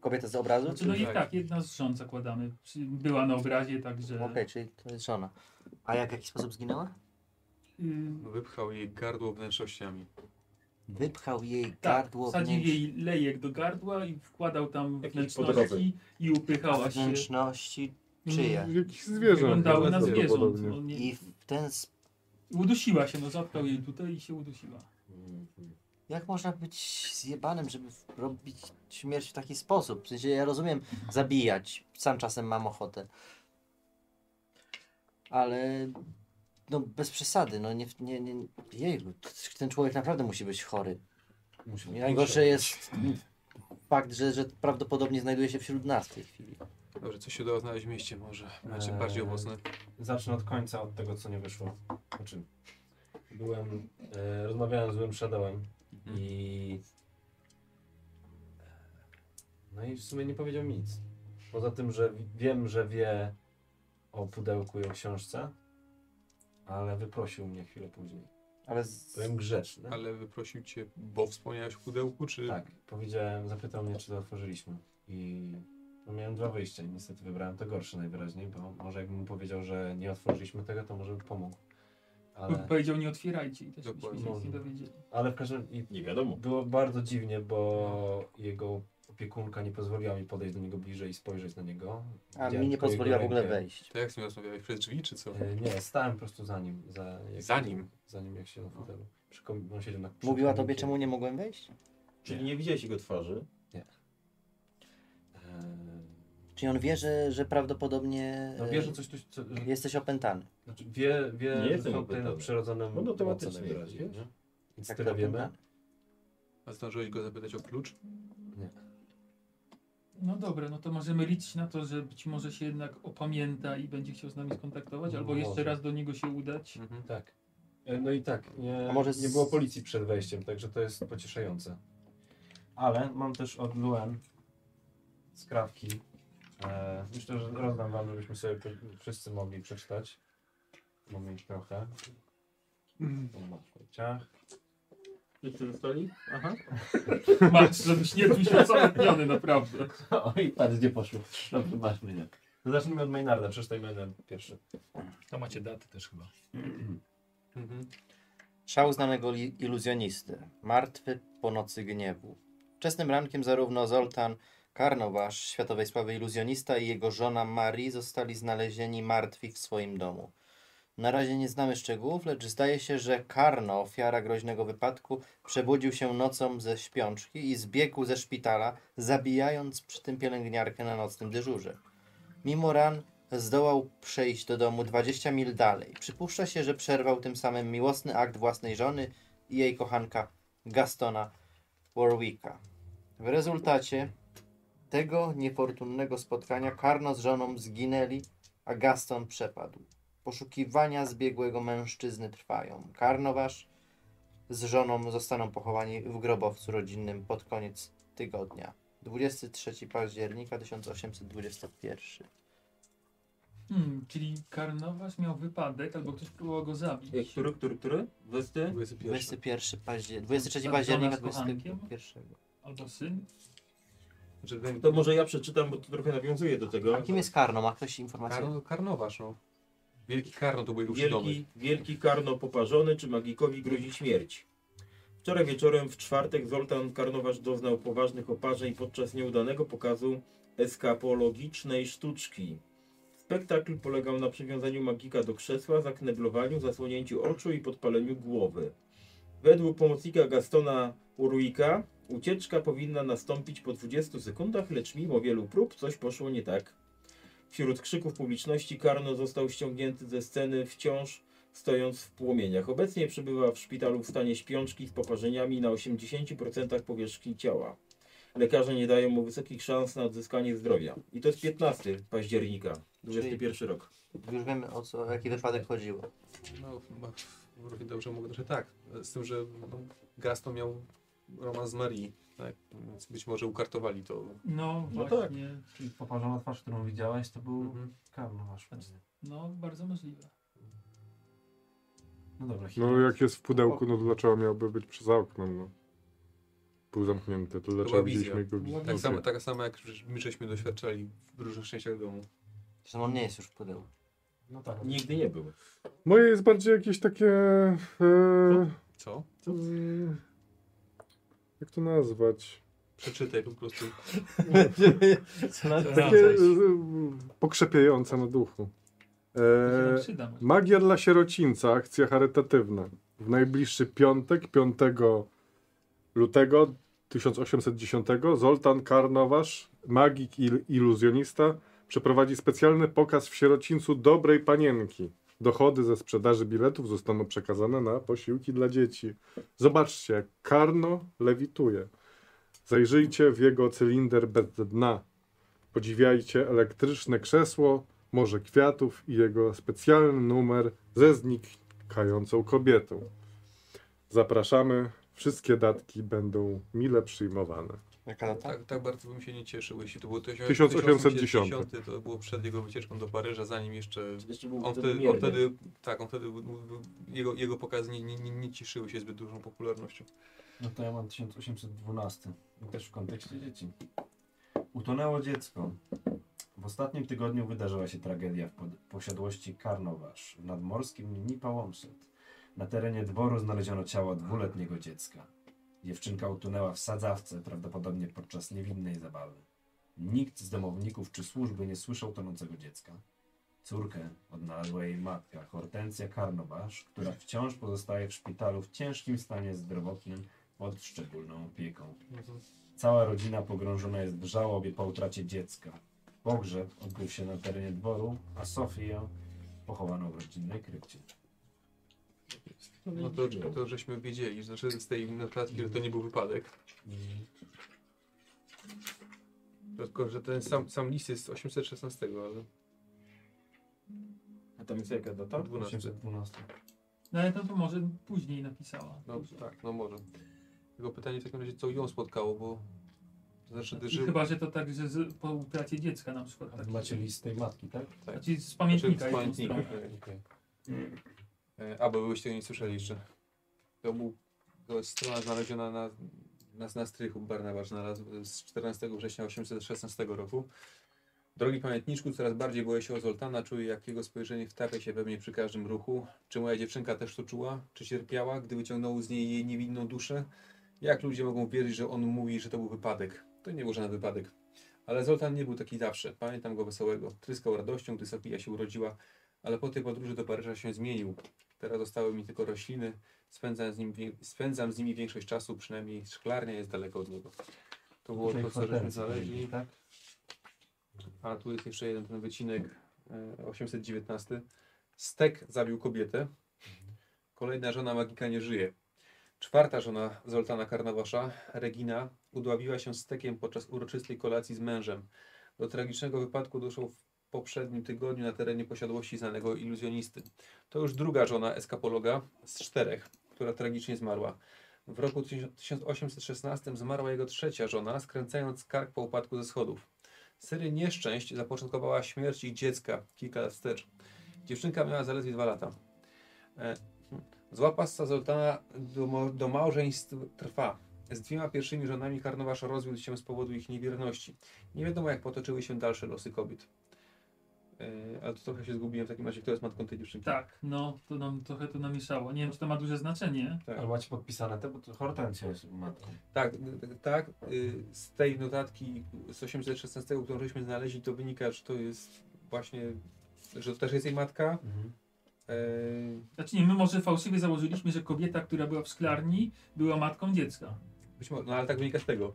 Speaker 12: kobieta z obrazu?
Speaker 6: Znaczy, no
Speaker 12: czy-
Speaker 6: i tak, jedna z żon zakładamy. Przy- Była na obrazie, także...
Speaker 12: Okej, czyli to jest żona.
Speaker 5: A jak w jakiś sposób zginęła?
Speaker 6: Yy,
Speaker 7: Wypchał jej gardło wnętrznościami.
Speaker 5: Wypchał jej
Speaker 6: Tak,
Speaker 5: gardło
Speaker 6: wsadził
Speaker 5: wnętrz-
Speaker 6: jej lejek do gardła i wkładał tam
Speaker 5: podroby.
Speaker 6: wnętrzności i upychała się.
Speaker 5: wnętrzności czyje.
Speaker 6: Mm, Jakichś zwierząt. wyglądały na zwierząt, Podobnie. no nie-
Speaker 5: I w ten sp-
Speaker 6: Udusiła się, no zatkał jej tutaj i się udusiła.
Speaker 5: Jak można być zjebanym, żeby w- robić śmierć w taki sposób? W sensie ja rozumiem zabijać, sam czasem mam ochotę. Ale no bez przesady, no nie, nie, nie jejlu, ten człowiek naprawdę musi być chory.
Speaker 2: Musi-
Speaker 5: I Najgorsze jest fakt, że, że prawdopodobnie znajduje się wśród nas w tej chwili.
Speaker 7: Dobrze, coś się udało znaleźć w mieście może. Znaczy bardziej
Speaker 2: Eee,
Speaker 7: owocne.
Speaker 2: Zacznę od końca, od tego co nie wyszło. Znaczy, byłem, e, rozmawiałem z złym Shadowem i... No i w sumie nie powiedział nic. Poza tym, że wi- wiem, że wie o pudełku i o książce, ale wyprosił mnie chwilę później.
Speaker 12: Ale z...
Speaker 2: Byłem grzeczny.
Speaker 7: Ale wyprosił cię, bo wspomniałeś o pudełku, czy...
Speaker 2: Tak, powiedziałem, zapytał mnie, czy to otworzyliśmy. I no miałem dwa wyjścia. i Niestety wybrałem to gorsze najwyraźniej, bo może jakbym mu powiedział, że nie otworzyliśmy tego, to może by pomógł. Ale...
Speaker 6: Powiedział nie otwierajcie i też byśmy
Speaker 2: Dokładnie.
Speaker 6: się nic nie dowiedzieli.
Speaker 2: Ale w każdym i
Speaker 3: Nie wiadomo.
Speaker 2: Było bardzo dziwnie, bo jego opiekunka nie pozwoliła mi podejść do niego bliżej i spojrzeć na niego.
Speaker 12: A
Speaker 2: Widziałem
Speaker 12: mi nie
Speaker 2: tylko
Speaker 12: pozwoliła w
Speaker 2: jego
Speaker 12: ogóle
Speaker 2: rękę.
Speaker 12: wejść.
Speaker 7: To jak z nim rozmawiałeś? Przez drzwi, czy co?
Speaker 2: E, Nie, stałem po prostu za nim. Za, jak,
Speaker 7: Za nim?
Speaker 2: Za nim, jak się na fotelu. Przy kom- on siedział na przy
Speaker 12: Mówiła tobie,
Speaker 2: komikiem.
Speaker 12: czemu nie mogłem wejść?
Speaker 3: Czyli nie widziałeś jego twarzy?
Speaker 2: Nie. Eee,
Speaker 12: Czyli on wie, że, że prawdopodobnie
Speaker 2: No wie,
Speaker 5: e,
Speaker 2: że coś tu- co- że-
Speaker 12: jesteś opętany.
Speaker 2: Znaczy wie, wie
Speaker 12: Nie
Speaker 2: nie
Speaker 12: jestem
Speaker 2: jestem o
Speaker 12: opętany.
Speaker 2: tym przyrodzonym
Speaker 12: No, no,
Speaker 2: mocy
Speaker 12: teoretycznie,
Speaker 2: najwyraźniej.
Speaker 12: wiesz?
Speaker 2: nie? Więc
Speaker 6: tak
Speaker 12: Jak
Speaker 2: tyle
Speaker 12: to
Speaker 2: wiemy.
Speaker 12: opętany?
Speaker 7: A zdążyłeś go zapytać o klucz?
Speaker 2: Nie.
Speaker 6: No dobra, no to możemy liczyć na to, że być może się jednak opamięta i będzie chciał z nami skontaktować,
Speaker 2: No,
Speaker 6: albo jeszcze
Speaker 2: może.
Speaker 6: raz do niego się udać.
Speaker 2: Tak. E, No i tak, nie,
Speaker 6: A może
Speaker 2: nie
Speaker 6: z-
Speaker 2: było policji przed wejściem, także to jest pocieszające. Ale mam też od Luen skrawki. E, myślę, że rozdam wam, żebyśmy sobie po- wszyscy mogli przeczytać. Mamy ich trochę. Tu masz w ciach.
Speaker 3: Wszyscy zostali? Aha.
Speaker 6: Masz, żebyś nie czuł się osamotniony, naprawdę.
Speaker 2: <laughs>
Speaker 3: Oj, patrz gdzie poszło.
Speaker 2: No,
Speaker 3: Dobrze, masz mnie.
Speaker 2: To No, Zacznijmy od Maynarda, przecież to Maynard pierwszy.
Speaker 14: Tam macie daty też chyba.
Speaker 5: Szał znanego li- iluzjonisty, martwy po nocy gniewu. Wczesnym rankiem zarówno Zoltan Karnowasz, światowej sławy iluzjonista i jego żona Marie zostali znalezieni martwi w swoim domu. Na razie nie znamy szczegółów, lecz zdaje się, że Karno, ofiara groźnego wypadku, przebudził się nocą ze śpiączki i zbiegł ze szpitala, zabijając przy tym pielęgniarkę na nocnym dyżurze. Mimo ran zdołał przejść do domu 20 mil dalej. Przypuszcza się, że przerwał tym samym miłosny akt własnej żony i jej kochanka Gastona Warwicka. W rezultacie tego niefortunnego spotkania Karno z żoną zginęli, a Gaston przepadł. Poszukiwania zbiegłego mężczyzny trwają. Karnowasz z żoną zostaną pochowani w grobowcu rodzinnym pod koniec tygodnia. 23 października 1821.
Speaker 6: Hmm, czyli Karnowasz miał wypadek, albo ktoś próbował go zabić.
Speaker 3: Jak, który, który, który? 20?
Speaker 5: 21 października, 23
Speaker 6: Żona z
Speaker 5: października
Speaker 6: kochankiem?
Speaker 5: 21.
Speaker 6: Albo syn?
Speaker 3: To może ja przeczytam, bo to trochę nawiązuje do tego.
Speaker 5: A kim jest Karno? Ma ktoś informację?
Speaker 3: Karno-
Speaker 5: Karnowasz, no.
Speaker 3: Wielki Karno to był
Speaker 5: jego
Speaker 3: wielki,
Speaker 5: przydomek.
Speaker 3: wielki Karno poparzony, czy magikowi grozi śmierć. Wczoraj wieczorem w czwartek Zoltan Karnowacz doznał poważnych oparzeń podczas nieudanego pokazu eskapologicznej sztuczki. Spektakl polegał na przywiązaniu magika do krzesła, zakneblowaniu, zasłonięciu oczu i podpaleniu głowy. Według pomocnika Gastona Uruika ucieczka powinna nastąpić po 20 sekundach, lecz mimo wielu prób coś poszło nie tak. Wśród krzyków publiczności Karno został ściągnięty ze sceny wciąż stojąc w płomieniach. Obecnie przebywa w szpitalu w stanie śpiączki z poparzeniami na 80% powierzchni ciała. Lekarze nie dają mu wysokich szans na odzyskanie zdrowia. I to jest 15 października, 21 rok.
Speaker 5: Już wiemy o co, o jaki wypadek chodziło.
Speaker 9: No, chyba równie dobrze mogę, że tak. Z tym, że no, Gaston miał romans z Marii, tak? Więc być może ukartowali to.
Speaker 6: No,
Speaker 2: No tak.
Speaker 6: właśnie.
Speaker 2: Czyli poparzona twarz, którą widziałeś, to był Karno wasz.
Speaker 6: No, bardzo możliwe.
Speaker 2: No dobra,
Speaker 4: No jak jest w pudełku, no to dlaczego miałby być przez oknem, no? Był zamknięty, to
Speaker 9: To była
Speaker 4: dlaczego
Speaker 9: wizja.
Speaker 4: widzieliśmy go w
Speaker 9: Tak samo, taka sama jak my żeśmy doświadczali w różnych częściach domu.
Speaker 5: Zresztą on nie jest już w pudełku.
Speaker 2: No tak.
Speaker 3: Nigdy nie był.
Speaker 4: Moje jest bardziej jakieś takie... E,
Speaker 9: Co?
Speaker 4: mm, jak to nazwać?
Speaker 9: Przeczytaj Tak po prostu.
Speaker 4: Takie e, pokrzepiające na duchu. E,
Speaker 6: przyda może.
Speaker 4: magia dla sierocińca, akcja charytatywna. W najbliższy piątek, 5 lutego 1810, Zoltan Karnowasz, magik i iluzjonista, przeprowadzi specjalny pokaz w sierocińcu dobrej panienki. Dochody ze sprzedaży biletów zostaną przekazane na posiłki dla dzieci. Zobaczcie, jak Karno lewituje. Zajrzyjcie w jego cylinder bez dna. Podziwiajcie elektryczne krzesło, morze kwiatów i jego specjalny numer ze znikającą kobietą. Zapraszamy. Wszystkie datki będą mile przyjmowane.
Speaker 9: Tak, tak bardzo bym się nie cieszył, jeśli to było
Speaker 4: 1810.
Speaker 9: 1810, to było przed jego wycieczką do Paryża, zanim jeszcze...
Speaker 3: jeszcze był
Speaker 9: on,
Speaker 3: wtedy
Speaker 9: wtedy, on
Speaker 3: mierny.
Speaker 9: wtedy, tak, on wtedy, był- był- jego, jego pokazy nie, nie, nie, nie cieszyły się zbyt dużą popularnością.
Speaker 2: No to ja mam 1812. No Też w kontekście dzieci. Utonęło dziecko. W ostatnim tygodniu wydarzyła się tragedia w pod- posiadłości Karnowasz w nadmorskim Nipałomszet. Na terenie dworu znaleziono ciało dwuletniego dziecka. Dziewczynka utonęła w sadzawce, prawdopodobnie podczas niewinnej zabawy. Nikt z domowników czy służby nie słyszał tonącego dziecka. Córkę odnalazła jej matka, Hortensja Karnowasz, która wciąż pozostaje w szpitalu w ciężkim stanie zdrowotnym pod szczególną opieką. Cała rodzina pogrążona jest w żałobie po utracie dziecka. Pogrzeb odbył się na terenie dworu, a Sofię pochowano w rodzinnej krypcie.
Speaker 9: No to, to żeśmy wiedzieli, znaczy z tej notatki, że to nie był wypadek. Tylko, że ten sam, sam list jest z 816, ale...
Speaker 3: A tam jest jaka data?
Speaker 9: 12.
Speaker 2: 812.
Speaker 6: No ale to, to może później napisała.
Speaker 9: No tak, no może. Tylko pytanie w takim razie, co ją spotkało, bo... Znaczy,
Speaker 6: I
Speaker 9: żył...
Speaker 6: Chyba, że to tak, że z, po utracie dziecka na przykład. Tak.
Speaker 2: Macie list tej matki, tak?
Speaker 9: Tak.
Speaker 6: Znaczy z pamiętnika.
Speaker 9: Znaczy, z pamiętnika.
Speaker 6: jedną stronę.
Speaker 9: okej. E, A, bo byście nie słyszeli jeszcze. To był To jest strona znaleziona na, na, na strychu Barnabasz znalazł z 14 września 816 roku. Drogi pamiętniczku, coraz bardziej boję się o Zoltana, czuję jak jego spojrzenie wtapia się we mnie przy każdym ruchu. Czy moja dziewczynka też to czuła? Czy cierpiała, gdy wyciągnął z niej jej niewinną duszę? Jak ludzie mogą wierzyć, że on mówi, że to był wypadek? To nie był żaden wypadek. Ale Zoltan nie był taki zawsze. Pamiętam go wesołego. Tryskał radością, gdy Sofia się urodziła, ale po tej podróży do Paryża się zmienił. Teraz zostały mi tylko rośliny. Spędzam z, nim, wie- spędzam z nimi większość czasu, przynajmniej szklarnia jest daleko od niego. To było
Speaker 15: Czyli
Speaker 9: to, co żeśmy
Speaker 15: kwatery
Speaker 9: znaleźli.
Speaker 15: powiedzieli, tak?
Speaker 9: A tu jest jeszcze jeden ten wycinek e, 819. Stek zabił kobietę. Kolejna żona magika nie żyje. Czwarta żona Zoltana Karnawasza, Regina, udławiła się stekiem podczas uroczystej kolacji z mężem. Do tragicznego wypadku doszło w poprzednim tygodniu na terenie posiadłości znanego iluzjonisty. To już druga żona eskapologa z czterech, która tragicznie zmarła. W roku 1816 zmarła jego trzecia żona, skręcając kark po upadku ze schodów. Serię nieszczęść zapoczątkowała śmierć ich dziecka kilka lat wstecz. Dziewczynka miała zaledwie dwa lata. E, Zła pasta Zoltana do, mo- do małżeństw trwa. Z dwiema pierwszymi żonami Karnowasz rozwiódł się z powodu ich niewierności. Nie wiadomo, jak potoczyły się dalsze losy kobiet. E, ale to trochę się zgubiłem w takim razie, kto jest matką tej dziewczynki.
Speaker 6: Tak, no, to nam trochę to namieszało. Nie wiem, czy to ma duże znaczenie.
Speaker 9: Tak.
Speaker 2: Ale macie podpisane te, bo to Hortensja jest matką.
Speaker 9: Tak, n- n- tak. y, Z tej notatki z 816, którą żeśmy znaleźli, to wynika, że to jest właśnie, że to też jest jej matka.
Speaker 2: Mhm.
Speaker 9: Y,
Speaker 6: Znaczy nie, my może fałszywie założyliśmy, że kobieta, która była w szklarni, była matką dziecka.
Speaker 9: Być może, no ale tak wynika z tego.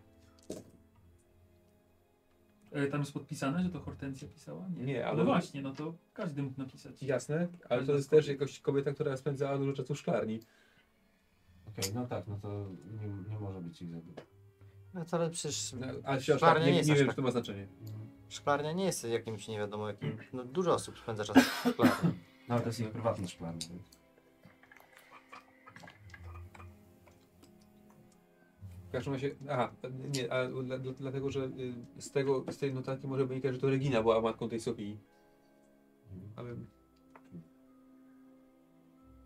Speaker 6: E, tam jest podpisane, że to Hortensja pisała?
Speaker 9: Nie, ale-
Speaker 6: No właśnie, no to każdy mógł napisać.
Speaker 9: Jasne, ale to jest też jakoś kobieta, która spędzała dużo czasu w szklarni.
Speaker 2: Okej, no tak, no to nie, nie może być ich za dużo.
Speaker 5: No to ale przecież
Speaker 9: No, ale się aż tak
Speaker 5: szklarnia
Speaker 9: nie-
Speaker 5: nie, jest
Speaker 9: nie
Speaker 5: aż
Speaker 9: wiem,
Speaker 5: tak-
Speaker 9: czy to ma znaczenie.
Speaker 5: Szklarnia nie jest jakimś nie wiadomo jakim. No, dużo osób spędza czas w szklarni.
Speaker 2: No ale to jest ich prywatny szklarny.
Speaker 9: W każdym razie, aha, nie, ale dla, dla, dlatego, że y, z, tego, z tej notatki może wynikać, że to Regina była matką tej Sofii. Ale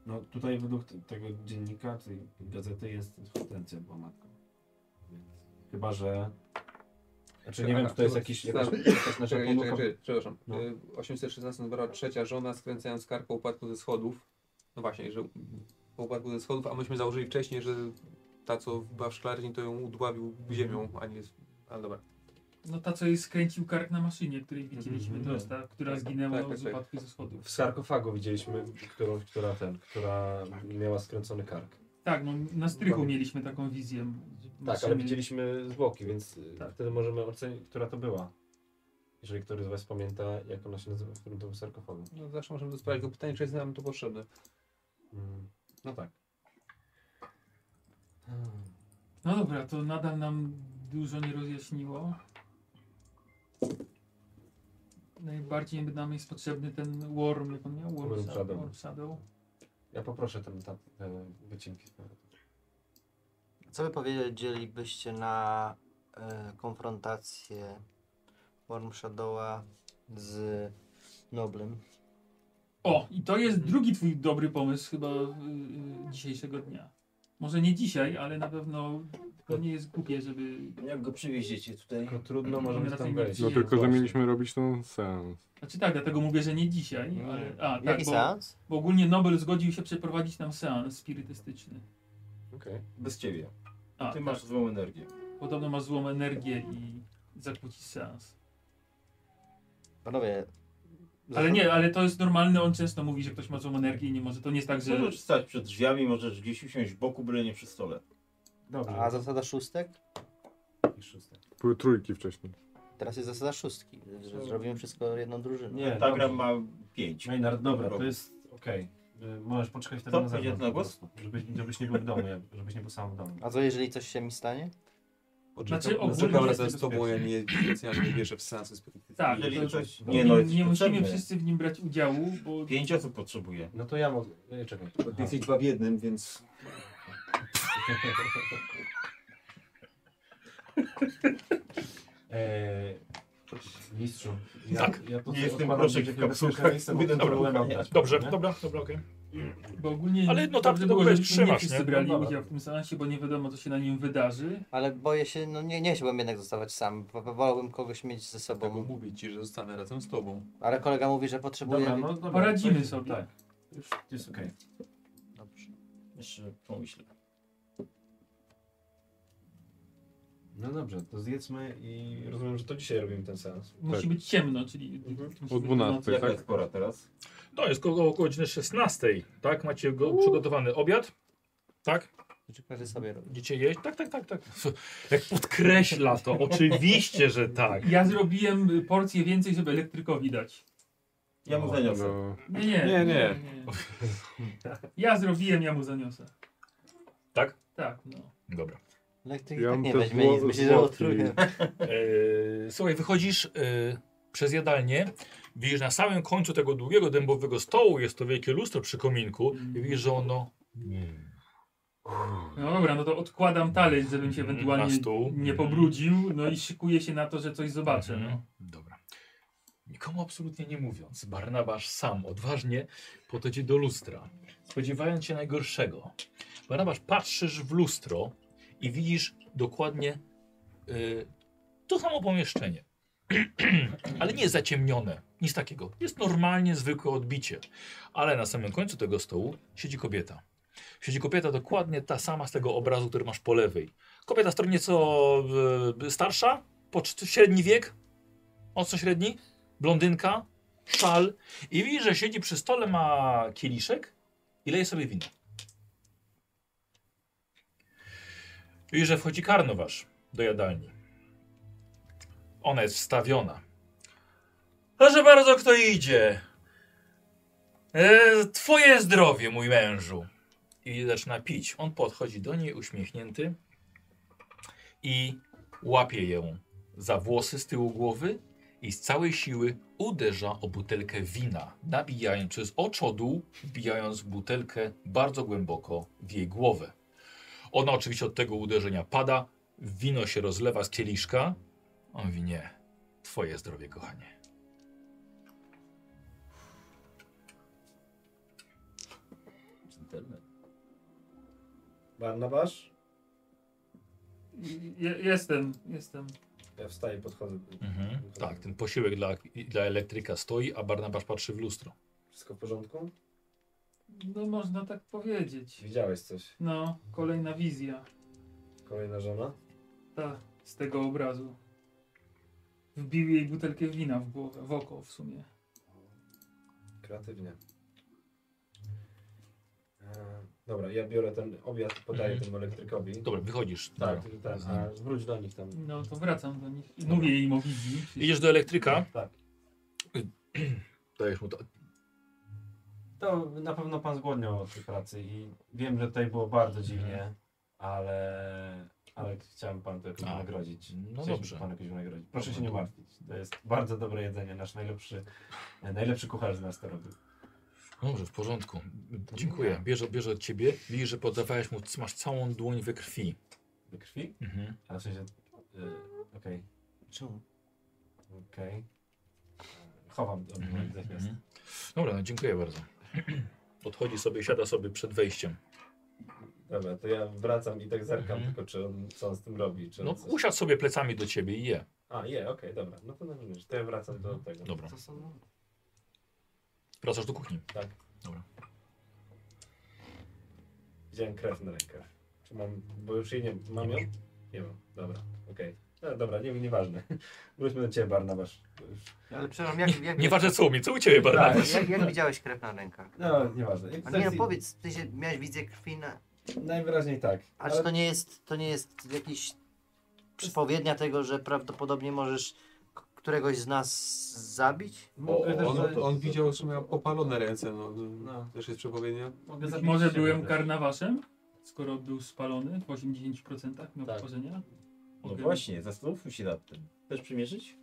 Speaker 2: No tutaj według te- tego dziennika, tej gazety jest hortensja była matką. Więc Chyba, że... Znaczy nie wiem, czy to jest jakiś, jakaś, jakaś nasza
Speaker 9: czekaj, czekaj,
Speaker 2: pomyłka.
Speaker 9: czekaj, przepraszam.
Speaker 2: No.
Speaker 9: Y, 816 zmarła trzecia żona, skręcając kark po upadku ze schodów. No właśnie, że po upadku ze schodów, a myśmy założyli wcześniej, że ta, co była w szklarni, to ją udławił ziemią, a nie... Ale dobra.
Speaker 6: No ta, co jej skręcił kark na maszynie, której widzieliśmy, to jest ta, która
Speaker 9: Tak,
Speaker 6: zginęła
Speaker 9: tak, tak,
Speaker 6: z
Speaker 9: tak.
Speaker 6: upadku ze schodów.
Speaker 2: W sarkofagu widzieliśmy którąś, która ten, która miała skręcony kark.
Speaker 6: Tak, no na strychu mieliśmy taką wizję.
Speaker 2: Tak, ale
Speaker 6: maszyny.
Speaker 2: widzieliśmy zwłoki, więc y, wtedy możemy ocenić, która to była. Jeżeli któryś z Was pamięta, jak ona się nazywa, w którym to był sarkofagu.
Speaker 9: No zawsze możemy sprawdzić tylko pytanie, czy jest nam to potrzebne.
Speaker 2: Mm. No tak.
Speaker 6: No dobra, to nadal nam dużo nie rozjaśniło. Najbardziej nam jest potrzebny ten Worm, jak on miał? Worm,
Speaker 2: Worm
Speaker 6: Shadow.
Speaker 2: Shadow.
Speaker 6: Worm Shadow.
Speaker 2: Ja poproszę ten, ta, te wycinki.
Speaker 5: Co by powiedzielibyście na e, konfrontację Worm Shadowa z Noblem?
Speaker 6: O, i to jest drugi twój dobry pomysł chyba y, y, dzisiejszego dnia. Może nie dzisiaj, ale na pewno to nie jest głupie, żeby...
Speaker 3: Jak go przywieziecie tutaj?
Speaker 2: No trudno,
Speaker 6: możemy raczej tam nie wejść.
Speaker 4: No
Speaker 6: przyjęło
Speaker 4: tylko, że
Speaker 6: właśnie.
Speaker 4: mieliśmy robić ten sens.
Speaker 6: Znaczy tak, dlatego mówię, że nie dzisiaj, ale... A, tak,
Speaker 5: Jaki
Speaker 6: bo,
Speaker 5: seans?
Speaker 6: Bo ogólnie Nobel zgodził się przeprowadzić nam seans spirytystyczny.
Speaker 2: Okej.
Speaker 3: Bez ciebie.
Speaker 6: A, tak.
Speaker 3: Ty masz złą energię.
Speaker 6: Podobno ma złą energię i zakłóci seans.
Speaker 5: Panowie.
Speaker 6: Ale nie, ale to jest normalne, on często mówi, że ktoś ma złą energię i nie może. To nie jest tak, że...
Speaker 3: Możesz stać przed drzwiami, możesz gdzieś usiąść w boku, byle nie przy stole.
Speaker 2: Dobrze.
Speaker 5: A zasada szóstek?
Speaker 4: Były trójki wcześniej.
Speaker 5: Teraz jest zasada szóstki. że Zrobimy wszystko jedną drużyną.
Speaker 6: Tak.
Speaker 2: Nie,
Speaker 3: Ta
Speaker 2: dobrze.
Speaker 3: gra ma 5.
Speaker 2: Maynard, dobra, to jest okej. Y, Możesz poczekać wtedy
Speaker 3: Co?
Speaker 2: na zewnątrz.
Speaker 3: Będzie na
Speaker 2: po
Speaker 3: głos?
Speaker 2: prostu, Żebyś, żebyś nie był w domu, jak- żebyś nie był sam w domu.
Speaker 5: A co jeżeli coś się mi stanie?
Speaker 6: Znaczy, ogólnie
Speaker 9: Czekam
Speaker 6: jest
Speaker 9: razem z tobą, ja nie, ja nie wierzę w seansy spirytystyczne.
Speaker 6: Tak,
Speaker 3: Jeżeli
Speaker 6: to,
Speaker 3: coś-
Speaker 6: nie,
Speaker 3: nie, no, jest
Speaker 6: nie musimy
Speaker 3: potrzebne.
Speaker 6: wszyscy w nim brać udziału, bo...
Speaker 3: Pięć osób potrzebuje.
Speaker 2: No to ja mogę. Nie, czekaj.
Speaker 9: Ty jesteś dwa w jednym, więc...
Speaker 2: Eee, mistrzu, ja,
Speaker 13: Tak.
Speaker 2: ja to
Speaker 3: Nie jestem,
Speaker 2: odkładam
Speaker 3: proszę,
Speaker 2: gdzieś
Speaker 3: w
Speaker 2: jakiegoś
Speaker 3: kapsułkach.
Speaker 2: koszyka i sobie
Speaker 3: Jeden
Speaker 2: próbuję
Speaker 3: problem.
Speaker 2: nabrać,
Speaker 13: Dobrze,
Speaker 2: nie?
Speaker 13: dobra, dobra, okej.
Speaker 6: Bo ogólnie
Speaker 13: Ale no tak,
Speaker 6: dobrze
Speaker 13: to
Speaker 6: było,
Speaker 13: wiesz,
Speaker 6: żebyśmy nie
Speaker 13: trzymasz,
Speaker 6: wszyscy
Speaker 13: nie?
Speaker 6: brali
Speaker 13: No dobra.
Speaker 6: udział w tym seansie, bo nie wiadomo co się na nim wydarzy.
Speaker 5: Ale boję się, no nie, nie chciałbym jednak zostawać sam. Wo- wo- Wolałbym kogoś mieć ze sobą.
Speaker 16: mówię ci, że zostanę razem z tobą.
Speaker 5: Ale kolega mówi, że potrzebuje.
Speaker 2: Dobra, no dobra,
Speaker 6: Poradzimy
Speaker 2: to-
Speaker 6: sobie.
Speaker 2: Tak. Już jest okej.
Speaker 17: Dobrze. Jeszcze pomyślę.
Speaker 2: No dobrze, to zjedzmy i
Speaker 18: Rozumiem, że to dzisiaj robimy ten seans.
Speaker 6: Musi
Speaker 4: Tak.
Speaker 6: być ciemno, czyli musi być noc.
Speaker 18: Jaka jest pora teraz?
Speaker 13: No jest około około godziny 16, tak? Macie go przygotowany obiad? Tak?
Speaker 5: Każdy sobie robi.
Speaker 13: Idziecie jeść? Tak, tak, tak, <laughs> tak. Jak podkreśla to, oczywiście, że tak.
Speaker 6: Ja zrobiłem y, porcję więcej, żeby elektrykowi dać.
Speaker 3: Ja mu
Speaker 4: No,
Speaker 3: zaniosę.
Speaker 6: Nie, nie.
Speaker 3: Nie, nie.
Speaker 6: Ja zrobiłem, ja mu zaniosę.
Speaker 13: Tak?
Speaker 6: Tak, no.
Speaker 13: Dobra.
Speaker 5: Elektryk
Speaker 4: Ja
Speaker 5: tak
Speaker 4: mam
Speaker 5: nie
Speaker 4: te
Speaker 5: weźmie
Speaker 4: zło-
Speaker 5: nic, myślę, że
Speaker 4: złotki.
Speaker 5: otruje.
Speaker 13: Eee, słuchaj, wychodzisz eee, przez jadalnię, widzisz na samym końcu tego długiego dębowego stołu, jest to wielkie lustro przy kominku i widzisz, że ono
Speaker 6: No dobra, no to odkładam talerz, żebym się
Speaker 13: Na
Speaker 6: ewentualnie
Speaker 13: stół.
Speaker 6: nie pobrudził, no i szykuję się na to, że coś zobaczę, no.
Speaker 13: Dobra. Nikomu absolutnie nie mówiąc, Barnabasz sam odważnie podchodzi do lustra, spodziewając się najgorszego. Barnabasz, patrzysz w lustro i widzisz dokładnie y, to samo pomieszczenie. <clears throat> Ale nie jest zaciemnione, nic takiego. Jest normalnie zwykłe odbicie. Ale na samym końcu tego stołu siedzi kobieta. Siedzi kobieta dokładnie ta sama z tego obrazu, który masz po lewej. Kobieta stron nieco y, starsza, po cz- średni wiek, mocno średni, blondynka, szal i widzi, że siedzi przy stole, ma kieliszek i leje sobie wino. I że wchodzi karnowasz do jadalni. Ona jest wstawiona. Proszę bardzo, kto idzie? E, twoje zdrowie, mój mężu. I zaczyna pić. On podchodzi do niej uśmiechnięty i łapie ją za włosy z tyłu głowy i z całej siły uderza o butelkę wina, nabijając przez oczodół, wbijając butelkę bardzo głęboko w jej głowę. Ona oczywiście od tego uderzenia pada, wino się rozlewa z kieliszka. On mówi, nie, twoje zdrowie, kochanie.
Speaker 17: Dżentelmen.
Speaker 2: Barnabasz?
Speaker 6: Je, jestem, jestem.
Speaker 2: Ja wstaję, podchodzę.
Speaker 13: Mhm. Tak, ten posiłek dla, dla elektryka stoi, a Barnabasz patrzy w lustro.
Speaker 2: Wszystko w porządku?
Speaker 6: No można tak powiedzieć.
Speaker 2: Widziałeś coś?
Speaker 6: No, kolejna wizja,
Speaker 2: Kolejna żona?
Speaker 6: ta z tego obrazu. Wbił jej butelkę wina w głowę, w oko w sumie.
Speaker 2: Kreatywnie. E, dobra, ja biorę ten obiad, podaję
Speaker 13: Mhm.
Speaker 2: temu elektrykowi.
Speaker 13: Dobra, wychodzisz.
Speaker 2: Tak,
Speaker 13: Dobra.
Speaker 2: tak,
Speaker 13: Mhm.
Speaker 2: a wróć do nich tam.
Speaker 6: No to wracam do nich i mówię im o wizji.
Speaker 13: Idziesz do elektryka.
Speaker 2: Tak.
Speaker 13: <clears throat> Dajesz mu to.
Speaker 2: To na pewno pan zgłodniał od tej pracy i wiem, że tutaj było bardzo
Speaker 13: Mhm.
Speaker 2: dziwnie, ale, ale chciałem panu to jakoś
Speaker 13: A,
Speaker 2: wynagrodzić.
Speaker 13: no
Speaker 2: Chcieliśmy
Speaker 13: dobrze. No
Speaker 2: Panu jakoś wynagrodzić. Proszę się nie martwić. To jest bardzo dobre jedzenie. Nasz najlepszy, najlepszy kucharz z nas to robił.
Speaker 13: Dobrze, w porządku. Dziękuję. Bierze, bierze od ciebie. Widzisz, że podawałeś mu, masz całą dłoń we krwi.
Speaker 2: Do krwi?
Speaker 13: Mhm.
Speaker 2: A w sensie. Y, Okej,
Speaker 5: Czemu?
Speaker 2: okej. E, Chowam do mm natychmiast.
Speaker 13: Mhm. Dobra, no dziękuję bardzo. <clears throat> Podchodzi sobie, siada sobie przed wejściem.
Speaker 2: Dobra, to ja wracam i tak zerkam tylko, czy on, co on z tym robi. Czy on
Speaker 13: No,
Speaker 2: coś-
Speaker 13: usiadł sobie plecami do ciebie i je.
Speaker 2: A, je, okej, dobra. No to rozumiesz. To ja wracam do tego.
Speaker 13: Dobra.
Speaker 2: Co są?
Speaker 13: Wracasz do kuchni.
Speaker 2: Tak.
Speaker 13: Dobra.
Speaker 2: Widziałem krew na rękach. Czy mam, bo już jej nie mam ją? Nie mam. Dobra, okej. No dobra, nie, nieważne. <laughs> Wróćmy do ciebie, Barnabasz. Już-
Speaker 5: Ale przepraszam, jak.
Speaker 2: Tak.
Speaker 5: jak
Speaker 13: Nieważne co u mnie, co u ciebie, Barnabasz?
Speaker 5: jak, jak widziałeś krew na rękach?
Speaker 2: No, nieważne.
Speaker 5: A nie, no powiedz, ty się miałeś wizję krwi na...
Speaker 2: Najwyraźniej tak.
Speaker 5: A czy to nie jest, to nie jest jakiś przypowiednia tego, że prawdopodobnie możesz k- któregoś z nas zabić?
Speaker 9: O, no on, on widział, że miał opalone ręce, no. no. Też jest przepowiednia.
Speaker 2: Mogę zabić
Speaker 6: Może
Speaker 2: siebie
Speaker 6: byłem
Speaker 2: też.
Speaker 6: karnawaszem, skoro był spalony w 80% miał
Speaker 2: Tak.
Speaker 6: pochodzenia.
Speaker 3: No właśnie, zastanówmy się nad tym. Chcesz przymierzyć?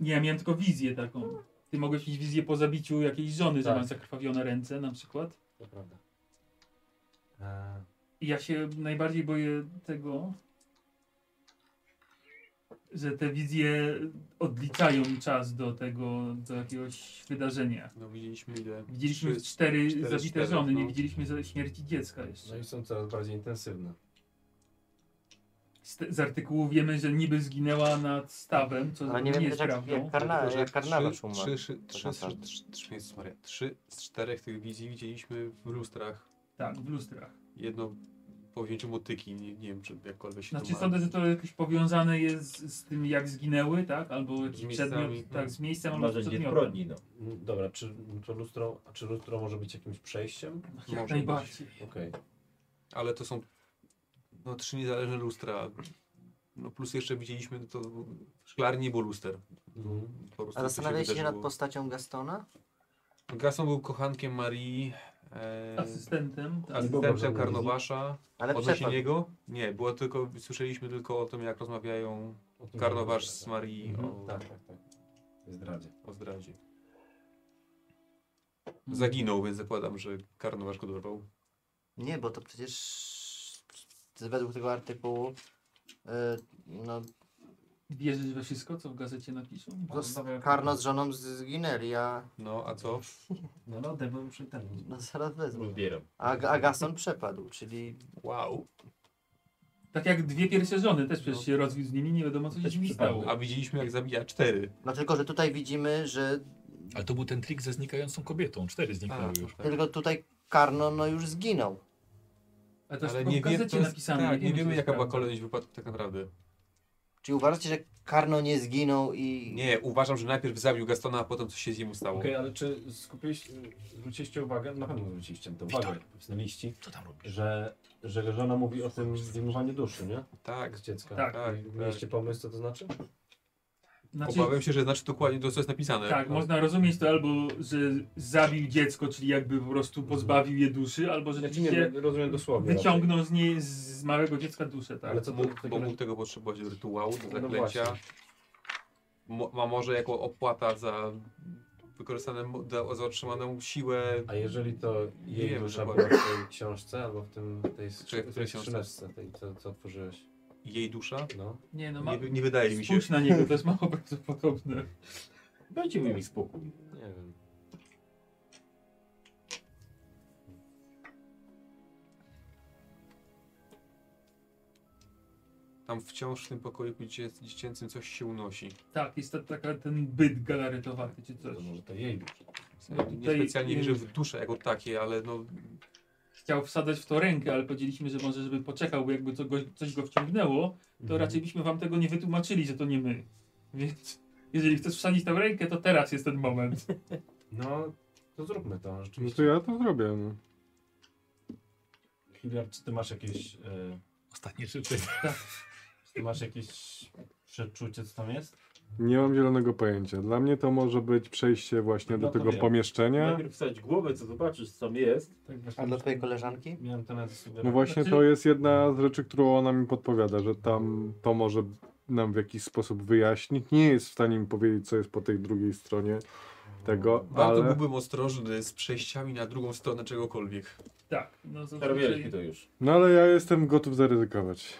Speaker 6: Nie, ja miałem tylko wizję taką. Ty mogłeś mieć wizję po zabiciu jakiejś żony, że
Speaker 2: Tak.
Speaker 6: masz zakrwawione ręce na przykład.
Speaker 2: To prawda. Eee,
Speaker 5: E,
Speaker 6: I ja się najbardziej boję tego, że te wizje odliczają czas do tego, do jakiegoś wydarzenia.
Speaker 9: No widzieliśmy ile?
Speaker 6: Widzieliśmy
Speaker 9: Trzy-
Speaker 6: cztery,
Speaker 9: cztery,
Speaker 6: zabite
Speaker 9: cztery,
Speaker 6: żony, nie
Speaker 9: no.
Speaker 6: widzieliśmy za- śmierci dziecka jeszcze.
Speaker 2: No i są coraz bardziej intensywne.
Speaker 6: Z, te- z artykułu wiemy, że niby zginęła nad stawem, co
Speaker 5: Ale
Speaker 6: nie,
Speaker 5: nie wiem, tak
Speaker 6: jest
Speaker 5: jak-
Speaker 6: prawdą.
Speaker 5: jak Karna-
Speaker 9: Tylko, że
Speaker 5: jak Karnawasz
Speaker 9: trzy-
Speaker 5: umarł,
Speaker 9: Trzy, trzy,
Speaker 5: tak
Speaker 9: trzy, trzy,
Speaker 5: naprawdę.
Speaker 9: trzy, trzy, Jezus Maria, trzy z czterech tych wizji widzieliśmy w lustrach.
Speaker 6: Tak, w lustrach.
Speaker 9: Jedno po wzięciu motyki, nie, nie wiem czy jakkolwiek się
Speaker 6: Znaczy
Speaker 9: to ma.
Speaker 6: sądzę, że to jakoś powiązane jest z tym, jak zginęły, tak? Albo
Speaker 9: Z
Speaker 6: jakiś
Speaker 9: miejscami, no.
Speaker 6: przedmiot, tak, z miejscem
Speaker 2: Chyba,
Speaker 6: albo z
Speaker 2: że
Speaker 6: przedmiotem.
Speaker 3: no.
Speaker 2: Mm, Dobra, czy to lustro, a czy lustro może być jakimś przejściem?
Speaker 9: Jak
Speaker 2: Może
Speaker 9: najbardziej.
Speaker 2: być. Okej.
Speaker 9: Ale to są no, trzy niezależne lustra. No plus jeszcze widzieliśmy to w szklarni, bo luster.
Speaker 2: Mhm.
Speaker 9: Po prostu
Speaker 5: A
Speaker 9: to
Speaker 5: zastanawiałeś się nad
Speaker 9: wydarzyło.
Speaker 5: postacią Gastona?
Speaker 9: Gaston był kochankiem Marii. E,
Speaker 6: Asystentem, tak. Nie było
Speaker 9: Asystentem
Speaker 6: żadnej
Speaker 9: Karnowasza.
Speaker 6: Ale
Speaker 9: Odnośnie
Speaker 6: przepadł.
Speaker 9: niego? Nie, było tylko, słyszeliśmy tylko o tym, jak rozmawiają
Speaker 2: tym,
Speaker 9: Karnowasz
Speaker 2: że-
Speaker 9: z Marii
Speaker 2: Mhm,
Speaker 9: o,
Speaker 2: tak, tak, tak. Zdradzie.
Speaker 9: o zdradzie. Zaginął, więc zakładam, że Karnowasz go dorwał.
Speaker 5: Nie, bo to przecież według tego artykułu y, no,
Speaker 6: Wierzysz we wszystko, co w gazecie napiszą?
Speaker 5: no, z- Karno z żoną z- zginęli, a...
Speaker 9: No, a co?
Speaker 5: No, no,
Speaker 19: Debon przy ten.
Speaker 5: no zaraz wezmę.
Speaker 19: Ubieram.
Speaker 5: A, a Gaston przepadł, czyli...
Speaker 9: Wow.
Speaker 6: Tak jak dwie pierwsze żony, też
Speaker 9: No.
Speaker 6: przecież się rozwiódł z nimi, nie wiadomo co się z nimi stało.
Speaker 9: A widzieliśmy jak zabija cztery.
Speaker 5: No tylko, że tutaj widzimy, że...
Speaker 13: Ale to był ten trik ze znikającą kobietą. Cztery zniknęły już.
Speaker 5: Tylko tutaj Karno no już zginął.
Speaker 6: Ale
Speaker 9: to jest- Tak, nie wiemy jaka była kolejność wypadków tak naprawdę.
Speaker 5: Czyli uważacie, że Karno nie zginął i...
Speaker 9: Nie, uważam, że najpierw zabił Gastona, a potem coś się z nim stało.
Speaker 2: Okej, ale czy skupiliście, zwróciliście uwagę, na pewno zwróciliście to
Speaker 9: Tak.
Speaker 2: uwagę, wpisaliście, że, że żona mówi o tym zdejmowaniu duszy, nie?
Speaker 9: Tak.
Speaker 2: Z dziecka.
Speaker 9: Tak.
Speaker 2: Mieliście pomysł, co to znaczy?
Speaker 6: Znaczy-
Speaker 9: Obawiam się, że znaczy dokładnie to, co jest napisane.
Speaker 6: Tak,
Speaker 9: No.
Speaker 6: można rozumieć to albo, że zabił dziecko, czyli jakby po prostu
Speaker 9: Mhm.
Speaker 6: pozbawił je duszy, albo że
Speaker 2: Znaczy nie, rozumiem dosłownie
Speaker 6: wyciągnął z niej, z małego dziecka duszę, tak?
Speaker 9: Ale co mógł, bo mógł tego potrzebować do rytuału, do zaklęcia.
Speaker 6: właśnie.
Speaker 9: Mo, a może jako opłata za wykorzystane, mo- da- za otrzymaną siłę.
Speaker 2: A jeżeli to
Speaker 9: Nie
Speaker 2: jej
Speaker 9: wiem
Speaker 2: dusza była
Speaker 9: dokładnie.
Speaker 2: w tej książce albo w tym, tej,
Speaker 9: Czy-
Speaker 2: skrzy-
Speaker 9: której
Speaker 2: tej
Speaker 9: książce?
Speaker 2: skrzyneczce, tej, co, co otworzyłeś?
Speaker 9: Jej dusza?
Speaker 2: No.
Speaker 6: Nie, no ma...
Speaker 9: nie, wy- nie wydaje mi się.
Speaker 6: Spójrz na niego, to jest mało <laughs> prawdopodobne.
Speaker 2: Dajcie mi spokój. Nie wiem.
Speaker 9: Tam wciąż w tym pokoju dziecię- dziecięcym coś się unosi.
Speaker 6: Tak, jest to taka, ten byt galaretowany czy coś.
Speaker 2: może to no, jej
Speaker 9: Nie specjalnie
Speaker 6: No nie
Speaker 9: wierzę
Speaker 6: wiem.
Speaker 9: w duszę jako takie, ale no
Speaker 6: Chciał wsadzać w to rękę, ale powiedzieliśmy, że może żeby poczekał, bo jakby to go, coś go wciągnęło, to
Speaker 9: Mhm.
Speaker 6: raczej byśmy wam tego nie wytłumaczyli, że to nie my. Więc jeżeli chcesz wsadzić tam rękę, to teraz jest ten moment.
Speaker 2: No, to zróbmy to
Speaker 4: No
Speaker 2: rzeczywiście.
Speaker 4: to ja to zrobię. No.
Speaker 2: Hilliard, czy ty masz jakieś... e, Tak.
Speaker 13: Ostatnie życzenie.
Speaker 2: Ty masz jakieś przeczucie, co tam jest?
Speaker 4: Nie mam zielonego pojęcia. Dla mnie to może być przejście właśnie do
Speaker 2: No to
Speaker 4: tego
Speaker 2: wiem.
Speaker 4: pomieszczenia.
Speaker 3: Najpierw wstać głowę, co zobaczysz, co tam jest.
Speaker 6: Tak
Speaker 5: A dla twojej koleżanki?
Speaker 2: Miałem to nawet sugerować.
Speaker 4: No właśnie to jest jedna z rzeczy, którą ona mi podpowiada, że tam to może nam w jakiś sposób wyjaśnić. Nie jest w stanie mi powiedzieć, co jest po tej drugiej stronie tego,
Speaker 9: warto
Speaker 4: ale...
Speaker 9: byłbym ostrożny z przejściami na drugą stronę czegokolwiek.
Speaker 6: Tak, no to
Speaker 3: Robiliśmy to już.
Speaker 4: No ale ja jestem gotów zaryzykować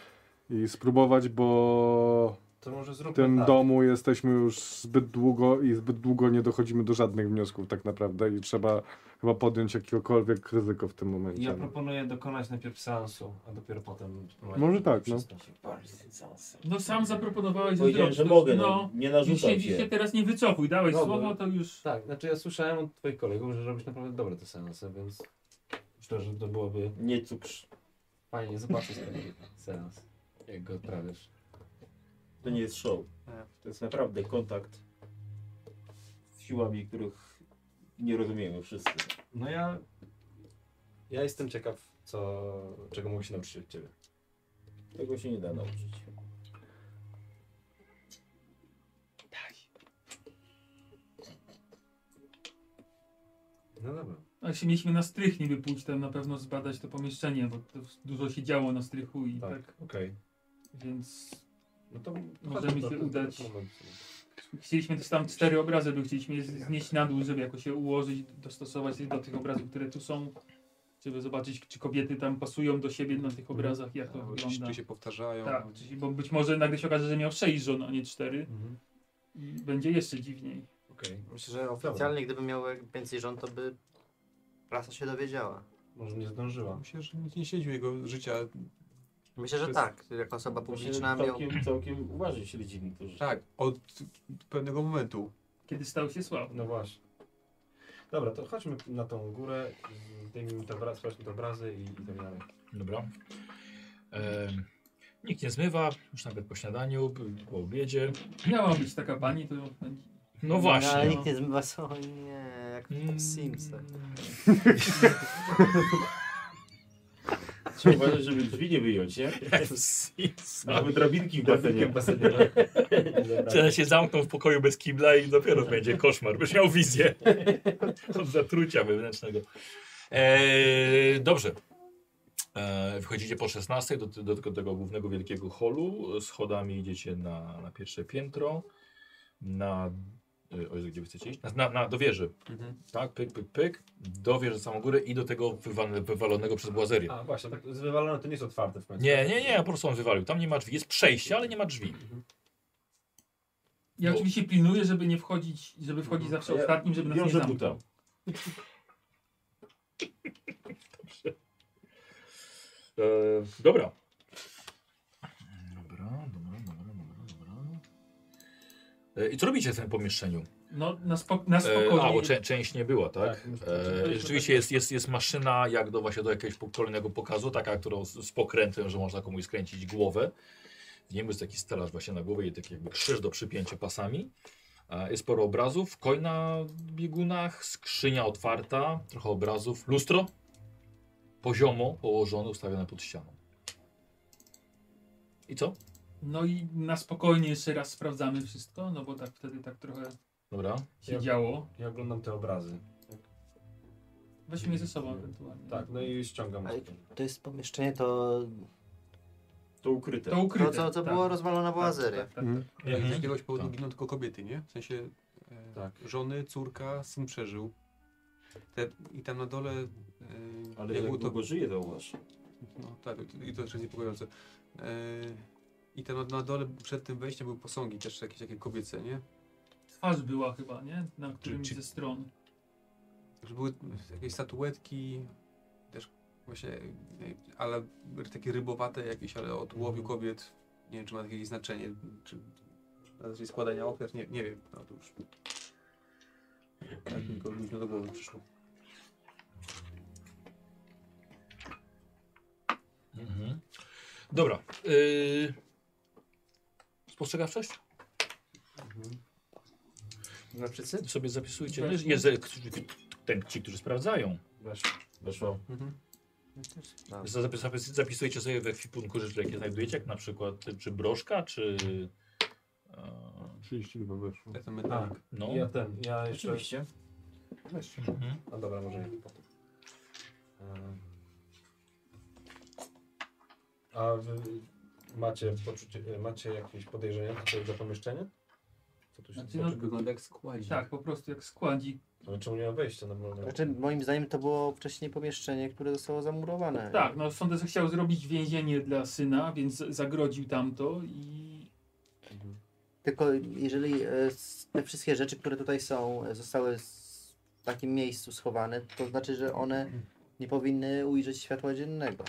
Speaker 4: i spróbować, bo
Speaker 2: To może
Speaker 4: w
Speaker 2: zróbmy
Speaker 4: tym
Speaker 2: tak.
Speaker 4: domu jesteśmy już zbyt długo i zbyt długo nie dochodzimy do żadnych wniosków tak naprawdę i trzeba chyba podjąć jakiekolwiek ryzyko w tym momencie.
Speaker 2: Ja
Speaker 4: no.
Speaker 2: proponuję dokonać najpierw seansu, a dopiero potem spróbować.
Speaker 4: Może tak, no.
Speaker 6: No sam zaproponowałeś,
Speaker 3: Powiedziałem,
Speaker 6: zrobić
Speaker 3: że
Speaker 6: to-
Speaker 3: mogę, no, nie narzucam
Speaker 6: siedzisz
Speaker 3: się.
Speaker 6: się teraz nie wycofuj, dałeś
Speaker 2: No, bo-
Speaker 6: słowo, to już...
Speaker 2: Tak, znaczy ja słyszałem od twoich kolegów, że robisz naprawdę dobre te seanse, więc myślę, że to byłoby
Speaker 3: Nie cukrz.
Speaker 2: fajnie zobaczyć taki seans, jak go odprawiasz.
Speaker 3: To nie jest show. To jest naprawdę kontakt z siłami, których nie rozumiemy wszyscy.
Speaker 2: No ja... Ja jestem ciekaw, co, czego mogę się nauczyć od ciebie.
Speaker 3: Tego się nie da nauczyć.
Speaker 2: No dobra.
Speaker 6: A się mieliśmy na strych niby pójść tam na pewno zbadać to pomieszczenie, bo to dużo się działo na strychu i tak.
Speaker 2: Okej.
Speaker 6: Więc
Speaker 2: No to
Speaker 6: możemy
Speaker 2: to-
Speaker 6: się
Speaker 2: to-
Speaker 6: udać.
Speaker 2: to-
Speaker 6: Chcieliśmy też tam cztery obrazy, były, chcieliśmy je znieść na dół, żeby jakoś je ułożyć, dostosować je do tych obrazów, które tu są. żeby zobaczyć, czy kobiety tam pasują do siebie na tych obrazach, jak to
Speaker 9: Tak, czy-
Speaker 6: wygląda.
Speaker 9: czy się powtarzają.
Speaker 6: Tak, czy się, bo być może nagle się okaże, że miał sześć żon, a nie cztery. I będzie jeszcze dziwniej.
Speaker 5: Myślę, że oficjalnie gdyby miał więcej żon, to by prasa się dowiedziała.
Speaker 9: Może nie zdążyła. Myślę, że nikt nie śledził jego życia.
Speaker 5: Myślę, że
Speaker 9: przez-
Speaker 5: tak. Jak osoba publiczna miał...
Speaker 9: całkiem-
Speaker 3: Całkiem uważnie śledzili to, że...
Speaker 9: Tak, od pewnego momentu.
Speaker 6: Kiedy stał się sławny.
Speaker 20: No właśnie. Dobra, to chodźmy na tą górę, zdejmijmy te obrazy, sprawdźmy te obrazy i, i tak dalej.
Speaker 13: Dobra. Em, nikt nie zmywa, już nawet po śniadaniu, po obiedzie.
Speaker 6: Miała być taka pani, to...
Speaker 13: No właśnie.
Speaker 5: Ale nikt nie zmywa są, nie, jak w Simsach.
Speaker 21: Trzeba uważać, żeby drzwi nie wyjąć, nie? Mamy drabinki w basenie.
Speaker 13: <laughs> Teraz się zamknął w pokoju bez kibla i dopiero będzie koszmar. Byś miał wizję <laughs> od zatrucia wewnętrznego. Eee, dobrze. Eee, wychodzicie po 16 do, do, tego- tego głównego wielkiego holu. Schodami idziecie na, na pierwsze piętro. Na. e, O Jezu, gdzie wy chcecie iść? Na, na, na, do wieży. Tak, pyk, pyk, pyk. Do wieży samą górę i do tego wywal, wywalonego przez błazerię.
Speaker 20: A właśnie, tak wywalone to nie jest otwarte w końcu.
Speaker 13: Nie, nie, nie, po prostu on wywalił. Tam nie ma drzwi. Jest przejście, ale nie ma drzwi.
Speaker 6: Ja oczywiście pilnuję, żeby nie wchodzić, żeby wchodzić zawsze
Speaker 13: Ja
Speaker 6: ostatnim, żeby nas nie
Speaker 13: wiążę
Speaker 6: zamknął.
Speaker 13: E, dobra. Dobra, dobra, dobra, dobra, dobra. E, I co robicie w tym pomieszczeniu?
Speaker 6: No, na, spok- na
Speaker 13: E, a,
Speaker 6: spokojnie.
Speaker 13: bo czę- część nie była, tak? E, rzeczywiście jest, jest, jest maszyna, jak do, właśnie do jakiegoś po- kolejnego pokazu, taka, którą z, z pokrętem, że można komuś skręcić głowę. W nim jest taki stelaż właśnie na głowie i taki jakby krzyż do przypięcia pasami. E, jest sporo obrazów, koń na biegunach, skrzynia otwarta, trochę obrazów, lustro poziomo położone, ustawione pod ścianą. I co?
Speaker 6: No i na spokojnie jeszcze raz sprawdzamy wszystko, no bo tak wtedy tak trochę
Speaker 13: Dobra.
Speaker 6: się działo.
Speaker 20: Ja oglądam te obrazy.
Speaker 6: Weźmy je ze sobą ewentualnie.
Speaker 20: Tak, no i ściągam.
Speaker 5: Ale to jest pomieszczenie, to...
Speaker 3: To ukryte.
Speaker 5: To ukryte, To, co- co tak. było rozwalone była Azeria.
Speaker 9: Tak, tak,
Speaker 5: Mhm.
Speaker 9: tak. Ale
Speaker 5: Mhm.
Speaker 9: Z jakiegoś powodu
Speaker 5: Tak.
Speaker 9: giną tylko kobiety, nie? W sensie e,
Speaker 3: Tak.
Speaker 9: żony, córka, syn przeżył. Te, I tam na dole... E,
Speaker 3: Ale jak długo żyje, zauważ.
Speaker 9: No tak, i to też jest niepokojące. E, I tam na, na dole przed tym wejściem były posągi też jakieś takie kobiece, nie?
Speaker 6: Twarz była chyba, nie? Na którymś ze stron.
Speaker 9: Że były jakieś statuetki, też właśnie, e, ale takie rybowate jakieś, ale o tułowiu
Speaker 5: Mhm.
Speaker 9: kobiet. Nie wiem, czy ma jakieś znaczenie, czy na razie składania ofiar, nie, nie wiem, no to już. Tak mi go luźno do głowy przyszło.
Speaker 13: Mhm. Dobra. Yy... Spostrzegawczość? Znaczy, sobie zapisujcie.
Speaker 6: Weszło.
Speaker 13: Jest, jest, ten, ci, którzy sprawdzają.
Speaker 20: Weszło.
Speaker 13: Weszło. Zapis, zapis, zapisujecie sobie w ekwipunku rzeczy, jakie znajdujecie, jak na przykład y, czy broszka, czy... E...
Speaker 4: 32 weszło.
Speaker 9: Ja ten
Speaker 3: Tak.
Speaker 5: tak.
Speaker 20: metalik.
Speaker 13: No.
Speaker 20: Tak, Ja ten, ja jeszcze...
Speaker 13: Oczywiście.
Speaker 20: Weź.
Speaker 13: Mhm.
Speaker 20: A dobra, może nie potem. Em. A wy macie poczucie, macie jakieś podejrzenia co to jest za pomieszczenie? Co tu się
Speaker 6: Znaczy, no-
Speaker 9: wygląda jak składzi.
Speaker 6: Tak, po prostu jak składzi.
Speaker 20: Ale czemu nie ma no wejścia normalnego?
Speaker 5: Znaczy, moim zdaniem to było wcześniej pomieszczenie, które zostało zamurowane.
Speaker 6: Tak, no sądzę, że chciał zrobić więzienie dla syna, więc z- zagrodził tamto i...
Speaker 5: Tylko jeżeli e, s- te wszystkie rzeczy, które tutaj są, e, zostały s- w takim miejscu schowane, to znaczy, że one nie powinny ujrzeć światła dziennego.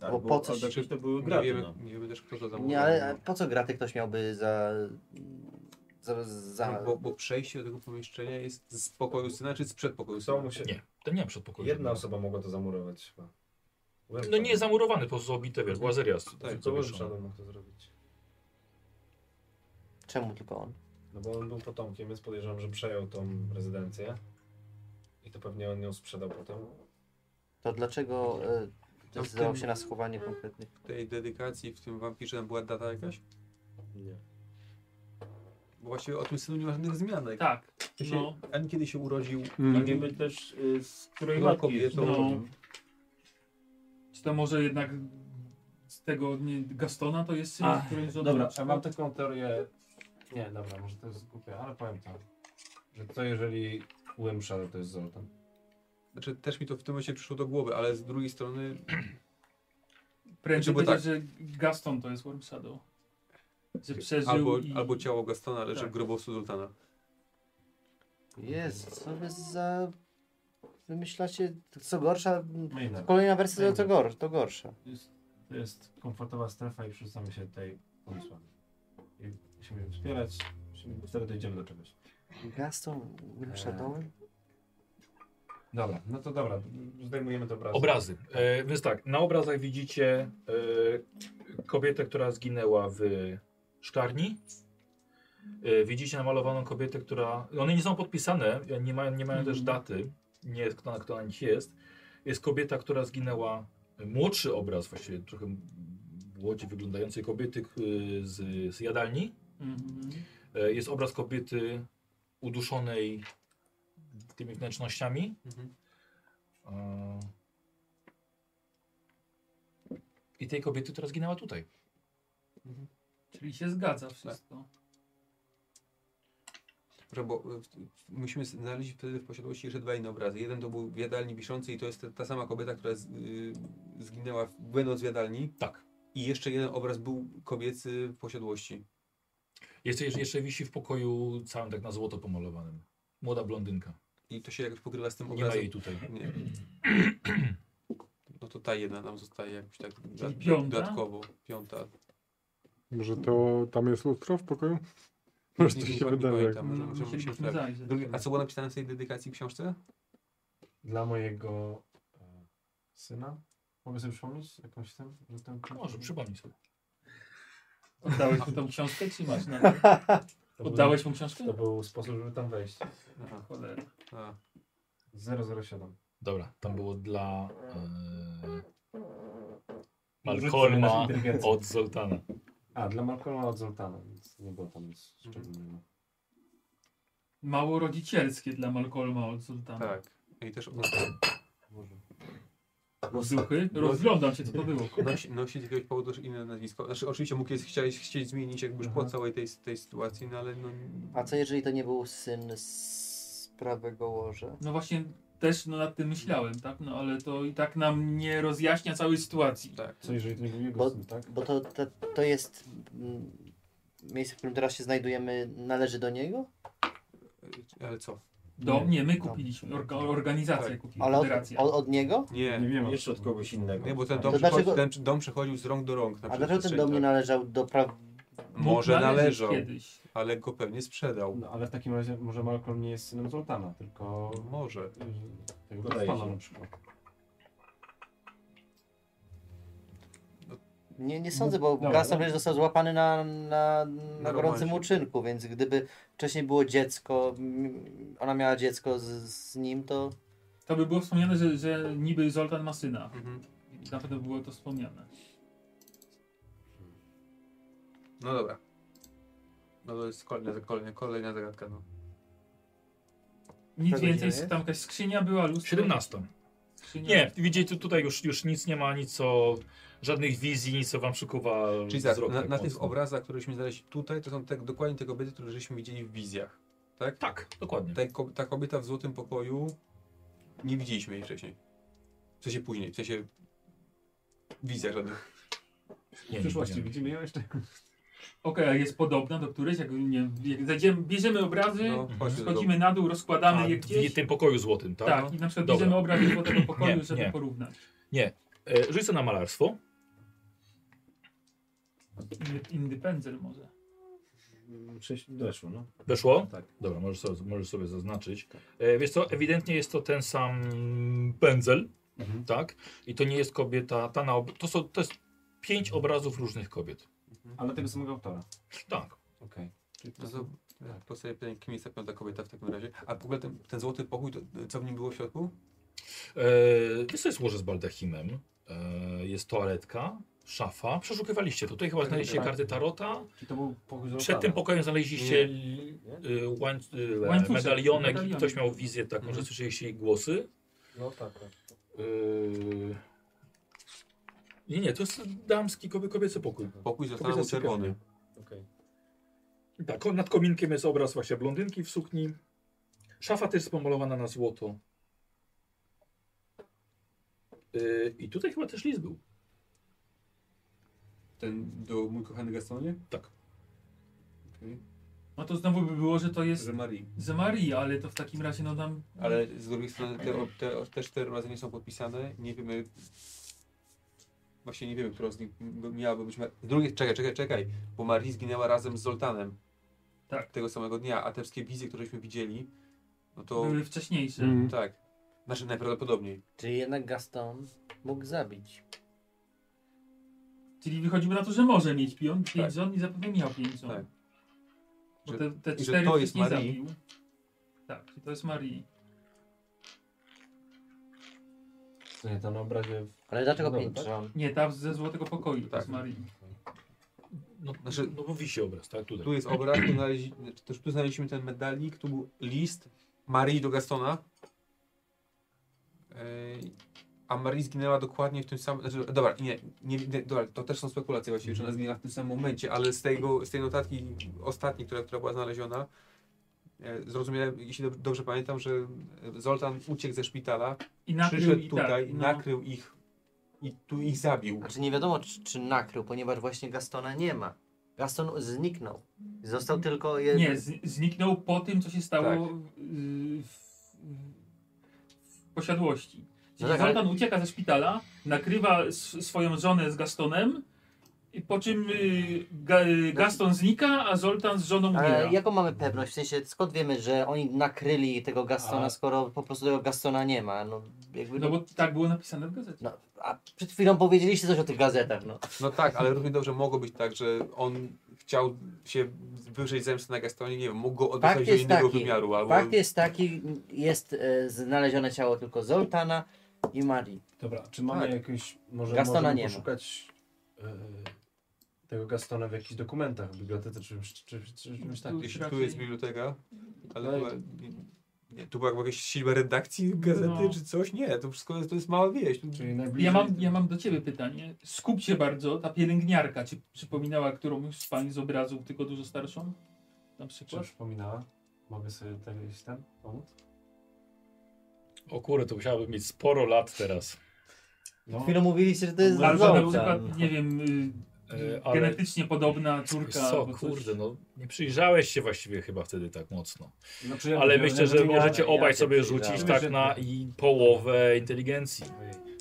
Speaker 5: Bo po co się...
Speaker 3: to były
Speaker 9: Nie
Speaker 3: graty,
Speaker 9: wiemy,
Speaker 3: no.
Speaker 9: nie wiemy też kto to zamówił.
Speaker 5: Nie, ale a po co graty ktoś miałby za... za, za...
Speaker 9: No, Bo, bo przejście do tego pomieszczenia jest z pokoju syna, czy z przedpokoju
Speaker 20: Co
Speaker 9: syna?
Speaker 20: mu się...
Speaker 13: Nie, to nie ma przedpokoju.
Speaker 20: Jedna osoba mogła to zamurować chyba.
Speaker 13: No nie jest zamurowany, po prostu obite, wiesz, łazeria.
Speaker 20: Tak, to Łęczany mógł to zrobić.
Speaker 5: Czemu tylko on?
Speaker 20: No bo on był potomkiem, więc podejrzewam, że przejął tą rezydencję. I to pewnie on ją sprzedał potem.
Speaker 5: To dlaczego e, zdecydował się na schowanie konkretnych...
Speaker 9: W tej dedykacji, w tym wampirze tam była data jakaś?
Speaker 20: Nie.
Speaker 9: Bo właściwie o tym synu nie ma żadnych zmianek.
Speaker 6: Tak.
Speaker 9: W sensie,
Speaker 6: No.
Speaker 9: Ani kiedy się urodził,
Speaker 4: Mm.
Speaker 9: mm.
Speaker 4: Nie
Speaker 9: wiemy
Speaker 3: też y, z której
Speaker 9: była
Speaker 3: matki jest
Speaker 9: kobietą.
Speaker 6: No. Czy to może jednak z tego nie, Gastona to jest syn,
Speaker 20: A,
Speaker 6: który
Speaker 2: No
Speaker 6: rządzi?
Speaker 20: dobra, a mam taką teorię. Nie, dobra, może to jest głupie, ale powiem tak. Że co jeżeli Łymsza to jest Zoltan?
Speaker 9: Znaczy też mi to w tym momencie przyszło do głowy, ale z drugiej strony...
Speaker 6: Prędzej
Speaker 9: bo
Speaker 6: będzie, że Gaston to jest Worm Shadow. Że przeżył
Speaker 9: albo,
Speaker 6: i...
Speaker 9: albo ciało Gastona leży
Speaker 6: Tak.
Speaker 9: w grobowcu Zoltana.
Speaker 5: Jest, co wy za... Wymyślacie, co gorsza,
Speaker 2: Maynard.
Speaker 5: kolejna wersja to, gor, to gorsza.
Speaker 2: Jest, No to jest komfortowa strefa i przerzucamy się tutaj pomysłami. I musimy ją wspierać, musimy, wtedy dojdziemy do czegoś.
Speaker 5: Gaston, Wilm Shadowem?
Speaker 2: Dobra, no to dobra, zdejmujemy te obrazy.
Speaker 13: Obrazy. E, więc tak, na obrazach widzicie e, kobietę, która zginęła w szklarni. E, widzicie namalowaną kobietę, która. One nie są podpisane, nie mają, nie mają też daty. Nie jest kto na kto na nich jest. Jest kobieta, która zginęła. Młodszy obraz, właściwie trochę młodziej wyglądającej kobiety k- e, z, z jadalni.
Speaker 6: Mhm.
Speaker 13: E, Jest obraz kobiety uduszonej tymi wnętrznościami. E, I tej kobiety, która zginęła tutaj.
Speaker 6: Czyli się zgadza wszystko.
Speaker 9: Tak, Że bo y, musimy znaleźć wtedy w posiadłości jeszcze dwa inne obrazy. Jeden to był w jadalni wiszący i to jest te- ta sama kobieta, która z, y, zginęła w- będąc w jadalni.
Speaker 13: Tak.
Speaker 9: I jeszcze jeden obraz był kobiecy w posiadłości.
Speaker 13: Jeszcze, jeszcze wisi w pokoju całym tak na złoto pomalowanym. Młoda blondynka.
Speaker 9: I to się jakoś pokrywa z tym
Speaker 13: Nie
Speaker 9: obrazem.
Speaker 13: ma jej tutaj.
Speaker 9: Nie. No to ta jedna nam zostaje jakoś tak dodat-
Speaker 6: piąta?
Speaker 9: dodatkowo. Piąta.
Speaker 4: Może to tam jest lustro w pokoju? Może to
Speaker 9: Nie- nie
Speaker 4: się wydaje.
Speaker 9: pamiętam, może- może
Speaker 6: Mhm, musielibyśmy
Speaker 9: musimy sprawdzić.
Speaker 6: zajrzeć.
Speaker 9: Drugi- A co było napisane w tej dedykacji książce?
Speaker 2: Dla mojego e, syna. Mogę sobie przypomnieć jakąś tam? Że tam
Speaker 13: Może przypomnij sobie.
Speaker 6: Oddałeś mu tą książkę, czy masz na <laughs>
Speaker 2: To był-
Speaker 6: Oddałeś mu książkę?
Speaker 2: To był sposób, żeby tam wejść.
Speaker 9: Aha.
Speaker 6: Cholera.
Speaker 9: A.
Speaker 2: 007.
Speaker 13: Dobra, tam było dla e,
Speaker 2: Rzuć sobie na
Speaker 13: Malcolma
Speaker 2: inteligencję.
Speaker 13: od Zoltana.
Speaker 2: A, dla Malcolma od Zoltana, więc nie było tam nic
Speaker 13: Mhm.
Speaker 2: szczególnego.
Speaker 6: Mało rodzicielskie dla Malcolma od Sultana.
Speaker 9: Tak. I też
Speaker 6: Tak, Duchy? Rozglądam się, co to było.
Speaker 9: Nosi, nosi z jakiegoś powodu też inne nazwisko. Znaczy, oczywiście mógł jest chcieć, chcieć zmienić jakby już po całej tej, tej sytuacji, no ale no...
Speaker 5: A co jeżeli to nie był syn z prawego łoża?
Speaker 6: No właśnie też no, nad tym myślałem, tak? No ale to i tak nam nie rozjaśnia całej sytuacji.
Speaker 9: Tak.
Speaker 2: Co jeżeli to nie był jego
Speaker 5: Bo,
Speaker 2: syn, tak?
Speaker 5: bo to, to, to jest mm, miejsce, w którym teraz się znajdujemy, należy do niego?
Speaker 9: Ale co?
Speaker 6: Do
Speaker 5: Nie.
Speaker 6: mnie, my kupiliśmy, orga, organizacja
Speaker 9: Tak.
Speaker 6: kupiła,
Speaker 5: Ale od,
Speaker 6: federacja.
Speaker 5: od, od niego?
Speaker 9: Nie,
Speaker 2: Nie wiem.
Speaker 3: Jeszcze od kogoś innego.
Speaker 9: nie bo ten
Speaker 5: To
Speaker 9: dom,
Speaker 5: dlaczego-
Speaker 9: przychodzi- ten dom przechodził z rąk do rąk. Na
Speaker 5: A dlaczego ten
Speaker 9: przestrzeni,
Speaker 5: do mnie
Speaker 9: tak.
Speaker 5: należał do praw...
Speaker 6: Mógł
Speaker 9: Może
Speaker 6: należeć
Speaker 9: należał,
Speaker 6: kiedyś.
Speaker 9: ale go pewnie sprzedał.
Speaker 2: No ale w takim razie może Malcolm nie jest synem Zoltana, tylko
Speaker 5: No.
Speaker 9: Może.
Speaker 2: y, tego
Speaker 3: Wydaje
Speaker 2: Gottmana
Speaker 3: się.
Speaker 2: na przykład.
Speaker 5: Nie, nie sądzę, bo
Speaker 6: No.
Speaker 2: Dobra,
Speaker 5: Gaston
Speaker 2: dobra.
Speaker 5: przecież został złapany na, na, na gorącym
Speaker 9: romansie.
Speaker 5: uczynku, więc gdyby wcześniej było dziecko, m, ona miała dziecko z, z nim, to...
Speaker 6: To by było wspomniane, że, że niby Zoltan ma syna.
Speaker 9: Mhm.
Speaker 6: Na pewno było to wspomniane.
Speaker 9: No dobra. No to jest kolejna, kolejna, kolejna zagadka. No.
Speaker 6: Nic
Speaker 5: Czego
Speaker 6: więcej,
Speaker 5: nie jest?
Speaker 6: tam jakaś skrzynia była, lustro.
Speaker 13: 17.
Speaker 6: Skrzynia.
Speaker 13: Nie, widzicie, tu- tutaj już, już nic nie ma, nic co, żadnych wizji, nic co wam przykuwa
Speaker 9: Czyli tak,
Speaker 13: wzrok
Speaker 9: na,
Speaker 13: tak
Speaker 9: na tych
Speaker 13: mocno.
Speaker 9: obrazach, któreśmy znaleźli tutaj, to są te, dokładnie te kobiety, które żeśmy widzieli w wizjach. Tak?
Speaker 13: Tak, dokładnie.
Speaker 9: Ta, ko- ta kobieta w złotym pokoju nie widzieliśmy jej wcześniej. W sensie później, w sensie wizja żadnych.
Speaker 13: Nie,
Speaker 2: W
Speaker 13: nie,
Speaker 2: przyszłości
Speaker 13: nie.
Speaker 2: widzimy ją jeszcze.
Speaker 6: Okej, a jest podobna do którejś, jak, nie, jak zejdziemy, bierzemy obrazy,
Speaker 9: No,
Speaker 13: Mhm.
Speaker 9: chodźmy do domu.
Speaker 6: schodzimy na dół, rozkładamy
Speaker 13: A,
Speaker 6: je
Speaker 13: w
Speaker 6: Tak, gdzieś.
Speaker 13: tym pokoju złotym, tak?
Speaker 6: Tak, i na przykład
Speaker 13: Dobra.
Speaker 6: bierzemy obraz do tego pokoju,
Speaker 13: Nie,
Speaker 6: żeby
Speaker 13: nie.
Speaker 6: porównać.
Speaker 13: Nie. E, rzuć sobie na malarstwo.
Speaker 6: Indy- Indypendzel może.
Speaker 2: Przecież doszło, no.
Speaker 13: Weszło?
Speaker 2: Tak.
Speaker 13: Dobra, możesz sobie, możesz sobie zaznaczyć. E, wiesz co, ewidentnie jest to ten sam pędzel, tak? I to nie jest kobieta, ta na ob... to, są, to jest pięć obrazów różnych kobiet.
Speaker 2: Ale tego samego autora.
Speaker 13: Tak.
Speaker 2: Okej. Czyli to
Speaker 9: No
Speaker 2: są-
Speaker 9: to tak, postawię pytanie, kim jest ta piąta kobieta w takim razie. A w ogóle ten, ten złoty pokój, to, co w nim było w środku?
Speaker 13: E, wiesz co, jest łoże z baldachimem, e, jest toaletka, szafa. Przeszukiwaliście to. Tutaj chyba
Speaker 9: Tak,
Speaker 13: znaleźliście
Speaker 9: tak.
Speaker 13: karty Tarota.
Speaker 2: Czy to był pokój Zoltana?
Speaker 13: Przed tym pokojem znaleźliście li- y, łań, y,
Speaker 6: Łańcuszek,
Speaker 13: medalionek Mhm. i
Speaker 6: medalion.
Speaker 13: ktoś miał wizję taką, że słyszeliście jej głosy.
Speaker 2: No tak, tak.
Speaker 13: Yy... Nie, nie, to jest damski kobie, kobiecy pokój.
Speaker 9: Pokój
Speaker 13: Kobieta
Speaker 9: został był czerwony.
Speaker 2: Okej.
Speaker 13: Tak, ko- nad kominkiem jest obraz właśnie blondynki w sukni. Szafa też jest pomalowana na złoto. Y, I tutaj chyba też list był.
Speaker 9: Ten do mój kochany Gastonie?
Speaker 13: Tak.
Speaker 9: Okej.
Speaker 6: No to znowu by było, że to jest
Speaker 9: Że Marii.
Speaker 6: z Marii, ale to w takim razie no nam...
Speaker 9: Ale z drugiej strony te, te, te cztery razy nie są podpisane, nie wiemy... Właśnie nie wiemy, która z nich miałaby być... Mar- z drugiej, czekaj, czekaj, czekaj, bo Marii zginęła razem z Zoltanem.
Speaker 6: Tak.
Speaker 9: Tego samego dnia, a te wszystkie wizje, któreśmy widzieli, no to...
Speaker 6: Były wcześniejsze.
Speaker 9: Mm. Tak. Znaczy najprawdopodobniej.
Speaker 5: Czyli jednak Gaston mógł zabić.
Speaker 6: Czyli wychodziby na to, że może mieć pion, pięć żon i zapewne miał pięć żon.
Speaker 9: Tak.
Speaker 6: Bo
Speaker 9: Że-
Speaker 6: te, te
Speaker 9: i że
Speaker 6: cztery
Speaker 9: to
Speaker 6: to
Speaker 9: jest
Speaker 6: nie
Speaker 9: Marii.
Speaker 6: zabił. Tak, czyli to jest Marii.
Speaker 2: Co nie, tam na obrazie...
Speaker 5: Ale dlaczego
Speaker 6: No,
Speaker 2: Dobra,
Speaker 5: pięć
Speaker 2: tak?
Speaker 5: żon?
Speaker 6: Nie, ta ze Złotego Pokoju,
Speaker 9: Tak.
Speaker 6: to jest Marii.
Speaker 13: No,
Speaker 9: Znaczy-
Speaker 13: no bo wisi obraz, tak? Tutaj.
Speaker 9: Tu jest obraz, tu, znaleźli, znaczy też tu znaleźliśmy ten medalik, tu był list Marii do Gastona. Ej, A Marii zginęła dokładnie w tym samym. Znaczy, dobra, nie, nie, nie dobra, to też są spekulacje właściwie, że ona zginęła w tym samym momencie, ale z, tego, z tej notatki ostatniej, która, która była znaleziona, e, zrozumiałem, jeśli dob- dobrze pamiętam, że e, Zoltan uciekł ze szpitala,
Speaker 6: I nakrył
Speaker 9: przyszedł
Speaker 6: ich,
Speaker 9: tutaj,
Speaker 6: tak, no.
Speaker 9: nakrył ich i tu ich zabił.
Speaker 5: Znaczy nie wiadomo, czy, czy nakrył, ponieważ właśnie Gastona nie ma. Gaston zniknął. Został tylko jeden.
Speaker 6: Nie, z, zniknął po tym, co się stało
Speaker 5: Tak.
Speaker 6: y, w, w posiadłości. Czyli
Speaker 5: No tak, ale-
Speaker 6: Zoltan ucieka ze szpitala, nakrywa s- swoją żonę z Gastonem, i po czym y, ga,
Speaker 9: No
Speaker 6: y, Gaston znika, a Zoltan z żoną
Speaker 5: Ale
Speaker 6: umiera.
Speaker 5: jaką mamy pewność? W sensie skąd wiemy, że oni nakryli tego Gastona,
Speaker 6: A-
Speaker 5: skoro po prostu tego Gastona nie ma? No, jakby...
Speaker 6: No bo tak było napisane w gazecie.
Speaker 5: No, a przed chwilą powiedzieliście coś o tych gazetach, no.
Speaker 9: No tak, ale równie dobrze mogło być tak, że on chciał się wywrzeć zemsty na Gastonie, nie wiem, mógł go
Speaker 5: Fakt
Speaker 9: odesłać do
Speaker 5: jest
Speaker 9: innego
Speaker 5: taki,
Speaker 9: wymiaru, albo...
Speaker 5: fakt jest taki, jest e, znalezione ciało tylko Zoltana i Marii.
Speaker 2: Dobra, czy mamy
Speaker 5: Tak.
Speaker 2: jakieś... Może
Speaker 5: Gastona
Speaker 2: możemy
Speaker 5: nie ma.
Speaker 2: poszukać e, tego Gastona w jakichś dokumentach, w bibliotece, czy czymś czy, czy, czy, czymś
Speaker 9: Tak,
Speaker 2: takim.
Speaker 9: jeśli tu jest biblioteka, ale
Speaker 2: No i-
Speaker 9: chyba, nie, nie, tu była jakaś siła redakcji gazety
Speaker 6: No.
Speaker 9: czy coś? Nie, to wszystko jest, to jest mała wieś. Tu-
Speaker 6: Ja mam, ja mam do ciebie pytanie. Skup się bardzo, ta pielęgniarka ci przypominała którąś z pań z obrazów, tylko dużo starszą? Na
Speaker 2: Czy
Speaker 6: przykład?
Speaker 2: przypominała? Mogę sobie tego gdzieś tam pomóc?
Speaker 13: O kurde, to musiałabym mieć sporo lat teraz.
Speaker 2: No.
Speaker 5: Chwilę mówiliście, że to jest
Speaker 6: Albo na
Speaker 5: Zoltan.
Speaker 6: przykład, nie wiem,
Speaker 13: E,
Speaker 6: y,
Speaker 13: ale-
Speaker 6: genetycznie podobna córka.
Speaker 13: Co,
Speaker 6: albo coś.
Speaker 13: kurde, no nie przyjrzałeś się właściwie chyba wtedy tak mocno.
Speaker 2: Znaczy, ja
Speaker 13: Ale
Speaker 2: mówię,
Speaker 13: myślę,
Speaker 2: że
Speaker 13: że
Speaker 2: nie
Speaker 13: możecie
Speaker 2: miałem,
Speaker 13: obaj
Speaker 2: ja się
Speaker 13: sobie rzucić
Speaker 2: przyjrzałem.
Speaker 13: tak na i połowę inteligencji.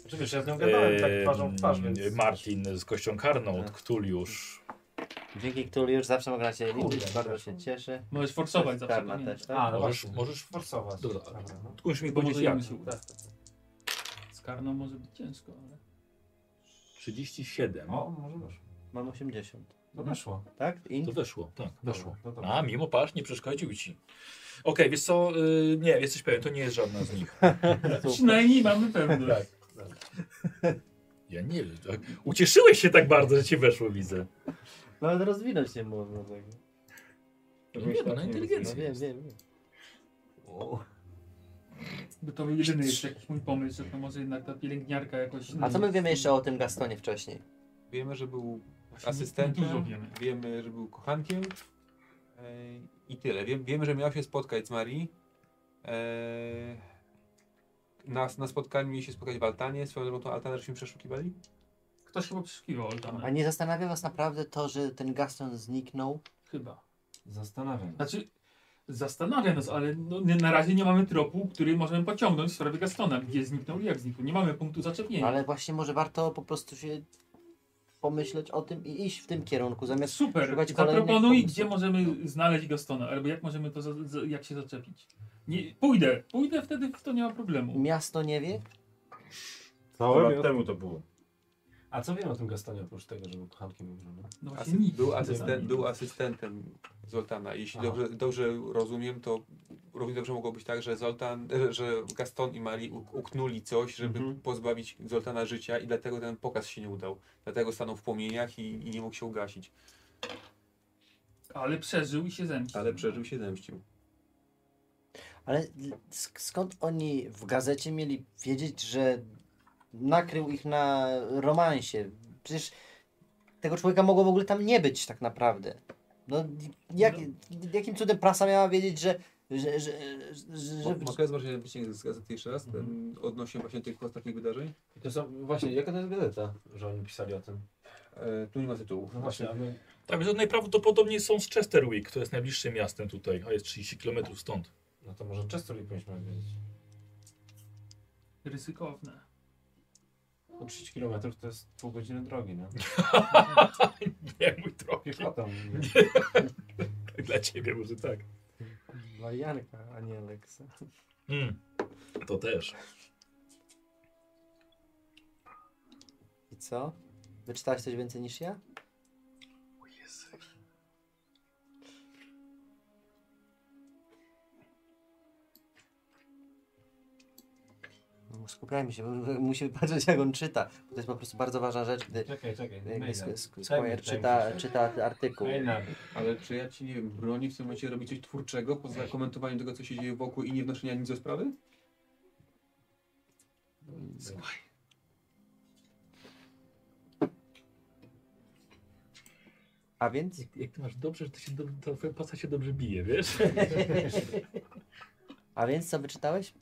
Speaker 2: Znaczy, wiesz, ja z nią gadałem tak
Speaker 13: Em,
Speaker 2: twarzą w twarz, więc... Tak.
Speaker 13: Martin z kością karną od Ktuliusz.
Speaker 5: Dzięki Ktuliusz zawsze mogę na Ciebie liczyć,
Speaker 2: Kurde,
Speaker 5: bardzo się cieszę.
Speaker 6: Możesz forsować zawsze,
Speaker 5: Karma
Speaker 6: pamiętaj.
Speaker 5: też, tak?
Speaker 2: A, no
Speaker 13: Możesz-
Speaker 2: właśnie.
Speaker 13: możesz-
Speaker 2: forsować.
Speaker 13: Dobra.
Speaker 2: no.
Speaker 13: Tylko już mi
Speaker 6: Bo
Speaker 13: powiedzieć
Speaker 6: może
Speaker 13: jak.
Speaker 6: im się uda. Z karną może być ciężko, ale...
Speaker 13: 37.
Speaker 2: O, może weszło.
Speaker 5: Mam 80.
Speaker 2: No weszło.
Speaker 5: Tak? I?
Speaker 13: To weszło, tak.
Speaker 2: Weszło. No dobra.
Speaker 13: A, mimo pasz nie przeszkodził ci. Okej, wiesz co, y, nie, jesteś pewien, to nie jest żadna z nich.
Speaker 6: Przynajmniej mamy pewność.
Speaker 13: Tak. Ja nie wiem. Tak. Ucieszyłeś się tak bardzo, że ci weszło, widzę.
Speaker 5: Nawet rozwinąć nie można tego.
Speaker 13: No nie, no na
Speaker 5: No
Speaker 13: inteligencję.
Speaker 5: wiem, wiem, wiem.
Speaker 6: Bo to był jedyny jeszcze jakiś mój pomysł, że to może jednak ta pielęgniarka jakoś...
Speaker 5: A co my wiemy jeszcze o tym Gastonie wcześniej?
Speaker 9: Wiemy, że był
Speaker 6: Właśnie
Speaker 9: asystentem,
Speaker 6: dużo wiemy.
Speaker 9: wiemy, że był kochankiem e, i tyle. Wiem, wiemy, że miał się spotkać z Marii. E, na, na spotkaniu mieli się spotkać w Altanie, swoją drogą tą Altanę żeśmy przeszukiwali.
Speaker 6: Ktoś chyba przeszukiwał
Speaker 5: A
Speaker 6: Oltana.
Speaker 5: nie zastanawia was naprawdę to, że ten Gaston zniknął?
Speaker 6: Chyba.
Speaker 2: Zastanawiam.
Speaker 6: Znaczy, zastanawia nas, ale no, nie, na razie nie mamy tropu, który możemy pociągnąć w sprawie Gastona, gdzie zniknął i jak zniknął. Nie mamy punktu zaczepienia.
Speaker 5: Ale właśnie może warto po prostu się pomyśleć o tym i iść w tym kierunku, zamiast
Speaker 6: Super,
Speaker 5: szukać kolejnych
Speaker 6: zaproponuj,
Speaker 5: pomysłów.
Speaker 6: gdzie możemy znaleźć Gastona, albo jak możemy to, za, za, jak się zaczepić. Nie, pójdę, pójdę wtedy, to nie ma problemu.
Speaker 5: Miasto nie wie?
Speaker 3: Dwa
Speaker 22: Całe
Speaker 3: lat
Speaker 22: miasto.
Speaker 3: temu to było.
Speaker 2: A co wiemy o tym Gastonie oprócz tego, że był kochankiem jego żony?
Speaker 6: No właśnie
Speaker 9: Asy-
Speaker 6: nic.
Speaker 9: był,
Speaker 6: Czasami.
Speaker 9: asysten- był asystentem Zoltana. Jeśli
Speaker 2: Aha.
Speaker 9: dobrze, dobrze rozumiem, to równie dobrze mogło być tak, że Zoltan, e, że Gaston i Marie u- uknuli coś, żeby pozbawić Zoltana życia i dlatego ten pokaz się nie udał. Dlatego stanął w płomieniach i, i nie mógł się ugasić.
Speaker 6: Ale przeżył i się zemścił.
Speaker 9: Ale przeżył się zemścił.
Speaker 5: Ale sk- skąd oni w gazecie mieli wiedzieć, że nakrył ich na romansie? Przecież tego człowieka mogło w ogóle tam nie być tak naprawdę. No, jak, jakim cudem prasa miała wiedzieć, że Że, że, że, że...
Speaker 9: Mogę zobaczyć na wycinek z gazety jeszcze raz, ten, odnośnie właśnie tych ostatnich wydarzeń?
Speaker 2: I to są, właśnie, jaka to jest gazeta, że oni pisali o tym?
Speaker 9: E, tu nie ma tytułu.
Speaker 2: No właśnie, ale...
Speaker 13: Tak, więc najprawdopodobniej są z Chesterwick, które jest najbliższym miastem tutaj, a jest 30 km stąd. <laughs>
Speaker 2: No to może Chesterfield powinniśmy wiedzieć.
Speaker 6: Ryzykowne.
Speaker 2: Bo 30 km No, to jest pół godziny drogi, no. nie?
Speaker 13: nie, mój drogi.
Speaker 2: <laughs> Piechotą.
Speaker 13: Nie. <laughs> Dla ciebie może tak.
Speaker 23: Dla Janka, a nie Aleksa.
Speaker 13: Mm. To też.
Speaker 5: I co? Wyczytałeś coś więcej niż ja? No, Skupiajmy się, bo- <laughs> bo musimy patrzeć jak on czyta. Bo to jest po prostu bardzo ważna rzecz, gdy
Speaker 2: Czekaj, czekaj,
Speaker 5: gdy
Speaker 2: maila.
Speaker 5: sk- sk-
Speaker 2: Daj
Speaker 5: Squire
Speaker 2: mi-
Speaker 5: czyta,
Speaker 2: daj mi-
Speaker 5: czyta artykuł.
Speaker 9: Ale czy ja ci nie wiem, broni w tym momencie robić coś twórczego poza komentowaniem tego, co się dzieje wokół i nie wnoszenia nic do sprawy?
Speaker 5: Słuchaj. A więc?
Speaker 13: Jak, jak ty masz dobrze, że ty się do, ta twoja pasa się dobrze bije, <laughs> wiesz?
Speaker 5: A więc co wyczytałeś?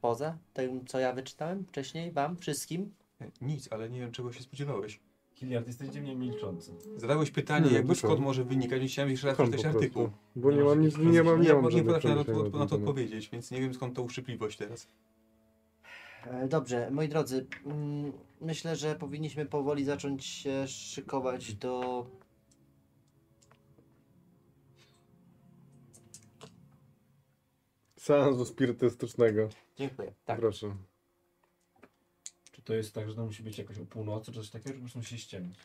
Speaker 5: Poza tym, co ja wyczytałem wcześniej wam, wszystkim?
Speaker 9: E, Nic, ale nie wiem, czego się spodziewałeś.
Speaker 2: Hilliard, jesteś dziwnie milczący.
Speaker 9: Zadałeś pytanie,
Speaker 2: Nie,
Speaker 9: jakby
Speaker 2: dlaczego?
Speaker 9: skąd może wynikać, więc chciałem jeszcze raz
Speaker 2: Skąd
Speaker 9: przeczytać
Speaker 2: po prostu?
Speaker 9: artykuł.
Speaker 4: Bo nie mam nic- nie mam- nie mam
Speaker 9: Nie
Speaker 4: żadnych
Speaker 9: potrafię na to, na to
Speaker 4: przemyśleń na ten temat.
Speaker 9: odpowiedzieć, więc nie wiem skąd ta uszczypliwość teraz.
Speaker 5: E, Dobrze, moi drodzy, mm, myślę, że powinniśmy powoli zacząć się szykować do.
Speaker 4: Seansu spirytystycznego.
Speaker 5: Dziękuję. Tak.
Speaker 4: Proszę.
Speaker 2: Czy to jest tak, że to musi być jakoś o północy, czy coś takiego, czy po prostu musi się ściemnić?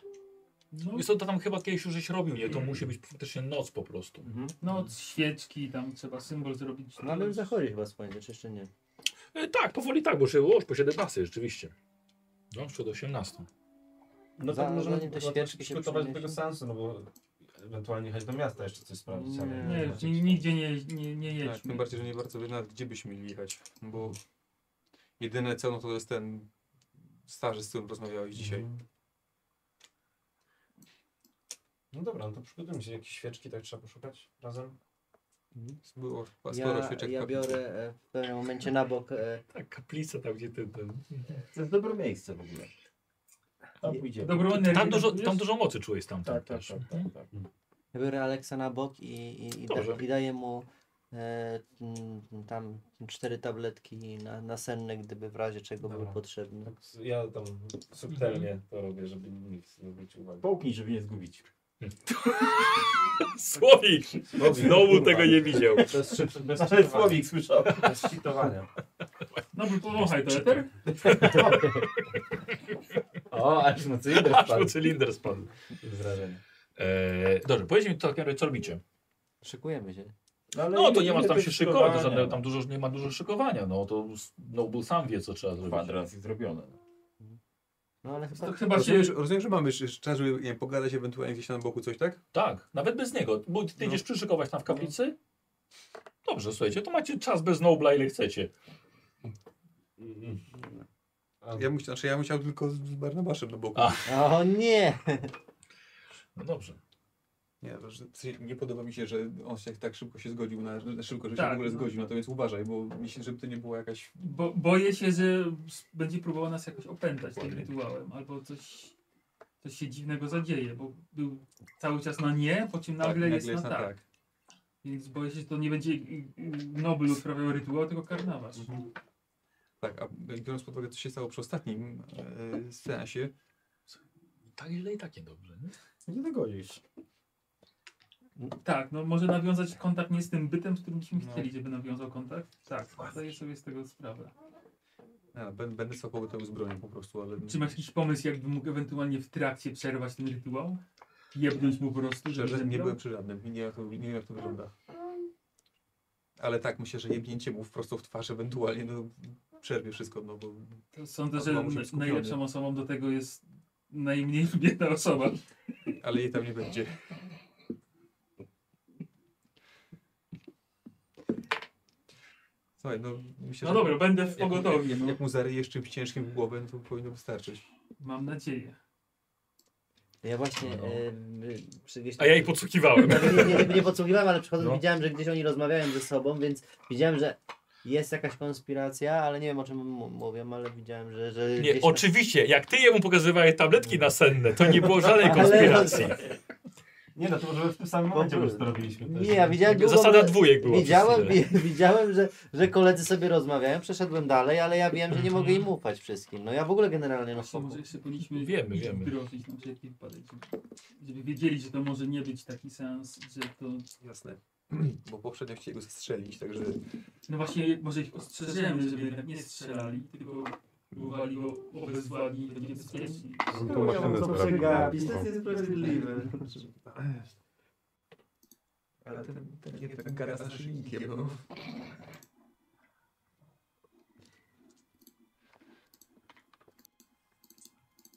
Speaker 13: No. Jest to tam chyba kiedyś już żeś robił, nie? To musi być faktycznie noc po prostu.
Speaker 6: Noc, no, świeczki, tam trzeba symbol zrobić.
Speaker 5: No ale już zachodzi chyba słońce, czy jeszcze nie?
Speaker 13: E, tak, powoli tak, bo już było już po 17 rzeczywiście. No, już przed 18.
Speaker 2: No
Speaker 5: Za-
Speaker 2: to możemy
Speaker 5: zanim te
Speaker 2: przygotować-
Speaker 5: świeczki się
Speaker 2: przygotować do tego
Speaker 5: przyniesie.
Speaker 2: sensu, no bo ewentualnie jechać do miasta jeszcze coś sprawdzić, ale...
Speaker 6: Nie, nie, nigdzie nie, nie, nie
Speaker 9: No, Tak, tym
Speaker 6: jedźmy.
Speaker 9: bardziej, że nie bardzo wiem nawet gdzie byśmy mieli jechać, bo jedyne co no to jest ten starzy, z którym rozmawiałeś dzisiaj.
Speaker 2: No dobra, no to przygotujmy się. Jakieś świeczki tak trzeba poszukać razem?
Speaker 9: Było chyba sporo
Speaker 5: Ja,
Speaker 9: świeczek w
Speaker 5: ja
Speaker 9: kaplicy.
Speaker 5: biorę e, w pewnym momencie na bok. E,
Speaker 13: Tak, kaplica tam, gdzie ty ten...
Speaker 3: To jest dobre miejsce w ogóle. Tam pójdziemy.
Speaker 13: Tam dużo, tam dużo mocy czułeś tam. Tak, tak, <laughs> tak,
Speaker 5: ja biorę Aleksa na bok i, i, i, da,
Speaker 13: Dobrze.
Speaker 5: i daję mu e, mm, tam cztery tabletki na, nasenne, gdyby w razie czego były potrzebne.
Speaker 2: Tak, s- ja tam subtelnie to robię, żeby nikt nie zwrócił uwagi.
Speaker 3: Połknij, żeby nie <laughs> zgubić.
Speaker 13: Tak. Słowik! Znowu tego nie widział.
Speaker 2: Bez, szybko, bez
Speaker 3: Ale
Speaker 2: cheatowania.
Speaker 3: słowik słyszał.
Speaker 2: Bez cheatowania.
Speaker 6: No bo powąchaj to eter.
Speaker 2: O, aż na cylinder
Speaker 13: Aż
Speaker 2: spadł.
Speaker 13: mu cylinder spadł.
Speaker 2: Wrażenie.
Speaker 13: E, dobrze, powiedzcie mi to tak, co robicie.
Speaker 5: Szykujemy się.
Speaker 13: No to nie ma tam się szykować, to żadne, tam dużo, nie ma dużo szykowania, no to s- Noble sam wie co trzeba zrobić.
Speaker 3: Kwadrans jest zrobiony.
Speaker 5: No ale chyba...
Speaker 6: To chyba się...
Speaker 9: Rozumiem, że, rozumiem, że mamy jeszcze jeszcze czas, żeby nie wiem, pogadać ewentualnie gdzieś tam na boku coś, tak?
Speaker 13: Tak, nawet bez niego, bo ty idziesz przyszykować tam w kaplicy? No. Dobrze, słuchajcie, to macie czas bez Nobla ile chcecie.
Speaker 9: Ja, musia, znaczy, ja musiałem tylko z z Barnabaszem na boku.
Speaker 13: A.
Speaker 5: O nie!
Speaker 13: No dobrze.
Speaker 9: Nie, no, że- w sensie nie podoba mi się, że on się tak szybko się zgodził, na, na szybko, że się
Speaker 6: Tak,
Speaker 9: w ogóle
Speaker 6: no.
Speaker 9: zgodził, no to więc uważaj, bo myślę, żeby to nie była jakaś...
Speaker 6: Bo, boję się, że s- będzie próbował nas jakoś opętać tym rytuałem, albo coś, coś się dziwnego zadzieje, bo był cały czas na nie, po czym nagle, jest, na, tak. Więc boję się, że to nie będzie y, y, Nobel uprawiał rytuał, tylko karnawasz.
Speaker 9: Tak, a biorąc pod uwagę, co się stało przy ostatnim e, seansie,
Speaker 13: Tak źle i tak niedobrze, nie?
Speaker 2: Nie dogodzisz.
Speaker 6: Tak, no może nawiązać kontakt nie z tym bytem, z którym byśmy chcieli, żeby nawiązał kontakt. Tak, zdaję sobie z tego sprawę.
Speaker 9: a, ben- będę stopował to z bronią po prostu, ale...
Speaker 6: Czy masz jakiś pomysł, jakby mógł ewentualnie w trakcie przerwać ten rytuał? Jebnąć mu po prostu, żeby
Speaker 9: Szczerze, nie
Speaker 6: zemdlał?
Speaker 9: byłem przy żadnym i nie, wiem, jak to- nie wiem jak to wygląda. Ale tak, myślę, że jebnięcie mu prosto w twarz ewentualnie no, przerwie wszystko, no bo...
Speaker 6: To Sądzę,
Speaker 9: on
Speaker 6: że
Speaker 9: ma musi
Speaker 6: na-
Speaker 9: być skupiony,
Speaker 6: najlepszą osobą do tego jest najmniej biedna osoba.
Speaker 9: Ale jej tam nie będzie. Słuchaj, no myślę,
Speaker 6: No
Speaker 9: że-
Speaker 6: dobra, będę
Speaker 9: jak
Speaker 6: w
Speaker 9: mu-
Speaker 6: pogotowiu,
Speaker 9: Jak,
Speaker 6: no.
Speaker 9: jak mu zaryjesz czymś ciężkim w głowę, no to powinno wystarczyć.
Speaker 6: Mam nadzieję.
Speaker 5: Ja właśnie em, y, przy- gdzieś
Speaker 13: A ja jej <laughs> podsłuchiwałem.
Speaker 5: Nie, nie, nie, nie podsłuchiwałem, ale przychodząc
Speaker 13: No.
Speaker 5: widziałem, że gdzieś oni rozmawiają ze sobą, więc widziałem, że jest jakaś konspiracja, ale nie wiem o czym m- mówią, ale widziałem, że... że
Speaker 13: Nie,
Speaker 5: gdzieś-
Speaker 13: oczywiście, jak ty jemu pokazywałeś tabletki nasenne, to nie było żadnej
Speaker 5: Ale-
Speaker 13: konspiracji.
Speaker 24: Nie no, to może w tym samym momencie po prostu robiliśmy też.
Speaker 5: Nie, ja widziałem długo,
Speaker 13: Zasada
Speaker 5: że-
Speaker 13: dwójek była
Speaker 5: Widziałem,
Speaker 13: przez chwilę.
Speaker 5: <laughs> widziałem że, że koledzy sobie rozmawiają, przeszedłem dalej, ale ja wiem, że nie mogę im ufać wszystkim. No ja w ogóle generalnie no spoko.
Speaker 6: Może jeszcze powinniśmy no,
Speaker 13: Wiemy,
Speaker 6: ich
Speaker 13: wiemy.
Speaker 6: wdrożyć na wszelki wypadek, żeby, żeby wiedzieli, że to może nie być taki sens, że to...
Speaker 9: Jasne. Bo poprzednio chcieli go zastrzelić, także...
Speaker 6: No właśnie, może ich ostrzeżemy, żeby jednak nie strzelali, tylko próbowali go obezwładnić i będzie bezpiecznie.
Speaker 4: No to maszynę
Speaker 25: co
Speaker 4: zrobił.
Speaker 25: przegapić, to jest niesprawiedliwe.
Speaker 9: Ale ten, ten nie tak gada z naszym nikiem, no.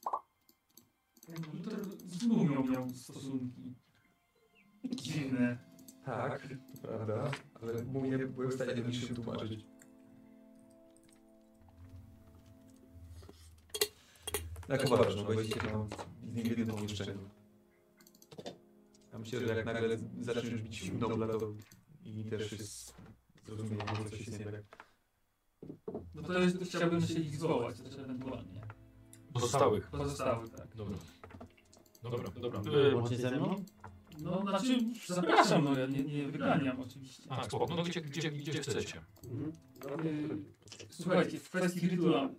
Speaker 6: No to zgubią miał stosunki dziwne.
Speaker 9: Tak, to prawda. Ale mu nie byłem w stanie nic się tłumaczyć. Tak uważasz, no wejdziecie tam z nim w jednym pomieszczeniu. Ja myślę, że jak nagle zaczniesz bić Nobla, to i też jest zrozumienie, że coś jest nie tak.
Speaker 6: No to jest, chciałbym się ich zwołać też ewentualnie.
Speaker 13: Pozostałych.
Speaker 6: Pozostałych, tak.
Speaker 13: Dobra. Dobra, dobra.
Speaker 6: Yy,
Speaker 5: Łącznie ze mną?
Speaker 6: No, znaczy, Tak, zapraszam, no ja nie, nie wyganiam oczywiście.
Speaker 13: A, spoko, no gdzie, gdzie, gdzie chcecie?
Speaker 6: Yy, Słuchajcie, w kwestii rytuału.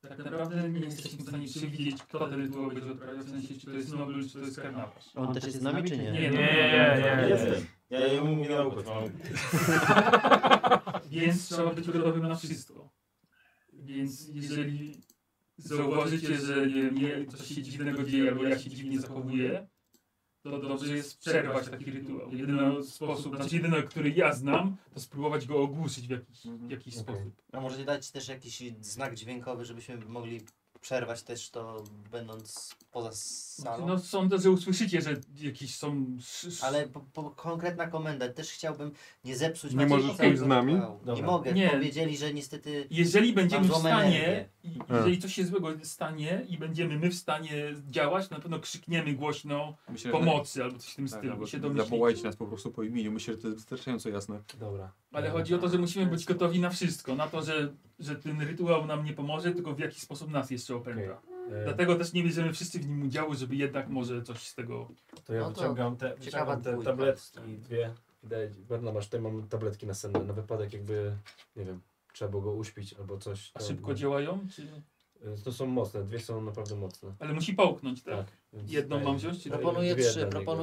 Speaker 6: Tak naprawdę nie jesteśmy w stanie przewidzieć, kto ten rytuał będzie odprawiał, w sensie, czy to jest Nobel, czy to jest Karnawasz.
Speaker 5: On też jest z nami, czy nie?
Speaker 6: Nie,
Speaker 5: Nie,
Speaker 6: no, nie,
Speaker 5: nie,
Speaker 6: nie.
Speaker 5: nie.
Speaker 3: Ja jemu mówię na układ.
Speaker 6: Więc trzeba być gotowym na wszystko. Więc jeżeli zauważycie, że nie, wiem, nie, coś się dziwnego dzieje, albo ja się dziwnie zachowuję, to dobrze jest przerwać taki rytuał. Jedyny sposób, znaczy jedyny, który ja znam, to spróbować go ogłuszyć w jakiś, w jakiś sposób.
Speaker 5: A możecie dać też jakiś znak dźwiękowy, żebyśmy mogli przerwać też to, będąc poza salą?
Speaker 6: No sądzę, że usłyszycie, że jakieś są...
Speaker 5: Ale po, po, konkretna komenda, też chciałbym nie zepsuć
Speaker 4: Nie
Speaker 5: Maciej
Speaker 4: możesz
Speaker 5: całego
Speaker 4: pójść z nami?
Speaker 5: rytuału. Nie
Speaker 4: Dobra.
Speaker 5: mogę,
Speaker 6: Nie.
Speaker 5: powiedzieli, że niestety
Speaker 6: Jeżeli
Speaker 5: mam
Speaker 6: będziemy w
Speaker 5: złą
Speaker 6: stanie,
Speaker 5: energię.
Speaker 6: i- jeżeli coś się złego stanie i będziemy my w stanie działać, na pewno krzykniemy głośno
Speaker 9: Myślę, że-
Speaker 6: pomocy albo coś w tym
Speaker 9: Tak,
Speaker 6: stylu.
Speaker 9: albo
Speaker 6: i się domyślicie.
Speaker 9: Zawołajcie nas po prostu po imieniu, myślę, że to jest wystarczająco jasne.
Speaker 2: Dobra.
Speaker 6: Ale chodzi o to, że musimy być gotowi na wszystko. Na to, że, że ten rytuał nam nie pomoże, tylko w jaki sposób nas jeszcze opęta.
Speaker 2: E,
Speaker 6: Dlatego też nie bierzemy wszyscy w nim udziału, żeby jednak może coś z tego...
Speaker 2: To ja
Speaker 6: No to
Speaker 2: wyciągam te,
Speaker 6: ciekawa
Speaker 2: wyciągam te
Speaker 6: dwójka.
Speaker 2: tabletki, dwie. Daję ci. Berna, masz, tutaj mam tabletki nasenne na wypadek jakby, nie wiem, trzeba było go uśpić albo coś.
Speaker 6: A
Speaker 2: to-
Speaker 6: szybko działają? Czy...
Speaker 2: Y, To są mocne, dwie są naprawdę mocne.
Speaker 6: Ale musi połknąć, tak?
Speaker 2: więc
Speaker 6: Jedną
Speaker 2: daję-
Speaker 6: mam wziąć? Czy...
Speaker 2: daję dwie dla niego.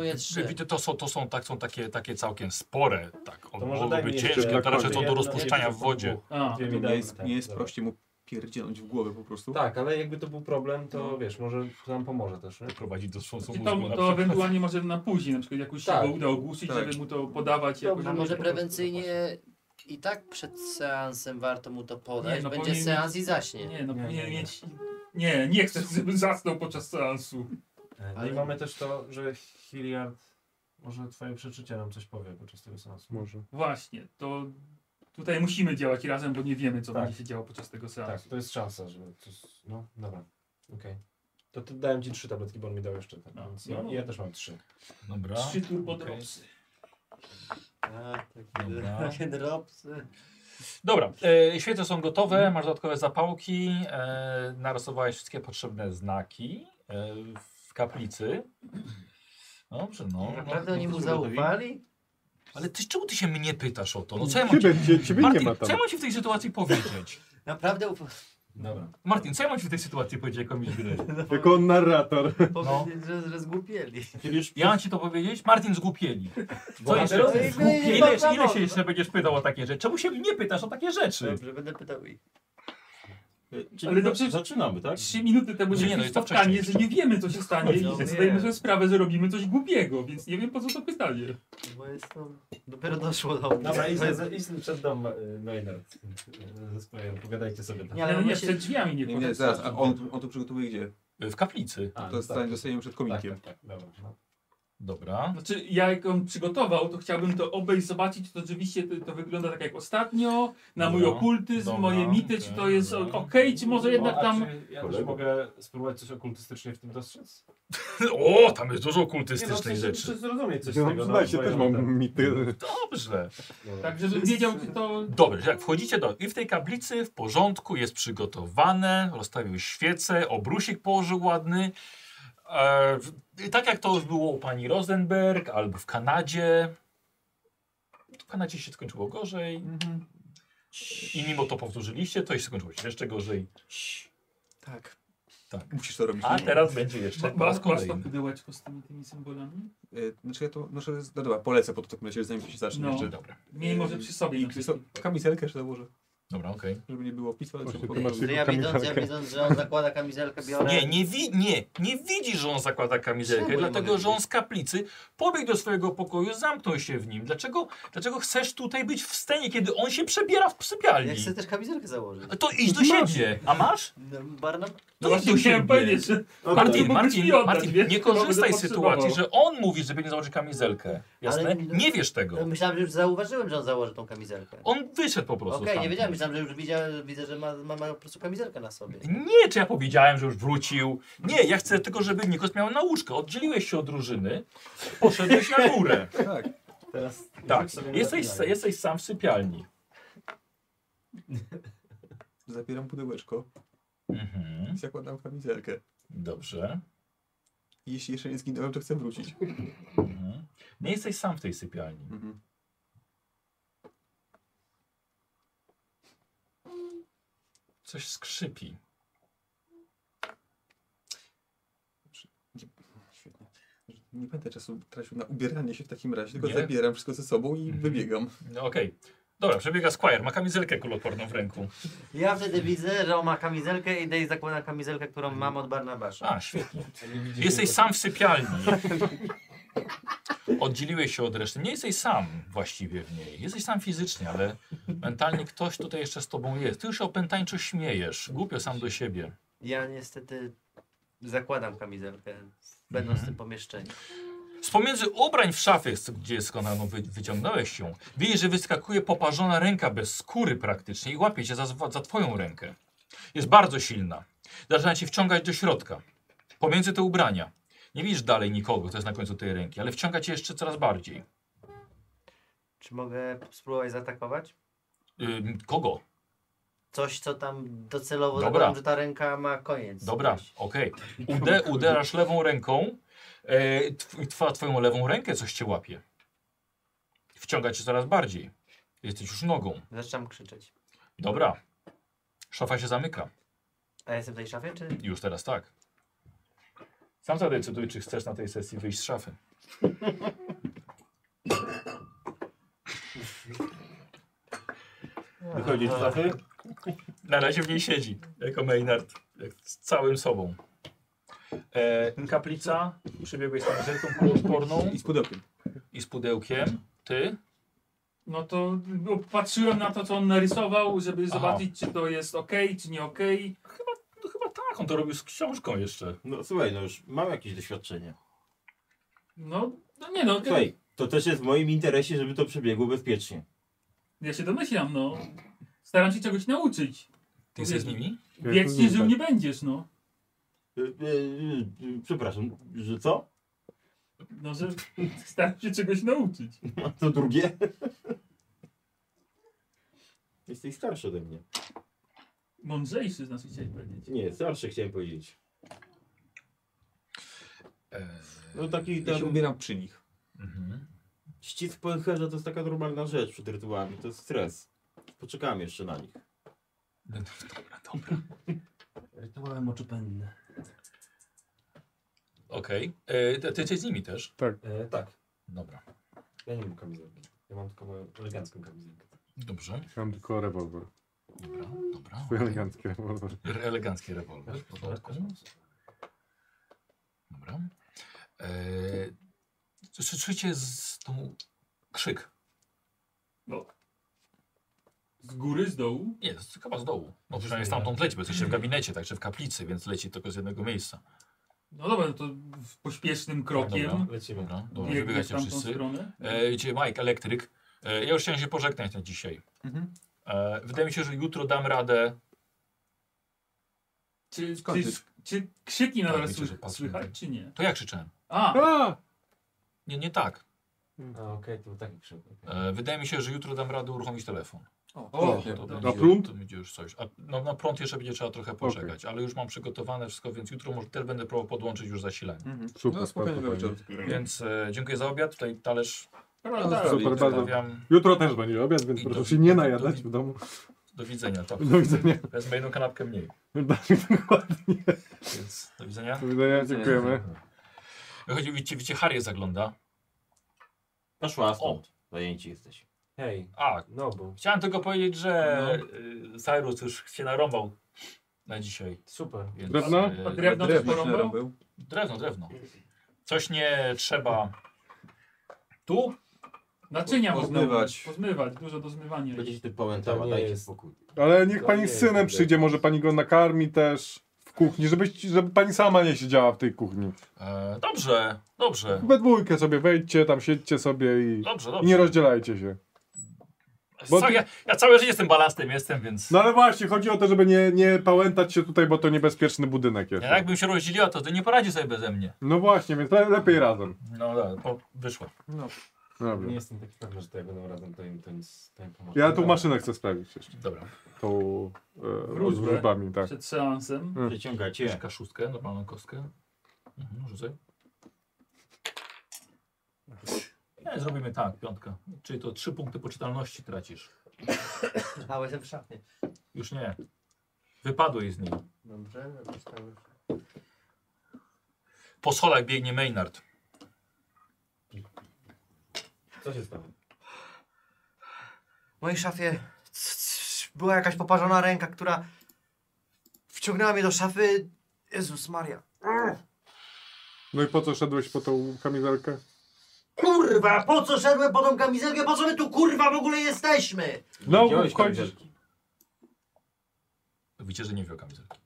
Speaker 13: Widzę, to są, to są, tak, są takie, takie całkiem spore. Tak,
Speaker 2: To
Speaker 13: on
Speaker 2: może
Speaker 13: mogłyby
Speaker 2: daj mi
Speaker 13: być
Speaker 2: jeszcze
Speaker 13: ciężkie,
Speaker 2: dla
Speaker 13: to raczej
Speaker 2: kobiet.
Speaker 13: są do
Speaker 2: Jedno-
Speaker 13: rozpuszczania w
Speaker 2: jedno-
Speaker 13: wodzie.
Speaker 6: A,
Speaker 2: Dwie mi
Speaker 9: nie
Speaker 2: damy,
Speaker 9: jest,
Speaker 2: tak,
Speaker 9: nie jest
Speaker 2: dobra.
Speaker 9: prościej mu pierdzielnąć w głowę po prostu.
Speaker 2: Tak, ale jakby to był problem, to
Speaker 6: No.
Speaker 2: wiesz, może nam pomoże też. Nie?
Speaker 13: Prowadzić do wstrząsu
Speaker 6: Czy
Speaker 13: mózgu
Speaker 6: to,
Speaker 13: na
Speaker 6: to
Speaker 13: przykład.
Speaker 6: ewentualnie może na później, na przykład jakoś
Speaker 2: Tak.
Speaker 6: się go uda ogłuszyć,
Speaker 2: Tak.
Speaker 6: żeby mu to podawać jakoś.
Speaker 5: A może
Speaker 6: po prostu-
Speaker 5: prewencyjnie i tak przed seansem warto mu to podać.
Speaker 6: Nie, no
Speaker 5: Będzie
Speaker 6: powinien
Speaker 5: seans
Speaker 6: mieć-
Speaker 5: i zaśnie.
Speaker 6: Nie, no
Speaker 2: Nie,
Speaker 6: powinien
Speaker 2: nie, nie.
Speaker 6: mieć... Nie, nie chcę, żeby zasnął podczas seansu.
Speaker 2: No
Speaker 5: Ale-
Speaker 2: i mamy też to, że Hilliard, może twoje przeczucie nam coś powie podczas tego sensu.
Speaker 4: Może.
Speaker 6: Właśnie, to tutaj musimy działać razem, bo nie wiemy, co
Speaker 2: Tak.
Speaker 6: będzie się działo podczas tego
Speaker 2: Tak,
Speaker 6: seansu.
Speaker 2: to jest szansa, żeby coś... No, dobra, okej. To ty dałem ci trzy tabletki, bo on mi dał jeszcze ten,
Speaker 6: No,
Speaker 2: więc
Speaker 6: no,
Speaker 2: ja,
Speaker 6: no.
Speaker 2: ja też mam trzy.
Speaker 13: Dobra.
Speaker 6: Trzy turbodropsy.
Speaker 5: A, takie,
Speaker 13: Dobra.
Speaker 5: <laughs> takie dropsy.
Speaker 13: Dobra, e, świece są gotowe, masz dodatkowe zapałki, e, narysowałeś wszystkie potrzebne znaki e, w kaplicy. Dobrze, no.
Speaker 5: Naprawdę oni mu
Speaker 13: no,
Speaker 5: zaufali?
Speaker 13: Ale ty, czemu ty się mnie pytasz o to? No co ja mam
Speaker 4: Ciebie,
Speaker 13: ci...
Speaker 4: cie, ciebie
Speaker 13: Martin,
Speaker 4: nie ma tam.
Speaker 13: co ja mam ci w tej sytuacji powiedzieć?
Speaker 5: Naprawdę uf-
Speaker 2: Dobra.
Speaker 13: Martin, co ja mam ci w tej sytuacji powiedzieć jako mistrz gry?
Speaker 4: Jako narrator.
Speaker 5: <laughs> powiedzieli, że, że zgłupieli.
Speaker 13: Ja mam ci to powiedzieć? Martin zgłupieli. Co
Speaker 2: Bohaterowie
Speaker 13: jeszcze?
Speaker 5: zgłupieli.
Speaker 13: Ile, ile się jeszcze będziesz pytał o takie rzeczy? Czemu się mnie pytasz o takie rzeczy?
Speaker 5: Dobrze, będę pytał ich.
Speaker 3: Czyli
Speaker 6: Ale
Speaker 3: Ale
Speaker 6: no przecież-
Speaker 3: zaczynamy, tak?
Speaker 6: Trzy minuty temu
Speaker 13: Nie,
Speaker 6: mieliśmy
Speaker 13: no i to
Speaker 6: spotkanie,
Speaker 13: wcześniej.
Speaker 6: że nie wiemy, co się stanie
Speaker 5: No,
Speaker 6: i że
Speaker 5: nie.
Speaker 6: zdajemy sobie sprawę, że robimy coś głupiego, więc nie wiem, po co to pytanie.
Speaker 5: Bo jest to... Dopiero doszło do mnie.
Speaker 2: Dobra, idź, idź przed dom y, Maynard y, ze swoim, pogadajcie sobie tam.
Speaker 5: Nie,
Speaker 6: Ale
Speaker 5: ale
Speaker 6: no nie,
Speaker 5: my się...
Speaker 6: przed drzwiami nie
Speaker 9: Nie, nie,
Speaker 6: poszedł.
Speaker 9: zaraz, a on, on to przygotowuje gdzie?
Speaker 13: W kaplicy.
Speaker 2: A,
Speaker 9: To
Speaker 2: no
Speaker 9: jest tak. dostajemy przed
Speaker 2: tak,
Speaker 9: kominkiem.
Speaker 2: tak, tak, dobra. No.
Speaker 13: Dobra.
Speaker 6: Znaczy, ja jak on przygotował, to chciałbym to obejść, zobaczyć, czy to rzeczywiście to, to wygląda tak jak ostatnio, na mój
Speaker 2: Dobra,
Speaker 6: okultyzm,
Speaker 2: dobra, No,
Speaker 6: moje mity, czy to jest okej, czy może jednak
Speaker 2: a
Speaker 6: tam...
Speaker 2: Czy ja też mogę spróbować coś okultystycznie w tym dostrzec?
Speaker 13: <laughs> O, tam jest dużo
Speaker 2: Nie, no,
Speaker 13: okultystycznych
Speaker 2: chcę-
Speaker 13: rzeczy.
Speaker 2: chcę zrozumieć coś
Speaker 4: No,
Speaker 2: z tego.
Speaker 4: przyznajcie, też mam
Speaker 13: mity. Dobrze.
Speaker 6: Tak, żebym wiedział, czy to...
Speaker 13: Dobrze, jak wchodzicie do. I w tej kaplicy w porządku jest przygotowane, rozstawił świece, obrusik położył ładny. E, w- i tak jak to już było u pani Rosenberg albo w Kanadzie. W Kanadzie się skończyło gorzej. I mimo to powtórzyliście, to się skończyło się jeszcze gorzej.
Speaker 9: Tak.
Speaker 13: Tak.
Speaker 9: Musisz to robić.
Speaker 13: A teraz będzie jeszcze po
Speaker 6: masz
Speaker 13: raz
Speaker 6: tam
Speaker 13: kolejny.
Speaker 6: pudełeczko z tymi, tymi symbolami?
Speaker 9: Y, Znaczy ja to noszę, no dobra, polecę po to w takim razie, zanim się zacznie
Speaker 6: No.
Speaker 9: jeszcze.
Speaker 6: Dobra. Miej może przy sobie
Speaker 9: I
Speaker 6: na
Speaker 9: so, kamizelkę jeszcze założę.
Speaker 13: Dobra, okej.
Speaker 9: Żeby nie było pisma, ale
Speaker 4: Właśnie,
Speaker 9: żeby
Speaker 4: ty masz
Speaker 9: było-
Speaker 4: jego
Speaker 5: Ja widząc, ja
Speaker 4: kamizelkę.
Speaker 5: widząc, że on zakłada kamizelkę, biorę...
Speaker 13: Nie, nie, wi nie, nie widzi, że on zakłada kamizelkę,
Speaker 5: Czemu nie
Speaker 13: dlatego
Speaker 5: mogę
Speaker 13: że on z kaplicy pobiegł do swojego pokoju, zamknął się w nim. Dlaczego, dlaczego chcesz tutaj być w scenie, kiedy on się przebiera w sypialni?
Speaker 5: Ja chcę też kamizelkę założyć.
Speaker 13: To idź do siebie, a masz?
Speaker 5: No, Barnum?
Speaker 13: No
Speaker 6: właśnie
Speaker 13: do
Speaker 6: chciałem
Speaker 13: siebie.
Speaker 6: powiedzieć, że- No tak.
Speaker 13: Martin,
Speaker 6: Mógłbyś
Speaker 13: Martin,
Speaker 6: mi oddać,
Speaker 13: Martin,
Speaker 6: wiesz,
Speaker 13: nie
Speaker 6: to by
Speaker 13: korzystaj z
Speaker 6: potrzebowało.
Speaker 13: sytuacji, że on mówi, że będzie założyć kamizelkę. Jasne?
Speaker 5: Ale-
Speaker 13: nie wiesz tego.
Speaker 5: No, Myślałem, że już zauważyłem, że on założy tą kamizelkę.
Speaker 13: On wyszedł po prostu
Speaker 5: Okej, nie
Speaker 13: stamtąd.
Speaker 5: wiedziałem, myślałem, że już widzia, widzę, że ma, ma, ma po prostu kamizelkę na sobie.
Speaker 13: Nie, czy ja powiedziałem, że już wrócił. Nie, ja chcę tylko, żeby Nikos miał nauczkę. Oddzieliłeś się od drużyny, poszedłeś
Speaker 5: <laughs>
Speaker 13: na górę.
Speaker 9: <laughs> Tak.
Speaker 2: Teraz
Speaker 13: Tak,
Speaker 2: sobie na
Speaker 13: jesteś,
Speaker 2: napijaję.
Speaker 13: jesteś sam w sypialni.
Speaker 9: Zabieram pudełeczko
Speaker 13: Mhm.
Speaker 9: i zakładam kamizelkę.
Speaker 13: Dobrze.
Speaker 9: Jeśli jeszcze nie zginąłem, to chcę wrócić.
Speaker 13: Mhm. Nie jesteś sam w tej sypialni.
Speaker 9: Mhm.
Speaker 13: Coś skrzypi.
Speaker 9: Świetnie. Nie będę czasu tracił na ubieranie się w takim razie, tylko
Speaker 13: Nie?
Speaker 9: zabieram wszystko ze sobą i wybiegam.
Speaker 13: No okej. Dobra, przebiega Squire, ma kamizelkę kuloporną w ręku.
Speaker 5: Ja wtedy widzę, że on ma kamizelkę i idę i zakładam kamizelkę, którą mam od Barnabasza.
Speaker 13: A, świetnie. Jesteś sam w sypialni. Oddzieliłeś się od reszty. Nie jesteś sam właściwie w niej. Jesteś sam fizycznie, ale mentalnie ktoś tutaj jeszcze z tobą jest. Ty już się opętańczo śmiejesz. Głupio sam do siebie.
Speaker 5: Ja niestety zakładam kamizelkę, będąc
Speaker 13: Mhm.
Speaker 5: w tym pomieszczeniu.
Speaker 13: Z pomiędzy ubrań w szafie, s- gdzie skonaną wy, wyciągnąłeś się, widzisz, że wyskakuje poparzona ręka bez skóry praktycznie i łapie cię za, zw- za twoją rękę. Jest bardzo silna. Zaczyna cię wciągać do środka. Pomiędzy te ubrania. Nie widzisz dalej nikogo, to jest na końcu tej ręki, ale wciąga cię jeszcze coraz bardziej.
Speaker 5: Czy mogę spróbować zaatakować?
Speaker 13: Ym, kogo?
Speaker 5: Coś, co tam docelowo
Speaker 13: Dobra.
Speaker 5: zakładam, że ta ręka ma koniec.
Speaker 13: Dobra, okej. Ude, uderasz lewą ręką, e, tw, twa, twoją lewą rękę coś cię łapie. Wciąga cię coraz bardziej. Jesteś już nogą.
Speaker 5: Zaczynam krzyczeć.
Speaker 13: Dobra. Szafa się zamyka.
Speaker 5: A ja jestem w tej szafie, czy...
Speaker 13: Już teraz tak. Sam zadecyduj, czy chcesz na tej sesji wyjść z szafy.
Speaker 3: Wychodzisz z szafy?
Speaker 13: Na razie w niej siedzi, jako Maynard, jak z całym sobą. E, kaplica, przybiegłeś z kamizelką kuloodporną
Speaker 9: I z pudełkiem.
Speaker 13: i z pudełkiem. Ty?
Speaker 6: No to no, patrzyłem na to, co on narysował, żeby zobaczyć, czy to jest ok, czy nie ok.
Speaker 13: Tak, on to robił z książką jeszcze.
Speaker 3: No słuchaj, no już mam jakieś doświadczenie.
Speaker 6: No, no nie no,
Speaker 3: Słuchaj, to też jest w moim interesie, żeby to przebiegło bezpiecznie.
Speaker 6: ja się domyślam, no. Staram się czegoś nauczyć.
Speaker 13: Ty jesteś z nimi?
Speaker 6: Wiecznie
Speaker 13: tak.
Speaker 6: żył nie będziesz, no.
Speaker 3: Y, y, y, y, Przepraszam, że co?
Speaker 6: No, że <laughs> staram się czegoś nauczyć.
Speaker 3: A to drugie? <laughs> Jesteś starszy ode mnie.
Speaker 6: Mądrzejszy z nas chciałeś powiedzieć.
Speaker 3: Nie, starszy chciałem powiedzieć. No taki
Speaker 9: Ja się
Speaker 3: tam
Speaker 9: ubieram przy nich.
Speaker 13: Mhm.
Speaker 3: ścisk pęcherza to jest taka normalna rzecz przed rytuałami, to jest stres. Poczekamy jeszcze na nich.
Speaker 13: No to- Dobra, dobra.
Speaker 2: Rytuały moczopędne.
Speaker 13: Okej. E, Ty ty jesteś z nimi też?
Speaker 4: Tak.
Speaker 2: E, tak.
Speaker 13: Dobra.
Speaker 2: Ja nie mam kamizelki. Ja mam tylko moją elegancką kamizelkę.
Speaker 13: Dobrze.
Speaker 4: Ja mam tylko rewolwer.
Speaker 13: Dobra, dobra.
Speaker 4: Swój elegancki rewolwer.
Speaker 13: Re- Elegancki rewolwer, w porządku. Dobra. E, Słyszycie z tą krzyk.
Speaker 6: No. Z góry, z dołu?
Speaker 13: Nie, z, chyba z dołu. No przynajmniej stamtąd leci, bo jesteście w gabinecie, także w kaplicy, więc leci tylko z jednego miejsca.
Speaker 6: No dobra, no to w- pośpiesznym krokiem.
Speaker 13: Dobra, lecimy. Dobra, dobra,
Speaker 6: biegnie
Speaker 13: wybiegajcie
Speaker 6: w tamtą
Speaker 13: wszyscy.
Speaker 6: stronę.
Speaker 13: E, idzie Mike, elektryk. E, ja już chciałem się pożegnać na dzisiaj.
Speaker 9: Mhm.
Speaker 13: E, wydaje mi się, że jutro dam radę.
Speaker 6: Czy,
Speaker 13: Skąd
Speaker 6: czy,
Speaker 13: ty-
Speaker 6: czy krzyki
Speaker 13: Tak,
Speaker 6: nadal
Speaker 13: wiecie, że
Speaker 6: sły,
Speaker 13: patrzę na
Speaker 6: słychać,
Speaker 13: to.
Speaker 6: czy nie?
Speaker 13: To ja krzyczałem.
Speaker 6: A!
Speaker 13: Nie, nie tak.
Speaker 2: A No, okej, to był taki krzyk.
Speaker 13: E, wydaje mi się, że jutro dam radę uruchomić telefon.
Speaker 9: O,
Speaker 13: to,
Speaker 9: świetnie.
Speaker 13: to
Speaker 9: Na
Speaker 13: będzie,
Speaker 4: prąd?
Speaker 13: To będzie już coś. A, no, na prąd jeszcze będzie trzeba trochę poczekać, ale już mam przygotowane wszystko, więc jutro może też będę próbował podłączyć już zasilanie.
Speaker 9: Mhm.
Speaker 4: Super,
Speaker 9: No, spokojnie
Speaker 4: spoko,
Speaker 9: wieczór.
Speaker 13: Więc e, dziękuję za obiad. Tutaj talerz.
Speaker 6: Dobra,
Speaker 4: Super,
Speaker 6: tak.
Speaker 4: super bardzo.
Speaker 13: Zostawiam.
Speaker 4: Jutro też będzie obiad, więc
Speaker 13: I
Speaker 4: proszę
Speaker 13: do-
Speaker 4: się nie najadać w domu.
Speaker 13: Do widzenia. To.
Speaker 4: Do widzenia.
Speaker 13: Wezmę jedną kanapkę mniej.
Speaker 4: Dokładnie.
Speaker 13: Więc do widzenia.
Speaker 4: Do widzenia, dziękujemy.
Speaker 13: Chodzi, widzicie, widzicie, Harry zagląda.
Speaker 3: Poszła stąd. Zajęci jesteś.
Speaker 2: Hej,
Speaker 13: A,
Speaker 2: no bo
Speaker 13: chciałem tylko powiedzieć, że no. Cyrus już się narąbał na dzisiaj.
Speaker 2: super.
Speaker 13: Więc,
Speaker 4: Drewno?
Speaker 13: e,
Speaker 6: A drewno też porąbał?
Speaker 9: był.
Speaker 13: Drewno, drewno. Coś nie trzeba. Tu?
Speaker 6: Naczynia
Speaker 9: Pozmywać.
Speaker 6: pozmywać. Pozmywać, dużo do zmywania.
Speaker 3: Będzie
Speaker 6: jest.
Speaker 3: się ty pamiętała,
Speaker 2: To nie
Speaker 3: dajcie
Speaker 2: jest-
Speaker 3: spokój.
Speaker 4: Ale niech
Speaker 2: To
Speaker 4: pani
Speaker 2: nie
Speaker 4: z
Speaker 2: jest
Speaker 4: synem
Speaker 2: dobre.
Speaker 4: przyjdzie, może pani go nakarmi też w kuchni, żeby, żeby pani sama nie siedziała w tej kuchni.
Speaker 13: E, dobrze, dobrze.
Speaker 4: We dwójkę sobie wejdźcie, tam siedźcie sobie i,
Speaker 13: Dobrze,
Speaker 4: i nie
Speaker 13: dobrze.
Speaker 4: rozdzielajcie się. bo
Speaker 13: Ca-
Speaker 4: ty-
Speaker 13: ja, ja całe życie jestem balastem, jestem, więc.
Speaker 4: No ale właśnie, chodzi o to, żeby nie, nie pałętać się tutaj, bo to niebezpieczny budynek jest.
Speaker 13: Ja jakbym się rozdzieliła, to ty nie poradzi sobie beze mnie.
Speaker 4: No właśnie, więc le, lepiej razem.
Speaker 13: No dobra, po, wyszło.
Speaker 4: Dobra.
Speaker 2: Nie jestem taki pewny, że to jak będą razem, to im, to im, to im pomoże.
Speaker 4: Ja tu maszynę chcę sprawić jeszcze.
Speaker 13: Dobra.
Speaker 4: Tą e, z
Speaker 6: Wróżbę.
Speaker 4: wróżbami, tak.
Speaker 6: Przed seansem.
Speaker 3: Przeciągacie.
Speaker 13: Ciężka szóstkę, normalną kostkę. Mhm, rzucaj. Nie, zrobimy tak, piątka. Czyli to trzy punkty poczytalności tracisz.
Speaker 5: A, jestem w szafie.
Speaker 13: Już nie. Wypadłeś z niej.
Speaker 26: Dobrze, zostały.
Speaker 13: Po solach biegnie Maynard.
Speaker 3: Co się stało?
Speaker 5: W mojej szafie c- c- była jakaś poparzona ręka, która wciągnęła mnie do szafy. Jezus Maria.
Speaker 4: No i po co szedłeś po tą kamizelkę?
Speaker 5: Kurwa, po co szedłem po tą kamizelkę? Po co my tu kurwa w ogóle jesteśmy?
Speaker 4: No,
Speaker 3: Widziałeś
Speaker 4: chodź.
Speaker 3: kamizelki?
Speaker 13: Widzicie, że nie wziął kamizelki.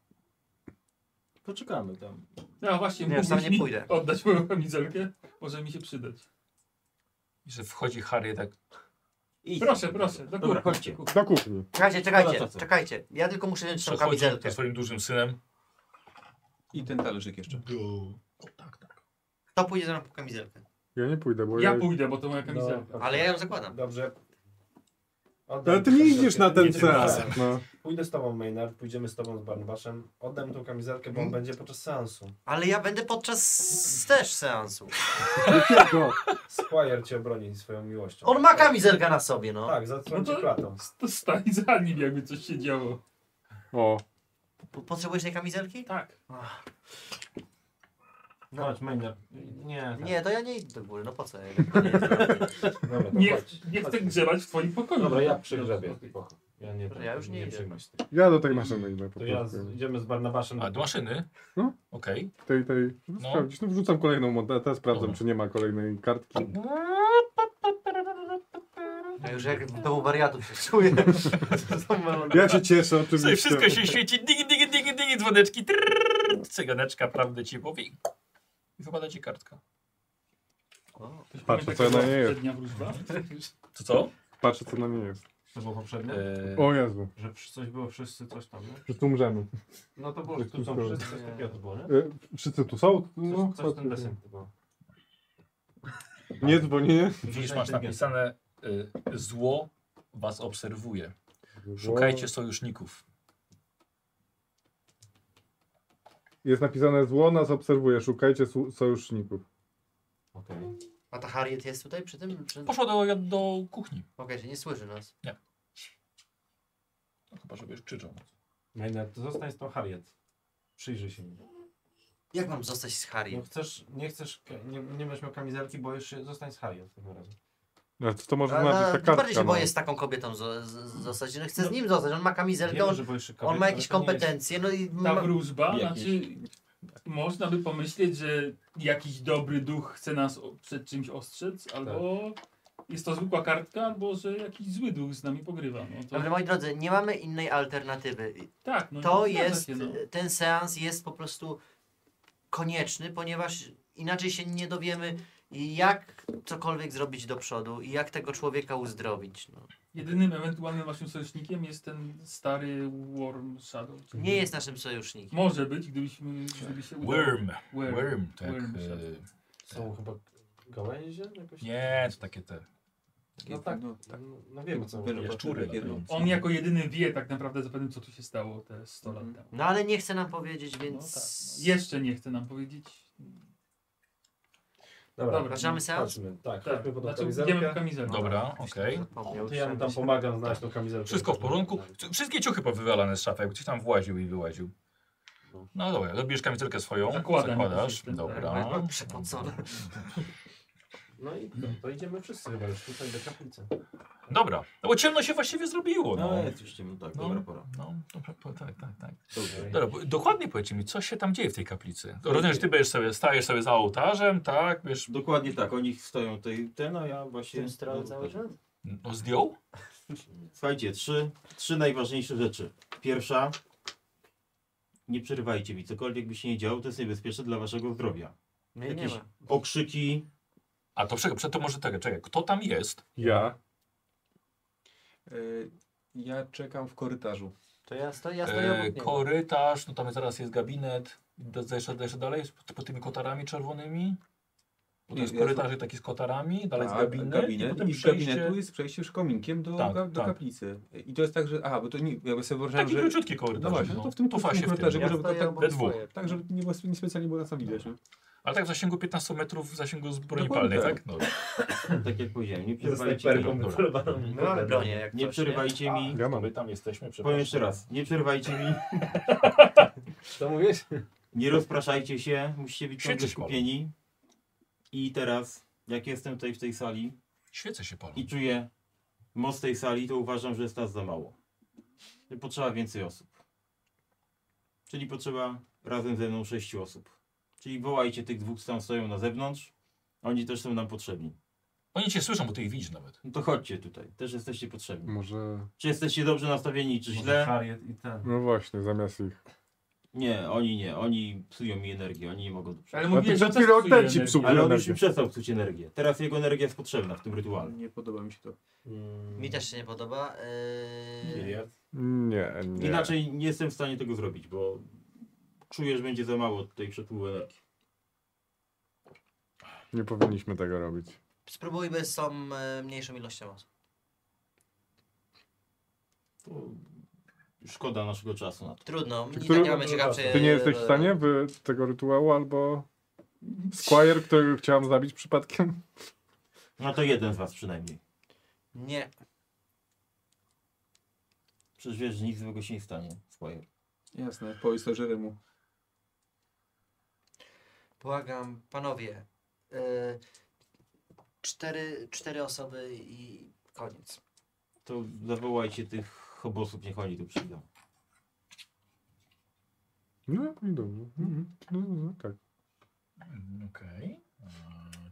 Speaker 3: Poczekamy tam.
Speaker 6: No właśnie,
Speaker 5: Nie,
Speaker 6: mógłbyś
Speaker 5: sam nie
Speaker 6: mi
Speaker 5: pójdę.
Speaker 6: oddać moją kamizelkę? Może mi się przydać.
Speaker 13: I że wchodzi Harry tak.
Speaker 3: Idź.
Speaker 6: Proszę, proszę, do
Speaker 3: Dobra,
Speaker 6: góry.
Speaker 3: chodźcie.
Speaker 4: Do kuchni.
Speaker 5: Czekajcie,
Speaker 3: Dobra,
Speaker 5: czekajcie,
Speaker 3: to co?
Speaker 5: czekajcie. Ja tylko muszę wziąć tą
Speaker 13: Przechodzi
Speaker 5: kamizelkę.
Speaker 13: ze swoim dużym synem.
Speaker 9: I ten talerzyk jeszcze.
Speaker 5: Kto pójdzie ze mną po kamizelkę?
Speaker 4: Ja nie pójdę, bo
Speaker 6: Ja
Speaker 4: ja...
Speaker 6: pójdę, bo to moja
Speaker 2: No.
Speaker 6: kamizelka.
Speaker 5: Ale ja ją zakładam.
Speaker 2: Dobrze. Oddam
Speaker 4: Ale ty nie
Speaker 2: kamizelkę.
Speaker 4: idziesz na ten
Speaker 2: Idziemy
Speaker 4: seans.
Speaker 2: razem.
Speaker 4: No.
Speaker 2: Pójdę z tobą, Maynard, pójdziemy z tobą z Barnbaszem. Oddam tą kamizelkę, bo on będzie podczas seansu.
Speaker 5: Ale ja będę podczas też seansu.
Speaker 4: Jakiego?
Speaker 2: Squire cię obroni swoją miłością.
Speaker 5: On ma kamizelkę na sobie, no.
Speaker 2: Tak, zatrzyma
Speaker 6: No to-
Speaker 2: cię klatą.
Speaker 6: To stań za nim, jakby coś się działo.
Speaker 4: O,
Speaker 5: Po- Potrzebujesz tej kamizelki?
Speaker 6: Tak.
Speaker 5: No.
Speaker 2: Chodź, Maynard. Nie, tak.
Speaker 5: Nie, to ja nie idę do góry, no po co? ja- <laughs>
Speaker 2: Dobra, to
Speaker 6: Nie,
Speaker 2: chodź.
Speaker 6: nie chcę
Speaker 2: Chodź.
Speaker 6: grzebać w twoim pokoju.
Speaker 2: Dobra, ja
Speaker 6: No,
Speaker 2: przegrzebię.
Speaker 6: okej.
Speaker 2: Spoko. Ja nie,
Speaker 5: Dobra, ja już nie idę.
Speaker 2: przejmuj się.
Speaker 4: ja do tej maszyny idę. Po
Speaker 2: To ja
Speaker 4: prostu.
Speaker 2: z, idziemy z Barnabaszem.
Speaker 13: A do maszyny?
Speaker 4: No.
Speaker 13: Okej.
Speaker 4: tej, tej. No,
Speaker 13: No.
Speaker 4: Sprawdzić. No wrzucam kolejną monetę, sprawdzam,
Speaker 13: Dobra.
Speaker 4: czy nie ma kolejnej kartki.
Speaker 5: Ja już jak w domu wariatów się czuję.
Speaker 4: Ja się cieszę
Speaker 13: Sobie
Speaker 4: oczywiście.
Speaker 13: wszystko się świeci, digi, digi, digi, digi, dzwoneczki, trrr, cyganeczka, prawdę ci powie i wypada ci kartka.
Speaker 4: Patrzę,
Speaker 6: Ktoś pamięta,
Speaker 4: co ja na
Speaker 6: była
Speaker 4: niej jest.
Speaker 6: poprzednia wróżba?
Speaker 13: To co?
Speaker 4: Patrzę, co na mnie jest.
Speaker 2: To było poprzednie?
Speaker 13: Eee,
Speaker 4: O Jezu,
Speaker 2: Że przy- coś było, wszyscy coś tam, nie?
Speaker 4: że tu umrzemy.
Speaker 2: No to było, tu są
Speaker 4: Tylko-
Speaker 2: wszyscy, coś takiego to było, nie?
Speaker 4: E, wszyscy tu są? No,
Speaker 2: Coś, coś ten desen było.
Speaker 4: Nie dzwonienie?
Speaker 13: widzisz, masz napisane y, zło was obserwuje. Szukajcie sojuszników.
Speaker 4: Jest napisane zło nas obserwuje, szukajcie su- sojuszników.
Speaker 2: Okej.
Speaker 5: A ta Harriet jest tutaj przy tym? Przy... Okej,
Speaker 13: Poszła do, do kuchni.
Speaker 5: że nie słyszy nas.
Speaker 13: No, chyba, że wiesz, krzyczą.
Speaker 2: Maynard, No to zostań z tą Harriet. Przyjrzyj się mi.
Speaker 5: Jak mam zostać z
Speaker 2: No
Speaker 5: Harriet?
Speaker 2: chcesz, nie chcesz, nie, nie będziesz miał kamizelki, boisz się, zostań z Harriet tym razem.
Speaker 4: No to, to może
Speaker 5: A,
Speaker 4: znaczyć
Speaker 5: a, tym
Speaker 4: ta kartka.
Speaker 5: bardziej się
Speaker 4: no.
Speaker 5: boję z taką kobietą zo- z, z, zostać. No, chcę z nim zostać, on ma kamizelkę,
Speaker 2: Wiemy,
Speaker 5: on,
Speaker 2: że boisz się kobiet,
Speaker 5: on ma
Speaker 2: ale
Speaker 5: jakieś
Speaker 2: to nie jest-
Speaker 5: kompetencje, no i...
Speaker 6: Ta
Speaker 5: Ma...
Speaker 6: wróżba,
Speaker 3: Jakieś.
Speaker 6: znaczy można by pomyśleć, że jakiś dobry duch chce nas o- przed czymś ostrzec, albo jest to zwykła kartka, albo że jakiś zły duch z nami pogrywa. No to,
Speaker 5: Dobra, moi drodzy, nie mamy innej alternatywy.
Speaker 6: tak, no
Speaker 5: To
Speaker 6: zgadza
Speaker 5: jest,
Speaker 6: Się, no.
Speaker 5: ten seans jest po prostu konieczny, ponieważ inaczej się nie dowiemy, jak cokolwiek zrobić do przodu i jak tego człowieka uzdrowić. No.
Speaker 6: Jedynym ewentualnym waszym sojusznikiem jest ten stary Worm Shadow. czyli-
Speaker 5: Nie jest naszym sojusznikiem.
Speaker 6: Może być, gdybyśmy, gdyby się udało.
Speaker 13: Worm.
Speaker 6: Worm.
Speaker 13: Worm, tak.
Speaker 6: Worm
Speaker 13: e,
Speaker 6: Shadow.
Speaker 2: Są chyba gałęzie? Jakoś?
Speaker 13: Nie, to takie te.
Speaker 2: No tak, no, tak. no, no wiemy co
Speaker 13: Wyrobaki,
Speaker 2: mówię.
Speaker 13: szczury
Speaker 2: Takie, no.
Speaker 13: latające.
Speaker 6: On jako jedyny wie tak naprawdę zapewne, co tu się stało te 100 lat temu.
Speaker 5: No ale nie chce nam powiedzieć,
Speaker 6: No
Speaker 5: więc...
Speaker 6: tak, no. Jeszcze nie chce nam powiedzieć.
Speaker 2: Dobra,
Speaker 5: Dobra, zaczynamy seans?
Speaker 2: Chodźmy, tak,
Speaker 6: Tak,
Speaker 2: chodźmy po tą
Speaker 6: znaczy
Speaker 2: kamizelkę.
Speaker 6: idziemy po kamizelkę.
Speaker 13: Dobra, okej.
Speaker 2: No, To ja mu tam pomagam znaleźć tą kamizelkę.
Speaker 13: Wszystko w porządku. C- Wszystkie ciuchy powywalane z szafy, jak ktoś tam właził i wyłaził. No dobra, robisz kamizelkę swoją,
Speaker 6: Zakładam
Speaker 13: zakładasz,
Speaker 6: jakoś ten-
Speaker 13: dobra.
Speaker 5: Przepocone.
Speaker 2: No i to, to idziemy wszyscy chyba już tutaj do kaplicy.
Speaker 13: Dobra, no bo ciemno się właściwie zrobiło. No,
Speaker 3: No jest już ciemno, tak,
Speaker 13: No.
Speaker 3: dobra pora.
Speaker 13: no dobra, po- tak, tak, tak. Dobra, bo- dokładnie powiedzcie mi, co się tam dzieje w tej kaplicy?
Speaker 3: Co
Speaker 13: Rozumiem,
Speaker 3: dzieje?
Speaker 13: że ty będziesz sobie, stajesz sobie za ołtarzem, tak? Wiesz,
Speaker 3: Dokładnie tak, oni stoją tutaj, ten, a ja właśnie... tak.
Speaker 5: Ten
Speaker 4: no,
Speaker 5: strał
Speaker 4: tak.
Speaker 5: cały czas?
Speaker 13: no, zdjął?
Speaker 3: Słuchajcie, trzy, trzy najważniejsze rzeczy. Pierwsza, nie przerywajcie mi, cokolwiek by się nie działo, to jest niebezpieczne dla waszego zdrowia.
Speaker 5: Mnie nie
Speaker 3: Jakieś
Speaker 5: ma.
Speaker 3: okrzyki,
Speaker 13: A to przed, przed to może tak, czekaj, kto tam jest?
Speaker 4: Ja.
Speaker 9: Y, Ja czekam w korytarzu.
Speaker 5: To ja stoję, ja stoję
Speaker 13: E,
Speaker 5: obok niego.
Speaker 13: korytarz, no tam zaraz jest gabinet, da- jeszcze, jeszcze dalej, jest pod, pod tymi kotarami czerwonymi. Bo to
Speaker 9: Nie,
Speaker 13: jest
Speaker 9: ja
Speaker 13: korytarz taki z kotarami, dalej jest gabinet, i potem
Speaker 9: Tak, i z
Speaker 13: przejście.
Speaker 9: gabinetu jest przejście już kominkiem do,
Speaker 13: Tak,
Speaker 9: ga- do
Speaker 13: tak.
Speaker 9: kaplicy. I to jest tak, że. Aha, bo to nie. Ja sobie wyobrażałem,
Speaker 13: Taki
Speaker 9: że.
Speaker 13: króciutki korytarz,
Speaker 9: No właśnie,
Speaker 13: no.
Speaker 9: no to w tym
Speaker 13: Tu fasie w
Speaker 9: krótkim korytarzu,
Speaker 13: tym.
Speaker 9: żeby
Speaker 5: Ja
Speaker 9: to
Speaker 5: stoję
Speaker 9: tak.
Speaker 5: obok
Speaker 13: we dwóch.
Speaker 5: swoje.
Speaker 9: Tak, żeby nie było niespecjalnie było nas tam widać. no. nie?
Speaker 13: Ale tak w zasięgu 15 metrów, w zasięgu z broni
Speaker 9: Dokładnie
Speaker 13: palnej,
Speaker 9: tak.
Speaker 13: tak? Dobra.
Speaker 3: tak jak powiedziałem, nie
Speaker 2: Ze
Speaker 3: przerywajcie
Speaker 2: snajperką
Speaker 3: mi.
Speaker 2: wycelowaną.
Speaker 5: No mamy bronię, jak
Speaker 3: Nie
Speaker 5: coś, nie?
Speaker 3: przerywajcie mi,
Speaker 4: Ja mam.
Speaker 13: My tam jesteśmy, przepraszam.
Speaker 3: powiem jeszcze raz, nie przerywajcie mi,
Speaker 2: <laughs> Co mówisz?
Speaker 3: nie rozpraszajcie się, musicie być ciągle
Speaker 13: Siedzieć wolno.
Speaker 3: skupieni. I teraz, jak jestem tutaj w tej sali
Speaker 13: Świece się palą.
Speaker 3: i czuję moc tej sali, to uważam, że jest nas za mało. Potrzeba więcej osób. Czyli potrzeba razem ze mną sześciu osób. Czyli wołajcie tych dwóch, co tam stoją na zewnątrz. Oni też są nam potrzebni.
Speaker 13: Oni cię słyszą, bo ty ich widzisz nawet.
Speaker 3: No to chodźcie tutaj, też jesteście potrzebni.
Speaker 4: Może...
Speaker 3: Czy jesteście dobrze nastawieni, czy źle?
Speaker 27: Harriet i ten.
Speaker 4: No właśnie, zamiast ich.
Speaker 3: Nie, oni nie, oni psują mi energię, oni nie mogą dobrze.
Speaker 6: Ale
Speaker 4: A ty
Speaker 6: mówiłeś, że
Speaker 4: przed
Speaker 6: też
Speaker 4: chwilą ten ci
Speaker 6: psujemy.
Speaker 4: psuł
Speaker 3: Ale on już
Speaker 4: energię.
Speaker 3: mi przestał psuć energię. Teraz jego energia jest potrzebna w tym rytuale.
Speaker 9: Nie podoba mi się to.
Speaker 2: Mm.
Speaker 5: Mi też się nie podoba. Yy...
Speaker 4: Nie, nie.
Speaker 3: Inaczej nie jestem w stanie tego zrobić, bo czuję, że będzie za mało tej przepływu energii.
Speaker 4: Nie powinniśmy tego robić.
Speaker 5: Spróbujmy z tą e, mniejszą ilością osób.
Speaker 3: To szkoda naszego czasu na to.
Speaker 5: Trudno,
Speaker 4: Czy
Speaker 5: i
Speaker 4: który-
Speaker 5: tak nie mamy ciekawszej...
Speaker 4: Ty nie jesteś w stanie wy tego rytuału albo... Squire, którego chciałam zabić przypadkiem?
Speaker 3: No to jeden z was przynajmniej.
Speaker 5: Nie,
Speaker 3: Przecież wiesz, że nic złego się nie stanie. Swoje.
Speaker 9: Jasne, powiedz to żywemu.
Speaker 5: błagam, panowie. Yy, cztery, cztery osoby i koniec.
Speaker 3: To zawołajcie tych hobosów, niech oni tu przyjdą.
Speaker 4: No i dobrze. Mhm. No, no, no, tak.
Speaker 13: Mm, Okej. Okay.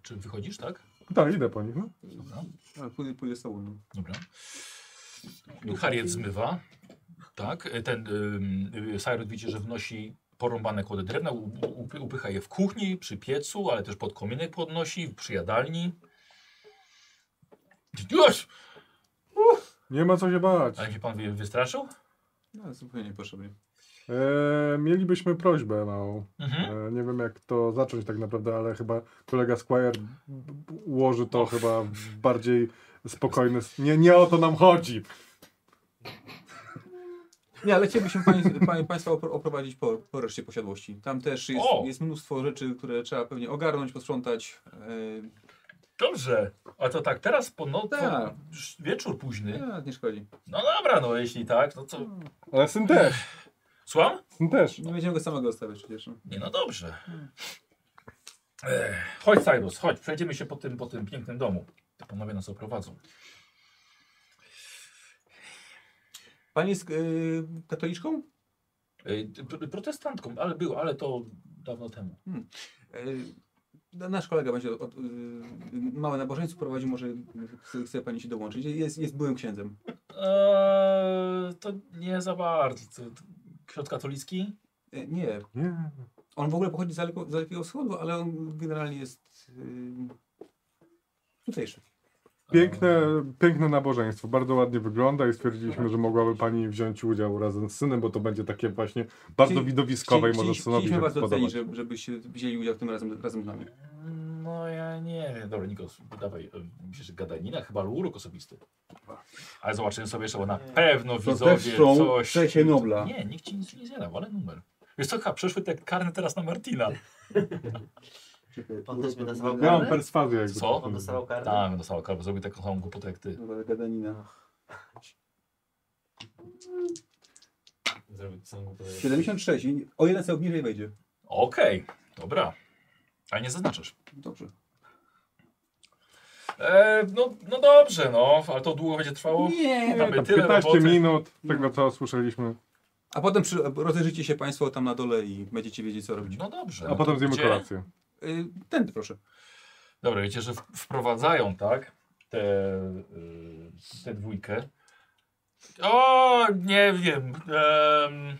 Speaker 13: Czy wychodzisz, tak?
Speaker 4: Tak, idę po nich. No.
Speaker 13: Dobra.
Speaker 9: A pójdę, pójdę z tobą. No.
Speaker 13: Dobra. Harriet zmywa. Tak. Ten ym, Cyrus widzi, że wnosi porąbane kłody drewna, u- u- upycha je w kuchni, przy piecu, ale też pod kominek podnosi, przy jadalni. Już!
Speaker 4: Nie ma co się bać.
Speaker 13: Ale się pan wy- wystraszył?
Speaker 9: No, zupełnie niepotrzebnie.
Speaker 4: E, mielibyśmy prośbę małą.
Speaker 13: Mhm.
Speaker 4: E, nie wiem jak to zacząć tak naprawdę, ale chyba kolega Squire b- b- ułoży to chyba w bardziej spokojny. s- Nie, nie o to nam chodzi.
Speaker 9: Nie, ale chcielibyśmy pań, pań, Państwa opro- oprowadzić po, po reszcie posiadłości. Tam też jest,
Speaker 13: O!
Speaker 9: jest mnóstwo rzeczy, które trzeba pewnie ogarnąć, posprzątać. Yy,
Speaker 13: Dobrze. A to tak, teraz po no, po,
Speaker 9: Tak.
Speaker 13: już wieczór późny.
Speaker 9: nie, nie szkodzi.
Speaker 13: No dobra, no jeśli tak, no co?
Speaker 4: Ale syn też.
Speaker 13: Słucham?
Speaker 4: Syn też.
Speaker 9: Nie będziemy go samego zostawiać przecież. no.
Speaker 13: Nie no dobrze. Ech, chodź Cyrus, chodź, przejdziemy się po tym, po tym pięknym domu. Te panowie nas oprowadzą.
Speaker 9: Pani jest yy, katoliczką?
Speaker 13: Ej, pr- Protestantką, ale był, ale to dawno temu.
Speaker 9: Yy, no, nasz kolega będzie od, yy, małe nabożeństwo prowadził, może chce, chce Pani się dołączyć. Jest, jest byłym księdzem.
Speaker 2: E,
Speaker 13: Eee, to nie za bardzo. To, to, ksiądz katolicki?
Speaker 9: Yy, nie,
Speaker 4: Nie.
Speaker 9: On w ogóle pochodzi z Daleko- z Dalekiego Wschodu, ale on generalnie jest yy, tutejszy.
Speaker 4: Piękne, piękne nabożeństwo, bardzo ładnie wygląda i stwierdziliśmy, że mogłaby pani wziąć udział razem z synem, bo to będzie takie właśnie bardzo
Speaker 9: Chcieli-
Speaker 4: widowiskowe i
Speaker 9: chcieli-
Speaker 4: może
Speaker 9: chcieli-
Speaker 4: synowi się
Speaker 9: Chcieliśmy was docenić,
Speaker 4: podobać.
Speaker 9: żeby, żebyście wzięli udział w tym razem, razem z nami.
Speaker 13: No ja nie wiem. Dobra, Nikos, dawaj, e, myślę, że gadanina, chyba albo urok osobisty. Ale zobaczymy sobie jeszcze, bo na pewno
Speaker 3: To
Speaker 13: widzowie
Speaker 3: też są
Speaker 13: coś...
Speaker 3: trzecie Nobla.
Speaker 13: Nie, nikt ci nic nie zjadał, ale numer. Wiesz co, chyba przeszły te karne teraz
Speaker 2: <laughs>
Speaker 13: na Martina.
Speaker 5: On też by dostawał
Speaker 4: Ja mam perswazję jakby.
Speaker 13: Co? No
Speaker 4: On dostawał
Speaker 5: karę?
Speaker 13: Tak, on dostawał karę, bo zrobił taką samą głupotę jak ty.
Speaker 9: Dobra, gadanina.
Speaker 2: Zrobić samą głupotę.
Speaker 9: 76, i o jeden cel niżej wejdzie.
Speaker 13: Okej, dobra. A nie zaznaczasz.
Speaker 9: Dobrze.
Speaker 13: E, no, no dobrze, no, ale to długo będzie trwało.
Speaker 9: Nie,
Speaker 13: Mamy
Speaker 4: Tam
Speaker 13: tyle
Speaker 4: 15
Speaker 13: roboty. No.
Speaker 4: minut, tego co słyszeliśmy.
Speaker 9: A potem przy, rozejrzycie się Państwo tam na dole i będziecie wiedzieć, co robić.
Speaker 13: No dobrze.
Speaker 4: A potem zjemy
Speaker 13: Gdzie?
Speaker 4: kolację.
Speaker 9: Y, tędy proszę.
Speaker 13: Dobra, wiecie, że w- wprowadzają, tak? Te, y, te dwójkę. O, nie wiem. em,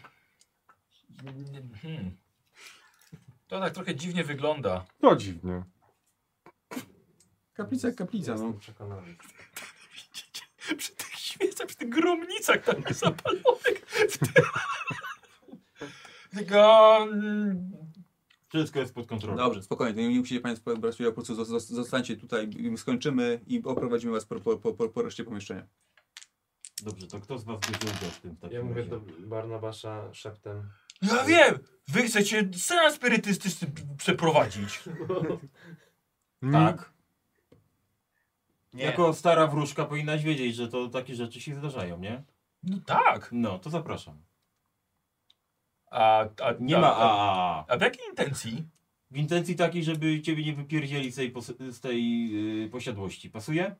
Speaker 13: hmm. To tak trochę dziwnie wygląda.
Speaker 4: To No dziwnie.
Speaker 9: Kaplica jak kaplica, no.
Speaker 13: Przy tych śmieciach, przy tych gromnicach tak <laughs> tam zapalonych. W tym- Tylko... mm,
Speaker 3: Wszystko jest pod kontrolą.
Speaker 9: Dobrze, spokojnie, to nie nie musicie Państwo brać udziału, po prostu zos- zos- zostańcie tutaj, i skończymy i oprowadzimy Was po, po, po, po reszcie pomieszczenia.
Speaker 3: Dobrze, to kto z was bierze udział w tym? w takim
Speaker 2: Ja mówię
Speaker 3: razie?
Speaker 2: do Barnabasza szeptem.
Speaker 13: Ja wiem! Wy chcecie seans spirytystyczny p- przeprowadzić. Tak.
Speaker 3: Nie. Jako stara wróżka powinnaś wiedzieć, że to takie rzeczy się zdarzają, nie?
Speaker 13: No tak.
Speaker 3: No, to zapraszam.
Speaker 13: A, a,
Speaker 3: Nie
Speaker 13: a,
Speaker 3: ma
Speaker 13: a,
Speaker 3: a.
Speaker 13: a w jakiej intencji?
Speaker 3: W intencji takiej, żeby ciebie nie wypierdzieli z tej, pos- z tej yy, posiadłości. Pasuje?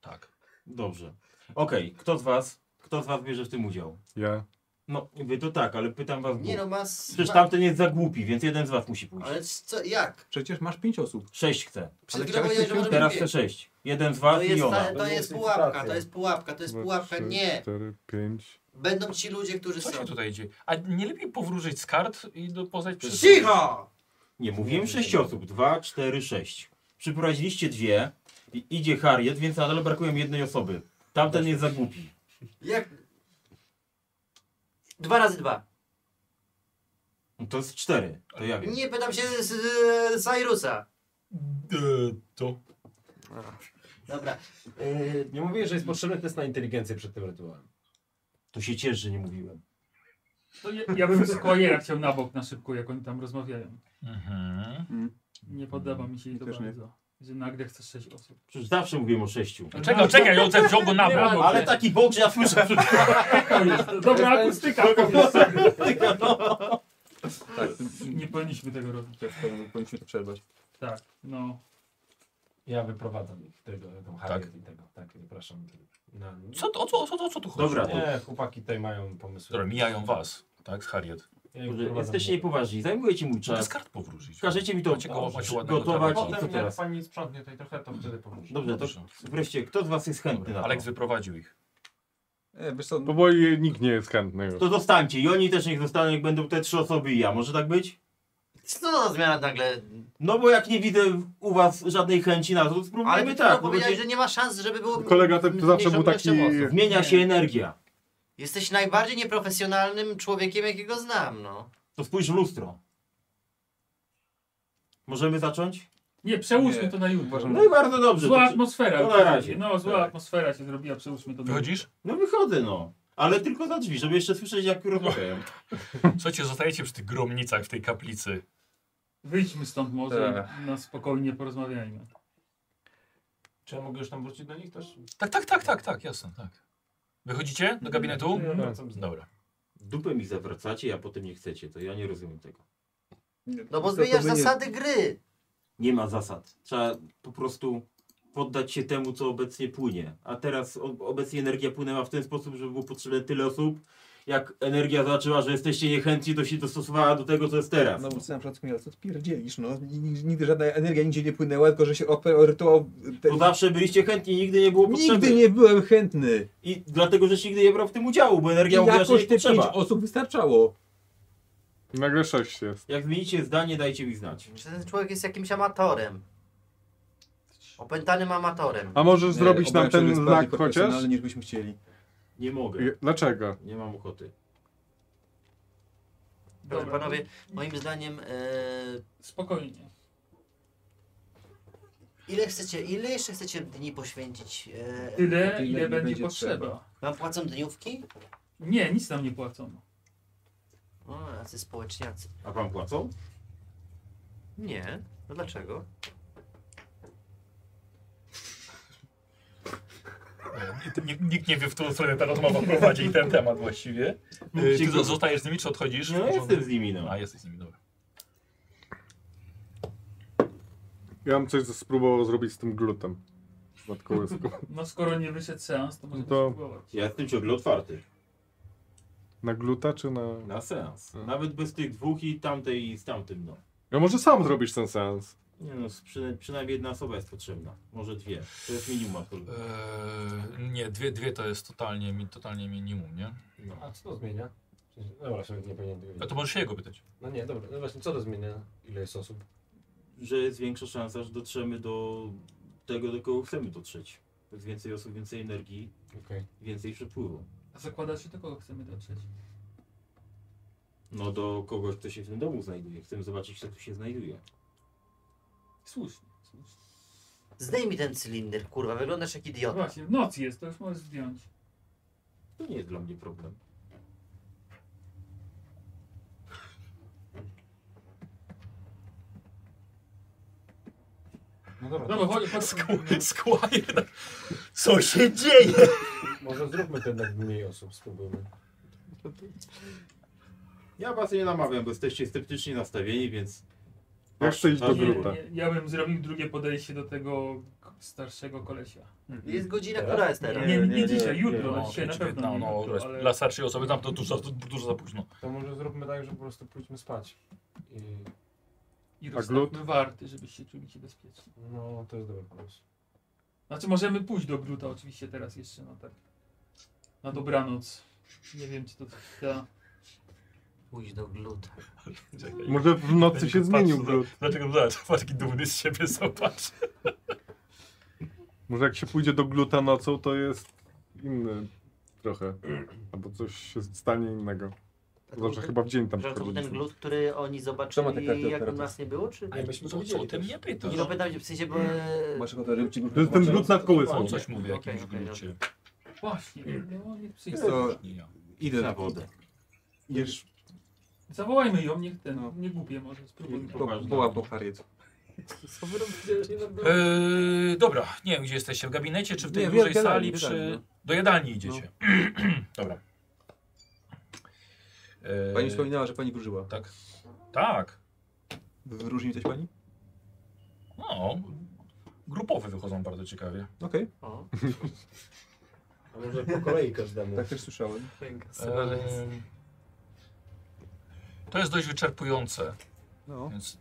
Speaker 13: Tak.
Speaker 3: Dobrze. Okej, kto z was? Kto z was bierze w tym udział?
Speaker 4: Ja.
Speaker 3: No, wy to tak, ale pytam was.
Speaker 5: Nie
Speaker 3: dwóch.
Speaker 5: no, ma... s-
Speaker 3: Przecież
Speaker 5: ma...
Speaker 3: tamten jest za głupi, więc jeden z was musi pójść.
Speaker 5: Ale c- co, jak?
Speaker 9: Przecież masz pięć osób.
Speaker 3: Sześć chcę.
Speaker 5: Przed chwilą powiedziałeś, że możemy
Speaker 3: Teraz
Speaker 5: pięć.
Speaker 3: chcę sześć. Jeden z
Speaker 5: To
Speaker 3: was i
Speaker 5: jest,
Speaker 3: ona.
Speaker 5: ta, to jest pułapka, to jest pułapka, to jest
Speaker 4: No
Speaker 5: pułapka, nie.
Speaker 4: 4, 5.
Speaker 5: Będą ci ludzie, którzy
Speaker 13: Co
Speaker 5: są.
Speaker 13: się tutaj dzieje? A nie lepiej powróżyć z kart i do, poznać przez...
Speaker 5: Cicho!
Speaker 3: Nie,
Speaker 2: Znaczy,
Speaker 3: mówiłem sześć osób. Dwa, cztery, sześć. Przyprowadziliście dwie. I idzie Harriet, więc nadal brakuje mi jednej osoby. Tamten jest za głupi.
Speaker 5: Jak? Dwa razy dwa.
Speaker 3: No To jest cztery, to ja wiem.
Speaker 5: Nie pytam się z, z, z Cyrusa.
Speaker 13: to.
Speaker 5: Dobra.
Speaker 2: e, Nie mówię, że jest potrzebny test na inteligencję przed tym rytuałem.
Speaker 3: To się cieszę, że nie mówiłem.
Speaker 6: To ja, ja bym Squire chciał na bok na szybko, jak oni tam rozmawiają.
Speaker 13: Mhm.
Speaker 6: Nie podoba mi się to
Speaker 9: też nie.
Speaker 6: bardzo, że nagle chcesz sześć osób.
Speaker 3: Przecież zawsze mówiłem o sześciu.
Speaker 13: Czekaj, No, czekaj, on wziął go na
Speaker 6: Nie ma
Speaker 13: bok.
Speaker 6: bok.
Speaker 3: Ale taki bok, że ja słyszę.
Speaker 6: <laughs> To jest dobra akustyka.
Speaker 9: Tak,
Speaker 6: Nie powinniśmy tego robić.
Speaker 9: też powinien- powinniśmy to przerwać.
Speaker 6: Tak, no.
Speaker 2: Ja wyprowadzam ich, tego, tą Harriet
Speaker 13: Tak.
Speaker 2: i tego. Tak, zapraszam. Na...
Speaker 13: Co, to- o, co, o, co, o co tu chodzi?
Speaker 3: Dobra.
Speaker 2: Nie, chłopaki tutaj mają pomysły.
Speaker 13: Dobra, mijają was, tak, z Harriet.
Speaker 2: Ja ich
Speaker 3: Że
Speaker 2: wyprowadzam
Speaker 3: Jesteście niepoważni, zajmujecie mój
Speaker 13: Trzeba z
Speaker 3: czas.
Speaker 13: kart powróżyć.
Speaker 3: Każecie mi to
Speaker 13: Macie koło, macie ładnego
Speaker 3: gotować
Speaker 13: trawa.
Speaker 3: i co
Speaker 1: Potem jak
Speaker 3: teraz?
Speaker 1: pani sprzątnie tutaj trochę, to wtedy pomóż.
Speaker 3: Dobrze, to wreszcie, kto z was jest chętny na
Speaker 13: Aleks
Speaker 3: to?
Speaker 13: wyprowadził ich.
Speaker 9: E, wiesz co,
Speaker 4: Powoli No nikt nie jest chętny już.
Speaker 3: To zostańcie i oni też niech zostaną, jak będą te trzy osoby i ja. Może tak być?
Speaker 5: Co to za zmiana nagle?
Speaker 3: No bo jak nie widzę u was żadnej chęci na to, to
Speaker 4: No
Speaker 5: Ale
Speaker 3: spróbujmy
Speaker 5: ty
Speaker 3: tak.
Speaker 5: tak,
Speaker 3: bo
Speaker 5: powiedziałeś,
Speaker 3: będzie-
Speaker 5: że nie ma szans, żeby było...
Speaker 4: Kolega ten to zawsze
Speaker 5: mniejszą
Speaker 4: był taki...
Speaker 5: ilością osób.
Speaker 3: Zmienia się energia.
Speaker 5: Jesteś najbardziej nieprofesjonalnym człowiekiem, jakiego znam, no.
Speaker 3: To spójrz w lustro. Możemy zacząć?
Speaker 6: Nie, przełóżmy
Speaker 9: Nie,
Speaker 6: to na jutro.
Speaker 9: uważam,
Speaker 3: No i bardzo dobrze.
Speaker 6: Zła
Speaker 3: to-
Speaker 6: atmosfera.
Speaker 3: to na
Speaker 6: już się
Speaker 3: razie.
Speaker 6: dzieje. No, zła
Speaker 3: Tak.
Speaker 6: atmosfera się zrobiła, przełóżmy to na
Speaker 13: Wychodzisz?
Speaker 3: No wychodzę no. Ale tylko za drzwi, żeby jeszcze słyszeć jak rozmawiają.
Speaker 13: Słuchajcie, zostajecie przy tych gromnicach w tej kaplicy.
Speaker 6: jutro. Wyjdźmy stąd może, na spokojnie porozmawiajmy.
Speaker 1: Czy ja mogę już tam wrócić do nich
Speaker 13: <laughs>
Speaker 1: też?
Speaker 13: Tak, tak, tak, tak, tak, jasne, tak. Wychodzicie do gabinetu?
Speaker 1: Ja wracam z
Speaker 13: Dobra.
Speaker 3: Dupę mi zawracacie, a potem nie chcecie. To ja nie rozumiem tego.
Speaker 5: No
Speaker 9: To-
Speaker 5: bo
Speaker 9: to
Speaker 5: zmieniasz
Speaker 9: by nie-
Speaker 5: zasady gry.
Speaker 3: Nie ma zasad. Trzeba po prostu poddać się temu, co obecnie płynie. A teraz o- obecnie energia płynęła w ten sposób, że było potrzebne tyle osób. Jak energia zobaczyła, że jesteście niechętni, to się dostosowała do tego, co jest teraz.
Speaker 9: No bo co na przykład mówię, ale co ty pierdzielisz, no. Ni- ni- Nigdy żadna energia nigdzie nie płynęła, tylko że się ope- o rytuał... Te...
Speaker 3: Bo zawsze byliście chętni, nigdy nie było potrzeby.
Speaker 9: Nigdy nie byłem chętny.
Speaker 3: I dlatego, że nigdy nie brał w tym udziału, bo
Speaker 9: I
Speaker 3: energia mówiła, że
Speaker 9: jakoś
Speaker 3: nie
Speaker 9: te pięć
Speaker 3: trzeba.
Speaker 9: osób wystarczało.
Speaker 4: Nagle sześć jest.
Speaker 3: Jak zmienicie zdanie, dajcie mi znać.
Speaker 5: Czy ten człowiek jest jakimś amatorem? Opętanym amatorem.
Speaker 4: A możesz
Speaker 5: Nie,
Speaker 4: zrobić nam
Speaker 5: obawiam się, że
Speaker 4: ten
Speaker 5: jest
Speaker 4: znak
Speaker 5: bardziej
Speaker 4: chociaż?
Speaker 5: profesjonalny
Speaker 3: niż byśmy chcieli. Nie mogę.
Speaker 4: Je- Dlaczego?
Speaker 3: Nie mam ochoty.
Speaker 5: Proszę panowie, moim zdaniem... e,
Speaker 6: Spokojnie.
Speaker 5: Ile chcecie, ile jeszcze chcecie dni poświęcić? e,
Speaker 6: Tyle, Tyle, ile ile będzie będzie potrzeba. trzeba.
Speaker 5: Wam płacą dniówki?
Speaker 6: Nie, nic nam nie płacą.
Speaker 5: O, jacy społeczniacy.
Speaker 3: A wam płacą?
Speaker 5: Nie. No dlaczego?
Speaker 13: Nikt, nikt nie wie, w którą stronę ta rozmowa prowadzi i ten temat właściwie. Y, Ty zo- zostajesz z nimi, czy odchodzisz? No
Speaker 3: jestem z nimi, no.
Speaker 13: A, jesteś z nimi, dobra.
Speaker 4: Ja bym coś spróbował zrobić z tym glutem. Matko łysku.
Speaker 6: No skoro nie wyszedł seans, to
Speaker 2: No
Speaker 6: możemy
Speaker 4: to-
Speaker 6: spróbować.
Speaker 3: Ja jestem ciągle otwarty.
Speaker 4: Na gluta czy na...
Speaker 3: Na seans.
Speaker 9: Hmm.
Speaker 3: Nawet bez tych dwóch i tamtej i z tamtym, no.
Speaker 4: Ja może sam zrobisz ten seans.
Speaker 3: Nie no, przy, przynajmniej jedna osoba jest potrzebna. Może dwie. To jest minimum akurat.
Speaker 2: E.
Speaker 13: Eee, nie, dwie, dwie to jest totalnie, mi- totalnie minimum, nie?
Speaker 3: No.
Speaker 2: A co to zmienia? Dobra, sobie nie powinien tego
Speaker 13: A to
Speaker 2: wiedzieć.
Speaker 13: możesz się jego pytać.
Speaker 2: No nie, dobra, no właśnie, co to zmienia? Ile jest osób?
Speaker 3: Że jest większa szansa, że dotrzemy do tego, do kogo chcemy dotrzeć. Jest więcej osób, więcej energii,
Speaker 2: Okej.
Speaker 3: więcej przepływu.
Speaker 6: A zakładasz się do kogo chcemy dotrzeć?
Speaker 3: No do kogoś, kto się w tym domu znajduje. Chcemy zobaczyć, kto tu się znajduje.
Speaker 6: Słusznie.
Speaker 5: Zdejmij ten cylinder, kurwa, wyglądasz jak
Speaker 6: No
Speaker 5: idiota.
Speaker 6: właśnie, w nocy jest, to już możesz zdjąć.
Speaker 3: To nie jest dla mnie problem.
Speaker 2: No dobra,
Speaker 6: Dobra, chodź, chodź.
Speaker 13: Squire, tak. Co się dzieje?
Speaker 2: Może zróbmy ten na mniej osób, spróbujmy.
Speaker 3: Ja was nie namawiam, bo jesteście sceptycznie nastawieni, więc...
Speaker 4: Ja chcę iść do
Speaker 3: Ważne.
Speaker 4: gluta.
Speaker 6: Ja bym zrobił drugie podejście do tego k- starszego kolesia.
Speaker 2: Mhm.
Speaker 5: Jest godzina, która jest teraz?
Speaker 6: Nie, nie, nie,
Speaker 5: Nie, nie,
Speaker 6: dzisiaj,
Speaker 5: nie,
Speaker 6: jutro,
Speaker 13: No,
Speaker 6: no, dzisiaj na pewno
Speaker 13: no,
Speaker 6: nie
Speaker 13: no,
Speaker 6: jutro, ale...
Speaker 13: Dla starszej osoby tam to dużo, to dużo za późno.
Speaker 2: To może zróbmy tak, że po prostu pójdźmy spać. I...
Speaker 6: I
Speaker 2: A
Speaker 6: rozstawmy
Speaker 2: glut?
Speaker 6: warty, żebyście czuli się bezpiecznie.
Speaker 2: No, to jest dobry pomysł.
Speaker 6: Znaczy możemy pójść do Gruta oczywiście teraz jeszcze, no tak. Na dobranoc. Nie wiem czy to da.
Speaker 5: Pójdź do Gluta.
Speaker 4: Może w nocy się zmienił glut.
Speaker 13: Dlaczego zobacz, patrz, jaki dumny z siebie zobacz.
Speaker 4: Może jak się pójdzie do gluta nocą, to jest inny trochę. Albo coś się stanie innego. Zawsze chyba w dzień tam
Speaker 5: Tak, Że to był
Speaker 4: wchodziliśmy.
Speaker 5: ten glut, który oni zobaczyli, jak nas nie było, czy?
Speaker 13: Ale myśmy co, co o tym nie pytasz?
Speaker 5: Nie no pytam cię, w sensie, bo...
Speaker 13: Masz
Speaker 2: ochotę, żeby
Speaker 13: ci
Speaker 4: To jest ten glut nad kołyską.
Speaker 13: On coś mówi o jakimś glucie.
Speaker 6: Właśnie, no nie
Speaker 9: Wiesz
Speaker 6: przyjdzie.
Speaker 9: co, idę
Speaker 3: na wodę.
Speaker 9: Idziesz,
Speaker 6: Zawołajmy ją, niech ten, nie głupie może, spróbujmy.
Speaker 9: po- woła po Harriet.
Speaker 6: Co wy robicie? Nie mam-
Speaker 13: Eee, dobra, nie wiem gdzie jesteście, w gabinecie, czy w tej
Speaker 9: Nie, w
Speaker 13: dużej
Speaker 9: jadalni,
Speaker 13: sali,
Speaker 9: w
Speaker 13: przy...
Speaker 9: jadalni, no.
Speaker 13: do jadalni idziecie. <clears throat> dobra. Eee,
Speaker 9: Pani wspominała, że pani wróżyła.
Speaker 13: Tak. Tak.
Speaker 9: Wróżni coś pani?
Speaker 13: No, grupowe wychodzą bardzo ciekawie.
Speaker 9: Okej.
Speaker 3: A może po kolei każdemu.
Speaker 9: Tak też słyszałem.
Speaker 13: Ehm, To jest dość wyczerpujące.
Speaker 9: No.
Speaker 13: Więc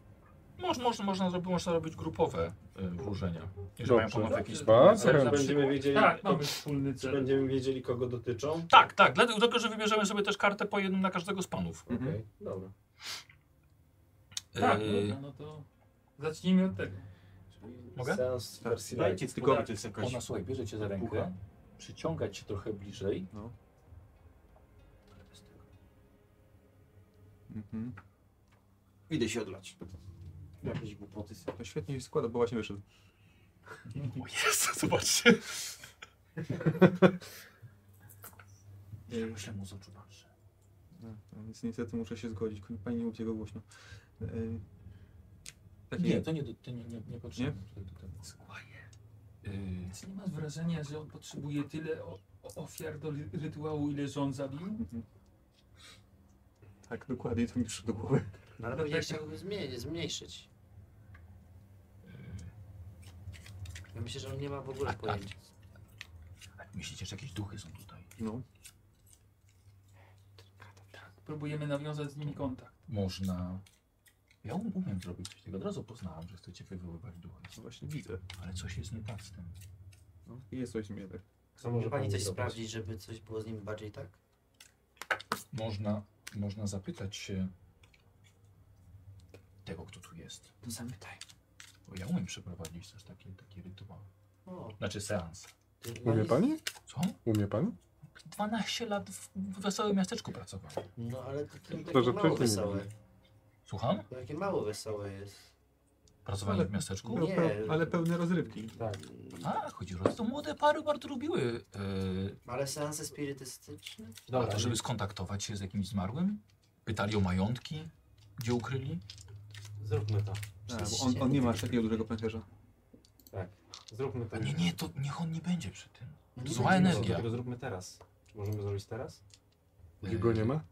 Speaker 13: można, można, można, zrobić, można robić grupowe y, wróżenia. Jeżeli mają
Speaker 4: Dobrze.
Speaker 13: pomoc w jakiś
Speaker 4: Bardzo
Speaker 13: cel na
Speaker 4: chętnie.
Speaker 13: przykład.
Speaker 1: Będziemy wiedzieli,
Speaker 6: Tak, mamy wspólny
Speaker 1: czy
Speaker 6: cel.
Speaker 1: będziemy wiedzieli, kogo dotyczą.
Speaker 13: Tak, tak, dlatego tylko, że wybierzemy sobie też kartę po jednym na każdego z panów.
Speaker 9: Mhm.
Speaker 1: Okej, dobra.
Speaker 6: Tak,
Speaker 13: Eee,
Speaker 6: dobra, no to zacznijmy od tego.
Speaker 13: Mogę?
Speaker 1: Seans w wersji
Speaker 13: Dajcie
Speaker 1: light.
Speaker 13: tylko- Ona
Speaker 1: tak
Speaker 13: słuchaj, bierze cię za rękę, przyciąga cię trochę bliżej.
Speaker 9: Mhm.
Speaker 3: Idę się odlać.
Speaker 9: Jakieś głupoty. To świetnie się składa, bo właśnie wyszedł.
Speaker 13: O Jezu, zobaczcie. Myślę mu z oczu patrzę.
Speaker 9: No, no, Więc niestety muszę się zgodzić. Pani nie mówcie go głośno. E, takie-
Speaker 13: Nie, to nie, do- to nie, nie, nie potrzebne.
Speaker 6: Czy nie masz wrażenia, że on potrzebuje tyle o, o- ofiar do ry- rytuału, ile żon zabił?
Speaker 9: Tak, dokładnie to mi przyszło do głowy.
Speaker 5: No ale pewnie chciałby zmie- zmniejszyć. Ja myślę, że on nie ma w ogóle pojęcia.
Speaker 13: Myślicie, że jakieś duchy są tutaj?
Speaker 9: No.
Speaker 6: tak Próbujemy nawiązać z nimi kontakt.
Speaker 13: Można. Ja um- umiem zrobić coś takiego. Od razu poznałem, że chcecie wywoływać duchy.
Speaker 9: Właśnie widzę.
Speaker 13: Ale coś jest nie tak z tym.
Speaker 9: No, jest coś nie tak.
Speaker 5: Co może pani coś sprawdzić, żeby coś było z nim bardziej tak?
Speaker 13: Można, można zapytać się tego, kto tu jest.
Speaker 3: To zapytaj.
Speaker 13: Bo ja umiem przeprowadzić też takie, takie rytuały. Znaczy seans.
Speaker 4: Umie pani?
Speaker 13: Co?
Speaker 4: Umie pani?
Speaker 13: 12 lat w w wesołym miasteczku pracowałem.
Speaker 5: No ale to, to
Speaker 4: To,
Speaker 5: takie
Speaker 4: że
Speaker 5: mało
Speaker 4: pięknie
Speaker 5: wesołe.
Speaker 4: mówi.
Speaker 13: Słucham?
Speaker 5: To takie mało wesołe jest.
Speaker 13: Pracowanie w miasteczku?
Speaker 5: Nie.
Speaker 9: No, ale pełne rozrywki.
Speaker 5: Tak.
Speaker 13: A, chodzi o to młode pary bardzo lubiły. Yy,
Speaker 5: Ale seanse spirytystyczne?
Speaker 13: Dobra, to,
Speaker 2: no,
Speaker 13: żeby skontaktować się z jakimś zmarłym? Pytali o majątki, gdzie ukryli?
Speaker 2: Zróbmy to.
Speaker 9: Tak, bo on, on nie ma takiego dużego pęcherza.
Speaker 2: Tak. Zróbmy to.
Speaker 13: Nie, nie, to niech on nie będzie przy tym.
Speaker 2: Nie
Speaker 13: Zła
Speaker 2: będziemy-
Speaker 13: energia.
Speaker 2: Dlatego zróbmy teraz. Czy możemy zrobić teraz?
Speaker 13: Yy,
Speaker 4: Go nie ma?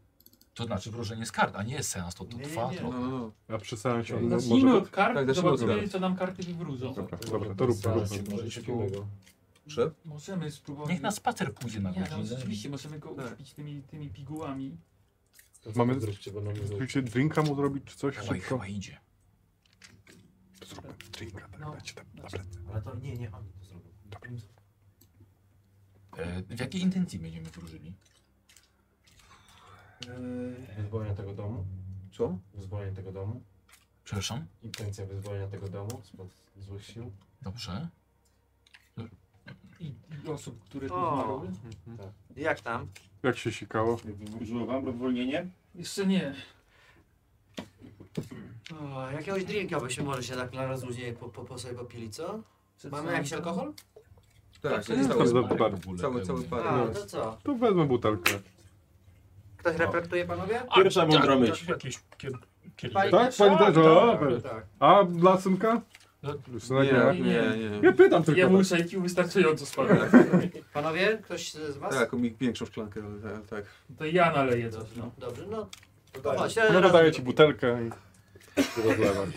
Speaker 13: To znaczy wróżenie z kart, a nie jest seans, to, to trwa
Speaker 9: No,
Speaker 13: trochę.
Speaker 4: A przy seansie on mo-
Speaker 6: Zacznijmy
Speaker 4: No, może...
Speaker 6: od kart,
Speaker 4: Tak, zacznijmy od
Speaker 6: zobaczymy
Speaker 4: kart.
Speaker 6: co nam karty wywrócą.
Speaker 4: Dobra, dobra, to róbmy. róbmy.
Speaker 9: Czy?
Speaker 6: Możemy spróbować.
Speaker 13: Niech na spacer pójdzie na
Speaker 6: Nie, no,
Speaker 13: godzinę.
Speaker 6: rzeczywiście, możemy go
Speaker 5: Tak.
Speaker 6: uśpić tymi, tymi pigułami.
Speaker 4: Mamy
Speaker 2: Zróbcie, bo nam nie zróbcie.
Speaker 4: Chcecie drinka mu zrobić czy coś?
Speaker 13: Chyba,
Speaker 4: Szybko.
Speaker 13: chyba idzie.
Speaker 4: Drinka, tak, dajcie tam na plecy.
Speaker 2: Ale to nie, nie, oni to zrobią.
Speaker 13: E, w jakiej intencji będziemy wróżyli?
Speaker 2: Wyzwolenie tego domu.
Speaker 9: Co?
Speaker 2: Wyzwolenie tego domu.
Speaker 13: Przepraszam?
Speaker 2: Intencja wyzwolenia tego domu spod złych sił.
Speaker 13: Dobrze.
Speaker 6: I, i osób, które tu
Speaker 5: O.
Speaker 6: zmarły.
Speaker 2: Tak.
Speaker 5: Jak tam?
Speaker 4: Jak się sikało?
Speaker 5: Wróżyło wam rozwolnienie?
Speaker 6: Jeszcze nie.
Speaker 5: O, jakiegoś drinka byśmy może się tak na rozluźnienie po, po, po sobie popili, co? Mamy jakiś alkohol?
Speaker 9: Tak,
Speaker 4: to jest
Speaker 9: cały
Speaker 4: za
Speaker 9: park.
Speaker 4: bar.
Speaker 9: Cały, cały park.
Speaker 5: A, no co?
Speaker 4: To wezmę butelkę.
Speaker 5: Ktoś repertuje panowie?
Speaker 28: Pierwsza mądra
Speaker 13: tak,
Speaker 28: myśl.
Speaker 13: tak, Jakieś kier... kier...
Speaker 5: Fajnie.
Speaker 4: Tak, pani
Speaker 5: Tak,
Speaker 4: też. o,
Speaker 5: tak, tak.
Speaker 4: A lasynka?
Speaker 13: No,
Speaker 4: Synek
Speaker 9: nie,
Speaker 4: nie.
Speaker 9: nie, nie.
Speaker 4: Nie pytam tylko.
Speaker 6: Jemu
Speaker 4: tak.
Speaker 6: szejkił
Speaker 1: <laughs>
Speaker 6: wystarczająco spadł.
Speaker 5: Panowie, ktoś z was?
Speaker 9: Tak, mi większą szklankę, ale tak, tak.
Speaker 6: To ja naleję coś. No.
Speaker 5: Dobrze, no. To
Speaker 4: No,
Speaker 5: chodź,
Speaker 4: No
Speaker 5: razem
Speaker 4: dodaję ci
Speaker 5: zrobimy.
Speaker 4: butelkę i rozlewam.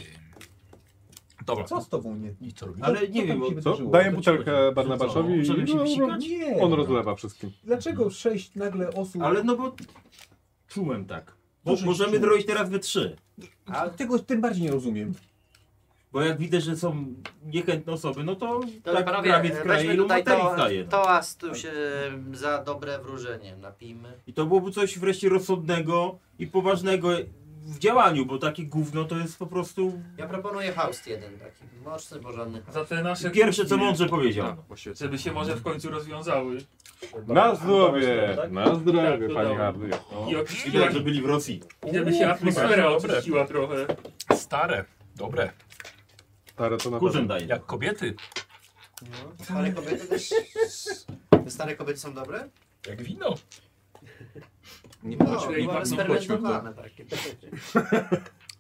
Speaker 13: Dobra.
Speaker 9: Co z tobą nie?
Speaker 13: I co robimy?
Speaker 9: Ale nie wiem,
Speaker 4: Co? Daję butelkę Barnabaszowi i
Speaker 9: Żeby się
Speaker 4: no,
Speaker 9: psikać? Nie.
Speaker 4: on rozlewa wszystkim.
Speaker 9: Dlaczego sześć nagle osób...
Speaker 3: Ale no bo
Speaker 28: Czułem tak.
Speaker 3: bo
Speaker 9: Dużo
Speaker 3: możemy
Speaker 9: sił.
Speaker 3: zrobić teraz we trzy.
Speaker 9: A tego tym bardziej nie rozumiem.
Speaker 3: Bo jak widzę, że są niechętne osoby, no to
Speaker 5: Dobra,
Speaker 3: tak
Speaker 5: panowie,
Speaker 3: prawie
Speaker 5: e,
Speaker 3: w
Speaker 5: weźmy
Speaker 3: kraju ilu
Speaker 5: tutaj
Speaker 3: moteli
Speaker 5: to,
Speaker 3: staje. no.
Speaker 5: toast tu się za dobre wróżenie napijmy.
Speaker 3: I to byłoby coś wreszcie rozsądnego i poważnego w działaniu, bo takie gówno to jest po prostu
Speaker 5: Ja proponuję haust jeden taki, mocny, porządny
Speaker 6: Za te nasze
Speaker 3: pierwsze co
Speaker 6: kłótnie,
Speaker 3: mądrze powiedział.
Speaker 2: No.
Speaker 6: Żeby się może w końcu rozwiązały.
Speaker 4: Na zdrowie!
Speaker 5: tak?
Speaker 4: Na
Speaker 6: Tak,
Speaker 4: zdrowie,
Speaker 6: to
Speaker 4: pani
Speaker 6: dobra.
Speaker 4: Hardy.
Speaker 1: No.
Speaker 6: I oczyściła,
Speaker 3: Widać, że byli w Rosji.
Speaker 6: żeby się atmosfera
Speaker 13: dobre.
Speaker 6: oczyściła trochę.
Speaker 13: Stare, dobre,
Speaker 4: Stare to na
Speaker 3: Kurzem
Speaker 4: pewno.
Speaker 3: daje.
Speaker 13: jak kobiety,
Speaker 5: No. Stare kobiety też... Te Stare kobiety są dobre?
Speaker 13: jak wino.
Speaker 9: Nie
Speaker 5: No,
Speaker 9: płacz, nie
Speaker 5: bo
Speaker 9: płacz, nie płacz.
Speaker 5: eksperymentowane takie.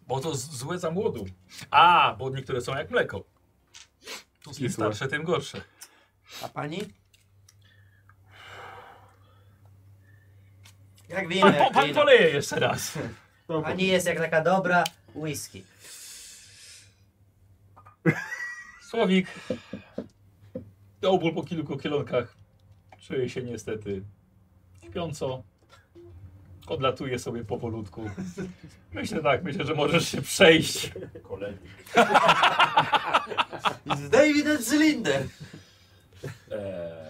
Speaker 13: Bo to z- złe za młodu. A, bo niektóre są jak mleko. Im
Speaker 4: Kisłe.
Speaker 13: starsze, tym gorsze.
Speaker 5: A pani? Jak wino,
Speaker 13: Pan, po,
Speaker 5: jak
Speaker 13: pan
Speaker 5: wino.
Speaker 13: poleje jeszcze raz.
Speaker 5: Pani jest jak taka dobra whisky.
Speaker 13: Słowik. Dołból po kilku kilonkach. Czuje się niestety śpiąco. Odlatuje sobie powolutku. Myślę tak, myślę, że możesz się przejść.
Speaker 5: Z Davidem z Linder.
Speaker 13: Eee,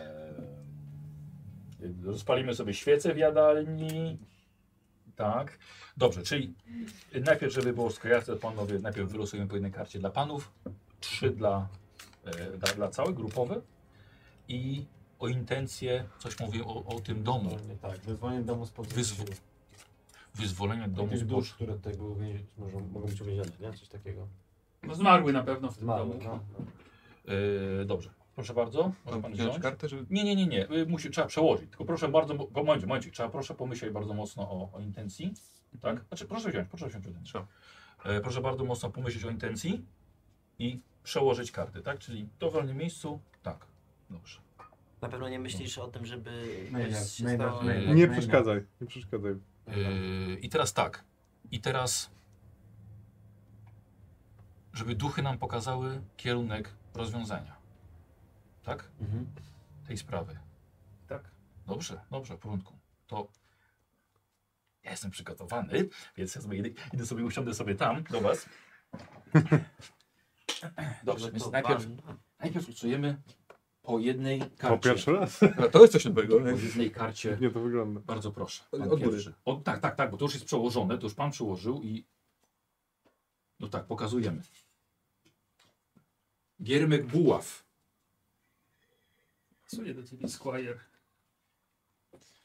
Speaker 13: rozpalimy sobie świecę w jadalni. Tak. Dobrze, czyli najpierw, żeby było skojarne, panowie, najpierw wylosujemy po jednej karcie dla panów, trzy dla, e, dla, dla całej grupowe i o intencje, coś mówię o, o tym domu,
Speaker 2: Wyzwolenie, tak, wyzwolenie domu spod złych
Speaker 13: Wyzwo-
Speaker 2: sił.
Speaker 13: wyzwolenie domu
Speaker 2: Jakieś
Speaker 13: z
Speaker 2: dusz, które tutaj były uwięzione, mogą, mogą być uwięzione, nie? Coś takiego.
Speaker 6: No zmarły na pewno w tym
Speaker 2: Mało,
Speaker 1: tak.
Speaker 6: domu.
Speaker 2: no.
Speaker 13: Yy, dobrze, proszę bardzo, może
Speaker 9: Mam
Speaker 13: pan
Speaker 9: wziąć
Speaker 13: wziąć.
Speaker 9: kartę, żeby...
Speaker 13: Nie, nie, nie, nie, y, musi, trzeba przełożyć, tylko proszę bardzo, bo- bo momencik, momencik, trzeba proszę pomyśleć bardzo mocno o, o intencji, tak? Znaczy proszę wziąć, proszę wziąć jeden, trzeba. E, proszę bardzo mocno pomyśleć o intencji i przełożyć karty, tak? Czyli w dowolnym miejscu, tak, dobrze.
Speaker 5: Na pewno nie myślisz o tym, żeby
Speaker 2: Maynard,
Speaker 5: coś się
Speaker 2: Maynard,
Speaker 5: stało.
Speaker 2: Maynard.
Speaker 4: Nie przeszkadzaj, nie przeszkadzaj.
Speaker 13: Yy, I teraz tak. I teraz, żeby duchy nam pokazały kierunek rozwiązania. Tak?
Speaker 2: Mhm.
Speaker 13: Tej sprawy.
Speaker 6: Tak.
Speaker 13: Dobrze, dobrze, w porządku. To ja jestem przygotowany, więc ja sobie idę, idę sobie, usiądę sobie tam do Was. Dobrze, więc najpierw, najpierw uczujemy po jednej
Speaker 4: To
Speaker 13: karcie.
Speaker 4: pierwszy raz.
Speaker 9: A to jest coś nowego.
Speaker 13: Po jednej karcie.
Speaker 4: <laughs> Nie to wygląda.
Speaker 13: Bardzo proszę.
Speaker 9: Od-
Speaker 13: pan
Speaker 9: od góry.
Speaker 13: pierwszy. O, tak, tak, tak, bo to już jest przełożone, to już pan przełożył i
Speaker 1: No tak, pokazujemy.
Speaker 13: Giermek Buław.
Speaker 6: Pasuje do ciebie, Squire.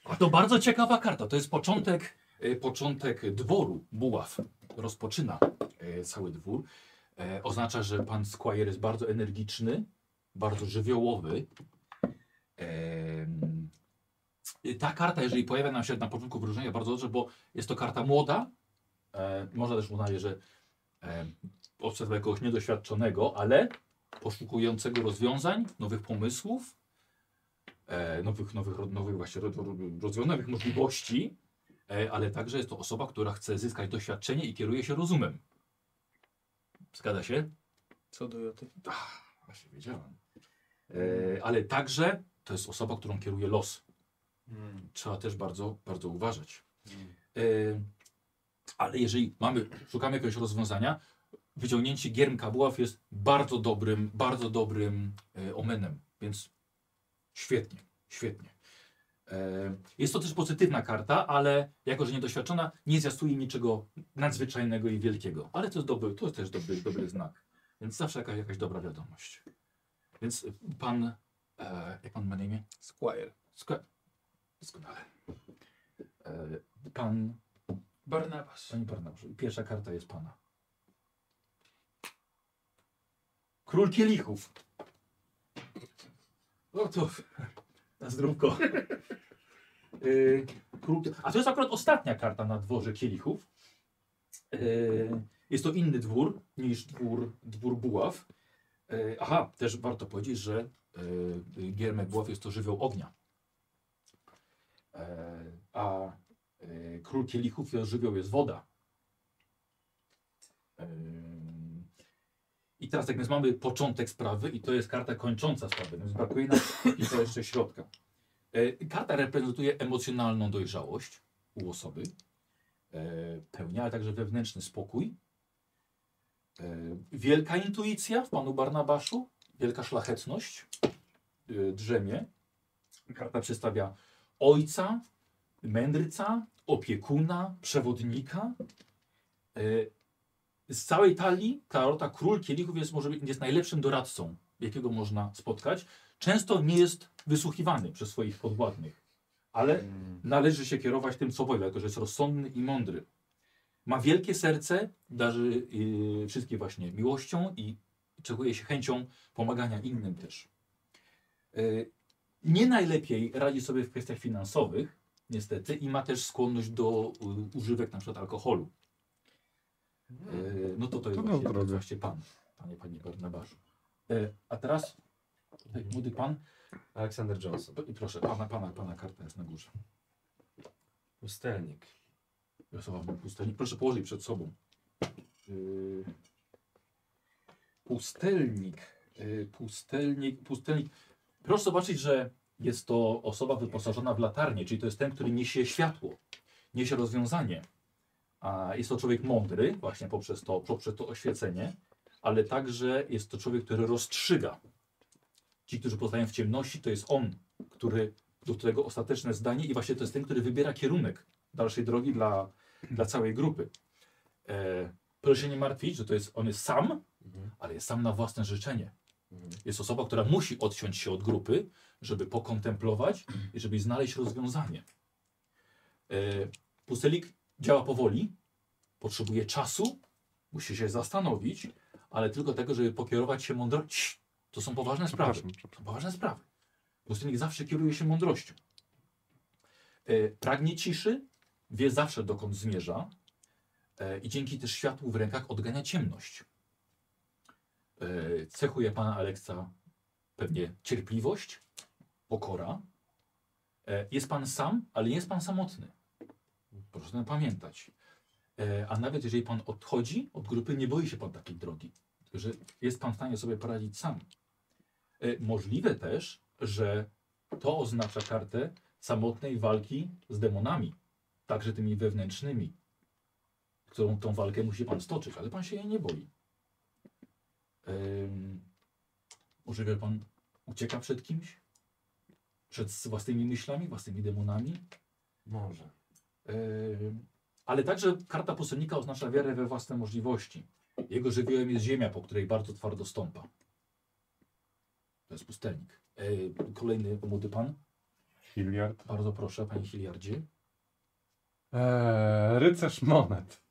Speaker 1: A to bardzo ciekawa karta. To jest początek, e, początek dworu Buław. Rozpoczyna e, cały dwór. E, Oznacza, że pan Squire jest bardzo energiczny, bardzo żywiołowy. Em, i Ta karta, jeżeli pojawia nam się na początku wyróżnienia, bardzo dobrze, bo jest to karta młoda. E, Można też uznać, że e, obserwować kogoś niedoświadczonego, ale poszukującego rozwiązań, nowych pomysłów e, nowych, nowych, ro- nowych właśnie ro- ro- rozwiązań, nowych możliwości, e, ale także jest to osoba, która chce zyskać doświadczenie i kieruje się rozumem. Zgadza się?
Speaker 9: Co do Joty?
Speaker 1: Ach, właśnie wiedziałem. E, ale także to jest osoba, którą kieruje los. Trzeba też bardzo, bardzo uważać. E, ale jeżeli mamy, szukamy jakiegoś rozwiązania, wyciągnięcie giermka buław jest bardzo dobrym, bardzo dobrym e, omenem, więc Świetnie, świetnie. E, Jest to też pozytywna karta, ale jako, że niedoświadczona, nie zwiastuje niczego nadzwyczajnego i wielkiego. Ale to jest, dobry, to jest też dobry, dobry znak. Więc zawsze jakaś, jakaś dobra wiadomość. Więc pan, e, jak pan ma na imię?
Speaker 9: Squire.
Speaker 1: Squire. Doskonale. E, pan...
Speaker 6: Barnabas.
Speaker 1: Pani Barnabasz. Pierwsza karta jest pana. Król kielichów. No to na zdrówko. <laughs> Y, król- A to jest akurat ostatnia karta na dworze kielichów. Y, Jest to inny dwór niż dwór, dwór buław. Y, Aha, też warto powiedzieć, że y, y, giermek buław jest to żywioł ognia. Y, A y, król kielichów jest żywioł jest woda. Y, i teraz tak więc mamy początek sprawy i to jest karta kończąca sprawę, więc brakuje nam i to jeszcze środka. E, Karta reprezentuje emocjonalną dojrzałość u osoby, e, pełnia, ale także wewnętrzny spokój. E, Wielka intuicja w panu Barnabaszu, wielka szlachetność e, drzemie. Karta przedstawia ojca, mędrca, opiekuna, przewodnika. E, z całej talii tarota król kielichów jest, może, być- jest najlepszym doradcą, jakiego można spotkać. Często nie jest wysłuchiwany przez swoich podwładnych, ale należy się kierować tym, co powie, dlatego że jest rozsądny i mądry. Ma wielkie serce, darzy yy, wszystkie właśnie miłością i cechuje się chęcią pomagania innym też. Yy, nie najlepiej radzi sobie w kwestiach finansowych, niestety, i ma też skłonność do yy, używek na przykład alkoholu. E, No to to jest
Speaker 4: To na
Speaker 1: właśnie, to
Speaker 4: zdrowie.
Speaker 1: jest właśnie pan, panie, panie Barnabaszu. E, A teraz tutaj młody pan.
Speaker 11: Aleksander Johnson.
Speaker 1: P- Proszę, pana, pana, pana karta jest na górze.
Speaker 11: Pustelnik.
Speaker 1: Wiosława pustelnik. Proszę położyć przed sobą. Y, Pustelnik. y, Pustelnik. Pustelnik. Proszę zobaczyć, że jest to osoba wyposażona w latarnię, czyli to jest ten, który niesie światło, niesie rozwiązanie. A jest to człowiek mądry, właśnie poprzez to, poprzez to oświecenie, ale także jest to człowiek, który rozstrzyga. Ci, którzy pozostają w ciemności, to jest on, który, do którego ostateczne zdanie i właśnie to jest ten, który wybiera kierunek dalszej drogi dla, dla całej grupy. E, proszę się nie martwić, że to jest, on jest sam, ale jest sam na własne życzenie. Jest osoba, która musi odciąć się od grupy, żeby pokontemplować i żeby znaleźć rozwiązanie. E, Pustelik działa powoli, potrzebuje czasu, musi się zastanowić, ale tylko tego, żeby pokierować się mądrością. To są poważne sprawy. To są poważne sprawy. Pustelnik zawsze kieruje się mądrością. E, pragnie ciszy, wie zawsze dokąd zmierza e, i dzięki też światłu w rękach odgania ciemność. E, cechuje pana Aleksa pewnie cierpliwość, pokora. E, jest pan sam, ale nie jest pan samotny. Proszę o tym pamiętać. E, a nawet jeżeli pan odchodzi od grupy, nie boi się pan takiej drogi, tylko że jest pan w stanie sobie poradzić sam. E, Możliwe też, że to oznacza kartę samotnej walki z demonami, także tymi wewnętrznymi, którą tą walkę musi pan stoczyć, ale pan się jej nie boi. Ym, Możliwe, że pan ucieka przed kimś? Przed własnymi myślami, własnymi demonami? Może. ale także karta posłannika oznacza wiarę we własne możliwości. Jego żywiołem jest ziemia, po której bardzo twardo stąpa. To jest pustelnik. E, kolejny młody pan.
Speaker 4: Hiliard.
Speaker 1: Bardzo proszę, panie Hiliardzie.
Speaker 4: Eee, rycerz monet.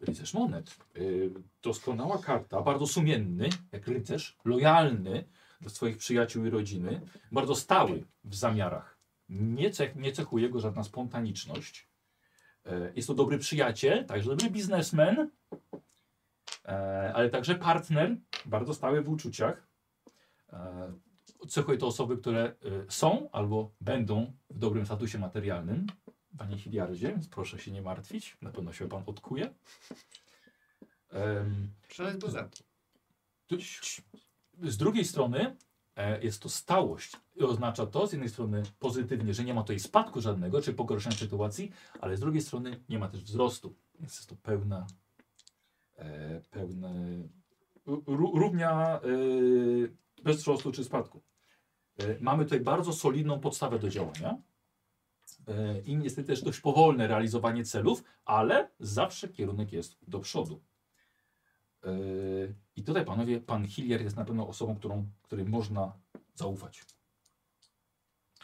Speaker 1: Rycerz Monet. Y, Doskonała karta, bardzo sumienny, jak rycerz, lojalny do swoich przyjaciół i rodziny, bardzo stały w zamiarach. Nie, cech, nie cechuje go żadna spontaniczność. E, Jest to dobry przyjaciel, także dobry biznesmen, e, ale także partner, bardzo stały w uczuciach. E, Cechuje to osoby, które e, są albo będą w dobrym statusie materialnym. Panie Hiliardzie, więc proszę się nie martwić, na pewno się pan odkuje. Em,
Speaker 5: Przelec bogaty.
Speaker 1: tu- Z drugiej strony e, jest to stałość i oznacza to z jednej strony pozytywnie, że nie ma tutaj spadku żadnego czy pogorszenia sytuacji, ale z drugiej strony nie ma też wzrostu. Więc jest to pełna, e, pełne, ró- równia e, bez wzrostu czy spadku. E, mamy tutaj bardzo solidną podstawę do działania e, i niestety też dość powolne realizowanie celów, ale zawsze kierunek jest do przodu. E, I tutaj panowie, pan Hillier jest na pewno osobą, którą, której można zaufać.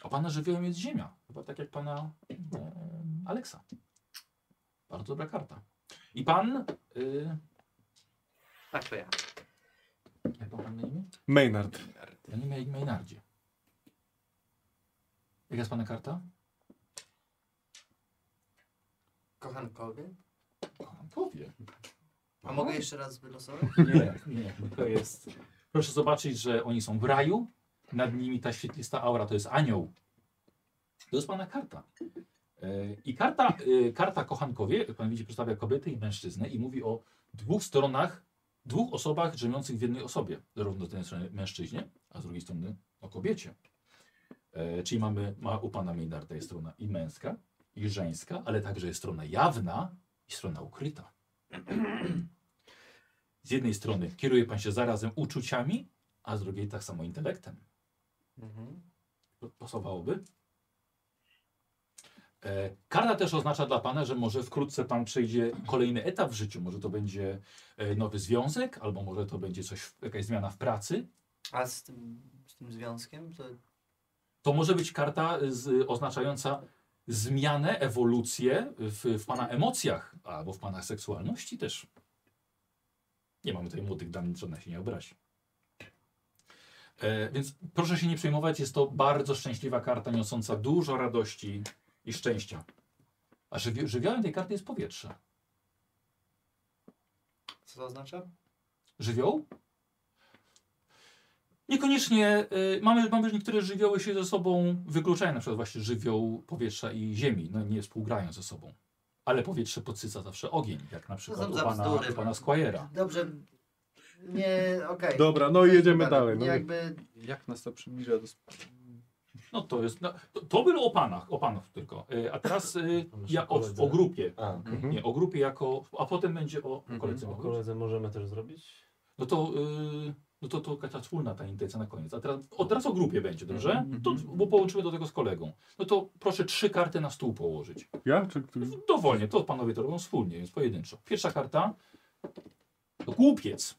Speaker 1: A pana żywiołem jest ziemia, chyba tak jak pana e, Aleksa. Bardzo dobra karta. I pan... E,
Speaker 5: Tak to ja.
Speaker 1: jak pan ma na imię?
Speaker 4: Maynard.
Speaker 1: Panie May- Maynardzie. Jaka jest pana karta?
Speaker 5: Kochankowie.
Speaker 1: Kochankowie?
Speaker 5: A
Speaker 29: Mhm.
Speaker 5: mogę jeszcze raz wylosować?
Speaker 1: Nie, nie, to jest. Proszę zobaczyć, że oni są w raju. Nad nimi ta świetlista aura to jest anioł. To jest pana karta. E, I karta, e, karta kochankowie, jak pan widzi, przedstawia kobietę i mężczyznę i mówi o dwóch stronach, dwóch osobach drzemiących w jednej osobie. Zarówno z jednej strony mężczyźnie, a z drugiej strony o kobiecie. E, Czyli mamy, ma u pana Maynarda jest strona i męska, i żeńska, ale także jest strona jawna i strona ukryta. <clears throat> Z jednej strony kieruje pan się zarazem uczuciami, a z drugiej tak samo intelektem. Pasowałoby? E, Karta też oznacza dla pana, że może wkrótce pan przejdzie kolejny etap w życiu. Może to będzie e, nowy związek, albo może to będzie coś, w- jakaś zmiana w pracy.
Speaker 5: A z tym, z tym związkiem? To...
Speaker 1: To może być karta e, z, oznaczająca zmianę, ewolucję w, w pana emocjach albo w pana seksualności też. Nie mamy tutaj młodych dam, żadna się nie obrazi. E, więc proszę się nie przejmować, jest to bardzo szczęśliwa karta niosąca dużo radości i szczęścia. A żywi żywiołem tej karty jest powietrze.
Speaker 5: Co to oznacza?
Speaker 1: Żywioł? Niekoniecznie. Y, mamy, mamy niektóre żywioły się ze sobą wykluczają, na przykład właśnie żywioł powietrza i ziemi, no nie współgrają ze sobą. Ale powietrze podsyca zawsze ogień, jak na przykład
Speaker 5: są
Speaker 1: u
Speaker 5: za
Speaker 1: pana,
Speaker 5: bzdury.
Speaker 1: u pana Squires.
Speaker 5: Dobrze. Nie, okej.
Speaker 4: Dobra, no i jedziemy dalej. No.
Speaker 5: Nie, jakby...
Speaker 1: Jak nas to przybliża do... No to jest... No, to, to było o panach, o panów tylko. Y, a teraz y, ja, o, o grupie.
Speaker 2: okej.
Speaker 1: Nie, o grupie jako... A potem będzie o
Speaker 9: Mhm.
Speaker 1: koledze.
Speaker 2: O koledze możemy też zrobić?
Speaker 1: No to, yy, no to, to ta wspólna ta intencja na koniec. A teraz, o, teraz o grupie będzie, dobrze? To, bo połączymy do tego z kolegą. No to proszę trzy karty na stół położyć.
Speaker 4: Ja? Czy ktoś?
Speaker 1: Dowolnie, to panowie to robią wspólnie, więc pojedynczo. Pierwsza karta to głupiec.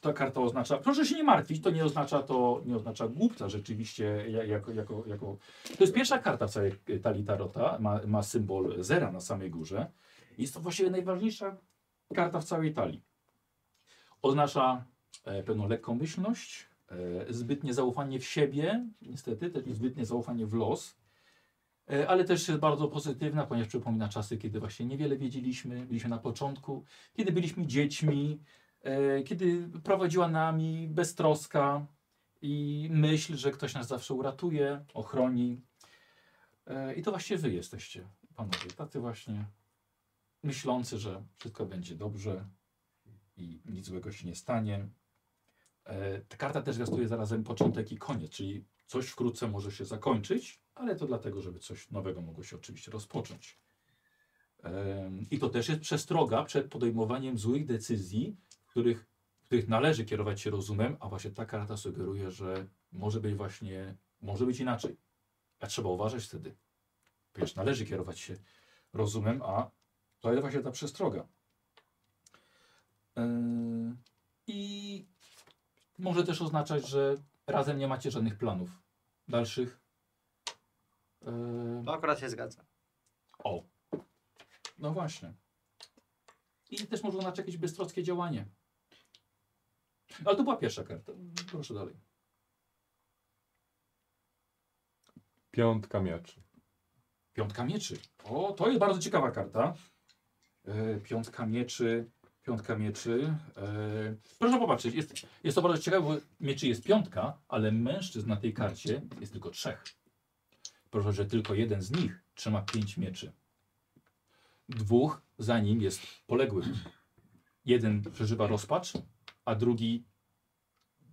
Speaker 1: Ta karta oznacza, proszę się nie martwić, to nie oznacza to, nie oznacza głupca rzeczywiście ja- jako, jako, jako... To jest pierwsza karta w całej e, talii Tarota, ma, ma symbol zera na samej górze. Jest to właściwie najważniejsza karta w całej talii. Oznacza e, pewną lekkomyślność, e, zbytnie zaufanie w siebie, niestety, też i zbytnie zaufanie w los, e, ale też jest bardzo pozytywna, ponieważ przypomina czasy, kiedy właśnie niewiele wiedzieliśmy, byliśmy na początku, kiedy byliśmy dziećmi, e, kiedy prowadziła nami beztroska i myśl, że ktoś nas zawsze uratuje, ochroni. E, I to właśnie wy jesteście, panowie, tacy właśnie myślący, że wszystko będzie dobrze i nic złego się nie stanie. E, Ta karta też zwiastuje zarazem początek i koniec, czyli coś wkrótce może się zakończyć, ale to dlatego, żeby coś nowego mogło się oczywiście rozpocząć. Em, I to też jest przestroga przed podejmowaniem złych decyzji, w których, w których należy kierować się rozumem, a właśnie ta karta sugeruje, że może być właśnie, może być inaczej. A trzeba uważać wtedy. Ponieważ należy kierować się rozumem, a to jest właśnie ta przestroga. Yy, I może też oznaczać, że razem nie macie żadnych planów dalszych. Yy,
Speaker 29: To akurat się zgadza.
Speaker 1: O. No właśnie. I też może oznaczać jakieś bystrockie działanie. Ale to była pierwsza karta. Proszę dalej.
Speaker 4: Piątka mieczy.
Speaker 1: Piątka mieczy. O, to jest bardzo ciekawa karta. E, piątka mieczy. Piątka mieczy. E, proszę popatrzeć, jest, jest to bardzo ciekawe, bo mieczy jest piątka, ale mężczyzn na tej karcie jest tylko trzech. Proszę, że tylko jeden z nich trzyma pięć mieczy. Dwóch za nim jest poległych. Jeden przeżywa rozpacz, a drugi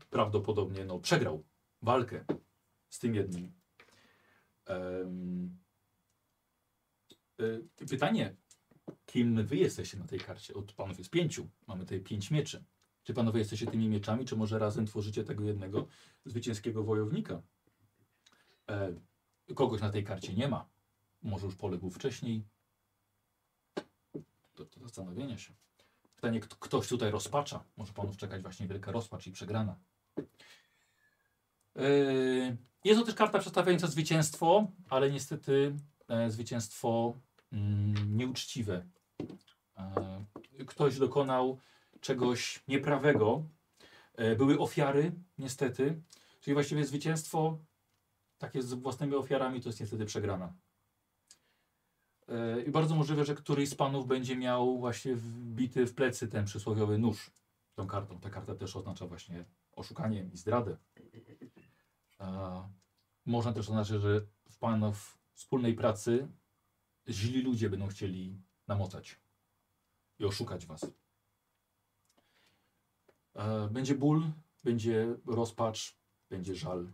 Speaker 1: prawdopodobnie no, przegrał walkę z tym jednym. Em, y, pytanie, kim wy jesteście na tej karcie? Od panów jest pięciu, mamy tutaj pięć mieczy. Czy panowie jesteście tymi mieczami, czy może razem tworzycie tego jednego zwycięskiego wojownika? E, kogoś na tej karcie nie ma. Może już poległ wcześniej. To, to zastanowienie się. Pytanie, kt- ktoś tutaj rozpacza. Może panów czekać właśnie wielka rozpacz i przegrana. Yy, Jest to też karta przedstawiająca zwycięstwo, ale niestety e, zwycięstwo mm, nieuczciwe. E, Ktoś dokonał czegoś nieprawego. E, Były ofiary, niestety. Czyli właściwie zwycięstwo takie z własnymi ofiarami to jest niestety przegrana. E, I bardzo możliwe, że któryś z panów będzie miał właśnie wbity w plecy ten przysłowiowy nóż tą kartą. Ta karta też oznacza właśnie oszukanie i zdradę. E, Można też oznaczać, że w panów wspólnej pracy źli ludzie będą chcieli namotać i oszukać was. E, Będzie ból, będzie rozpacz, będzie żal.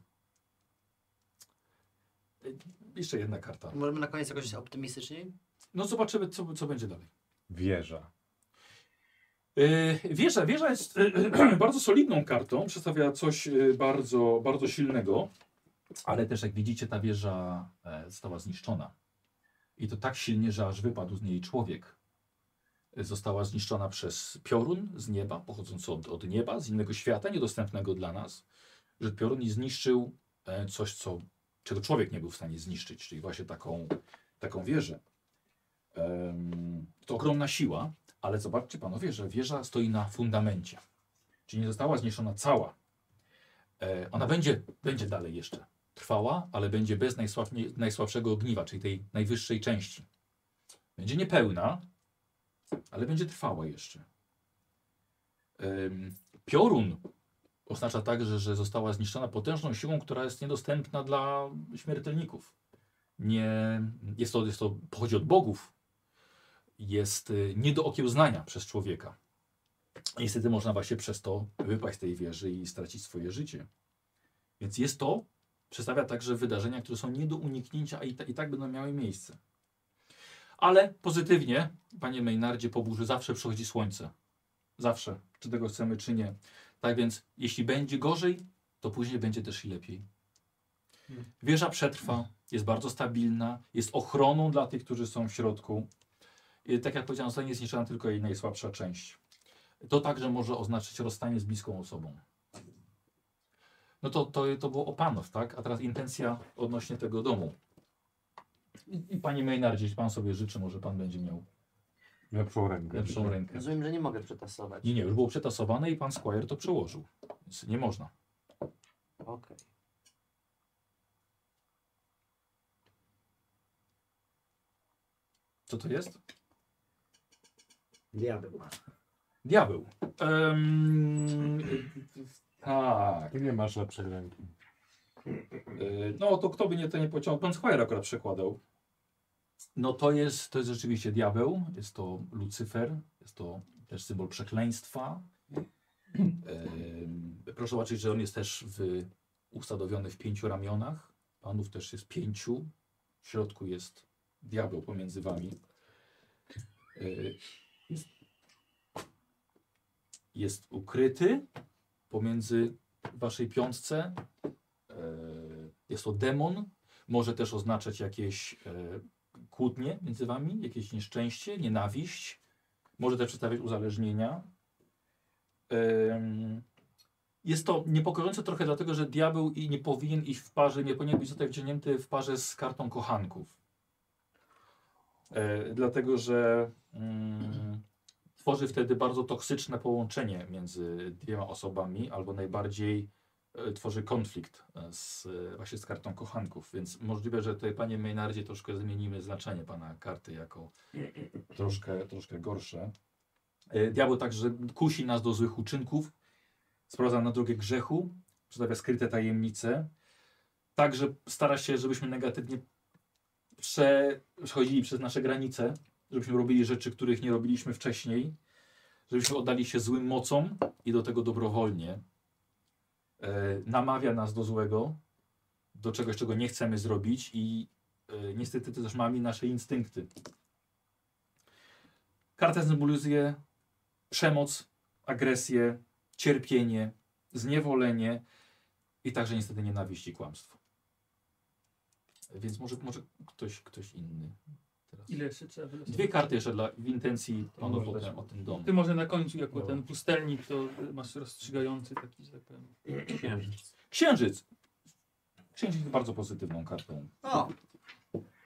Speaker 1: E, Jeszcze jedna karta.
Speaker 29: Możemy na koniec jakoś optymistyczniej?
Speaker 1: No zobaczymy, co, co będzie dalej.
Speaker 4: Wieża.
Speaker 1: E, Wieża, wieża jest e, e, <clears throat> bardzo solidną kartą, przedstawia coś e, bardzo, bardzo silnego, ale też jak widzicie ta wieża e, została zniszczona. I to tak silnie, że aż wypadł z niej człowiek. E, Została zniszczona przez piorun z nieba, pochodzący od, od nieba, z innego świata, niedostępnego dla nas, że piorun i zniszczył e, coś, co, czego człowiek nie był w stanie zniszczyć, czyli właśnie taką, taką wieżę. Em, To ogromna siła, ale zobaczcie panowie, że wieża stoi na fundamencie. Czyli nie została zniszczona cała. E, ona będzie, będzie dalej jeszcze trwała, ale będzie bez najsławnie, najsłabszego ogniwa, czyli tej najwyższej części. Będzie niepełna, ale będzie trwała jeszcze. Em, piorun oznacza także, że została zniszczona potężną siłą, która jest niedostępna dla śmiertelników. Nie, jest to, jest to pochodzi od bogów, jest y, nie do okiełznania przez człowieka. I Niestety można właśnie przez to wypaść z tej wieży i stracić swoje życie. Więc jest to, przedstawia także wydarzenia, które są nie do uniknięcia, a i, ta, i tak będą miały miejsce. Ale pozytywnie, panie Maynardzie, po burzy zawsze przychodzi słońce. Zawsze, czy tego chcemy, czy nie. Tak więc, jeśli będzie gorzej, to później będzie też i lepiej. Wieża przetrwa, jest bardzo stabilna, jest ochroną dla tych, którzy są w środku. I tak jak powiedziałem, zostanie zniszczona tylko jej najsłabsza część. To także może oznaczać rozstanie z bliską osobą. No to, to, to było o panów, tak? A teraz intencja odnośnie tego domu. I, i panie Maynardzie, jeśli pan sobie życzy, może pan będzie miał
Speaker 4: Lepszą rękę.
Speaker 1: lepszą rękę.
Speaker 29: Rozumiem, że nie mogę przetasować.
Speaker 1: Nie, nie, już było przetasowane i pan Squire to przełożył. Więc nie można.
Speaker 29: Okej.
Speaker 1: Co to jest?
Speaker 29: Diabeł.
Speaker 1: Diabeł. Em, y, tak.
Speaker 4: Nie masz lepszej ręki.
Speaker 1: Y, No to kto by nie to nie pociągnął? Pan Squire akurat przekładał. No to jest, to jest rzeczywiście diabeł, jest to Lucyfer, jest to też symbol przekleństwa. Em, proszę zobaczyć, że on jest też w, ustanowiony w pięciu ramionach. Panów też jest pięciu. W środku jest diabeł pomiędzy wami. Y, jest- jest ukryty pomiędzy waszej piątce. E, Jest to demon. Może też oznaczać jakieś e, kłótnie między wami, jakieś nieszczęście, nienawiść. Może też przedstawiać uzależnienia. Em, Jest to niepokojące trochę dlatego, że diabeł i nie powinien iść w parze, nie powinien być tutaj wciągnięty w parze z kartą kochanków. E, Dlatego, że mm, tworzy wtedy bardzo toksyczne połączenie między dwiema osobami, albo najbardziej e, tworzy konflikt e, z, e, właśnie z kartą kochanków. Więc możliwe, że tutaj, panie Maynardzie, troszkę zmienimy znaczenie pana karty jako troszkę, troszkę gorsze. E, Diabeł także kusi nas do złych uczynków, sprowadza na drogę grzechu, przedstawia skryte tajemnice. Także stara się, żebyśmy negatywnie prze- przechodzili przez nasze granice, żebyśmy robili rzeczy, których nie robiliśmy wcześniej, żebyśmy oddali się złym mocom i do tego dobrowolnie. E, namawia nas do złego, do czegoś, czego nie chcemy zrobić i e, niestety też mamy nasze instynkty. Karta symbolizuje przemoc, agresję, cierpienie, zniewolenie i także niestety nienawiść i kłamstwo. Więc może, może ktoś, ktoś inny.
Speaker 6: Ile jeszcze trzeba wylosować?
Speaker 1: Dwie karty jeszcze dla, w intencji panów o tym, o tym domu.
Speaker 6: Ty może na końcu, jako
Speaker 1: No.
Speaker 6: ten pustelnik, to masz rozstrzygający taki, że tak powiem.
Speaker 1: Księżyc. Księżyc. Księżyc jest bardzo pozytywną kartą.
Speaker 6: O.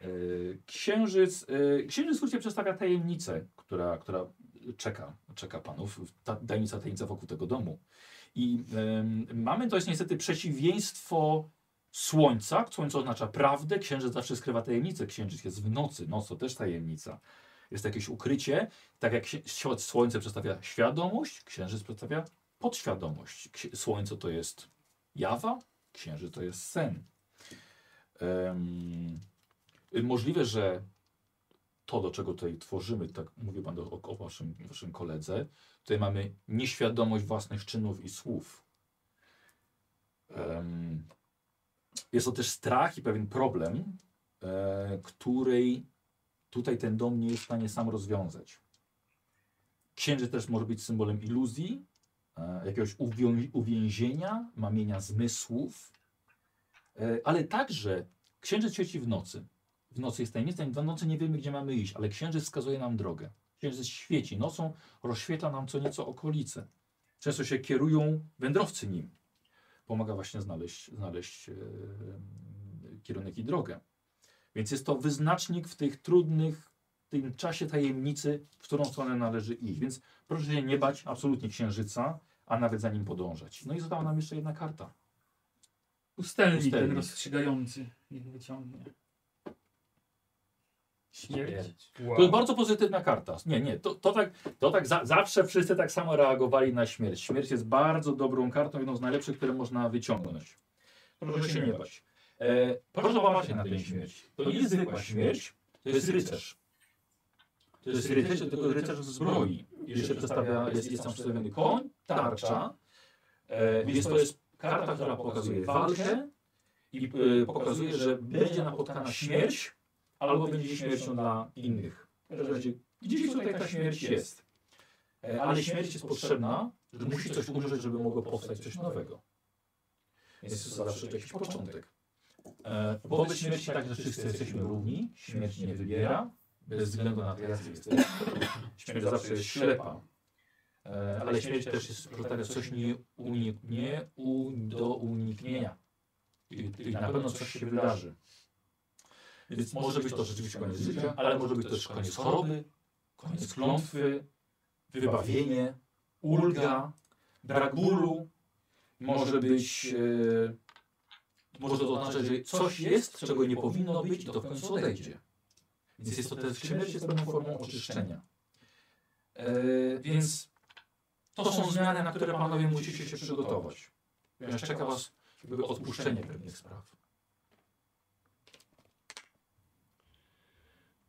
Speaker 1: Y, Księżyc, y, księżyc w skrócie przedstawia tajemnicę, która, która czeka, czeka panów. Ta, tajemnica, tajemnica wokół tego domu. I ym, mamy dość niestety przeciwieństwo słońca. Słońce oznacza prawdę, księżyc zawsze skrywa tajemnicę. Księżyc jest w nocy, noc to też tajemnica. Jest jakieś ukrycie, tak jak się- świ- słońce przedstawia świadomość, księżyc przedstawia podświadomość. Ksi- Słońce to jest jawa, księżyc to jest sen. Em, y, możliwe, że to, do czego tutaj tworzymy, tak mówił Pan do, o, o waszym, waszym koledze, tutaj mamy nieświadomość własnych czynów i słów. Em, jest to też strach i pewien problem, e, której tutaj ten dom nie jest w stanie sam rozwiązać. Księżyc też może być symbolem iluzji, e, jakiegoś uwią- uwięzienia, mamienia zmysłów, e, ale także księżyc świeci w nocy. W nocy jest tajemnica, i w nocy nie wiemy, gdzie mamy iść, ale księżyc wskazuje nam drogę. Księżyc świeci nocą, rozświetla nam co nieco okolice. Często się kierują wędrowcy nim. Pomaga właśnie znaleźć, znaleźć e, kierunek i drogę. Więc jest to wyznacznik w tych trudnych, tym czasie tajemnicy, w którą stronę należy iść. Więc proszę się nie bać absolutnie księżyca, a nawet za nim podążać. No i została nam jeszcze jedna karta.
Speaker 6: Pustelnik, ten
Speaker 1: Pustelnik.
Speaker 6: rozstrzygający niech wyciągnie. Śmierć.
Speaker 1: To jest bardzo pozytywna karta. Nie, nie, to, to tak, to tak za, zawsze wszyscy tak samo reagowali na śmierć. Śmierć jest bardzo dobrą kartą, jedną z najlepszych, które można wyciągnąć. Proszę się nie bać. E, proszę zobaczyć na tę śmierć. To nie jest zwykła śmierć, to jest rycerz. To jest rycerz, tylko rycerz zbroi. Jeszcze przedstawia, jest, jest tam przedstawiony koń, tarcza. E, więc to jest karta, która pokazuje walkę i e, pokazuje, że będzie napotkana śmierć, albo będzie śmiercią dla innych. Że będzie- Gdzieś tutaj ta śmierć jest. E, ale śmierć jest potrzebna, że musi coś umrzeć, żeby mogło powstać coś nowego. Więc jest to zawsze jakiś początek. E, wobec śmierci także wszyscy jesteśmy równi, śmierć nie wybiera, bez względu na to, E, jacy jesteśmy. Śmierć zawsze jest ślepa. E, ale śmierć też jest przedstawia coś nie, unik, nie u, do uniknienia. I, I na pewno coś się wydarzy. Więc może być to rzeczywiście koniec życia, ale może być też koniec choroby, koniec klątwy, wybawienie, ulga, brak bólu. Może być, e, może to oznaczać, że coś jest, czego nie powinno być i to w końcu odejdzie. Więc jest to też śmierć jest pewną formą oczyszczenia. E, więc to są zmiany, na które panowie musicie się przygotować. Ponieważ czeka was jakby odpuszczenie pewnych spraw.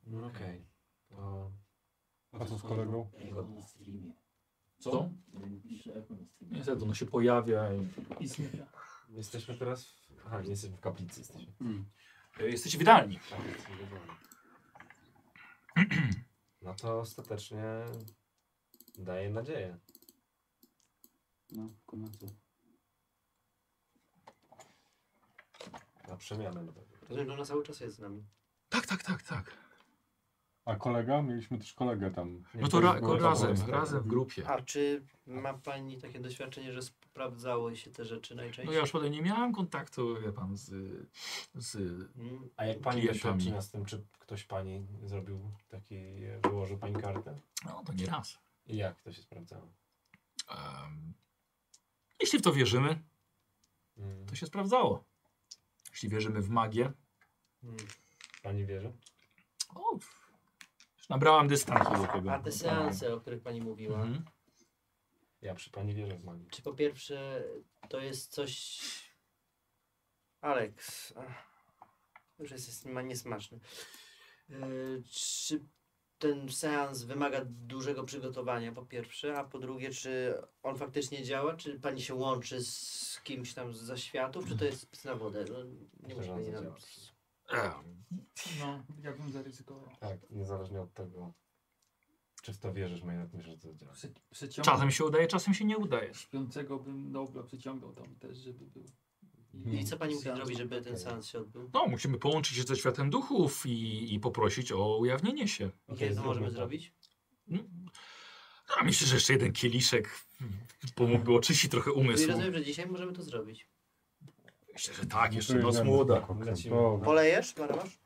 Speaker 11: No okej. To...
Speaker 4: A co z kolegą?
Speaker 11: Jego na streamie.
Speaker 1: Co?
Speaker 11: Pisze Echo na streamie.
Speaker 1: Niestety ono się pojawia i
Speaker 6: I znika.
Speaker 11: Jesteśmy teraz w... Aha, nie jesteśmy w kaplicy. Jesteśmy.
Speaker 5: Hmm.
Speaker 1: e, jesteście wydalni.
Speaker 11: Tak, jesteśmy w domu. No to ostatecznie daje nadzieję.
Speaker 30: No, kumatu.
Speaker 11: Na przemianę.
Speaker 29: Rozumiem, że ona cały czas jest z nami.
Speaker 1: Tak, tak, tak, tak.
Speaker 4: A kolega? Mieliśmy też kolegę tam.
Speaker 13: No to ra- razem, razem w grupie.
Speaker 5: A czy ma pani takie doświadczenie, że sprawdzało się te rzeczy najczęściej?
Speaker 13: No ja już potem nie miałem kontaktu, wie pan, z, z
Speaker 2: A jak pani
Speaker 13: klientami.
Speaker 2: doświadczyła z tym, czy ktoś pani zrobił taki, e, wyłożył pani kartę?
Speaker 13: No to nie raz.
Speaker 2: I jak to się sprawdzało?
Speaker 13: Em, jeśli w to wierzymy,
Speaker 2: Mm,
Speaker 13: to się sprawdzało. Jeśli wierzymy w magię,
Speaker 5: Hmm.
Speaker 2: Pani wierzy?
Speaker 13: o, już nabrałem dystansu do tego. Mhm.
Speaker 5: A te seanse, o których pani mówiła,
Speaker 2: Ja przy pani wierzę w magię.
Speaker 5: czy po pierwsze to jest coś... Aleks, ach, już jest, jest ma- niesmaczny. Yy, czy ten seans wymaga dużego przygotowania po pierwsze, a po drugie, czy on faktycznie działa, czy pani się łączy z kimś tam z zaświatów, czy to jest pis na wodę? No, nie może pani nam...
Speaker 6: No, ja bym zaryzykował.
Speaker 2: Tak, niezależnie od tego, czy w to wierzysz, my jednak myślę, że to działa.
Speaker 6: Przeciągnął-
Speaker 13: Czasem się udaje, czasem się nie udaje.
Speaker 6: Śpiącego bym dobra przyciągnął tam też, żeby był.
Speaker 5: Mm.
Speaker 13: I co pani musi
Speaker 6: seans-
Speaker 13: zrobić, żeby ten
Speaker 5: seans się odbył?
Speaker 13: No, musimy połączyć się ze światem duchów i, i poprosić o ujawnienie się. Mm.
Speaker 5: Kiedy to możemy zrobić?
Speaker 13: No, A myślę, że jeszcze jeden kieliszek pomógłby oczyścić trochę umysł.
Speaker 5: Czyli rozumiem, że dzisiaj możemy to zrobić.
Speaker 13: Myślę, że tak, jeszcze
Speaker 4: to
Speaker 13: noc
Speaker 4: jedziemy.
Speaker 13: młoda.
Speaker 4: Lecimy. Dobra.
Speaker 5: Polejesz, Maramasz?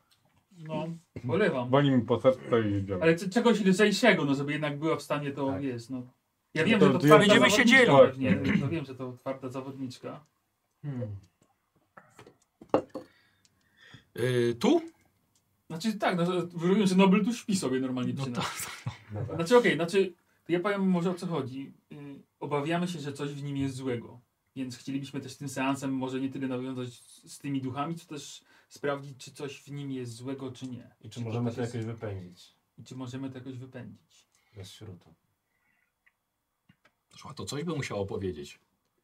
Speaker 6: No, polewam.
Speaker 4: Wani mi po serce i idziemy.
Speaker 6: Ale c- czegoś lżejszego, no żeby jednak była w stanie to, wiesz, no. Ja
Speaker 4: No
Speaker 6: wiem,
Speaker 4: to-
Speaker 6: że to
Speaker 4: to
Speaker 6: twarda
Speaker 4: będziemy
Speaker 6: zawodniczka
Speaker 4: siedzieli.
Speaker 6: pewnie, to wiem, że to twarda zawodniczka.
Speaker 13: Y, tu?
Speaker 6: Znaczy tak, no, rozumiem, że Nobel tu śpi sobie normalnie
Speaker 13: tak.
Speaker 6: no Znaczy okej, znaczy, to ja powiem może o co chodzi. Y, Obawiamy się, że coś w nim jest złego. Więc chcielibyśmy też tym seansem może nie tyle nawiązać z- z tymi duchami, co też sprawdzić, czy coś w nim jest złego, czy nie.
Speaker 2: I czy możemy
Speaker 6: to
Speaker 2: to
Speaker 6: jest-
Speaker 2: jakoś wypędzić?
Speaker 6: I czy możemy to jakoś wypędzić.
Speaker 2: Bez śrutu.
Speaker 13: A to coś by musiało powiedzieć.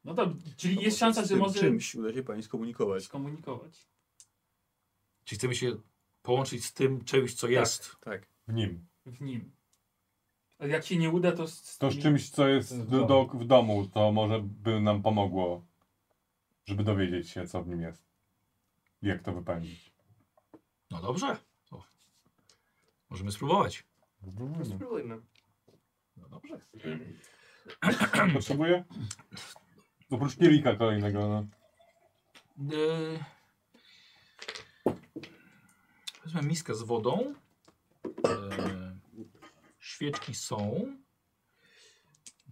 Speaker 6: No to, czyli
Speaker 13: To
Speaker 6: jest
Speaker 13: może
Speaker 6: szansa,
Speaker 13: z
Speaker 6: że
Speaker 13: tym
Speaker 6: może...
Speaker 13: czymś
Speaker 9: uda się pani skomunikować.
Speaker 6: Skomunikować.
Speaker 13: Czy chcemy się połączyć z tym czymś, co jest?
Speaker 9: Tak.
Speaker 4: W nim.
Speaker 6: W nim. A jak się nie uda, to... Z,
Speaker 4: To z czymś, co jest do, do, w domu, to może by nam pomogło, żeby dowiedzieć się, co w nim jest. Jak to wypełnić.
Speaker 13: No dobrze. To możemy spróbować.
Speaker 5: No spróbujmy.
Speaker 13: No dobrze.
Speaker 4: Potrzebuję? Oprócz kielika kolejnego, no.
Speaker 13: Yy, Wezmę miskę z wodą. E, Świeczki są.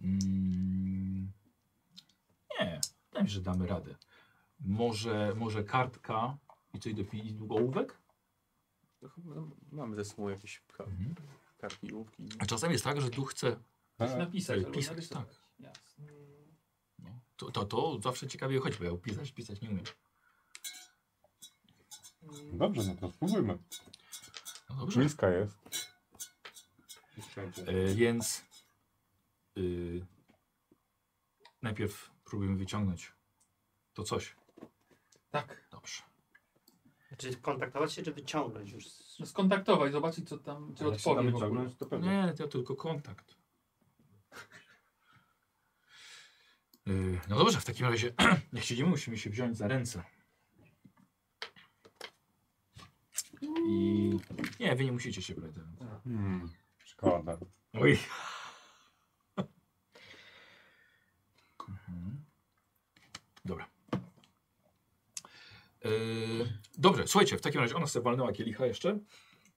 Speaker 13: Mm, Nie, wydaje mi się, że damy radę. Może, może kartka i coś do pi- i długołówek?
Speaker 9: To chyba Mamy ze sobą jakieś ka- kartki, łupki.
Speaker 13: A czasem jest tak, że duch chce
Speaker 6: Coś napisać albo
Speaker 13: pisać.
Speaker 6: narysować.
Speaker 13: Tak.
Speaker 6: Jasne.
Speaker 13: To, to, to zawsze ciekawie chodzi, bo ja pisać, pisać nie umiem.
Speaker 4: Dobrze, no to spróbujmy.
Speaker 13: No dobrze.
Speaker 4: Miska jest.
Speaker 13: E, więc y, najpierw próbujemy wyciągnąć to coś.
Speaker 6: Tak.
Speaker 13: Dobrze.
Speaker 5: Czy kontaktować się, czy wyciągnąć już? <laughs>
Speaker 6: No skontaktować, zobaczyć co tam, czy
Speaker 5: Ale jak się da
Speaker 6: odpowie w ogóle.
Speaker 5: wyciągnąć, to pewnie.
Speaker 13: Nie, to tylko kontakt. Y, No dobrze, w takim razie, jak siedzimy, musimy się wziąć za ręce. I nie, wy nie musicie się brać za ręce.
Speaker 4: Hmm, szkoda.
Speaker 13: Oj. Dobra. Yy, dobrze, słuchajcie, w takim razie ona sobie walnęła kielicha jeszcze.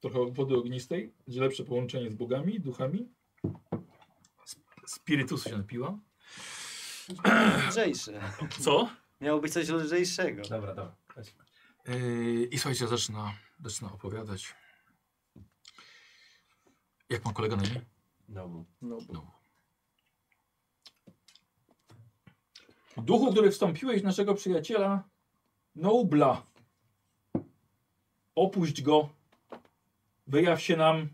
Speaker 13: Trochę wody ognistej, że lepsze połączenie z bogami, duchami. Sp- Spirytusu się napiła.
Speaker 5: Lżejsze.
Speaker 13: Co?
Speaker 5: Miało być coś lżejszego.
Speaker 2: Dobra, dobra.
Speaker 13: Yy, I słuchajcie, zaczyna, zaczyna opowiadać. Jak ma kolega na imię?
Speaker 2: Nobu.
Speaker 13: Nobu. Duchu, który wstąpiłeś w naszego przyjaciela Nobla. Opuść go. Wyjaw się nam.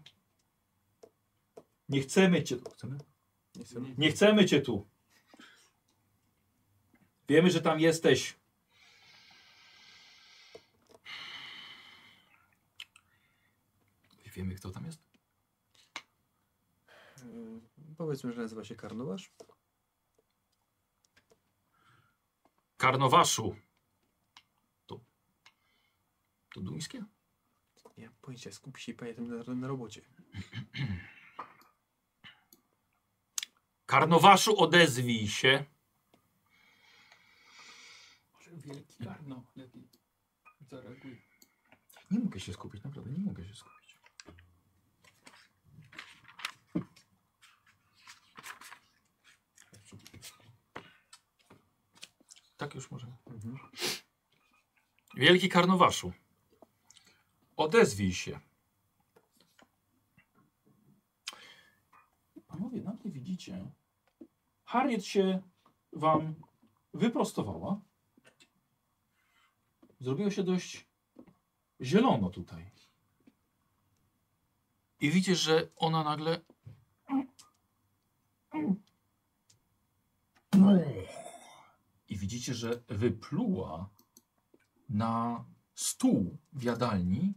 Speaker 13: Nie chcemy cię tu. Chcemy? Nie chcemy cię tu. Wiemy, że tam jesteś. Wiemy, kto tam jest?
Speaker 9: E, Powiedzmy, że nazywa się Karnowasz.
Speaker 13: Karnowaszu. To. To duńskie?
Speaker 9: Nie mam pojęcia, skupi się i panie tym narodem na robocie.
Speaker 1: Karnowaszu, odezwij się.
Speaker 6: Może wielki karno lepiej zareaguje.
Speaker 13: Nie mogę się skupić, naprawdę nie mogę się skupić. Tak już może.
Speaker 1: Wielki Karnowaszu, odezwij się.
Speaker 13: Panowie, nagle widzicie, Harriet się wam wyprostowała. Zrobiło się dość zielono tutaj.
Speaker 1: I widzisz, że ona nagle...
Speaker 13: I widzicie, że wypluła na stół w jadalni.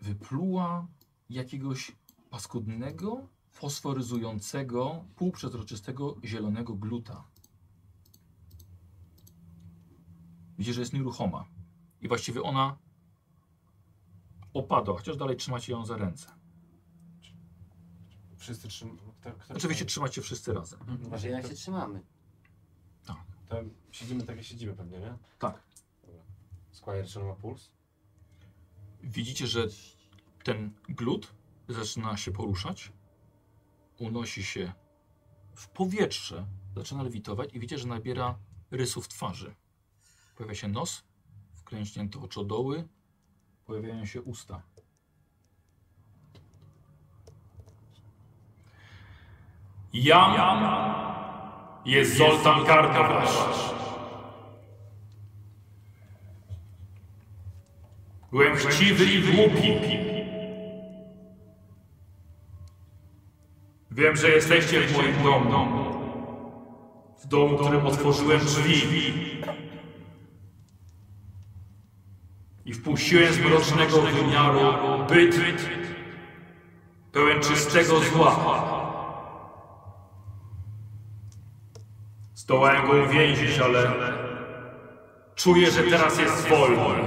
Speaker 13: Wypluła jakiegoś paskudnego, fosforyzującego, półprzezroczystego, zielonego gluta. Widzicie, że jest nieruchoma. I właściwie ona opadła, chociaż dalej trzymacie ją za ręce.
Speaker 31: Wszyscy trzymamy.
Speaker 1: Oczywiście trzymacie wszyscy razem.
Speaker 31: Właśnie,
Speaker 5: jak się trzymamy?
Speaker 31: To siedzimy tak jak siedzimy pewnie, nie?
Speaker 13: Tak.
Speaker 31: Dobra. Squire, czy on ma puls?
Speaker 1: Widzicie, że ten glut zaczyna się poruszać, unosi się w powietrze, zaczyna lewitować i widzicie, że nabiera rysów twarzy. Pojawia się nos, wklęśnięte oczodoły, pojawiają się usta.
Speaker 13: Jam jest Zoltan Karkowasz.
Speaker 1: Byłem chciwy i głupi.
Speaker 13: Wiem, że jesteście w moim domu. W domu, którym otworzyłem drzwi. I wpuściłem z mrocznego wymiaru byt pełen czystego zła. Zdołałem go uwięzić, ale czuję, że teraz jest wolny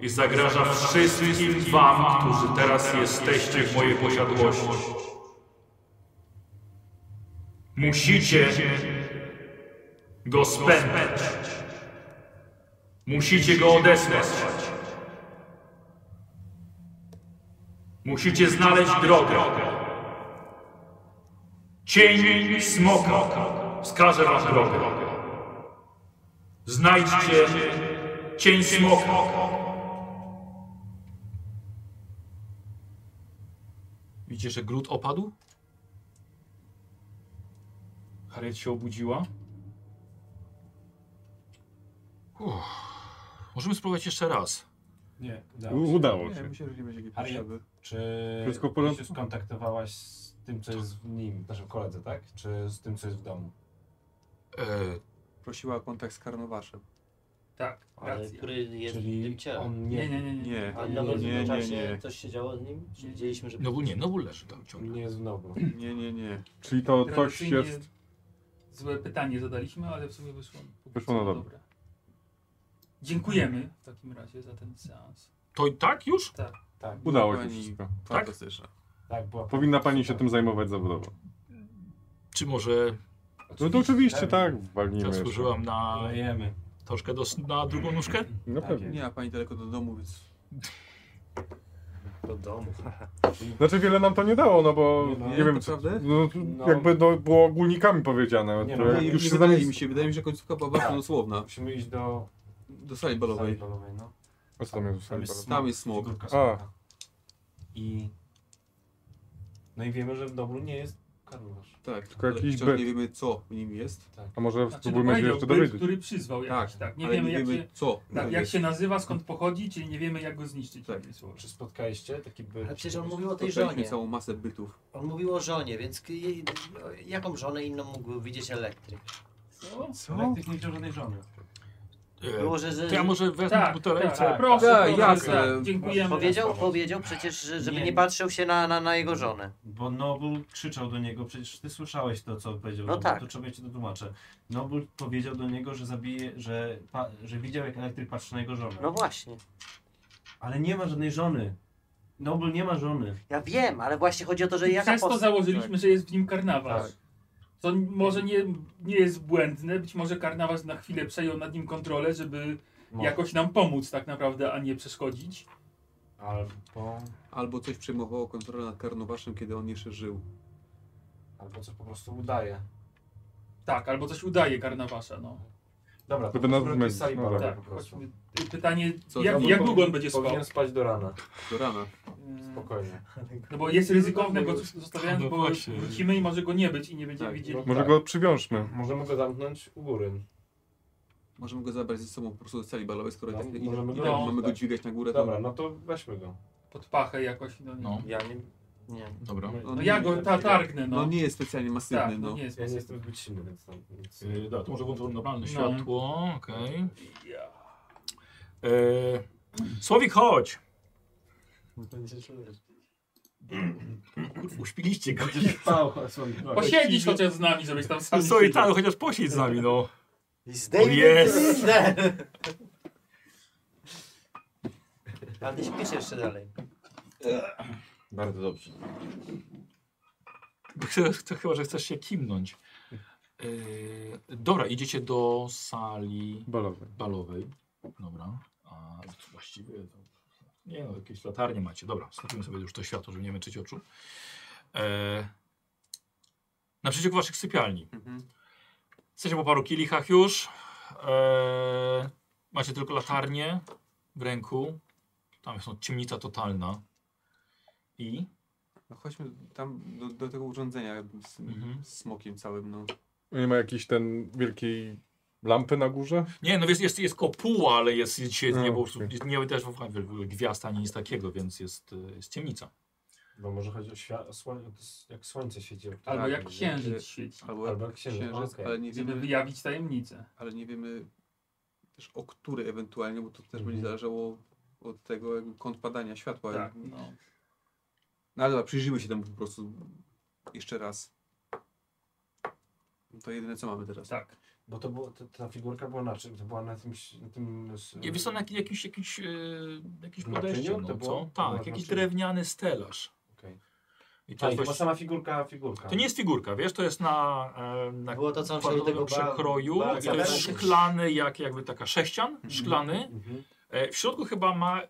Speaker 13: i zagraża wszystkim wam, którzy teraz jesteście w mojej posiadłości. Musicie go spędzać. Musicie go odesłać. Musicie znaleźć drogę. Cień smoka wskaże wam drogę. Znajdźcie cień smoka.
Speaker 1: Widzicie, że glut opadł?
Speaker 13: Harriet się obudziła.
Speaker 1: Uff. Możemy spróbować jeszcze raz.
Speaker 2: Nie,
Speaker 4: U- udało Nie, się.
Speaker 9: myślę, że nie będzie jakiej
Speaker 2: Harriet,
Speaker 9: potrzeby.
Speaker 2: czy
Speaker 4: Wszystko w
Speaker 2: ty
Speaker 4: porządku?
Speaker 2: się skontaktowałaś z tym, co jest w nim, naszym koledze, tak? Czy z tym, co jest w domu?
Speaker 9: Prosiła o kontakt z karnowaszem.
Speaker 6: Tak,
Speaker 5: Ale który jest
Speaker 2: Czyli
Speaker 5: w tym ciele.
Speaker 2: on nie- Nie, nie, nie, nie.
Speaker 5: A
Speaker 2: Nie,
Speaker 5: nawet
Speaker 2: nie,
Speaker 5: w
Speaker 2: nie,
Speaker 5: czasie
Speaker 2: nie.
Speaker 5: coś się działo z nim? Czy widzieliśmy, że...
Speaker 1: leży tam ciągle.
Speaker 2: Nie jest w nobu.
Speaker 9: Nie, nie, nie.
Speaker 4: Czyli to no coś
Speaker 6: Tradycyjnie
Speaker 4: jest.
Speaker 6: Złe pytanie zadaliśmy, ale w sumie wyszło.
Speaker 4: Wyszło na dobre.
Speaker 6: Dziękujemy w takim razie za ten seans.
Speaker 1: To i tak już?
Speaker 6: Tak.
Speaker 2: Tak.
Speaker 4: Udało się
Speaker 6: Pani
Speaker 4: wszystko.
Speaker 9: fantastyczna.
Speaker 2: Tak, była
Speaker 4: Powinna pani się tym zajmować zawodowo.
Speaker 1: Czy może...
Speaker 4: No to oczywiście tak, walnijmy. jeszcze.
Speaker 1: Zasłużyłam na...
Speaker 2: Lejemy.
Speaker 1: Troszkę do, s- na drugą nóżkę?
Speaker 4: No
Speaker 13: Tak
Speaker 4: pewnie.
Speaker 9: Nie ma pani daleko do domu, więc
Speaker 5: Do domu.
Speaker 4: Znaczy wiele nam to nie dało, no bo
Speaker 9: Nie,
Speaker 4: nie,
Speaker 9: no.
Speaker 4: wiem,
Speaker 9: To
Speaker 4: co,
Speaker 9: prawda?
Speaker 4: no, tu
Speaker 9: No.
Speaker 4: jakby no, było ogólnikami powiedziane.
Speaker 9: Nie,
Speaker 4: to
Speaker 9: no,
Speaker 4: jak
Speaker 9: nie,
Speaker 4: już
Speaker 9: nie
Speaker 4: się
Speaker 9: wydaje
Speaker 4: zamiast-
Speaker 9: mi się, Tak. wydaje mi się, że końcówka była bardzo dosłowna.
Speaker 2: Musimy iść do...
Speaker 9: Do sali balowej.
Speaker 2: no.
Speaker 4: A co tam jest?
Speaker 2: Tam
Speaker 9: jest Tam jest smok.
Speaker 2: Figurka
Speaker 9: A.
Speaker 2: smoka. I... No i wiemy, że w domu nie jest karnowacz.
Speaker 9: Tak,
Speaker 4: Tylko
Speaker 9: ale
Speaker 4: jakiś
Speaker 9: wciąż
Speaker 4: byt.
Speaker 9: nie wiemy co w nim jest.
Speaker 4: A może
Speaker 6: Znaczy,
Speaker 4: spróbujmy się
Speaker 6: powiedział
Speaker 4: jeszcze
Speaker 6: byt,
Speaker 4: dowiedzieć.
Speaker 6: który przyzwał jakiś, tak.
Speaker 9: Tak,
Speaker 6: Nie
Speaker 9: ale
Speaker 6: wiemy,
Speaker 9: nie
Speaker 6: jak,
Speaker 9: wiemy,
Speaker 6: się,
Speaker 9: co
Speaker 6: tak,
Speaker 9: to
Speaker 6: jak
Speaker 9: jest.
Speaker 6: się nazywa, skąd pochodzi, czyli nie wiemy jak go zniszczyć.
Speaker 9: Tak.
Speaker 2: Czy spotkaliście taki byt?
Speaker 5: Ale przecież on mówił o tej
Speaker 9: Spotkaliśmy
Speaker 5: żonie.
Speaker 9: całą masę bytów.
Speaker 5: On mówił o żonie, więc k- jej- jaką żonę inną mógł widzieć elektryk?
Speaker 2: Co? Elektryk nie wziął żadnej żony.
Speaker 13: Yy,
Speaker 5: Było, że- że-
Speaker 1: E, To ja może wezmę
Speaker 5: No, Tak,
Speaker 1: butelę i
Speaker 5: tak,
Speaker 1: sobie
Speaker 5: tak,
Speaker 1: proszę.
Speaker 5: tak,
Speaker 1: proszę,
Speaker 5: jasne.
Speaker 1: proszę.
Speaker 5: Powiedział, powiedział przecież, że, żeby nie,
Speaker 2: Nie.
Speaker 5: patrzył się na, na, na jego żonę.
Speaker 2: Bo Nobul krzyczał do niego, przecież ty słyszałeś to, co powiedział.
Speaker 5: No
Speaker 2: Nobul,
Speaker 5: tak.
Speaker 2: To trzeba ja ci to tłumaczę. Nobul powiedział do niego, że zabije, że, pa, że widział, jak elektryk patrzy na jego żonę.
Speaker 5: No właśnie.
Speaker 3: Ale nie ma żadnej żony. Nobel nie ma żony.
Speaker 5: Ja wiem, ale właśnie chodzi o to, że ja
Speaker 6: Przez to założyliśmy,
Speaker 2: Tak.
Speaker 6: że jest w nim karnawasz. To może nie, nie jest błędne, być może karnawasz na chwilę przejął nad nim kontrolę, żeby
Speaker 2: No.
Speaker 9: Może.
Speaker 6: jakoś nam pomóc tak naprawdę, a nie przeszkodzić.
Speaker 9: Albo... Albo coś przejmowało kontrolę nad Karnowaszem, kiedy on jeszcze żył. Albo coś po prostu udaje.
Speaker 6: Tak, albo coś udaje karnawasza, no.
Speaker 2: Dobra, to Żeby nas powrót zmęczyć, sali no dobra,
Speaker 6: tak,
Speaker 2: po prostu.
Speaker 6: chodźmy. Pytanie,
Speaker 2: Co,
Speaker 6: jak,
Speaker 2: znowu
Speaker 6: jak
Speaker 2: powin-
Speaker 6: długo on będzie spał? Mm,
Speaker 2: powinien spać do rana.
Speaker 9: Do rana.
Speaker 2: Spokojnie.
Speaker 6: No bo jest ryzykowne go zostawiając,
Speaker 2: No
Speaker 6: bo
Speaker 2: właśnie. Tak.
Speaker 6: wrócimy i może go nie być i nie będziemy widzieli.
Speaker 4: Może go przywiążmy.
Speaker 9: Możemy go zamknąć u góry. Możemy go zabrać ze sobą po prostu do celi balowej, skoro i- i-
Speaker 2: No, możemy
Speaker 9: i
Speaker 2: go
Speaker 9: tak
Speaker 2: wziąć,
Speaker 9: mamy go
Speaker 2: tak.
Speaker 9: dźwigać na górę.
Speaker 2: Dobra, no to weźmy go.
Speaker 6: Pod pachę jakoś, no nie.
Speaker 2: No. Ja nie-
Speaker 9: Nie.
Speaker 2: Dobra.
Speaker 6: No ja go ta, targnę, no.
Speaker 9: No nie jest specjalnie masywny,
Speaker 6: Tak,
Speaker 9: no.
Speaker 6: nie jest
Speaker 2: Ja nie
Speaker 6: masywny.
Speaker 2: jestem zbyt silny, więc tam... Więc...
Speaker 32: Yy, dobra, to może włączyłem normalne
Speaker 13: No.
Speaker 32: światło, okej.
Speaker 6: Ja.
Speaker 32: Yy, Słowik, chodź! Kurwa, Uśpiliście go.
Speaker 33: spał,
Speaker 6: Posiedzisz chociaż z nami, żebyś tam sam nie
Speaker 32: Sorry,
Speaker 6: siedział.
Speaker 32: tak, chociaż posiedź z nami, no.
Speaker 5: David
Speaker 32: Jest!
Speaker 5: Ale ty śpisz jeszcze dalej.
Speaker 34: Bardzo dobrze.
Speaker 13: Ch- ch- Chyba, że chcesz się kimnąć.
Speaker 32: E,
Speaker 13: Yy, dobra, idziecie do sali
Speaker 4: balowej.
Speaker 13: balowej. Dobra. A tu właściwie to... Nie no, jakieś latarnie macie. Dobra, skupimy sobie już to światło, żeby nie męczyć oczu. E, naprzeciwko waszych sypialni.
Speaker 2: Mhm.
Speaker 13: Jesteście po paru kielichach już. E, macie tylko latarnię w ręku. Tam jest no, ciemnica totalna. I?
Speaker 9: No chodźmy tam do, do tego urządzenia z
Speaker 13: Mhm.
Speaker 9: z smokiem całym, no.
Speaker 4: Nie ma jakiejś ten wielkiej lampy na górze?
Speaker 13: Nie, no jest, jest, jest kopuła, ale jest, jest, jest
Speaker 4: A,
Speaker 13: nie, bo
Speaker 4: okej.
Speaker 13: nie też w ogóle gwiazd ani nic takiego, więc jest, y, jest ciemnica.
Speaker 2: Bo może chodzi o świat, słoń, jak słońce świeci. jak to
Speaker 6: Albo
Speaker 2: rano,
Speaker 6: Tak, no jak
Speaker 2: nie?
Speaker 6: księżyc świeci.
Speaker 9: Albo,
Speaker 2: Albo jak księżyc, okej.
Speaker 9: ale nie wiemy...
Speaker 6: Żeby wyjawić tajemnicę.
Speaker 9: Ale nie wiemy też o który ewentualnie, bo to też będzie zależało od tego jakby kąt padania światła.
Speaker 6: Tak,
Speaker 9: no.
Speaker 6: no.
Speaker 9: ale dobra, przyjrzyjmy się temu po prostu jeszcze raz. To jedyne co mamy teraz.
Speaker 6: Tak.
Speaker 2: Bo to było, to, ta figurka była na czym? To była na tym... Na tym s-
Speaker 13: Nie, wiesz, to na jak- jakiś, jakiś, yy, jakiś
Speaker 2: Naczyniu
Speaker 13: podejście,
Speaker 2: to
Speaker 13: no,
Speaker 2: było?
Speaker 13: co? Tak,
Speaker 2: Było
Speaker 13: jakiś
Speaker 2: naczynie.
Speaker 13: drewniany stelaż.
Speaker 2: Okej.
Speaker 13: I
Speaker 2: A, i to
Speaker 13: właśnie-
Speaker 2: Tak, była sama figurka, figurka.
Speaker 13: To nie jest figurka, wiesz, to jest na, e, na
Speaker 5: Było to, co on się do
Speaker 13: kwadratowym
Speaker 5: tego ba-
Speaker 13: przekroju,
Speaker 5: ba-
Speaker 13: to jest
Speaker 5: zabezpieczył.
Speaker 13: szklany, jak, jakby taka sześcian,
Speaker 2: Mhm.
Speaker 13: szklany. E, w środku chyba ma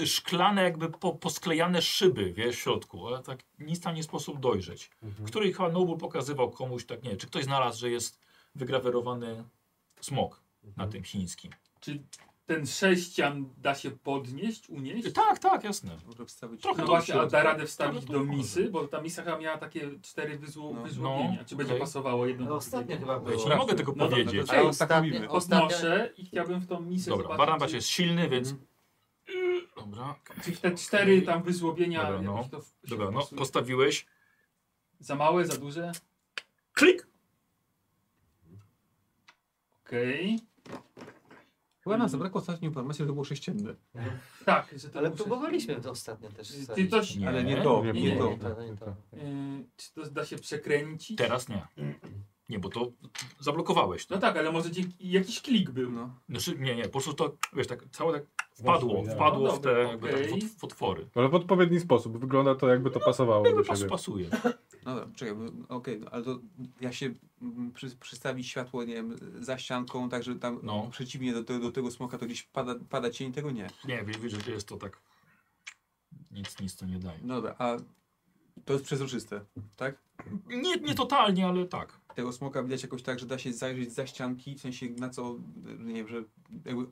Speaker 13: e, szklane jakby po, posklejane szyby, wiesz, w środku, ale tak nic tam nie sposób dojrzeć.
Speaker 2: Mhm.
Speaker 13: Który chyba Noble pokazywał komuś, tak nie wiem, czy ktoś znalazł, że jest wygrawerowany smok
Speaker 2: Mhm.
Speaker 13: na tym chińskim.
Speaker 6: Czy ten sześcian da się podnieść, unieść?
Speaker 13: Tak, tak, jasne.
Speaker 9: Może wstawić
Speaker 6: Trochę
Speaker 13: Trochę
Speaker 6: no
Speaker 13: to
Speaker 6: właśnie,
Speaker 13: w
Speaker 6: a da
Speaker 13: środku.
Speaker 6: radę wstawić
Speaker 13: Ale to
Speaker 6: do misy, bo ta misa chyba miała takie cztery wyzło, wyzłobienia.
Speaker 13: No,
Speaker 6: Czy będzie
Speaker 13: okej.
Speaker 6: pasowało jedno do
Speaker 5: ostatnio
Speaker 6: drugiego?
Speaker 13: chyba Ja ci nie było. mogę
Speaker 9: No
Speaker 13: tego
Speaker 6: No dobra, to
Speaker 13: powiedzieć.
Speaker 6: okej,
Speaker 13: Ale ostatnio-
Speaker 6: podnoszę
Speaker 13: ostatnio-
Speaker 6: Podnoszę i chciałbym w tą misę
Speaker 13: Dobra,
Speaker 6: zobaczyć,
Speaker 13: Barnabas
Speaker 6: czy-
Speaker 13: jest silny, więc...
Speaker 6: Mhm.
Speaker 13: Dobra.
Speaker 6: Czyli te cztery tam wyzłobienia
Speaker 13: Dobra, no.
Speaker 6: jakoś to w- się
Speaker 13: Dobra, no,
Speaker 6: wpasuje.
Speaker 13: postawiłeś.
Speaker 6: Za małe, za duże?
Speaker 13: Klik!
Speaker 6: Okej.
Speaker 9: Chyba nam zabrakło ostatniej informacji, że to było sześcienne.
Speaker 6: Tak, że to
Speaker 5: Ale
Speaker 6: był sześć-
Speaker 5: próbowaliśmy to ostatnio też
Speaker 6: Ty
Speaker 5: wsadzić.
Speaker 6: coś...
Speaker 9: Nie. Ale nie to,
Speaker 6: Nie,
Speaker 9: nie
Speaker 6: nie,
Speaker 9: to.
Speaker 6: nie
Speaker 13: No,
Speaker 5: nie to.
Speaker 6: Yy, Czy to da się przekręcić?
Speaker 13: Teraz nie. Nie, bo to zablokowałeś. To.
Speaker 6: Mhm. No tak, ale może dzięki, jakiś klik był.
Speaker 9: No.
Speaker 13: Znaczy, nie, nie, po prostu to, wiesz, tak całe tak wpadło,
Speaker 4: Znowu,
Speaker 13: wpadło
Speaker 6: no
Speaker 13: w te
Speaker 6: dobra,
Speaker 13: jakby tak,
Speaker 6: okej.
Speaker 13: w, w otwory.
Speaker 4: Ale w odpowiedni sposób. Wygląda to jakby to pasowało do
Speaker 13: Pas,
Speaker 4: siebie.
Speaker 13: pasuje.
Speaker 9: No dobra, czekaj, bo- okej, no, ale to ja się mm, przy, przystawić światło, nie wiem, za ścianką, tak żeby tam
Speaker 13: No.
Speaker 9: przeciwnie do, te, do tego smoka to gdzieś pada, pada cień, tego nie.
Speaker 13: Nie, wiesz, wiesz, że jest to tak, nic, nic to nie daje.
Speaker 9: No dobra, a to jest przezroczyste, tak?
Speaker 13: Nie, nie totalnie, ale tak.
Speaker 9: Tego smoka widać jakoś tak, że da się zajrzeć za ścianki, w sensie na co, nie wiem, że jakby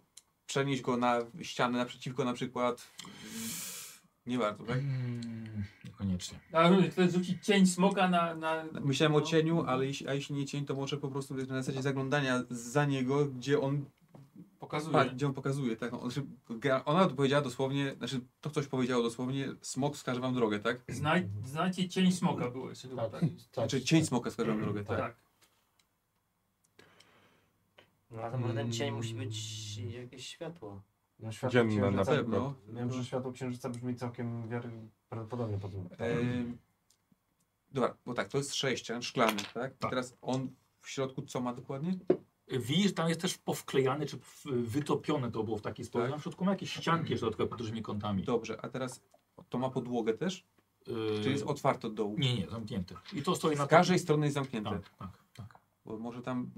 Speaker 9: przenieść go na ścianę naprzeciwko na przykład. Nie warto, tak?
Speaker 13: Niekoniecznie.
Speaker 6: A rozumiem, to jest rzucić cień smoka na... na...
Speaker 9: Myślałem o cieniu, ale jeśli, a jeśli nie cień, to może po prostu na zasadzie zaglądania za niego, gdzie on
Speaker 6: Pokazuje.
Speaker 9: Pa, gdzie on pokazuje, tak? No, on, że gra- ona tu powiedziała dosłownie, znaczy to coś powiedziało dosłownie, smok wskaże wam drogę, tak?
Speaker 6: Znaj, znacie cień smoka było jeszcze chyba tak.
Speaker 9: Znaczy cień smoka wskaże wam drogę, tak?
Speaker 6: Tak.
Speaker 5: No
Speaker 13: Mm.
Speaker 5: ale może ten cień musi być jakieś światło.
Speaker 2: No światło
Speaker 4: Dzienne
Speaker 2: księżyca
Speaker 4: na
Speaker 2: było-
Speaker 9: pewno.
Speaker 2: Wiem, że światło księżyca brzmi całkiem wiary... prawdopodobnie po tym.
Speaker 9: Ehm,
Speaker 13: Tak.
Speaker 9: dobra, bo tak, to jest sześcian szklany, tak? I teraz on w środku co ma dokładnie?
Speaker 13: Widzisz, tam jest też powklejane, czy w- wytopione to było w taki sposób. Na środku ma jakieś ścianki jeszcze dodatkowe pod dużymi kątami.
Speaker 9: Dobrze, a teraz to ma podłogę też?
Speaker 13: Yy,
Speaker 9: Czy jest otwarte od dołu?
Speaker 13: Nie, nie, zamknięte. I to stoi
Speaker 9: Z
Speaker 13: na
Speaker 9: każdej strony jest zamknięte.
Speaker 13: Tak, tak, tak.
Speaker 9: Bo może tam.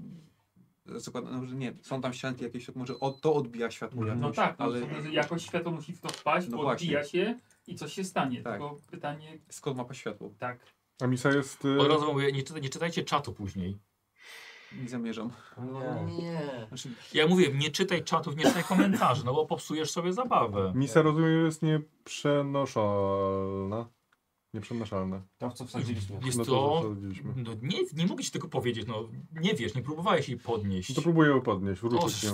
Speaker 9: Zakładam, no, że nie, są tam ścianki jakieś, może o, to odbija światło.
Speaker 6: No
Speaker 9: jakoś,
Speaker 6: tak,
Speaker 9: ale
Speaker 6: ale jakoś światło musi w to wpaść,
Speaker 9: No
Speaker 6: bo odbija
Speaker 9: właśnie.
Speaker 6: się i coś się stanie.
Speaker 9: Tak.
Speaker 6: Tylko pytanie,
Speaker 9: skąd ma światło?
Speaker 6: Tak.
Speaker 4: A misa jest... y,
Speaker 13: Od razu mówię, nie, czyta- nie czytajcie czatu później.
Speaker 9: Nie zamierzam.
Speaker 13: No.
Speaker 5: Nie.
Speaker 9: Znaczy,
Speaker 13: Ja mówię, nie czytaj czatów, nie czytaj komentarzy, no bo popsujesz sobie zabawę.
Speaker 4: Misa, rozumiem, jest nieprzenoszalna. Nieprzenaszalna.
Speaker 1: To, w co wsadziliśmy.
Speaker 13: Jest
Speaker 4: No
Speaker 13: to...
Speaker 4: to zostawiliśmy.
Speaker 13: no nie, nie mogę ci tego powiedzieć, no nie wiesz, nie próbowałeś jej podnieść.
Speaker 4: No To próbuję ją podnieść, wrócić
Speaker 13: O,
Speaker 4: ją.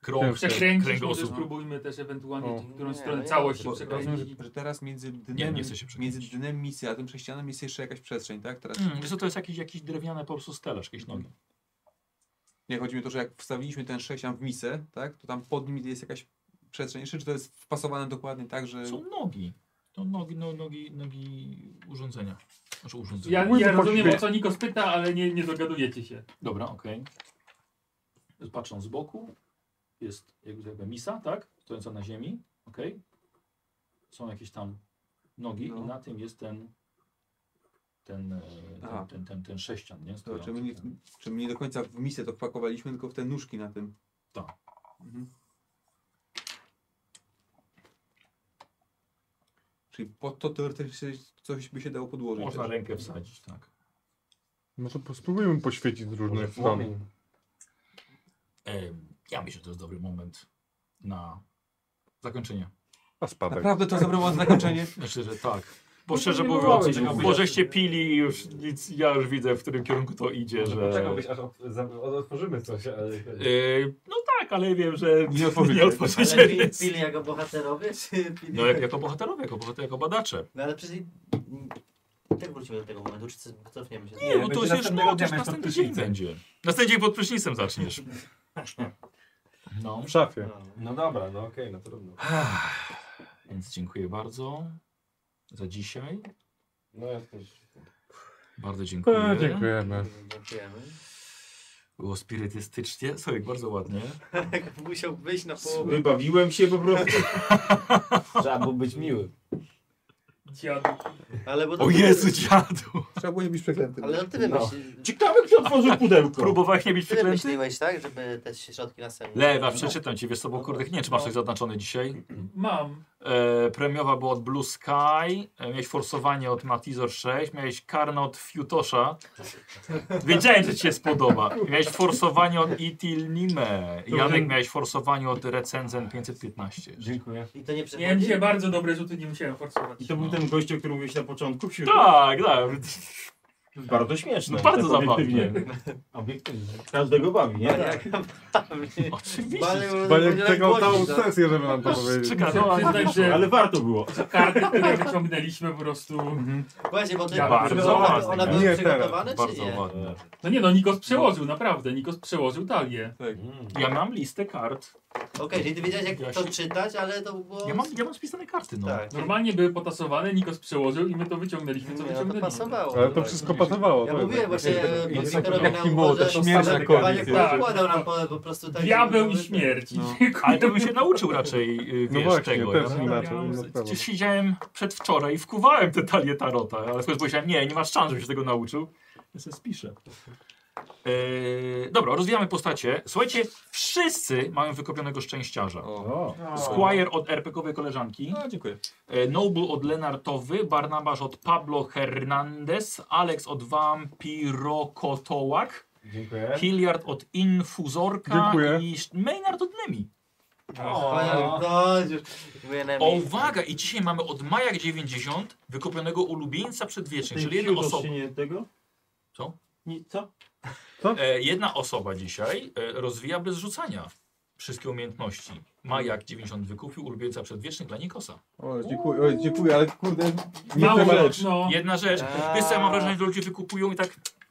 Speaker 13: Krąg,
Speaker 6: przekręcić, może
Speaker 13: kręgosłup.
Speaker 6: spróbujmy też ewentualnie
Speaker 4: O.
Speaker 6: w którąś
Speaker 9: Nie,
Speaker 6: stronę
Speaker 9: nie,
Speaker 6: całość się
Speaker 9: bo Rozumiem,
Speaker 6: przekręcić.
Speaker 9: że, że teraz między dnem,
Speaker 13: Nie, nie chcę się przekręcić.
Speaker 9: między dnem misji, a tym prześcianem jest jeszcze jakaś przestrzeń, tak? Teraz
Speaker 13: Hmm, wiesz co, to jest jakiś, jakiś drewniany po prostu stelaż, jakieś nogi.
Speaker 9: nie chodzi mi o to, że jak wstawiliśmy ten sześcian w misę, tak? To tam pod nim jest jakaś przestrzeń. Jeszcze czy to jest wpasowane dokładnie tak, że.
Speaker 13: Są nogi. To nogi, no, nogi, nogi urządzenia. Znaczy urządzenia.
Speaker 6: Ja, ja rozumiem o co Nikos pyta, ale nie, nie dogadujecie się.
Speaker 13: Dobra, okej. Patrzą z boku. Jest jakby, jakby misa, tak? Stojąca na ziemi. Okej. Są jakieś tam nogi i na tym jest ten ten, e,
Speaker 9: Aha.
Speaker 13: ten, ten, ten, ten sześcian, nie?
Speaker 9: To,
Speaker 13: Stojący.
Speaker 9: czy, my nie, czy my nie do końca w misję to wpakowaliśmy, tylko w te nóżki na tym.
Speaker 13: Tak.
Speaker 9: Mhm. Czyli pod to teoretycznie coś by się dało podłożyć.
Speaker 13: Można
Speaker 9: też.
Speaker 13: rękę wsadzić, tak.
Speaker 4: No to po- spróbujmy poświecić z różnych stron.
Speaker 13: Em, ja myślę, że to jest dobry moment na zakończenie.
Speaker 4: A spadek.
Speaker 9: Naprawdę to jest dobry moment na zakończenie?
Speaker 13: Myślę, że tak. Bo
Speaker 35: No to
Speaker 13: szczerze
Speaker 35: nie
Speaker 13: mówiąc,
Speaker 35: małeś, czekałbyś,
Speaker 13: bo
Speaker 35: aż-
Speaker 13: żeście pili i już nic, ja już widzę w którym kierunku to idzie, że...
Speaker 2: Czekałbyś, aż od, za- od- otworzymy coś, ale...
Speaker 13: Yy, no tak, ale wiem, że
Speaker 9: nie otworzycie.
Speaker 13: Nie otworzycie
Speaker 5: Ale pili,
Speaker 13: więc-
Speaker 5: pili jako bohaterowie, czy pili...
Speaker 13: No jak, jako bohaterowie, jako, bohater, jako badacze.
Speaker 5: No ale przecież... Tak wrócimy do tego momentu, czy co- cofniemy się?
Speaker 13: Nie, bo to już no, to już następny dzień będzie. Następny dzień pod prysznicem zaczniesz. No.
Speaker 4: W szafie.
Speaker 2: No dobra, no okej, no trudno.
Speaker 13: Więc dziękuję bardzo za dzisiaj.
Speaker 2: No ja też.
Speaker 13: Bardzo dziękuję.
Speaker 4: E, dziękujemy.
Speaker 5: Dziękujemy.
Speaker 13: Było spirytystycznie. Słowik, bardzo ładnie.
Speaker 5: <laughs> Musiał wyjść na połowę.
Speaker 3: Wybawiłem się po prostu.
Speaker 2: <laughs> Trzeba było być miłym.
Speaker 6: Dziadu.
Speaker 5: Ale bo
Speaker 13: O Jezu, No. dziadu!
Speaker 9: Trzeba było nie być przeklętym.
Speaker 5: Ale ty wymyślisz...
Speaker 3: Ciekawe, kto otworzył
Speaker 13: Tak.
Speaker 3: pudełko.
Speaker 13: Próbowałeś nie być
Speaker 5: Ty
Speaker 13: przeklęty?
Speaker 5: myśliłeś, tak, żeby te środki następne... No.
Speaker 13: Lewa, przeczytam ci, wiesz co, bo kurde, nie wiem, czy masz coś zaznaczone dzisiaj.
Speaker 6: Mam.
Speaker 13: E, premiowa była od Blue Sky, e, miałeś forsowanie od Matizor 6, miałeś karno od Fiutosza. Wiedziałem, że ci się spodoba. Miałeś forsowanie od Itil Nime. Janek miałeś forsowanie od Recenzen 515.
Speaker 2: Dziękuję.
Speaker 5: I to nie
Speaker 6: Miałem
Speaker 5: przechodzi?
Speaker 6: dzisiaj bardzo dobre rzuty, nie musiałem forsować.
Speaker 3: I to był ten gość, o którym mówiłeś na początku? Wśród...
Speaker 13: Tak, tak.
Speaker 3: Bardzo śmieszne.
Speaker 13: No bardzo
Speaker 3: Tak
Speaker 13: zabawne.
Speaker 3: obiektywnie.
Speaker 2: <laughs>
Speaker 3: Każdego bawi,
Speaker 2: No
Speaker 3: nie?
Speaker 2: tak.
Speaker 13: Oczywiście.
Speaker 4: Baniek czekał całą
Speaker 5: no.
Speaker 4: sesję, żeby nam to powiedzieć.
Speaker 13: Czeka,
Speaker 6: Muszę
Speaker 13: no, ale-
Speaker 6: przyznać, że
Speaker 3: Ale warto było.
Speaker 6: karty, które wyciągnęliśmy po prostu...
Speaker 5: no. Właśnie, bo ty...
Speaker 13: Ja bardzo
Speaker 5: Ona,
Speaker 13: ładnie.
Speaker 5: ona była
Speaker 4: Nie,
Speaker 5: przygotowana, czy
Speaker 13: Bardzo
Speaker 5: nie?
Speaker 13: ładne.
Speaker 6: No nie no, Nikos przełożył, naprawdę. Nikos przełożył talię.
Speaker 2: Mm.
Speaker 13: Ja mam listę kart.
Speaker 5: Okej, czyli ty wiedziałeś jak
Speaker 13: Ja
Speaker 5: to
Speaker 13: się-
Speaker 5: czytać, ale to było...
Speaker 13: Ja mam, ja mam spisane karty, no.
Speaker 5: Tak.
Speaker 6: Normalnie były potasowane, Nikos przełożył i my to wyciągnęliśmy, co
Speaker 5: Nie, no to
Speaker 6: wyciągnęliśmy.
Speaker 5: pasowało.
Speaker 4: Ale to wszystko pasowało.
Speaker 5: Ja
Speaker 4: to
Speaker 5: mówiłem
Speaker 4: jednak.
Speaker 5: właśnie,
Speaker 2: I
Speaker 5: bo
Speaker 2: jest
Speaker 5: Wiktorowi
Speaker 2: taki
Speaker 5: na
Speaker 2: mimo,
Speaker 5: umorze,
Speaker 2: to śmieszne
Speaker 5: Panie
Speaker 2: koniec.
Speaker 5: poukładał nam po, po prostu tak...
Speaker 6: Diabeł i śmierć.
Speaker 1: no.
Speaker 6: <laughs>
Speaker 13: Ale to bym się nauczył raczej, y,
Speaker 4: No
Speaker 13: wiesz,
Speaker 4: właśnie,
Speaker 13: tego.
Speaker 4: też
Speaker 13: ja
Speaker 4: inaczej.
Speaker 13: miałem-
Speaker 4: inna sprawa.
Speaker 13: Przecież siedziałem przedwczoraj i wkuwałem te talie tarota, ale słuchaj, powiedziałem, nie, nie masz szans, żebym się tego nauczył. Ja sobie spiszę. Eee, dobra, rozwijamy postacie. Słuchajcie, wszyscy mają wykopionego szczęściarza.
Speaker 2: O,
Speaker 13: Squire od RPKowej koleżanki.
Speaker 9: No, dziękuję.
Speaker 13: E, Noble od Lenartowy, Barnabasz od Pablo Hernandez, Alex od Vampiro Kotołak,
Speaker 2: dziękuję.
Speaker 13: Hilliard od Infuzorka
Speaker 4: Dziękuję.
Speaker 13: i Sz- Maynard od Nemi.
Speaker 5: Panie, no, już... Mówię, na
Speaker 13: O
Speaker 5: miejscu.
Speaker 13: uwaga! I dzisiaj mamy od Majak 90 wykupionego ulubieńca przedwiecznych, czyli jedna osoba.
Speaker 36: Się nie tego?
Speaker 13: Co?
Speaker 36: Nie, co?
Speaker 13: E, jedna osoba dzisiaj e, rozwija bez rzucania wszystkie umiejętności. Majak 90 wykupił ulubieńca przedwiecznych dla Nikosa.
Speaker 9: O, dziękuję, o, dziękuję, ale kurde, nie
Speaker 6: Mało,
Speaker 9: temat.
Speaker 6: no.
Speaker 13: Jedna rzecz. Wiesz co, ja mam wrażenie, że ludzie wykupują i tak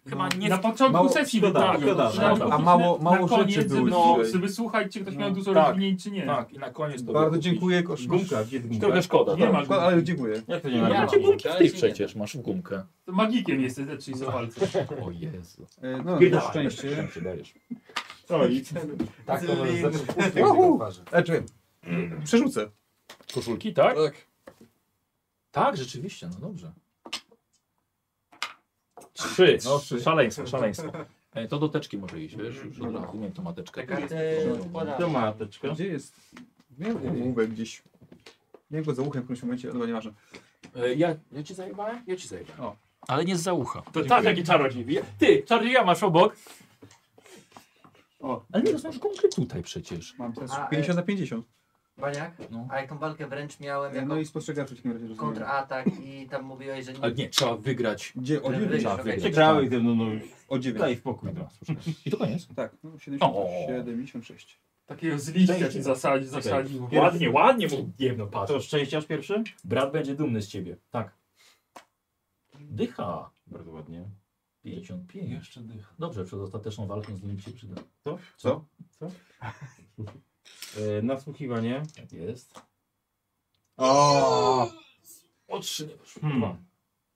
Speaker 1: Chyba nie...
Speaker 6: Na początku
Speaker 1: Mało-
Speaker 6: sesji
Speaker 1: szkoda,
Speaker 6: tak.
Speaker 1: szkoda,
Speaker 6: na
Speaker 1: szkoda.
Speaker 6: początku,
Speaker 1: A mało-
Speaker 6: na-
Speaker 1: mało
Speaker 6: na
Speaker 1: rzeczy
Speaker 6: koniec,
Speaker 1: było
Speaker 6: żeby,
Speaker 1: dzisiaj.
Speaker 6: słu- żeby słuchać, czy ktoś
Speaker 1: No,
Speaker 6: miał dużo
Speaker 1: tak.
Speaker 6: rozwinięć, czy nie.
Speaker 1: Tak, i na koniec to
Speaker 9: Bardzo
Speaker 1: było-
Speaker 9: dziękuję. Kosz...
Speaker 1: Gumka, gdzie
Speaker 9: gumka?
Speaker 1: Trochę szkoda.
Speaker 6: Nie
Speaker 1: tak.
Speaker 6: ma gumki.
Speaker 9: Ale dziękuję.
Speaker 1: Jak to
Speaker 6: nie ma
Speaker 1: Ja
Speaker 6: gumki?
Speaker 1: ci gumki w tej przecież, masz w gumkę.
Speaker 6: To magikiem jesteś lepszy niż walce.
Speaker 1: O Jezu.
Speaker 9: E, No,
Speaker 1: Pierdalaj,
Speaker 9: na szczęście.
Speaker 1: jak się dajesz.
Speaker 9: O, i
Speaker 2: Tak, to
Speaker 9: Cywil.
Speaker 2: zaczął punkt
Speaker 9: Uhu.
Speaker 2: na twarzy.
Speaker 9: Znaczy, przerzucę.
Speaker 1: Koszulki, tak? Tak. Tak, rzeczywiście, no dobrze. Trzy, no, trzy. szaleństwo, szaleństwo. E, To do teczki może iść, wiesz,
Speaker 13: Mhm.
Speaker 1: już od razu, nie wiem, to ma teczkę.
Speaker 9: To mateczka. Gdzie jest? Miałem ołówek gdzieś. Miałem go za uchem w którymś momencie, ale chyba nieważne.
Speaker 1: E, Ja, ja ci zajebałem? Ja ci zajebałem.
Speaker 9: O.
Speaker 1: Ale nie z za ucha. To
Speaker 9: Dziękuję.
Speaker 1: tak, jaki czarodziej. Ja- Ty, czarodzieja masz obok.
Speaker 9: O,
Speaker 1: ale nie rozumiesz gumkę tutaj przecież.
Speaker 9: Mam teraz
Speaker 5: A,
Speaker 9: 50
Speaker 5: e,
Speaker 9: na 50.
Speaker 5: Baniak?
Speaker 1: No.
Speaker 5: A jaką walkę wręcz miałem
Speaker 9: E,
Speaker 5: jako
Speaker 9: No i spostrzegawczy w takim razie rozumiem.
Speaker 5: kontratak i tam mówiłeś, że
Speaker 1: Ale nie, trzeba wygrać.
Speaker 9: Gdzie? O
Speaker 5: Ten
Speaker 9: 9.
Speaker 5: wygrał,
Speaker 1: Trzeba
Speaker 5: okej.
Speaker 1: wygrać.
Speaker 3: Przegrałeś ze mną, no już.
Speaker 9: O 9.
Speaker 3: Daj spokój. no.
Speaker 1: Dobra, słyszałeś. I to koniec.
Speaker 9: Tak, no,
Speaker 1: O.
Speaker 9: 70, 76.
Speaker 6: Takiego z liścia ci zasadzi, zasadzi.
Speaker 1: Ładnie, ładnie mu jedno patrz.
Speaker 3: To szczęściarz pierwszy?
Speaker 1: Brat będzie dumny z ciebie. Tak. Dycha. Bardzo ładnie. 55. Jeszcze dycha. Dobrze, przed ostateczną walką z nim ci się przyda.
Speaker 3: Co?
Speaker 1: Co? <laughs>
Speaker 3: Co? E, nasłuchiwanie.
Speaker 1: Tak jest.
Speaker 3: O!
Speaker 1: O trzy nie poszło.
Speaker 3: Hmm.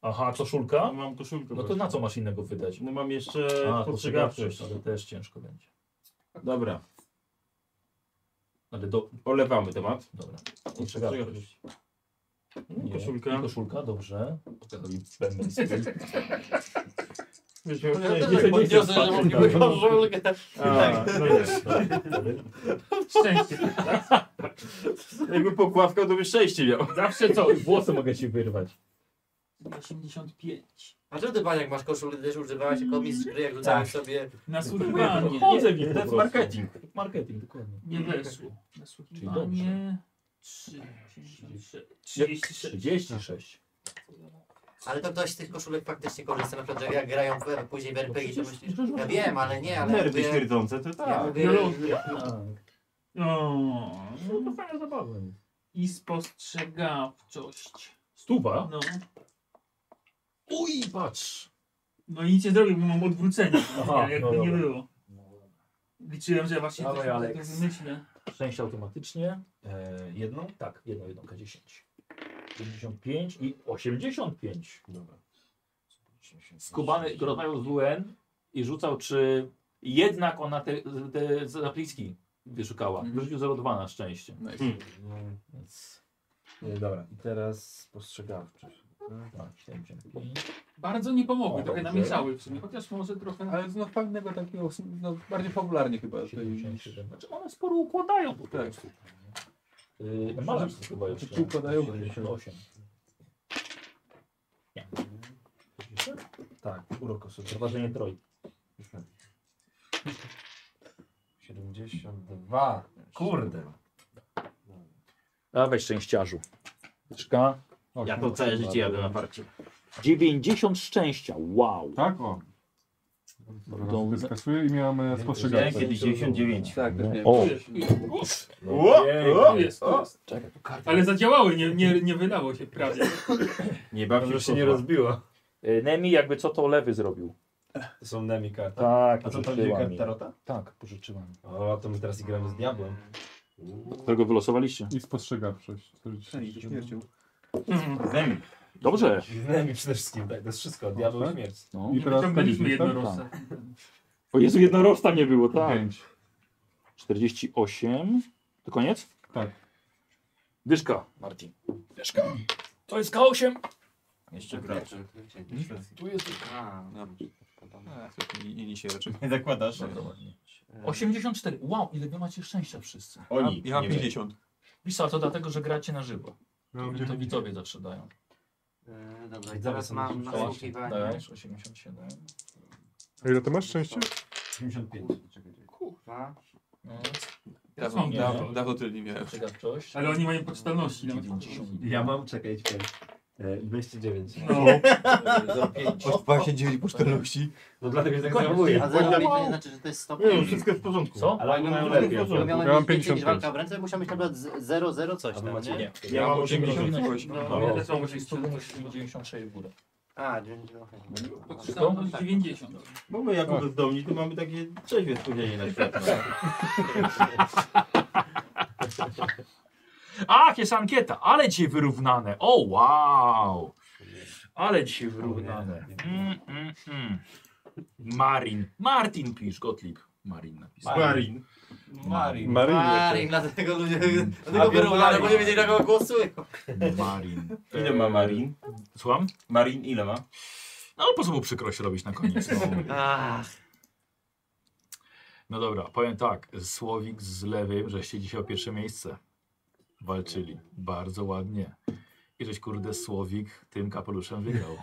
Speaker 1: Aha, koszulka?
Speaker 3: Mam koszulkę.
Speaker 1: No to na co masz innego wydać?
Speaker 3: No mam jeszcze
Speaker 1: A,
Speaker 3: spostrzegawczość.
Speaker 1: spostrzegawczość, ale też ciężko będzie.
Speaker 3: Dobra,
Speaker 1: Ale do...
Speaker 3: olewamy temat.
Speaker 1: Dobra.
Speaker 3: Spostrzegawczość.
Speaker 1: Nie.
Speaker 3: Koszulka.
Speaker 1: I koszulka, dobrze. Pokazuj bęben swój.
Speaker 3: Wiesz, ja
Speaker 1: Ja
Speaker 3: nie-
Speaker 1: też
Speaker 3: nie-
Speaker 1: tak
Speaker 3: nie-
Speaker 1: podniosę,
Speaker 3: nie-
Speaker 1: że
Speaker 3: nie-
Speaker 1: mogę
Speaker 3: nie-
Speaker 1: być
Speaker 3: nie-
Speaker 1: koszulkę.
Speaker 3: <laughs> A, no
Speaker 1: <laughs>
Speaker 3: jest.
Speaker 1: Tak.
Speaker 6: Szczęście.
Speaker 3: Jakby pogławkał, to by szczęście miał.
Speaker 1: Zawsze co? Włosy mogę ci wyrwać.
Speaker 6: 85.
Speaker 5: A czemu ty Baniak masz koszulę, też używałeś jako mistrz gry, jak rzucałeś sobie...
Speaker 6: Nasłuchiwanie.
Speaker 1: Chodzę w
Speaker 6: Nie,
Speaker 1: nich.
Speaker 3: to jest marketing.
Speaker 1: Marketing, dokładnie.
Speaker 6: Nie weszło.
Speaker 1: Czyli
Speaker 6: Nasłuchiwanie. 3, 86.
Speaker 1: 36. 36.
Speaker 5: Ale to ktoś z tych koszulek faktycznie korzysta, na przykład że jak grają w, później w RPG, to myślisz, ja wiem, ale nie, ale
Speaker 3: Nerwy
Speaker 5: mówię-
Speaker 3: śmierdzące, to tak.
Speaker 5: Ja mówię,
Speaker 6: Biologia.
Speaker 1: No to fajna zabawa.
Speaker 6: I spostrzegawczość.
Speaker 1: Stuwa?
Speaker 6: No.
Speaker 1: Uj, patrz.
Speaker 6: No i nic nie zrobił, bo mam odwrócenie.
Speaker 1: Aha,
Speaker 6: jak
Speaker 1: no
Speaker 6: to nie
Speaker 1: dobra.
Speaker 6: było. Liczyłem, że właśnie
Speaker 1: Dawaj,
Speaker 6: coś może
Speaker 1: Aleks.
Speaker 6: to wymyślę.
Speaker 1: Szczęście automatycznie. E, jedną? Tak, jedną, jedną K10. 55 i 85. Dobra. Skubany rozmawiał z WN i rzucał, czy jednak ona te, te zapliski wyszukała.
Speaker 2: Mhm.
Speaker 1: Wyrzucił 0,2 na szczęście.
Speaker 9: Hmm.
Speaker 1: Więc
Speaker 2: Nie, E, dobra, i teraz spostrzegawczy.
Speaker 1: tak, 75.
Speaker 6: Bardzo nie pomogły,
Speaker 2: O,
Speaker 6: trochę
Speaker 2: dobrze.
Speaker 6: namieszały w sumie, chociaż może trochę...
Speaker 9: Ale no fajnego takiego, no bardziej popularnie chyba. że- niż-
Speaker 1: 77. Znaczy one sporo układają po prostu. Yy, Malarz to chyba jeszcze.
Speaker 9: Czy układają?
Speaker 1: 78. Nie.
Speaker 2: Tak, urok osobisty.
Speaker 1: Prowadzenie troj.
Speaker 2: 72. Kurde.
Speaker 1: Dawaj szczęściarzu. Czka.
Speaker 3: Ja to całe życie jadę na parcie.
Speaker 1: 90 szczęścia. Wow.
Speaker 4: Tak, o.
Speaker 1: To-
Speaker 4: Dobra, skasuję i miałem e, spostrzegawczość.
Speaker 3: Kiedyś 99.
Speaker 9: Tak, też nie
Speaker 1: O. No,
Speaker 6: Uff,
Speaker 3: O!
Speaker 6: tu jest, tu jest. Ale zadziałały, nie, nie, nie wylało się prawie.
Speaker 3: Nie baw się, w
Speaker 2: się nie
Speaker 3: kotła.
Speaker 2: rozbiła.
Speaker 1: Y, Nemi jakby co to lewy zrobił.
Speaker 2: To są nemi karty.
Speaker 1: Tak,
Speaker 2: A co to będzie
Speaker 1: pożyczyła
Speaker 2: karta
Speaker 1: mi.
Speaker 2: tarota?
Speaker 1: Tak, pożyczyła mi.
Speaker 2: O, to my teraz gramy z diabłem.
Speaker 1: Którego wylosowaliście?
Speaker 4: I spostrzegawczość.
Speaker 9: Ej, to śmiercią.
Speaker 1: Dobrze.
Speaker 2: Z nemi przede wszystkim, tak, to jest wszystko, od diabła i śmierć.
Speaker 1: No.
Speaker 4: I teraz
Speaker 6: Wyciągnęliśmy
Speaker 4: tak?
Speaker 6: jednorożca.
Speaker 1: O Jezu, jednorożca nie było, tak.
Speaker 4: Pięć.
Speaker 1: 48. To koniec?
Speaker 4: Tak.
Speaker 1: Dyszka, Martin. Dyszka. To jest K8.
Speaker 3: Jeszcze gracze.
Speaker 1: Tu jest
Speaker 5: A,
Speaker 9: I, i się raczej.
Speaker 3: Nie zakładasz?
Speaker 1: 84. Wow, ile wy macie szczęścia wszyscy.
Speaker 3: Oni.
Speaker 9: Ja mam
Speaker 3: nie my.
Speaker 9: 50.
Speaker 1: Wisa, to dlatego, że gracie na żywo.
Speaker 4: No,
Speaker 1: To widzowie zawsze dają.
Speaker 5: e, Dobra, i teraz mam
Speaker 1: Dajesz,
Speaker 5: nasłuchiwanie.
Speaker 1: Dajesz 87.
Speaker 4: A ile ty masz szczęścia?
Speaker 2: 75.
Speaker 5: Kurwa.
Speaker 1: No,
Speaker 6: Teraz mam
Speaker 9: Nie,
Speaker 6: dawno.
Speaker 9: Dawno tyle nie miałem.
Speaker 1: spostrzegawczość.
Speaker 6: Ale oni mają poczytalności. no.
Speaker 1: 90.
Speaker 2: Ja mam, czekaj, czekaj. E, 209.
Speaker 6: No.
Speaker 2: Za pięć.
Speaker 9: Od 29 pocztelności.
Speaker 2: No dlatego się tak
Speaker 1: Koniec.
Speaker 2: zajmuję.
Speaker 5: A 0,5 znaczy, że to jest
Speaker 3: Nie, no,
Speaker 5: stopień.
Speaker 3: wszystko jest w porządku.
Speaker 1: Co?
Speaker 2: Ale oni mają lepiej.
Speaker 5: Bo
Speaker 2: akurat.
Speaker 5: miałem
Speaker 4: Ja mam
Speaker 5: mieć więcej niż
Speaker 4: 55.
Speaker 5: walka w ręce, musiał mieć na przykład 0,0 coś tam, nie?
Speaker 1: Nie.
Speaker 3: Ja mam 80.
Speaker 1: No,
Speaker 6: No, ja też mam 80.
Speaker 1: 96 w górę.
Speaker 5: A, dziewięć- no, okej.
Speaker 6: Tylko? 90.
Speaker 3: Bo my jako
Speaker 5: Tak.
Speaker 3: bezdomni to mamy takie trzeźwie spojrzenie na świat. no.
Speaker 13: Ach, jest ankieta, ale dzisiaj wyrównane. O, wow. Ale dzisiaj wyrównane. Mm, mm, mm. Marin. Martin pisz, Gottlieb.
Speaker 3: <laughs>
Speaker 13: Marin napisał.
Speaker 3: Marin.
Speaker 13: Marin.
Speaker 5: Marin, dlatego ludzie, dlatego biorą Larę, bo nie wiedzieli na kogo głosują.
Speaker 13: Marin.
Speaker 3: Ile ma Marin?
Speaker 13: Słucham?
Speaker 3: Marin ile ma?
Speaker 13: No po co mu przykrość robić na koniec? No, no dobra, powiem tak. Słowik z lewym, żeście dzisiaj o pierwsze miejsce walczyli. Bardzo ładnie. I żeś kurde Słowik tym kapeluszem wygrał.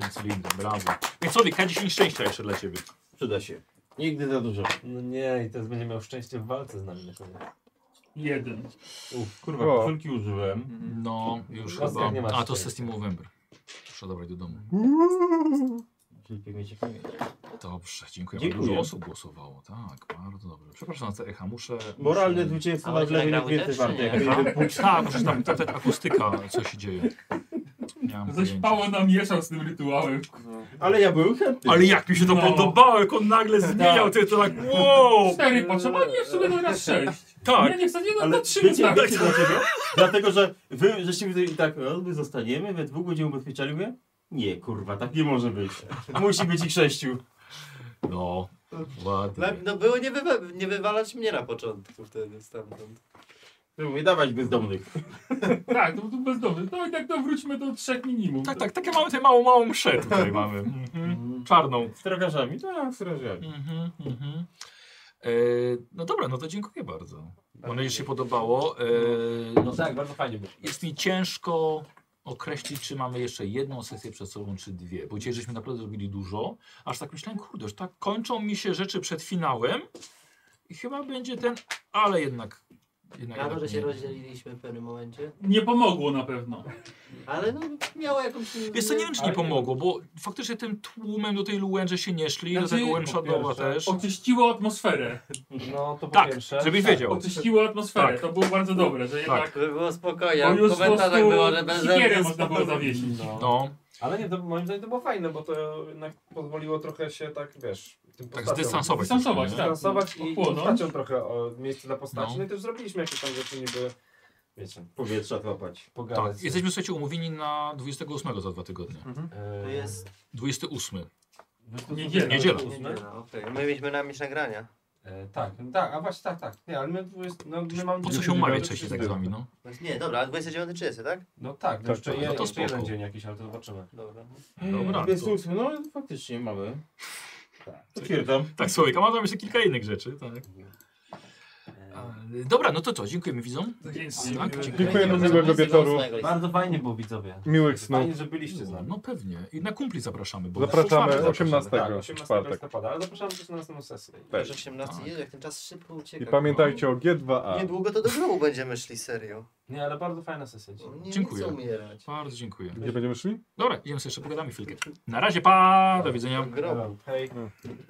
Speaker 13: Więc lindo, brawo. Więc Słowik, K10 szczęścia jeszcze dla ciebie.
Speaker 3: Przyda się. Nigdy za dużo.
Speaker 2: No nie, i teraz będzie miał szczęście w walce z nami na koniec.
Speaker 6: Jeden.
Speaker 2: Uf,
Speaker 3: kurwa,
Speaker 2: O.
Speaker 3: koszulki użyłem.
Speaker 13: No, już
Speaker 2: Kostek
Speaker 13: chyba.
Speaker 2: nie ma
Speaker 13: A to
Speaker 2: szczęścia.
Speaker 13: Sestim November. Muszę dobrać do domu.
Speaker 3: Czyli pięknie pięknie.
Speaker 13: Dobrze, dziękuję.
Speaker 3: Dziękuję.
Speaker 13: Dużo osób głosowało. Tak, bardzo dobrze. Przepraszam za te echa, muszę...
Speaker 3: Moralne
Speaker 13: muszę...
Speaker 3: zwycięstwo Ale nad to Lewym nagrały jest więcej też, czy warte, nie? jak
Speaker 13: Tak,
Speaker 3: będzie-
Speaker 13: Tak, muszę tam pytać akustyka, co się dzieje. Nie mam
Speaker 6: Coś
Speaker 13: pojęcia.
Speaker 6: Pało namieszał z tym rytuałem.
Speaker 3: Ale ja byłem chętny.
Speaker 13: Ale jak mi się to
Speaker 6: No.
Speaker 13: podobało, jak on nagle zmieniał, to jest to tak wow!
Speaker 6: Cztery potrzeba, a nie w sumie teraz sześć.
Speaker 13: Tak.
Speaker 6: Nie, nie, w zasadzie no,
Speaker 3: Ale
Speaker 6: to trzy
Speaker 3: wiecie,
Speaker 6: wystarczy.
Speaker 3: wiecie dlaczego? Dlatego, że wy żeście mi tutaj i tak, no, my zostaniemy, we dwóch będziemy ubezpieczali mnie? Nie, kurwa, tak nie może być. Musi być ich sześciu.
Speaker 13: No, ładnie.
Speaker 5: No, no było nie, wywa nie wywalać mnie na początku wtedy stamtąd.
Speaker 3: No Mówię, dawać bezdomnych.
Speaker 6: Tak, to był bezdomny. No i tak to wróćmy do trzech minimum.
Speaker 13: Tak, tak, takie mamy tutaj małą, małą mszę tutaj mamy. Mhm. Czarną.
Speaker 3: Strażarzami, tak, strażarzami.
Speaker 13: Mhm, mhm. E, no dobra, no to dziękuję bardzo. Mam nadzieję, że się podobało. E,
Speaker 2: No tak, bardzo fajnie było.
Speaker 13: Jest mi ciężko określić, czy mamy jeszcze jedną sesję przed sobą, czy dwie. Bo dzisiaj żeśmy naprawdę zrobili dużo. Aż tak myślałem, kurde, że tak kończą mi się rzeczy przed finałem. I chyba będzie ten, ale jednak... jednak,
Speaker 5: Brawo, że
Speaker 13: jednak
Speaker 5: się
Speaker 13: nie.
Speaker 5: rozdzieliliśmy w pewnym momencie.
Speaker 6: Nie pomogło na pewno.
Speaker 5: Ale no, miało jakąś...
Speaker 13: Wiesz co, nie wiem czy nie pomogło, bo faktycznie tym tłumem do tej Lułęży się nie szli, do tego One-Shotowa też.
Speaker 6: Oczyściło atmosferę.
Speaker 2: No to po
Speaker 13: Tak,
Speaker 2: pierwsze.
Speaker 13: żebyś
Speaker 2: Tak.
Speaker 13: wiedział.
Speaker 6: Oczyściło atmosferę.
Speaker 13: Tak.
Speaker 6: To było bardzo dobre, że jednak.
Speaker 5: Tak, by było spokojnie.
Speaker 6: Bo
Speaker 5: a W
Speaker 6: już po
Speaker 5: komentarzach
Speaker 6: prostu
Speaker 5: było, że bez
Speaker 6: sikierę
Speaker 5: bez-
Speaker 6: można było zawiesić.
Speaker 2: No.
Speaker 13: No.
Speaker 2: Ale nie, to, moim zdaniem to było fajne, bo to jednak pozwoliło trochę się tak, wiesz, tym postaciom-
Speaker 13: zdystansować Zdystansować, troszkę, nie? tak.
Speaker 2: Zdystansować i
Speaker 13: Ochłonąć.
Speaker 2: postaciom trochę o miejsce dla postaci.
Speaker 13: No.
Speaker 2: No. i też zrobiliśmy jakieś tam rzeczy niby, wiecie,
Speaker 3: Powietrza złapać.
Speaker 2: pogadać.
Speaker 13: Tak, jesteśmy słuchajcie umówieni na 28 za dwa tygodnie.
Speaker 2: E,
Speaker 5: To jest...
Speaker 13: 28.
Speaker 6: Niedziela.
Speaker 13: Niedziela.
Speaker 5: Niedziela, okej. My mieliśmy na myśl nagrania.
Speaker 2: E, tak, tak, a właśnie tak, tak. Nie, ale my, dwudziest- no, my mamy...
Speaker 13: Po co się
Speaker 2: 29
Speaker 13: umawiać wcześniej tak z
Speaker 2: czerwca.
Speaker 13: wami, no?
Speaker 5: Nie, dobra, ale 29.30, tak?
Speaker 2: No tak, no
Speaker 13: Tak,
Speaker 2: jeszcze,
Speaker 13: tak.
Speaker 2: je,
Speaker 13: No to
Speaker 2: jeszcze jeden
Speaker 13: spoko.
Speaker 2: dzień jakiś, ale to zobaczymy.
Speaker 5: Dobra.
Speaker 13: Dobra.
Speaker 3: Jest
Speaker 13: To,
Speaker 3: ósmy, no faktycznie mamy. Potwierdzam.
Speaker 13: tak, Słowik, a mam tam jeszcze kilka innych rzeczy, tak. E, Dobra, no to co, dziękujemy widzom. Tak,
Speaker 4: Dziękujemy, miłego wieczoru.
Speaker 37: Bardzo fajnie było widzowie.
Speaker 4: Miłych snów.
Speaker 2: Fajnie, że byliście z nami.
Speaker 13: No pewnie. I na kumpli zapraszamy. Bo
Speaker 4: Zapraszamy
Speaker 2: Tak,
Speaker 4: 18
Speaker 2: 18
Speaker 4: czwartek.
Speaker 2: listopada, ale zapraszamy też na następną sesję.
Speaker 5: Już 18 jest, jak ten czas szybko ucieka.
Speaker 4: I pamiętajcie o
Speaker 5: No.
Speaker 4: G2A.
Speaker 5: Niedługo to do grobu będziemy szli, serio.
Speaker 2: Nie, ale bardzo fajna sesja. dzisiaj.
Speaker 5: Nie
Speaker 13: Dziękuję.
Speaker 5: chcę umierać.
Speaker 13: Bardzo dziękuję.
Speaker 4: Gdzie będziemy szli?
Speaker 13: Dobra, idziemy sobie jeszcze pogadamy chwilkę. Na razie, pa, do widzenia.
Speaker 5: Grobu.
Speaker 2: Hej.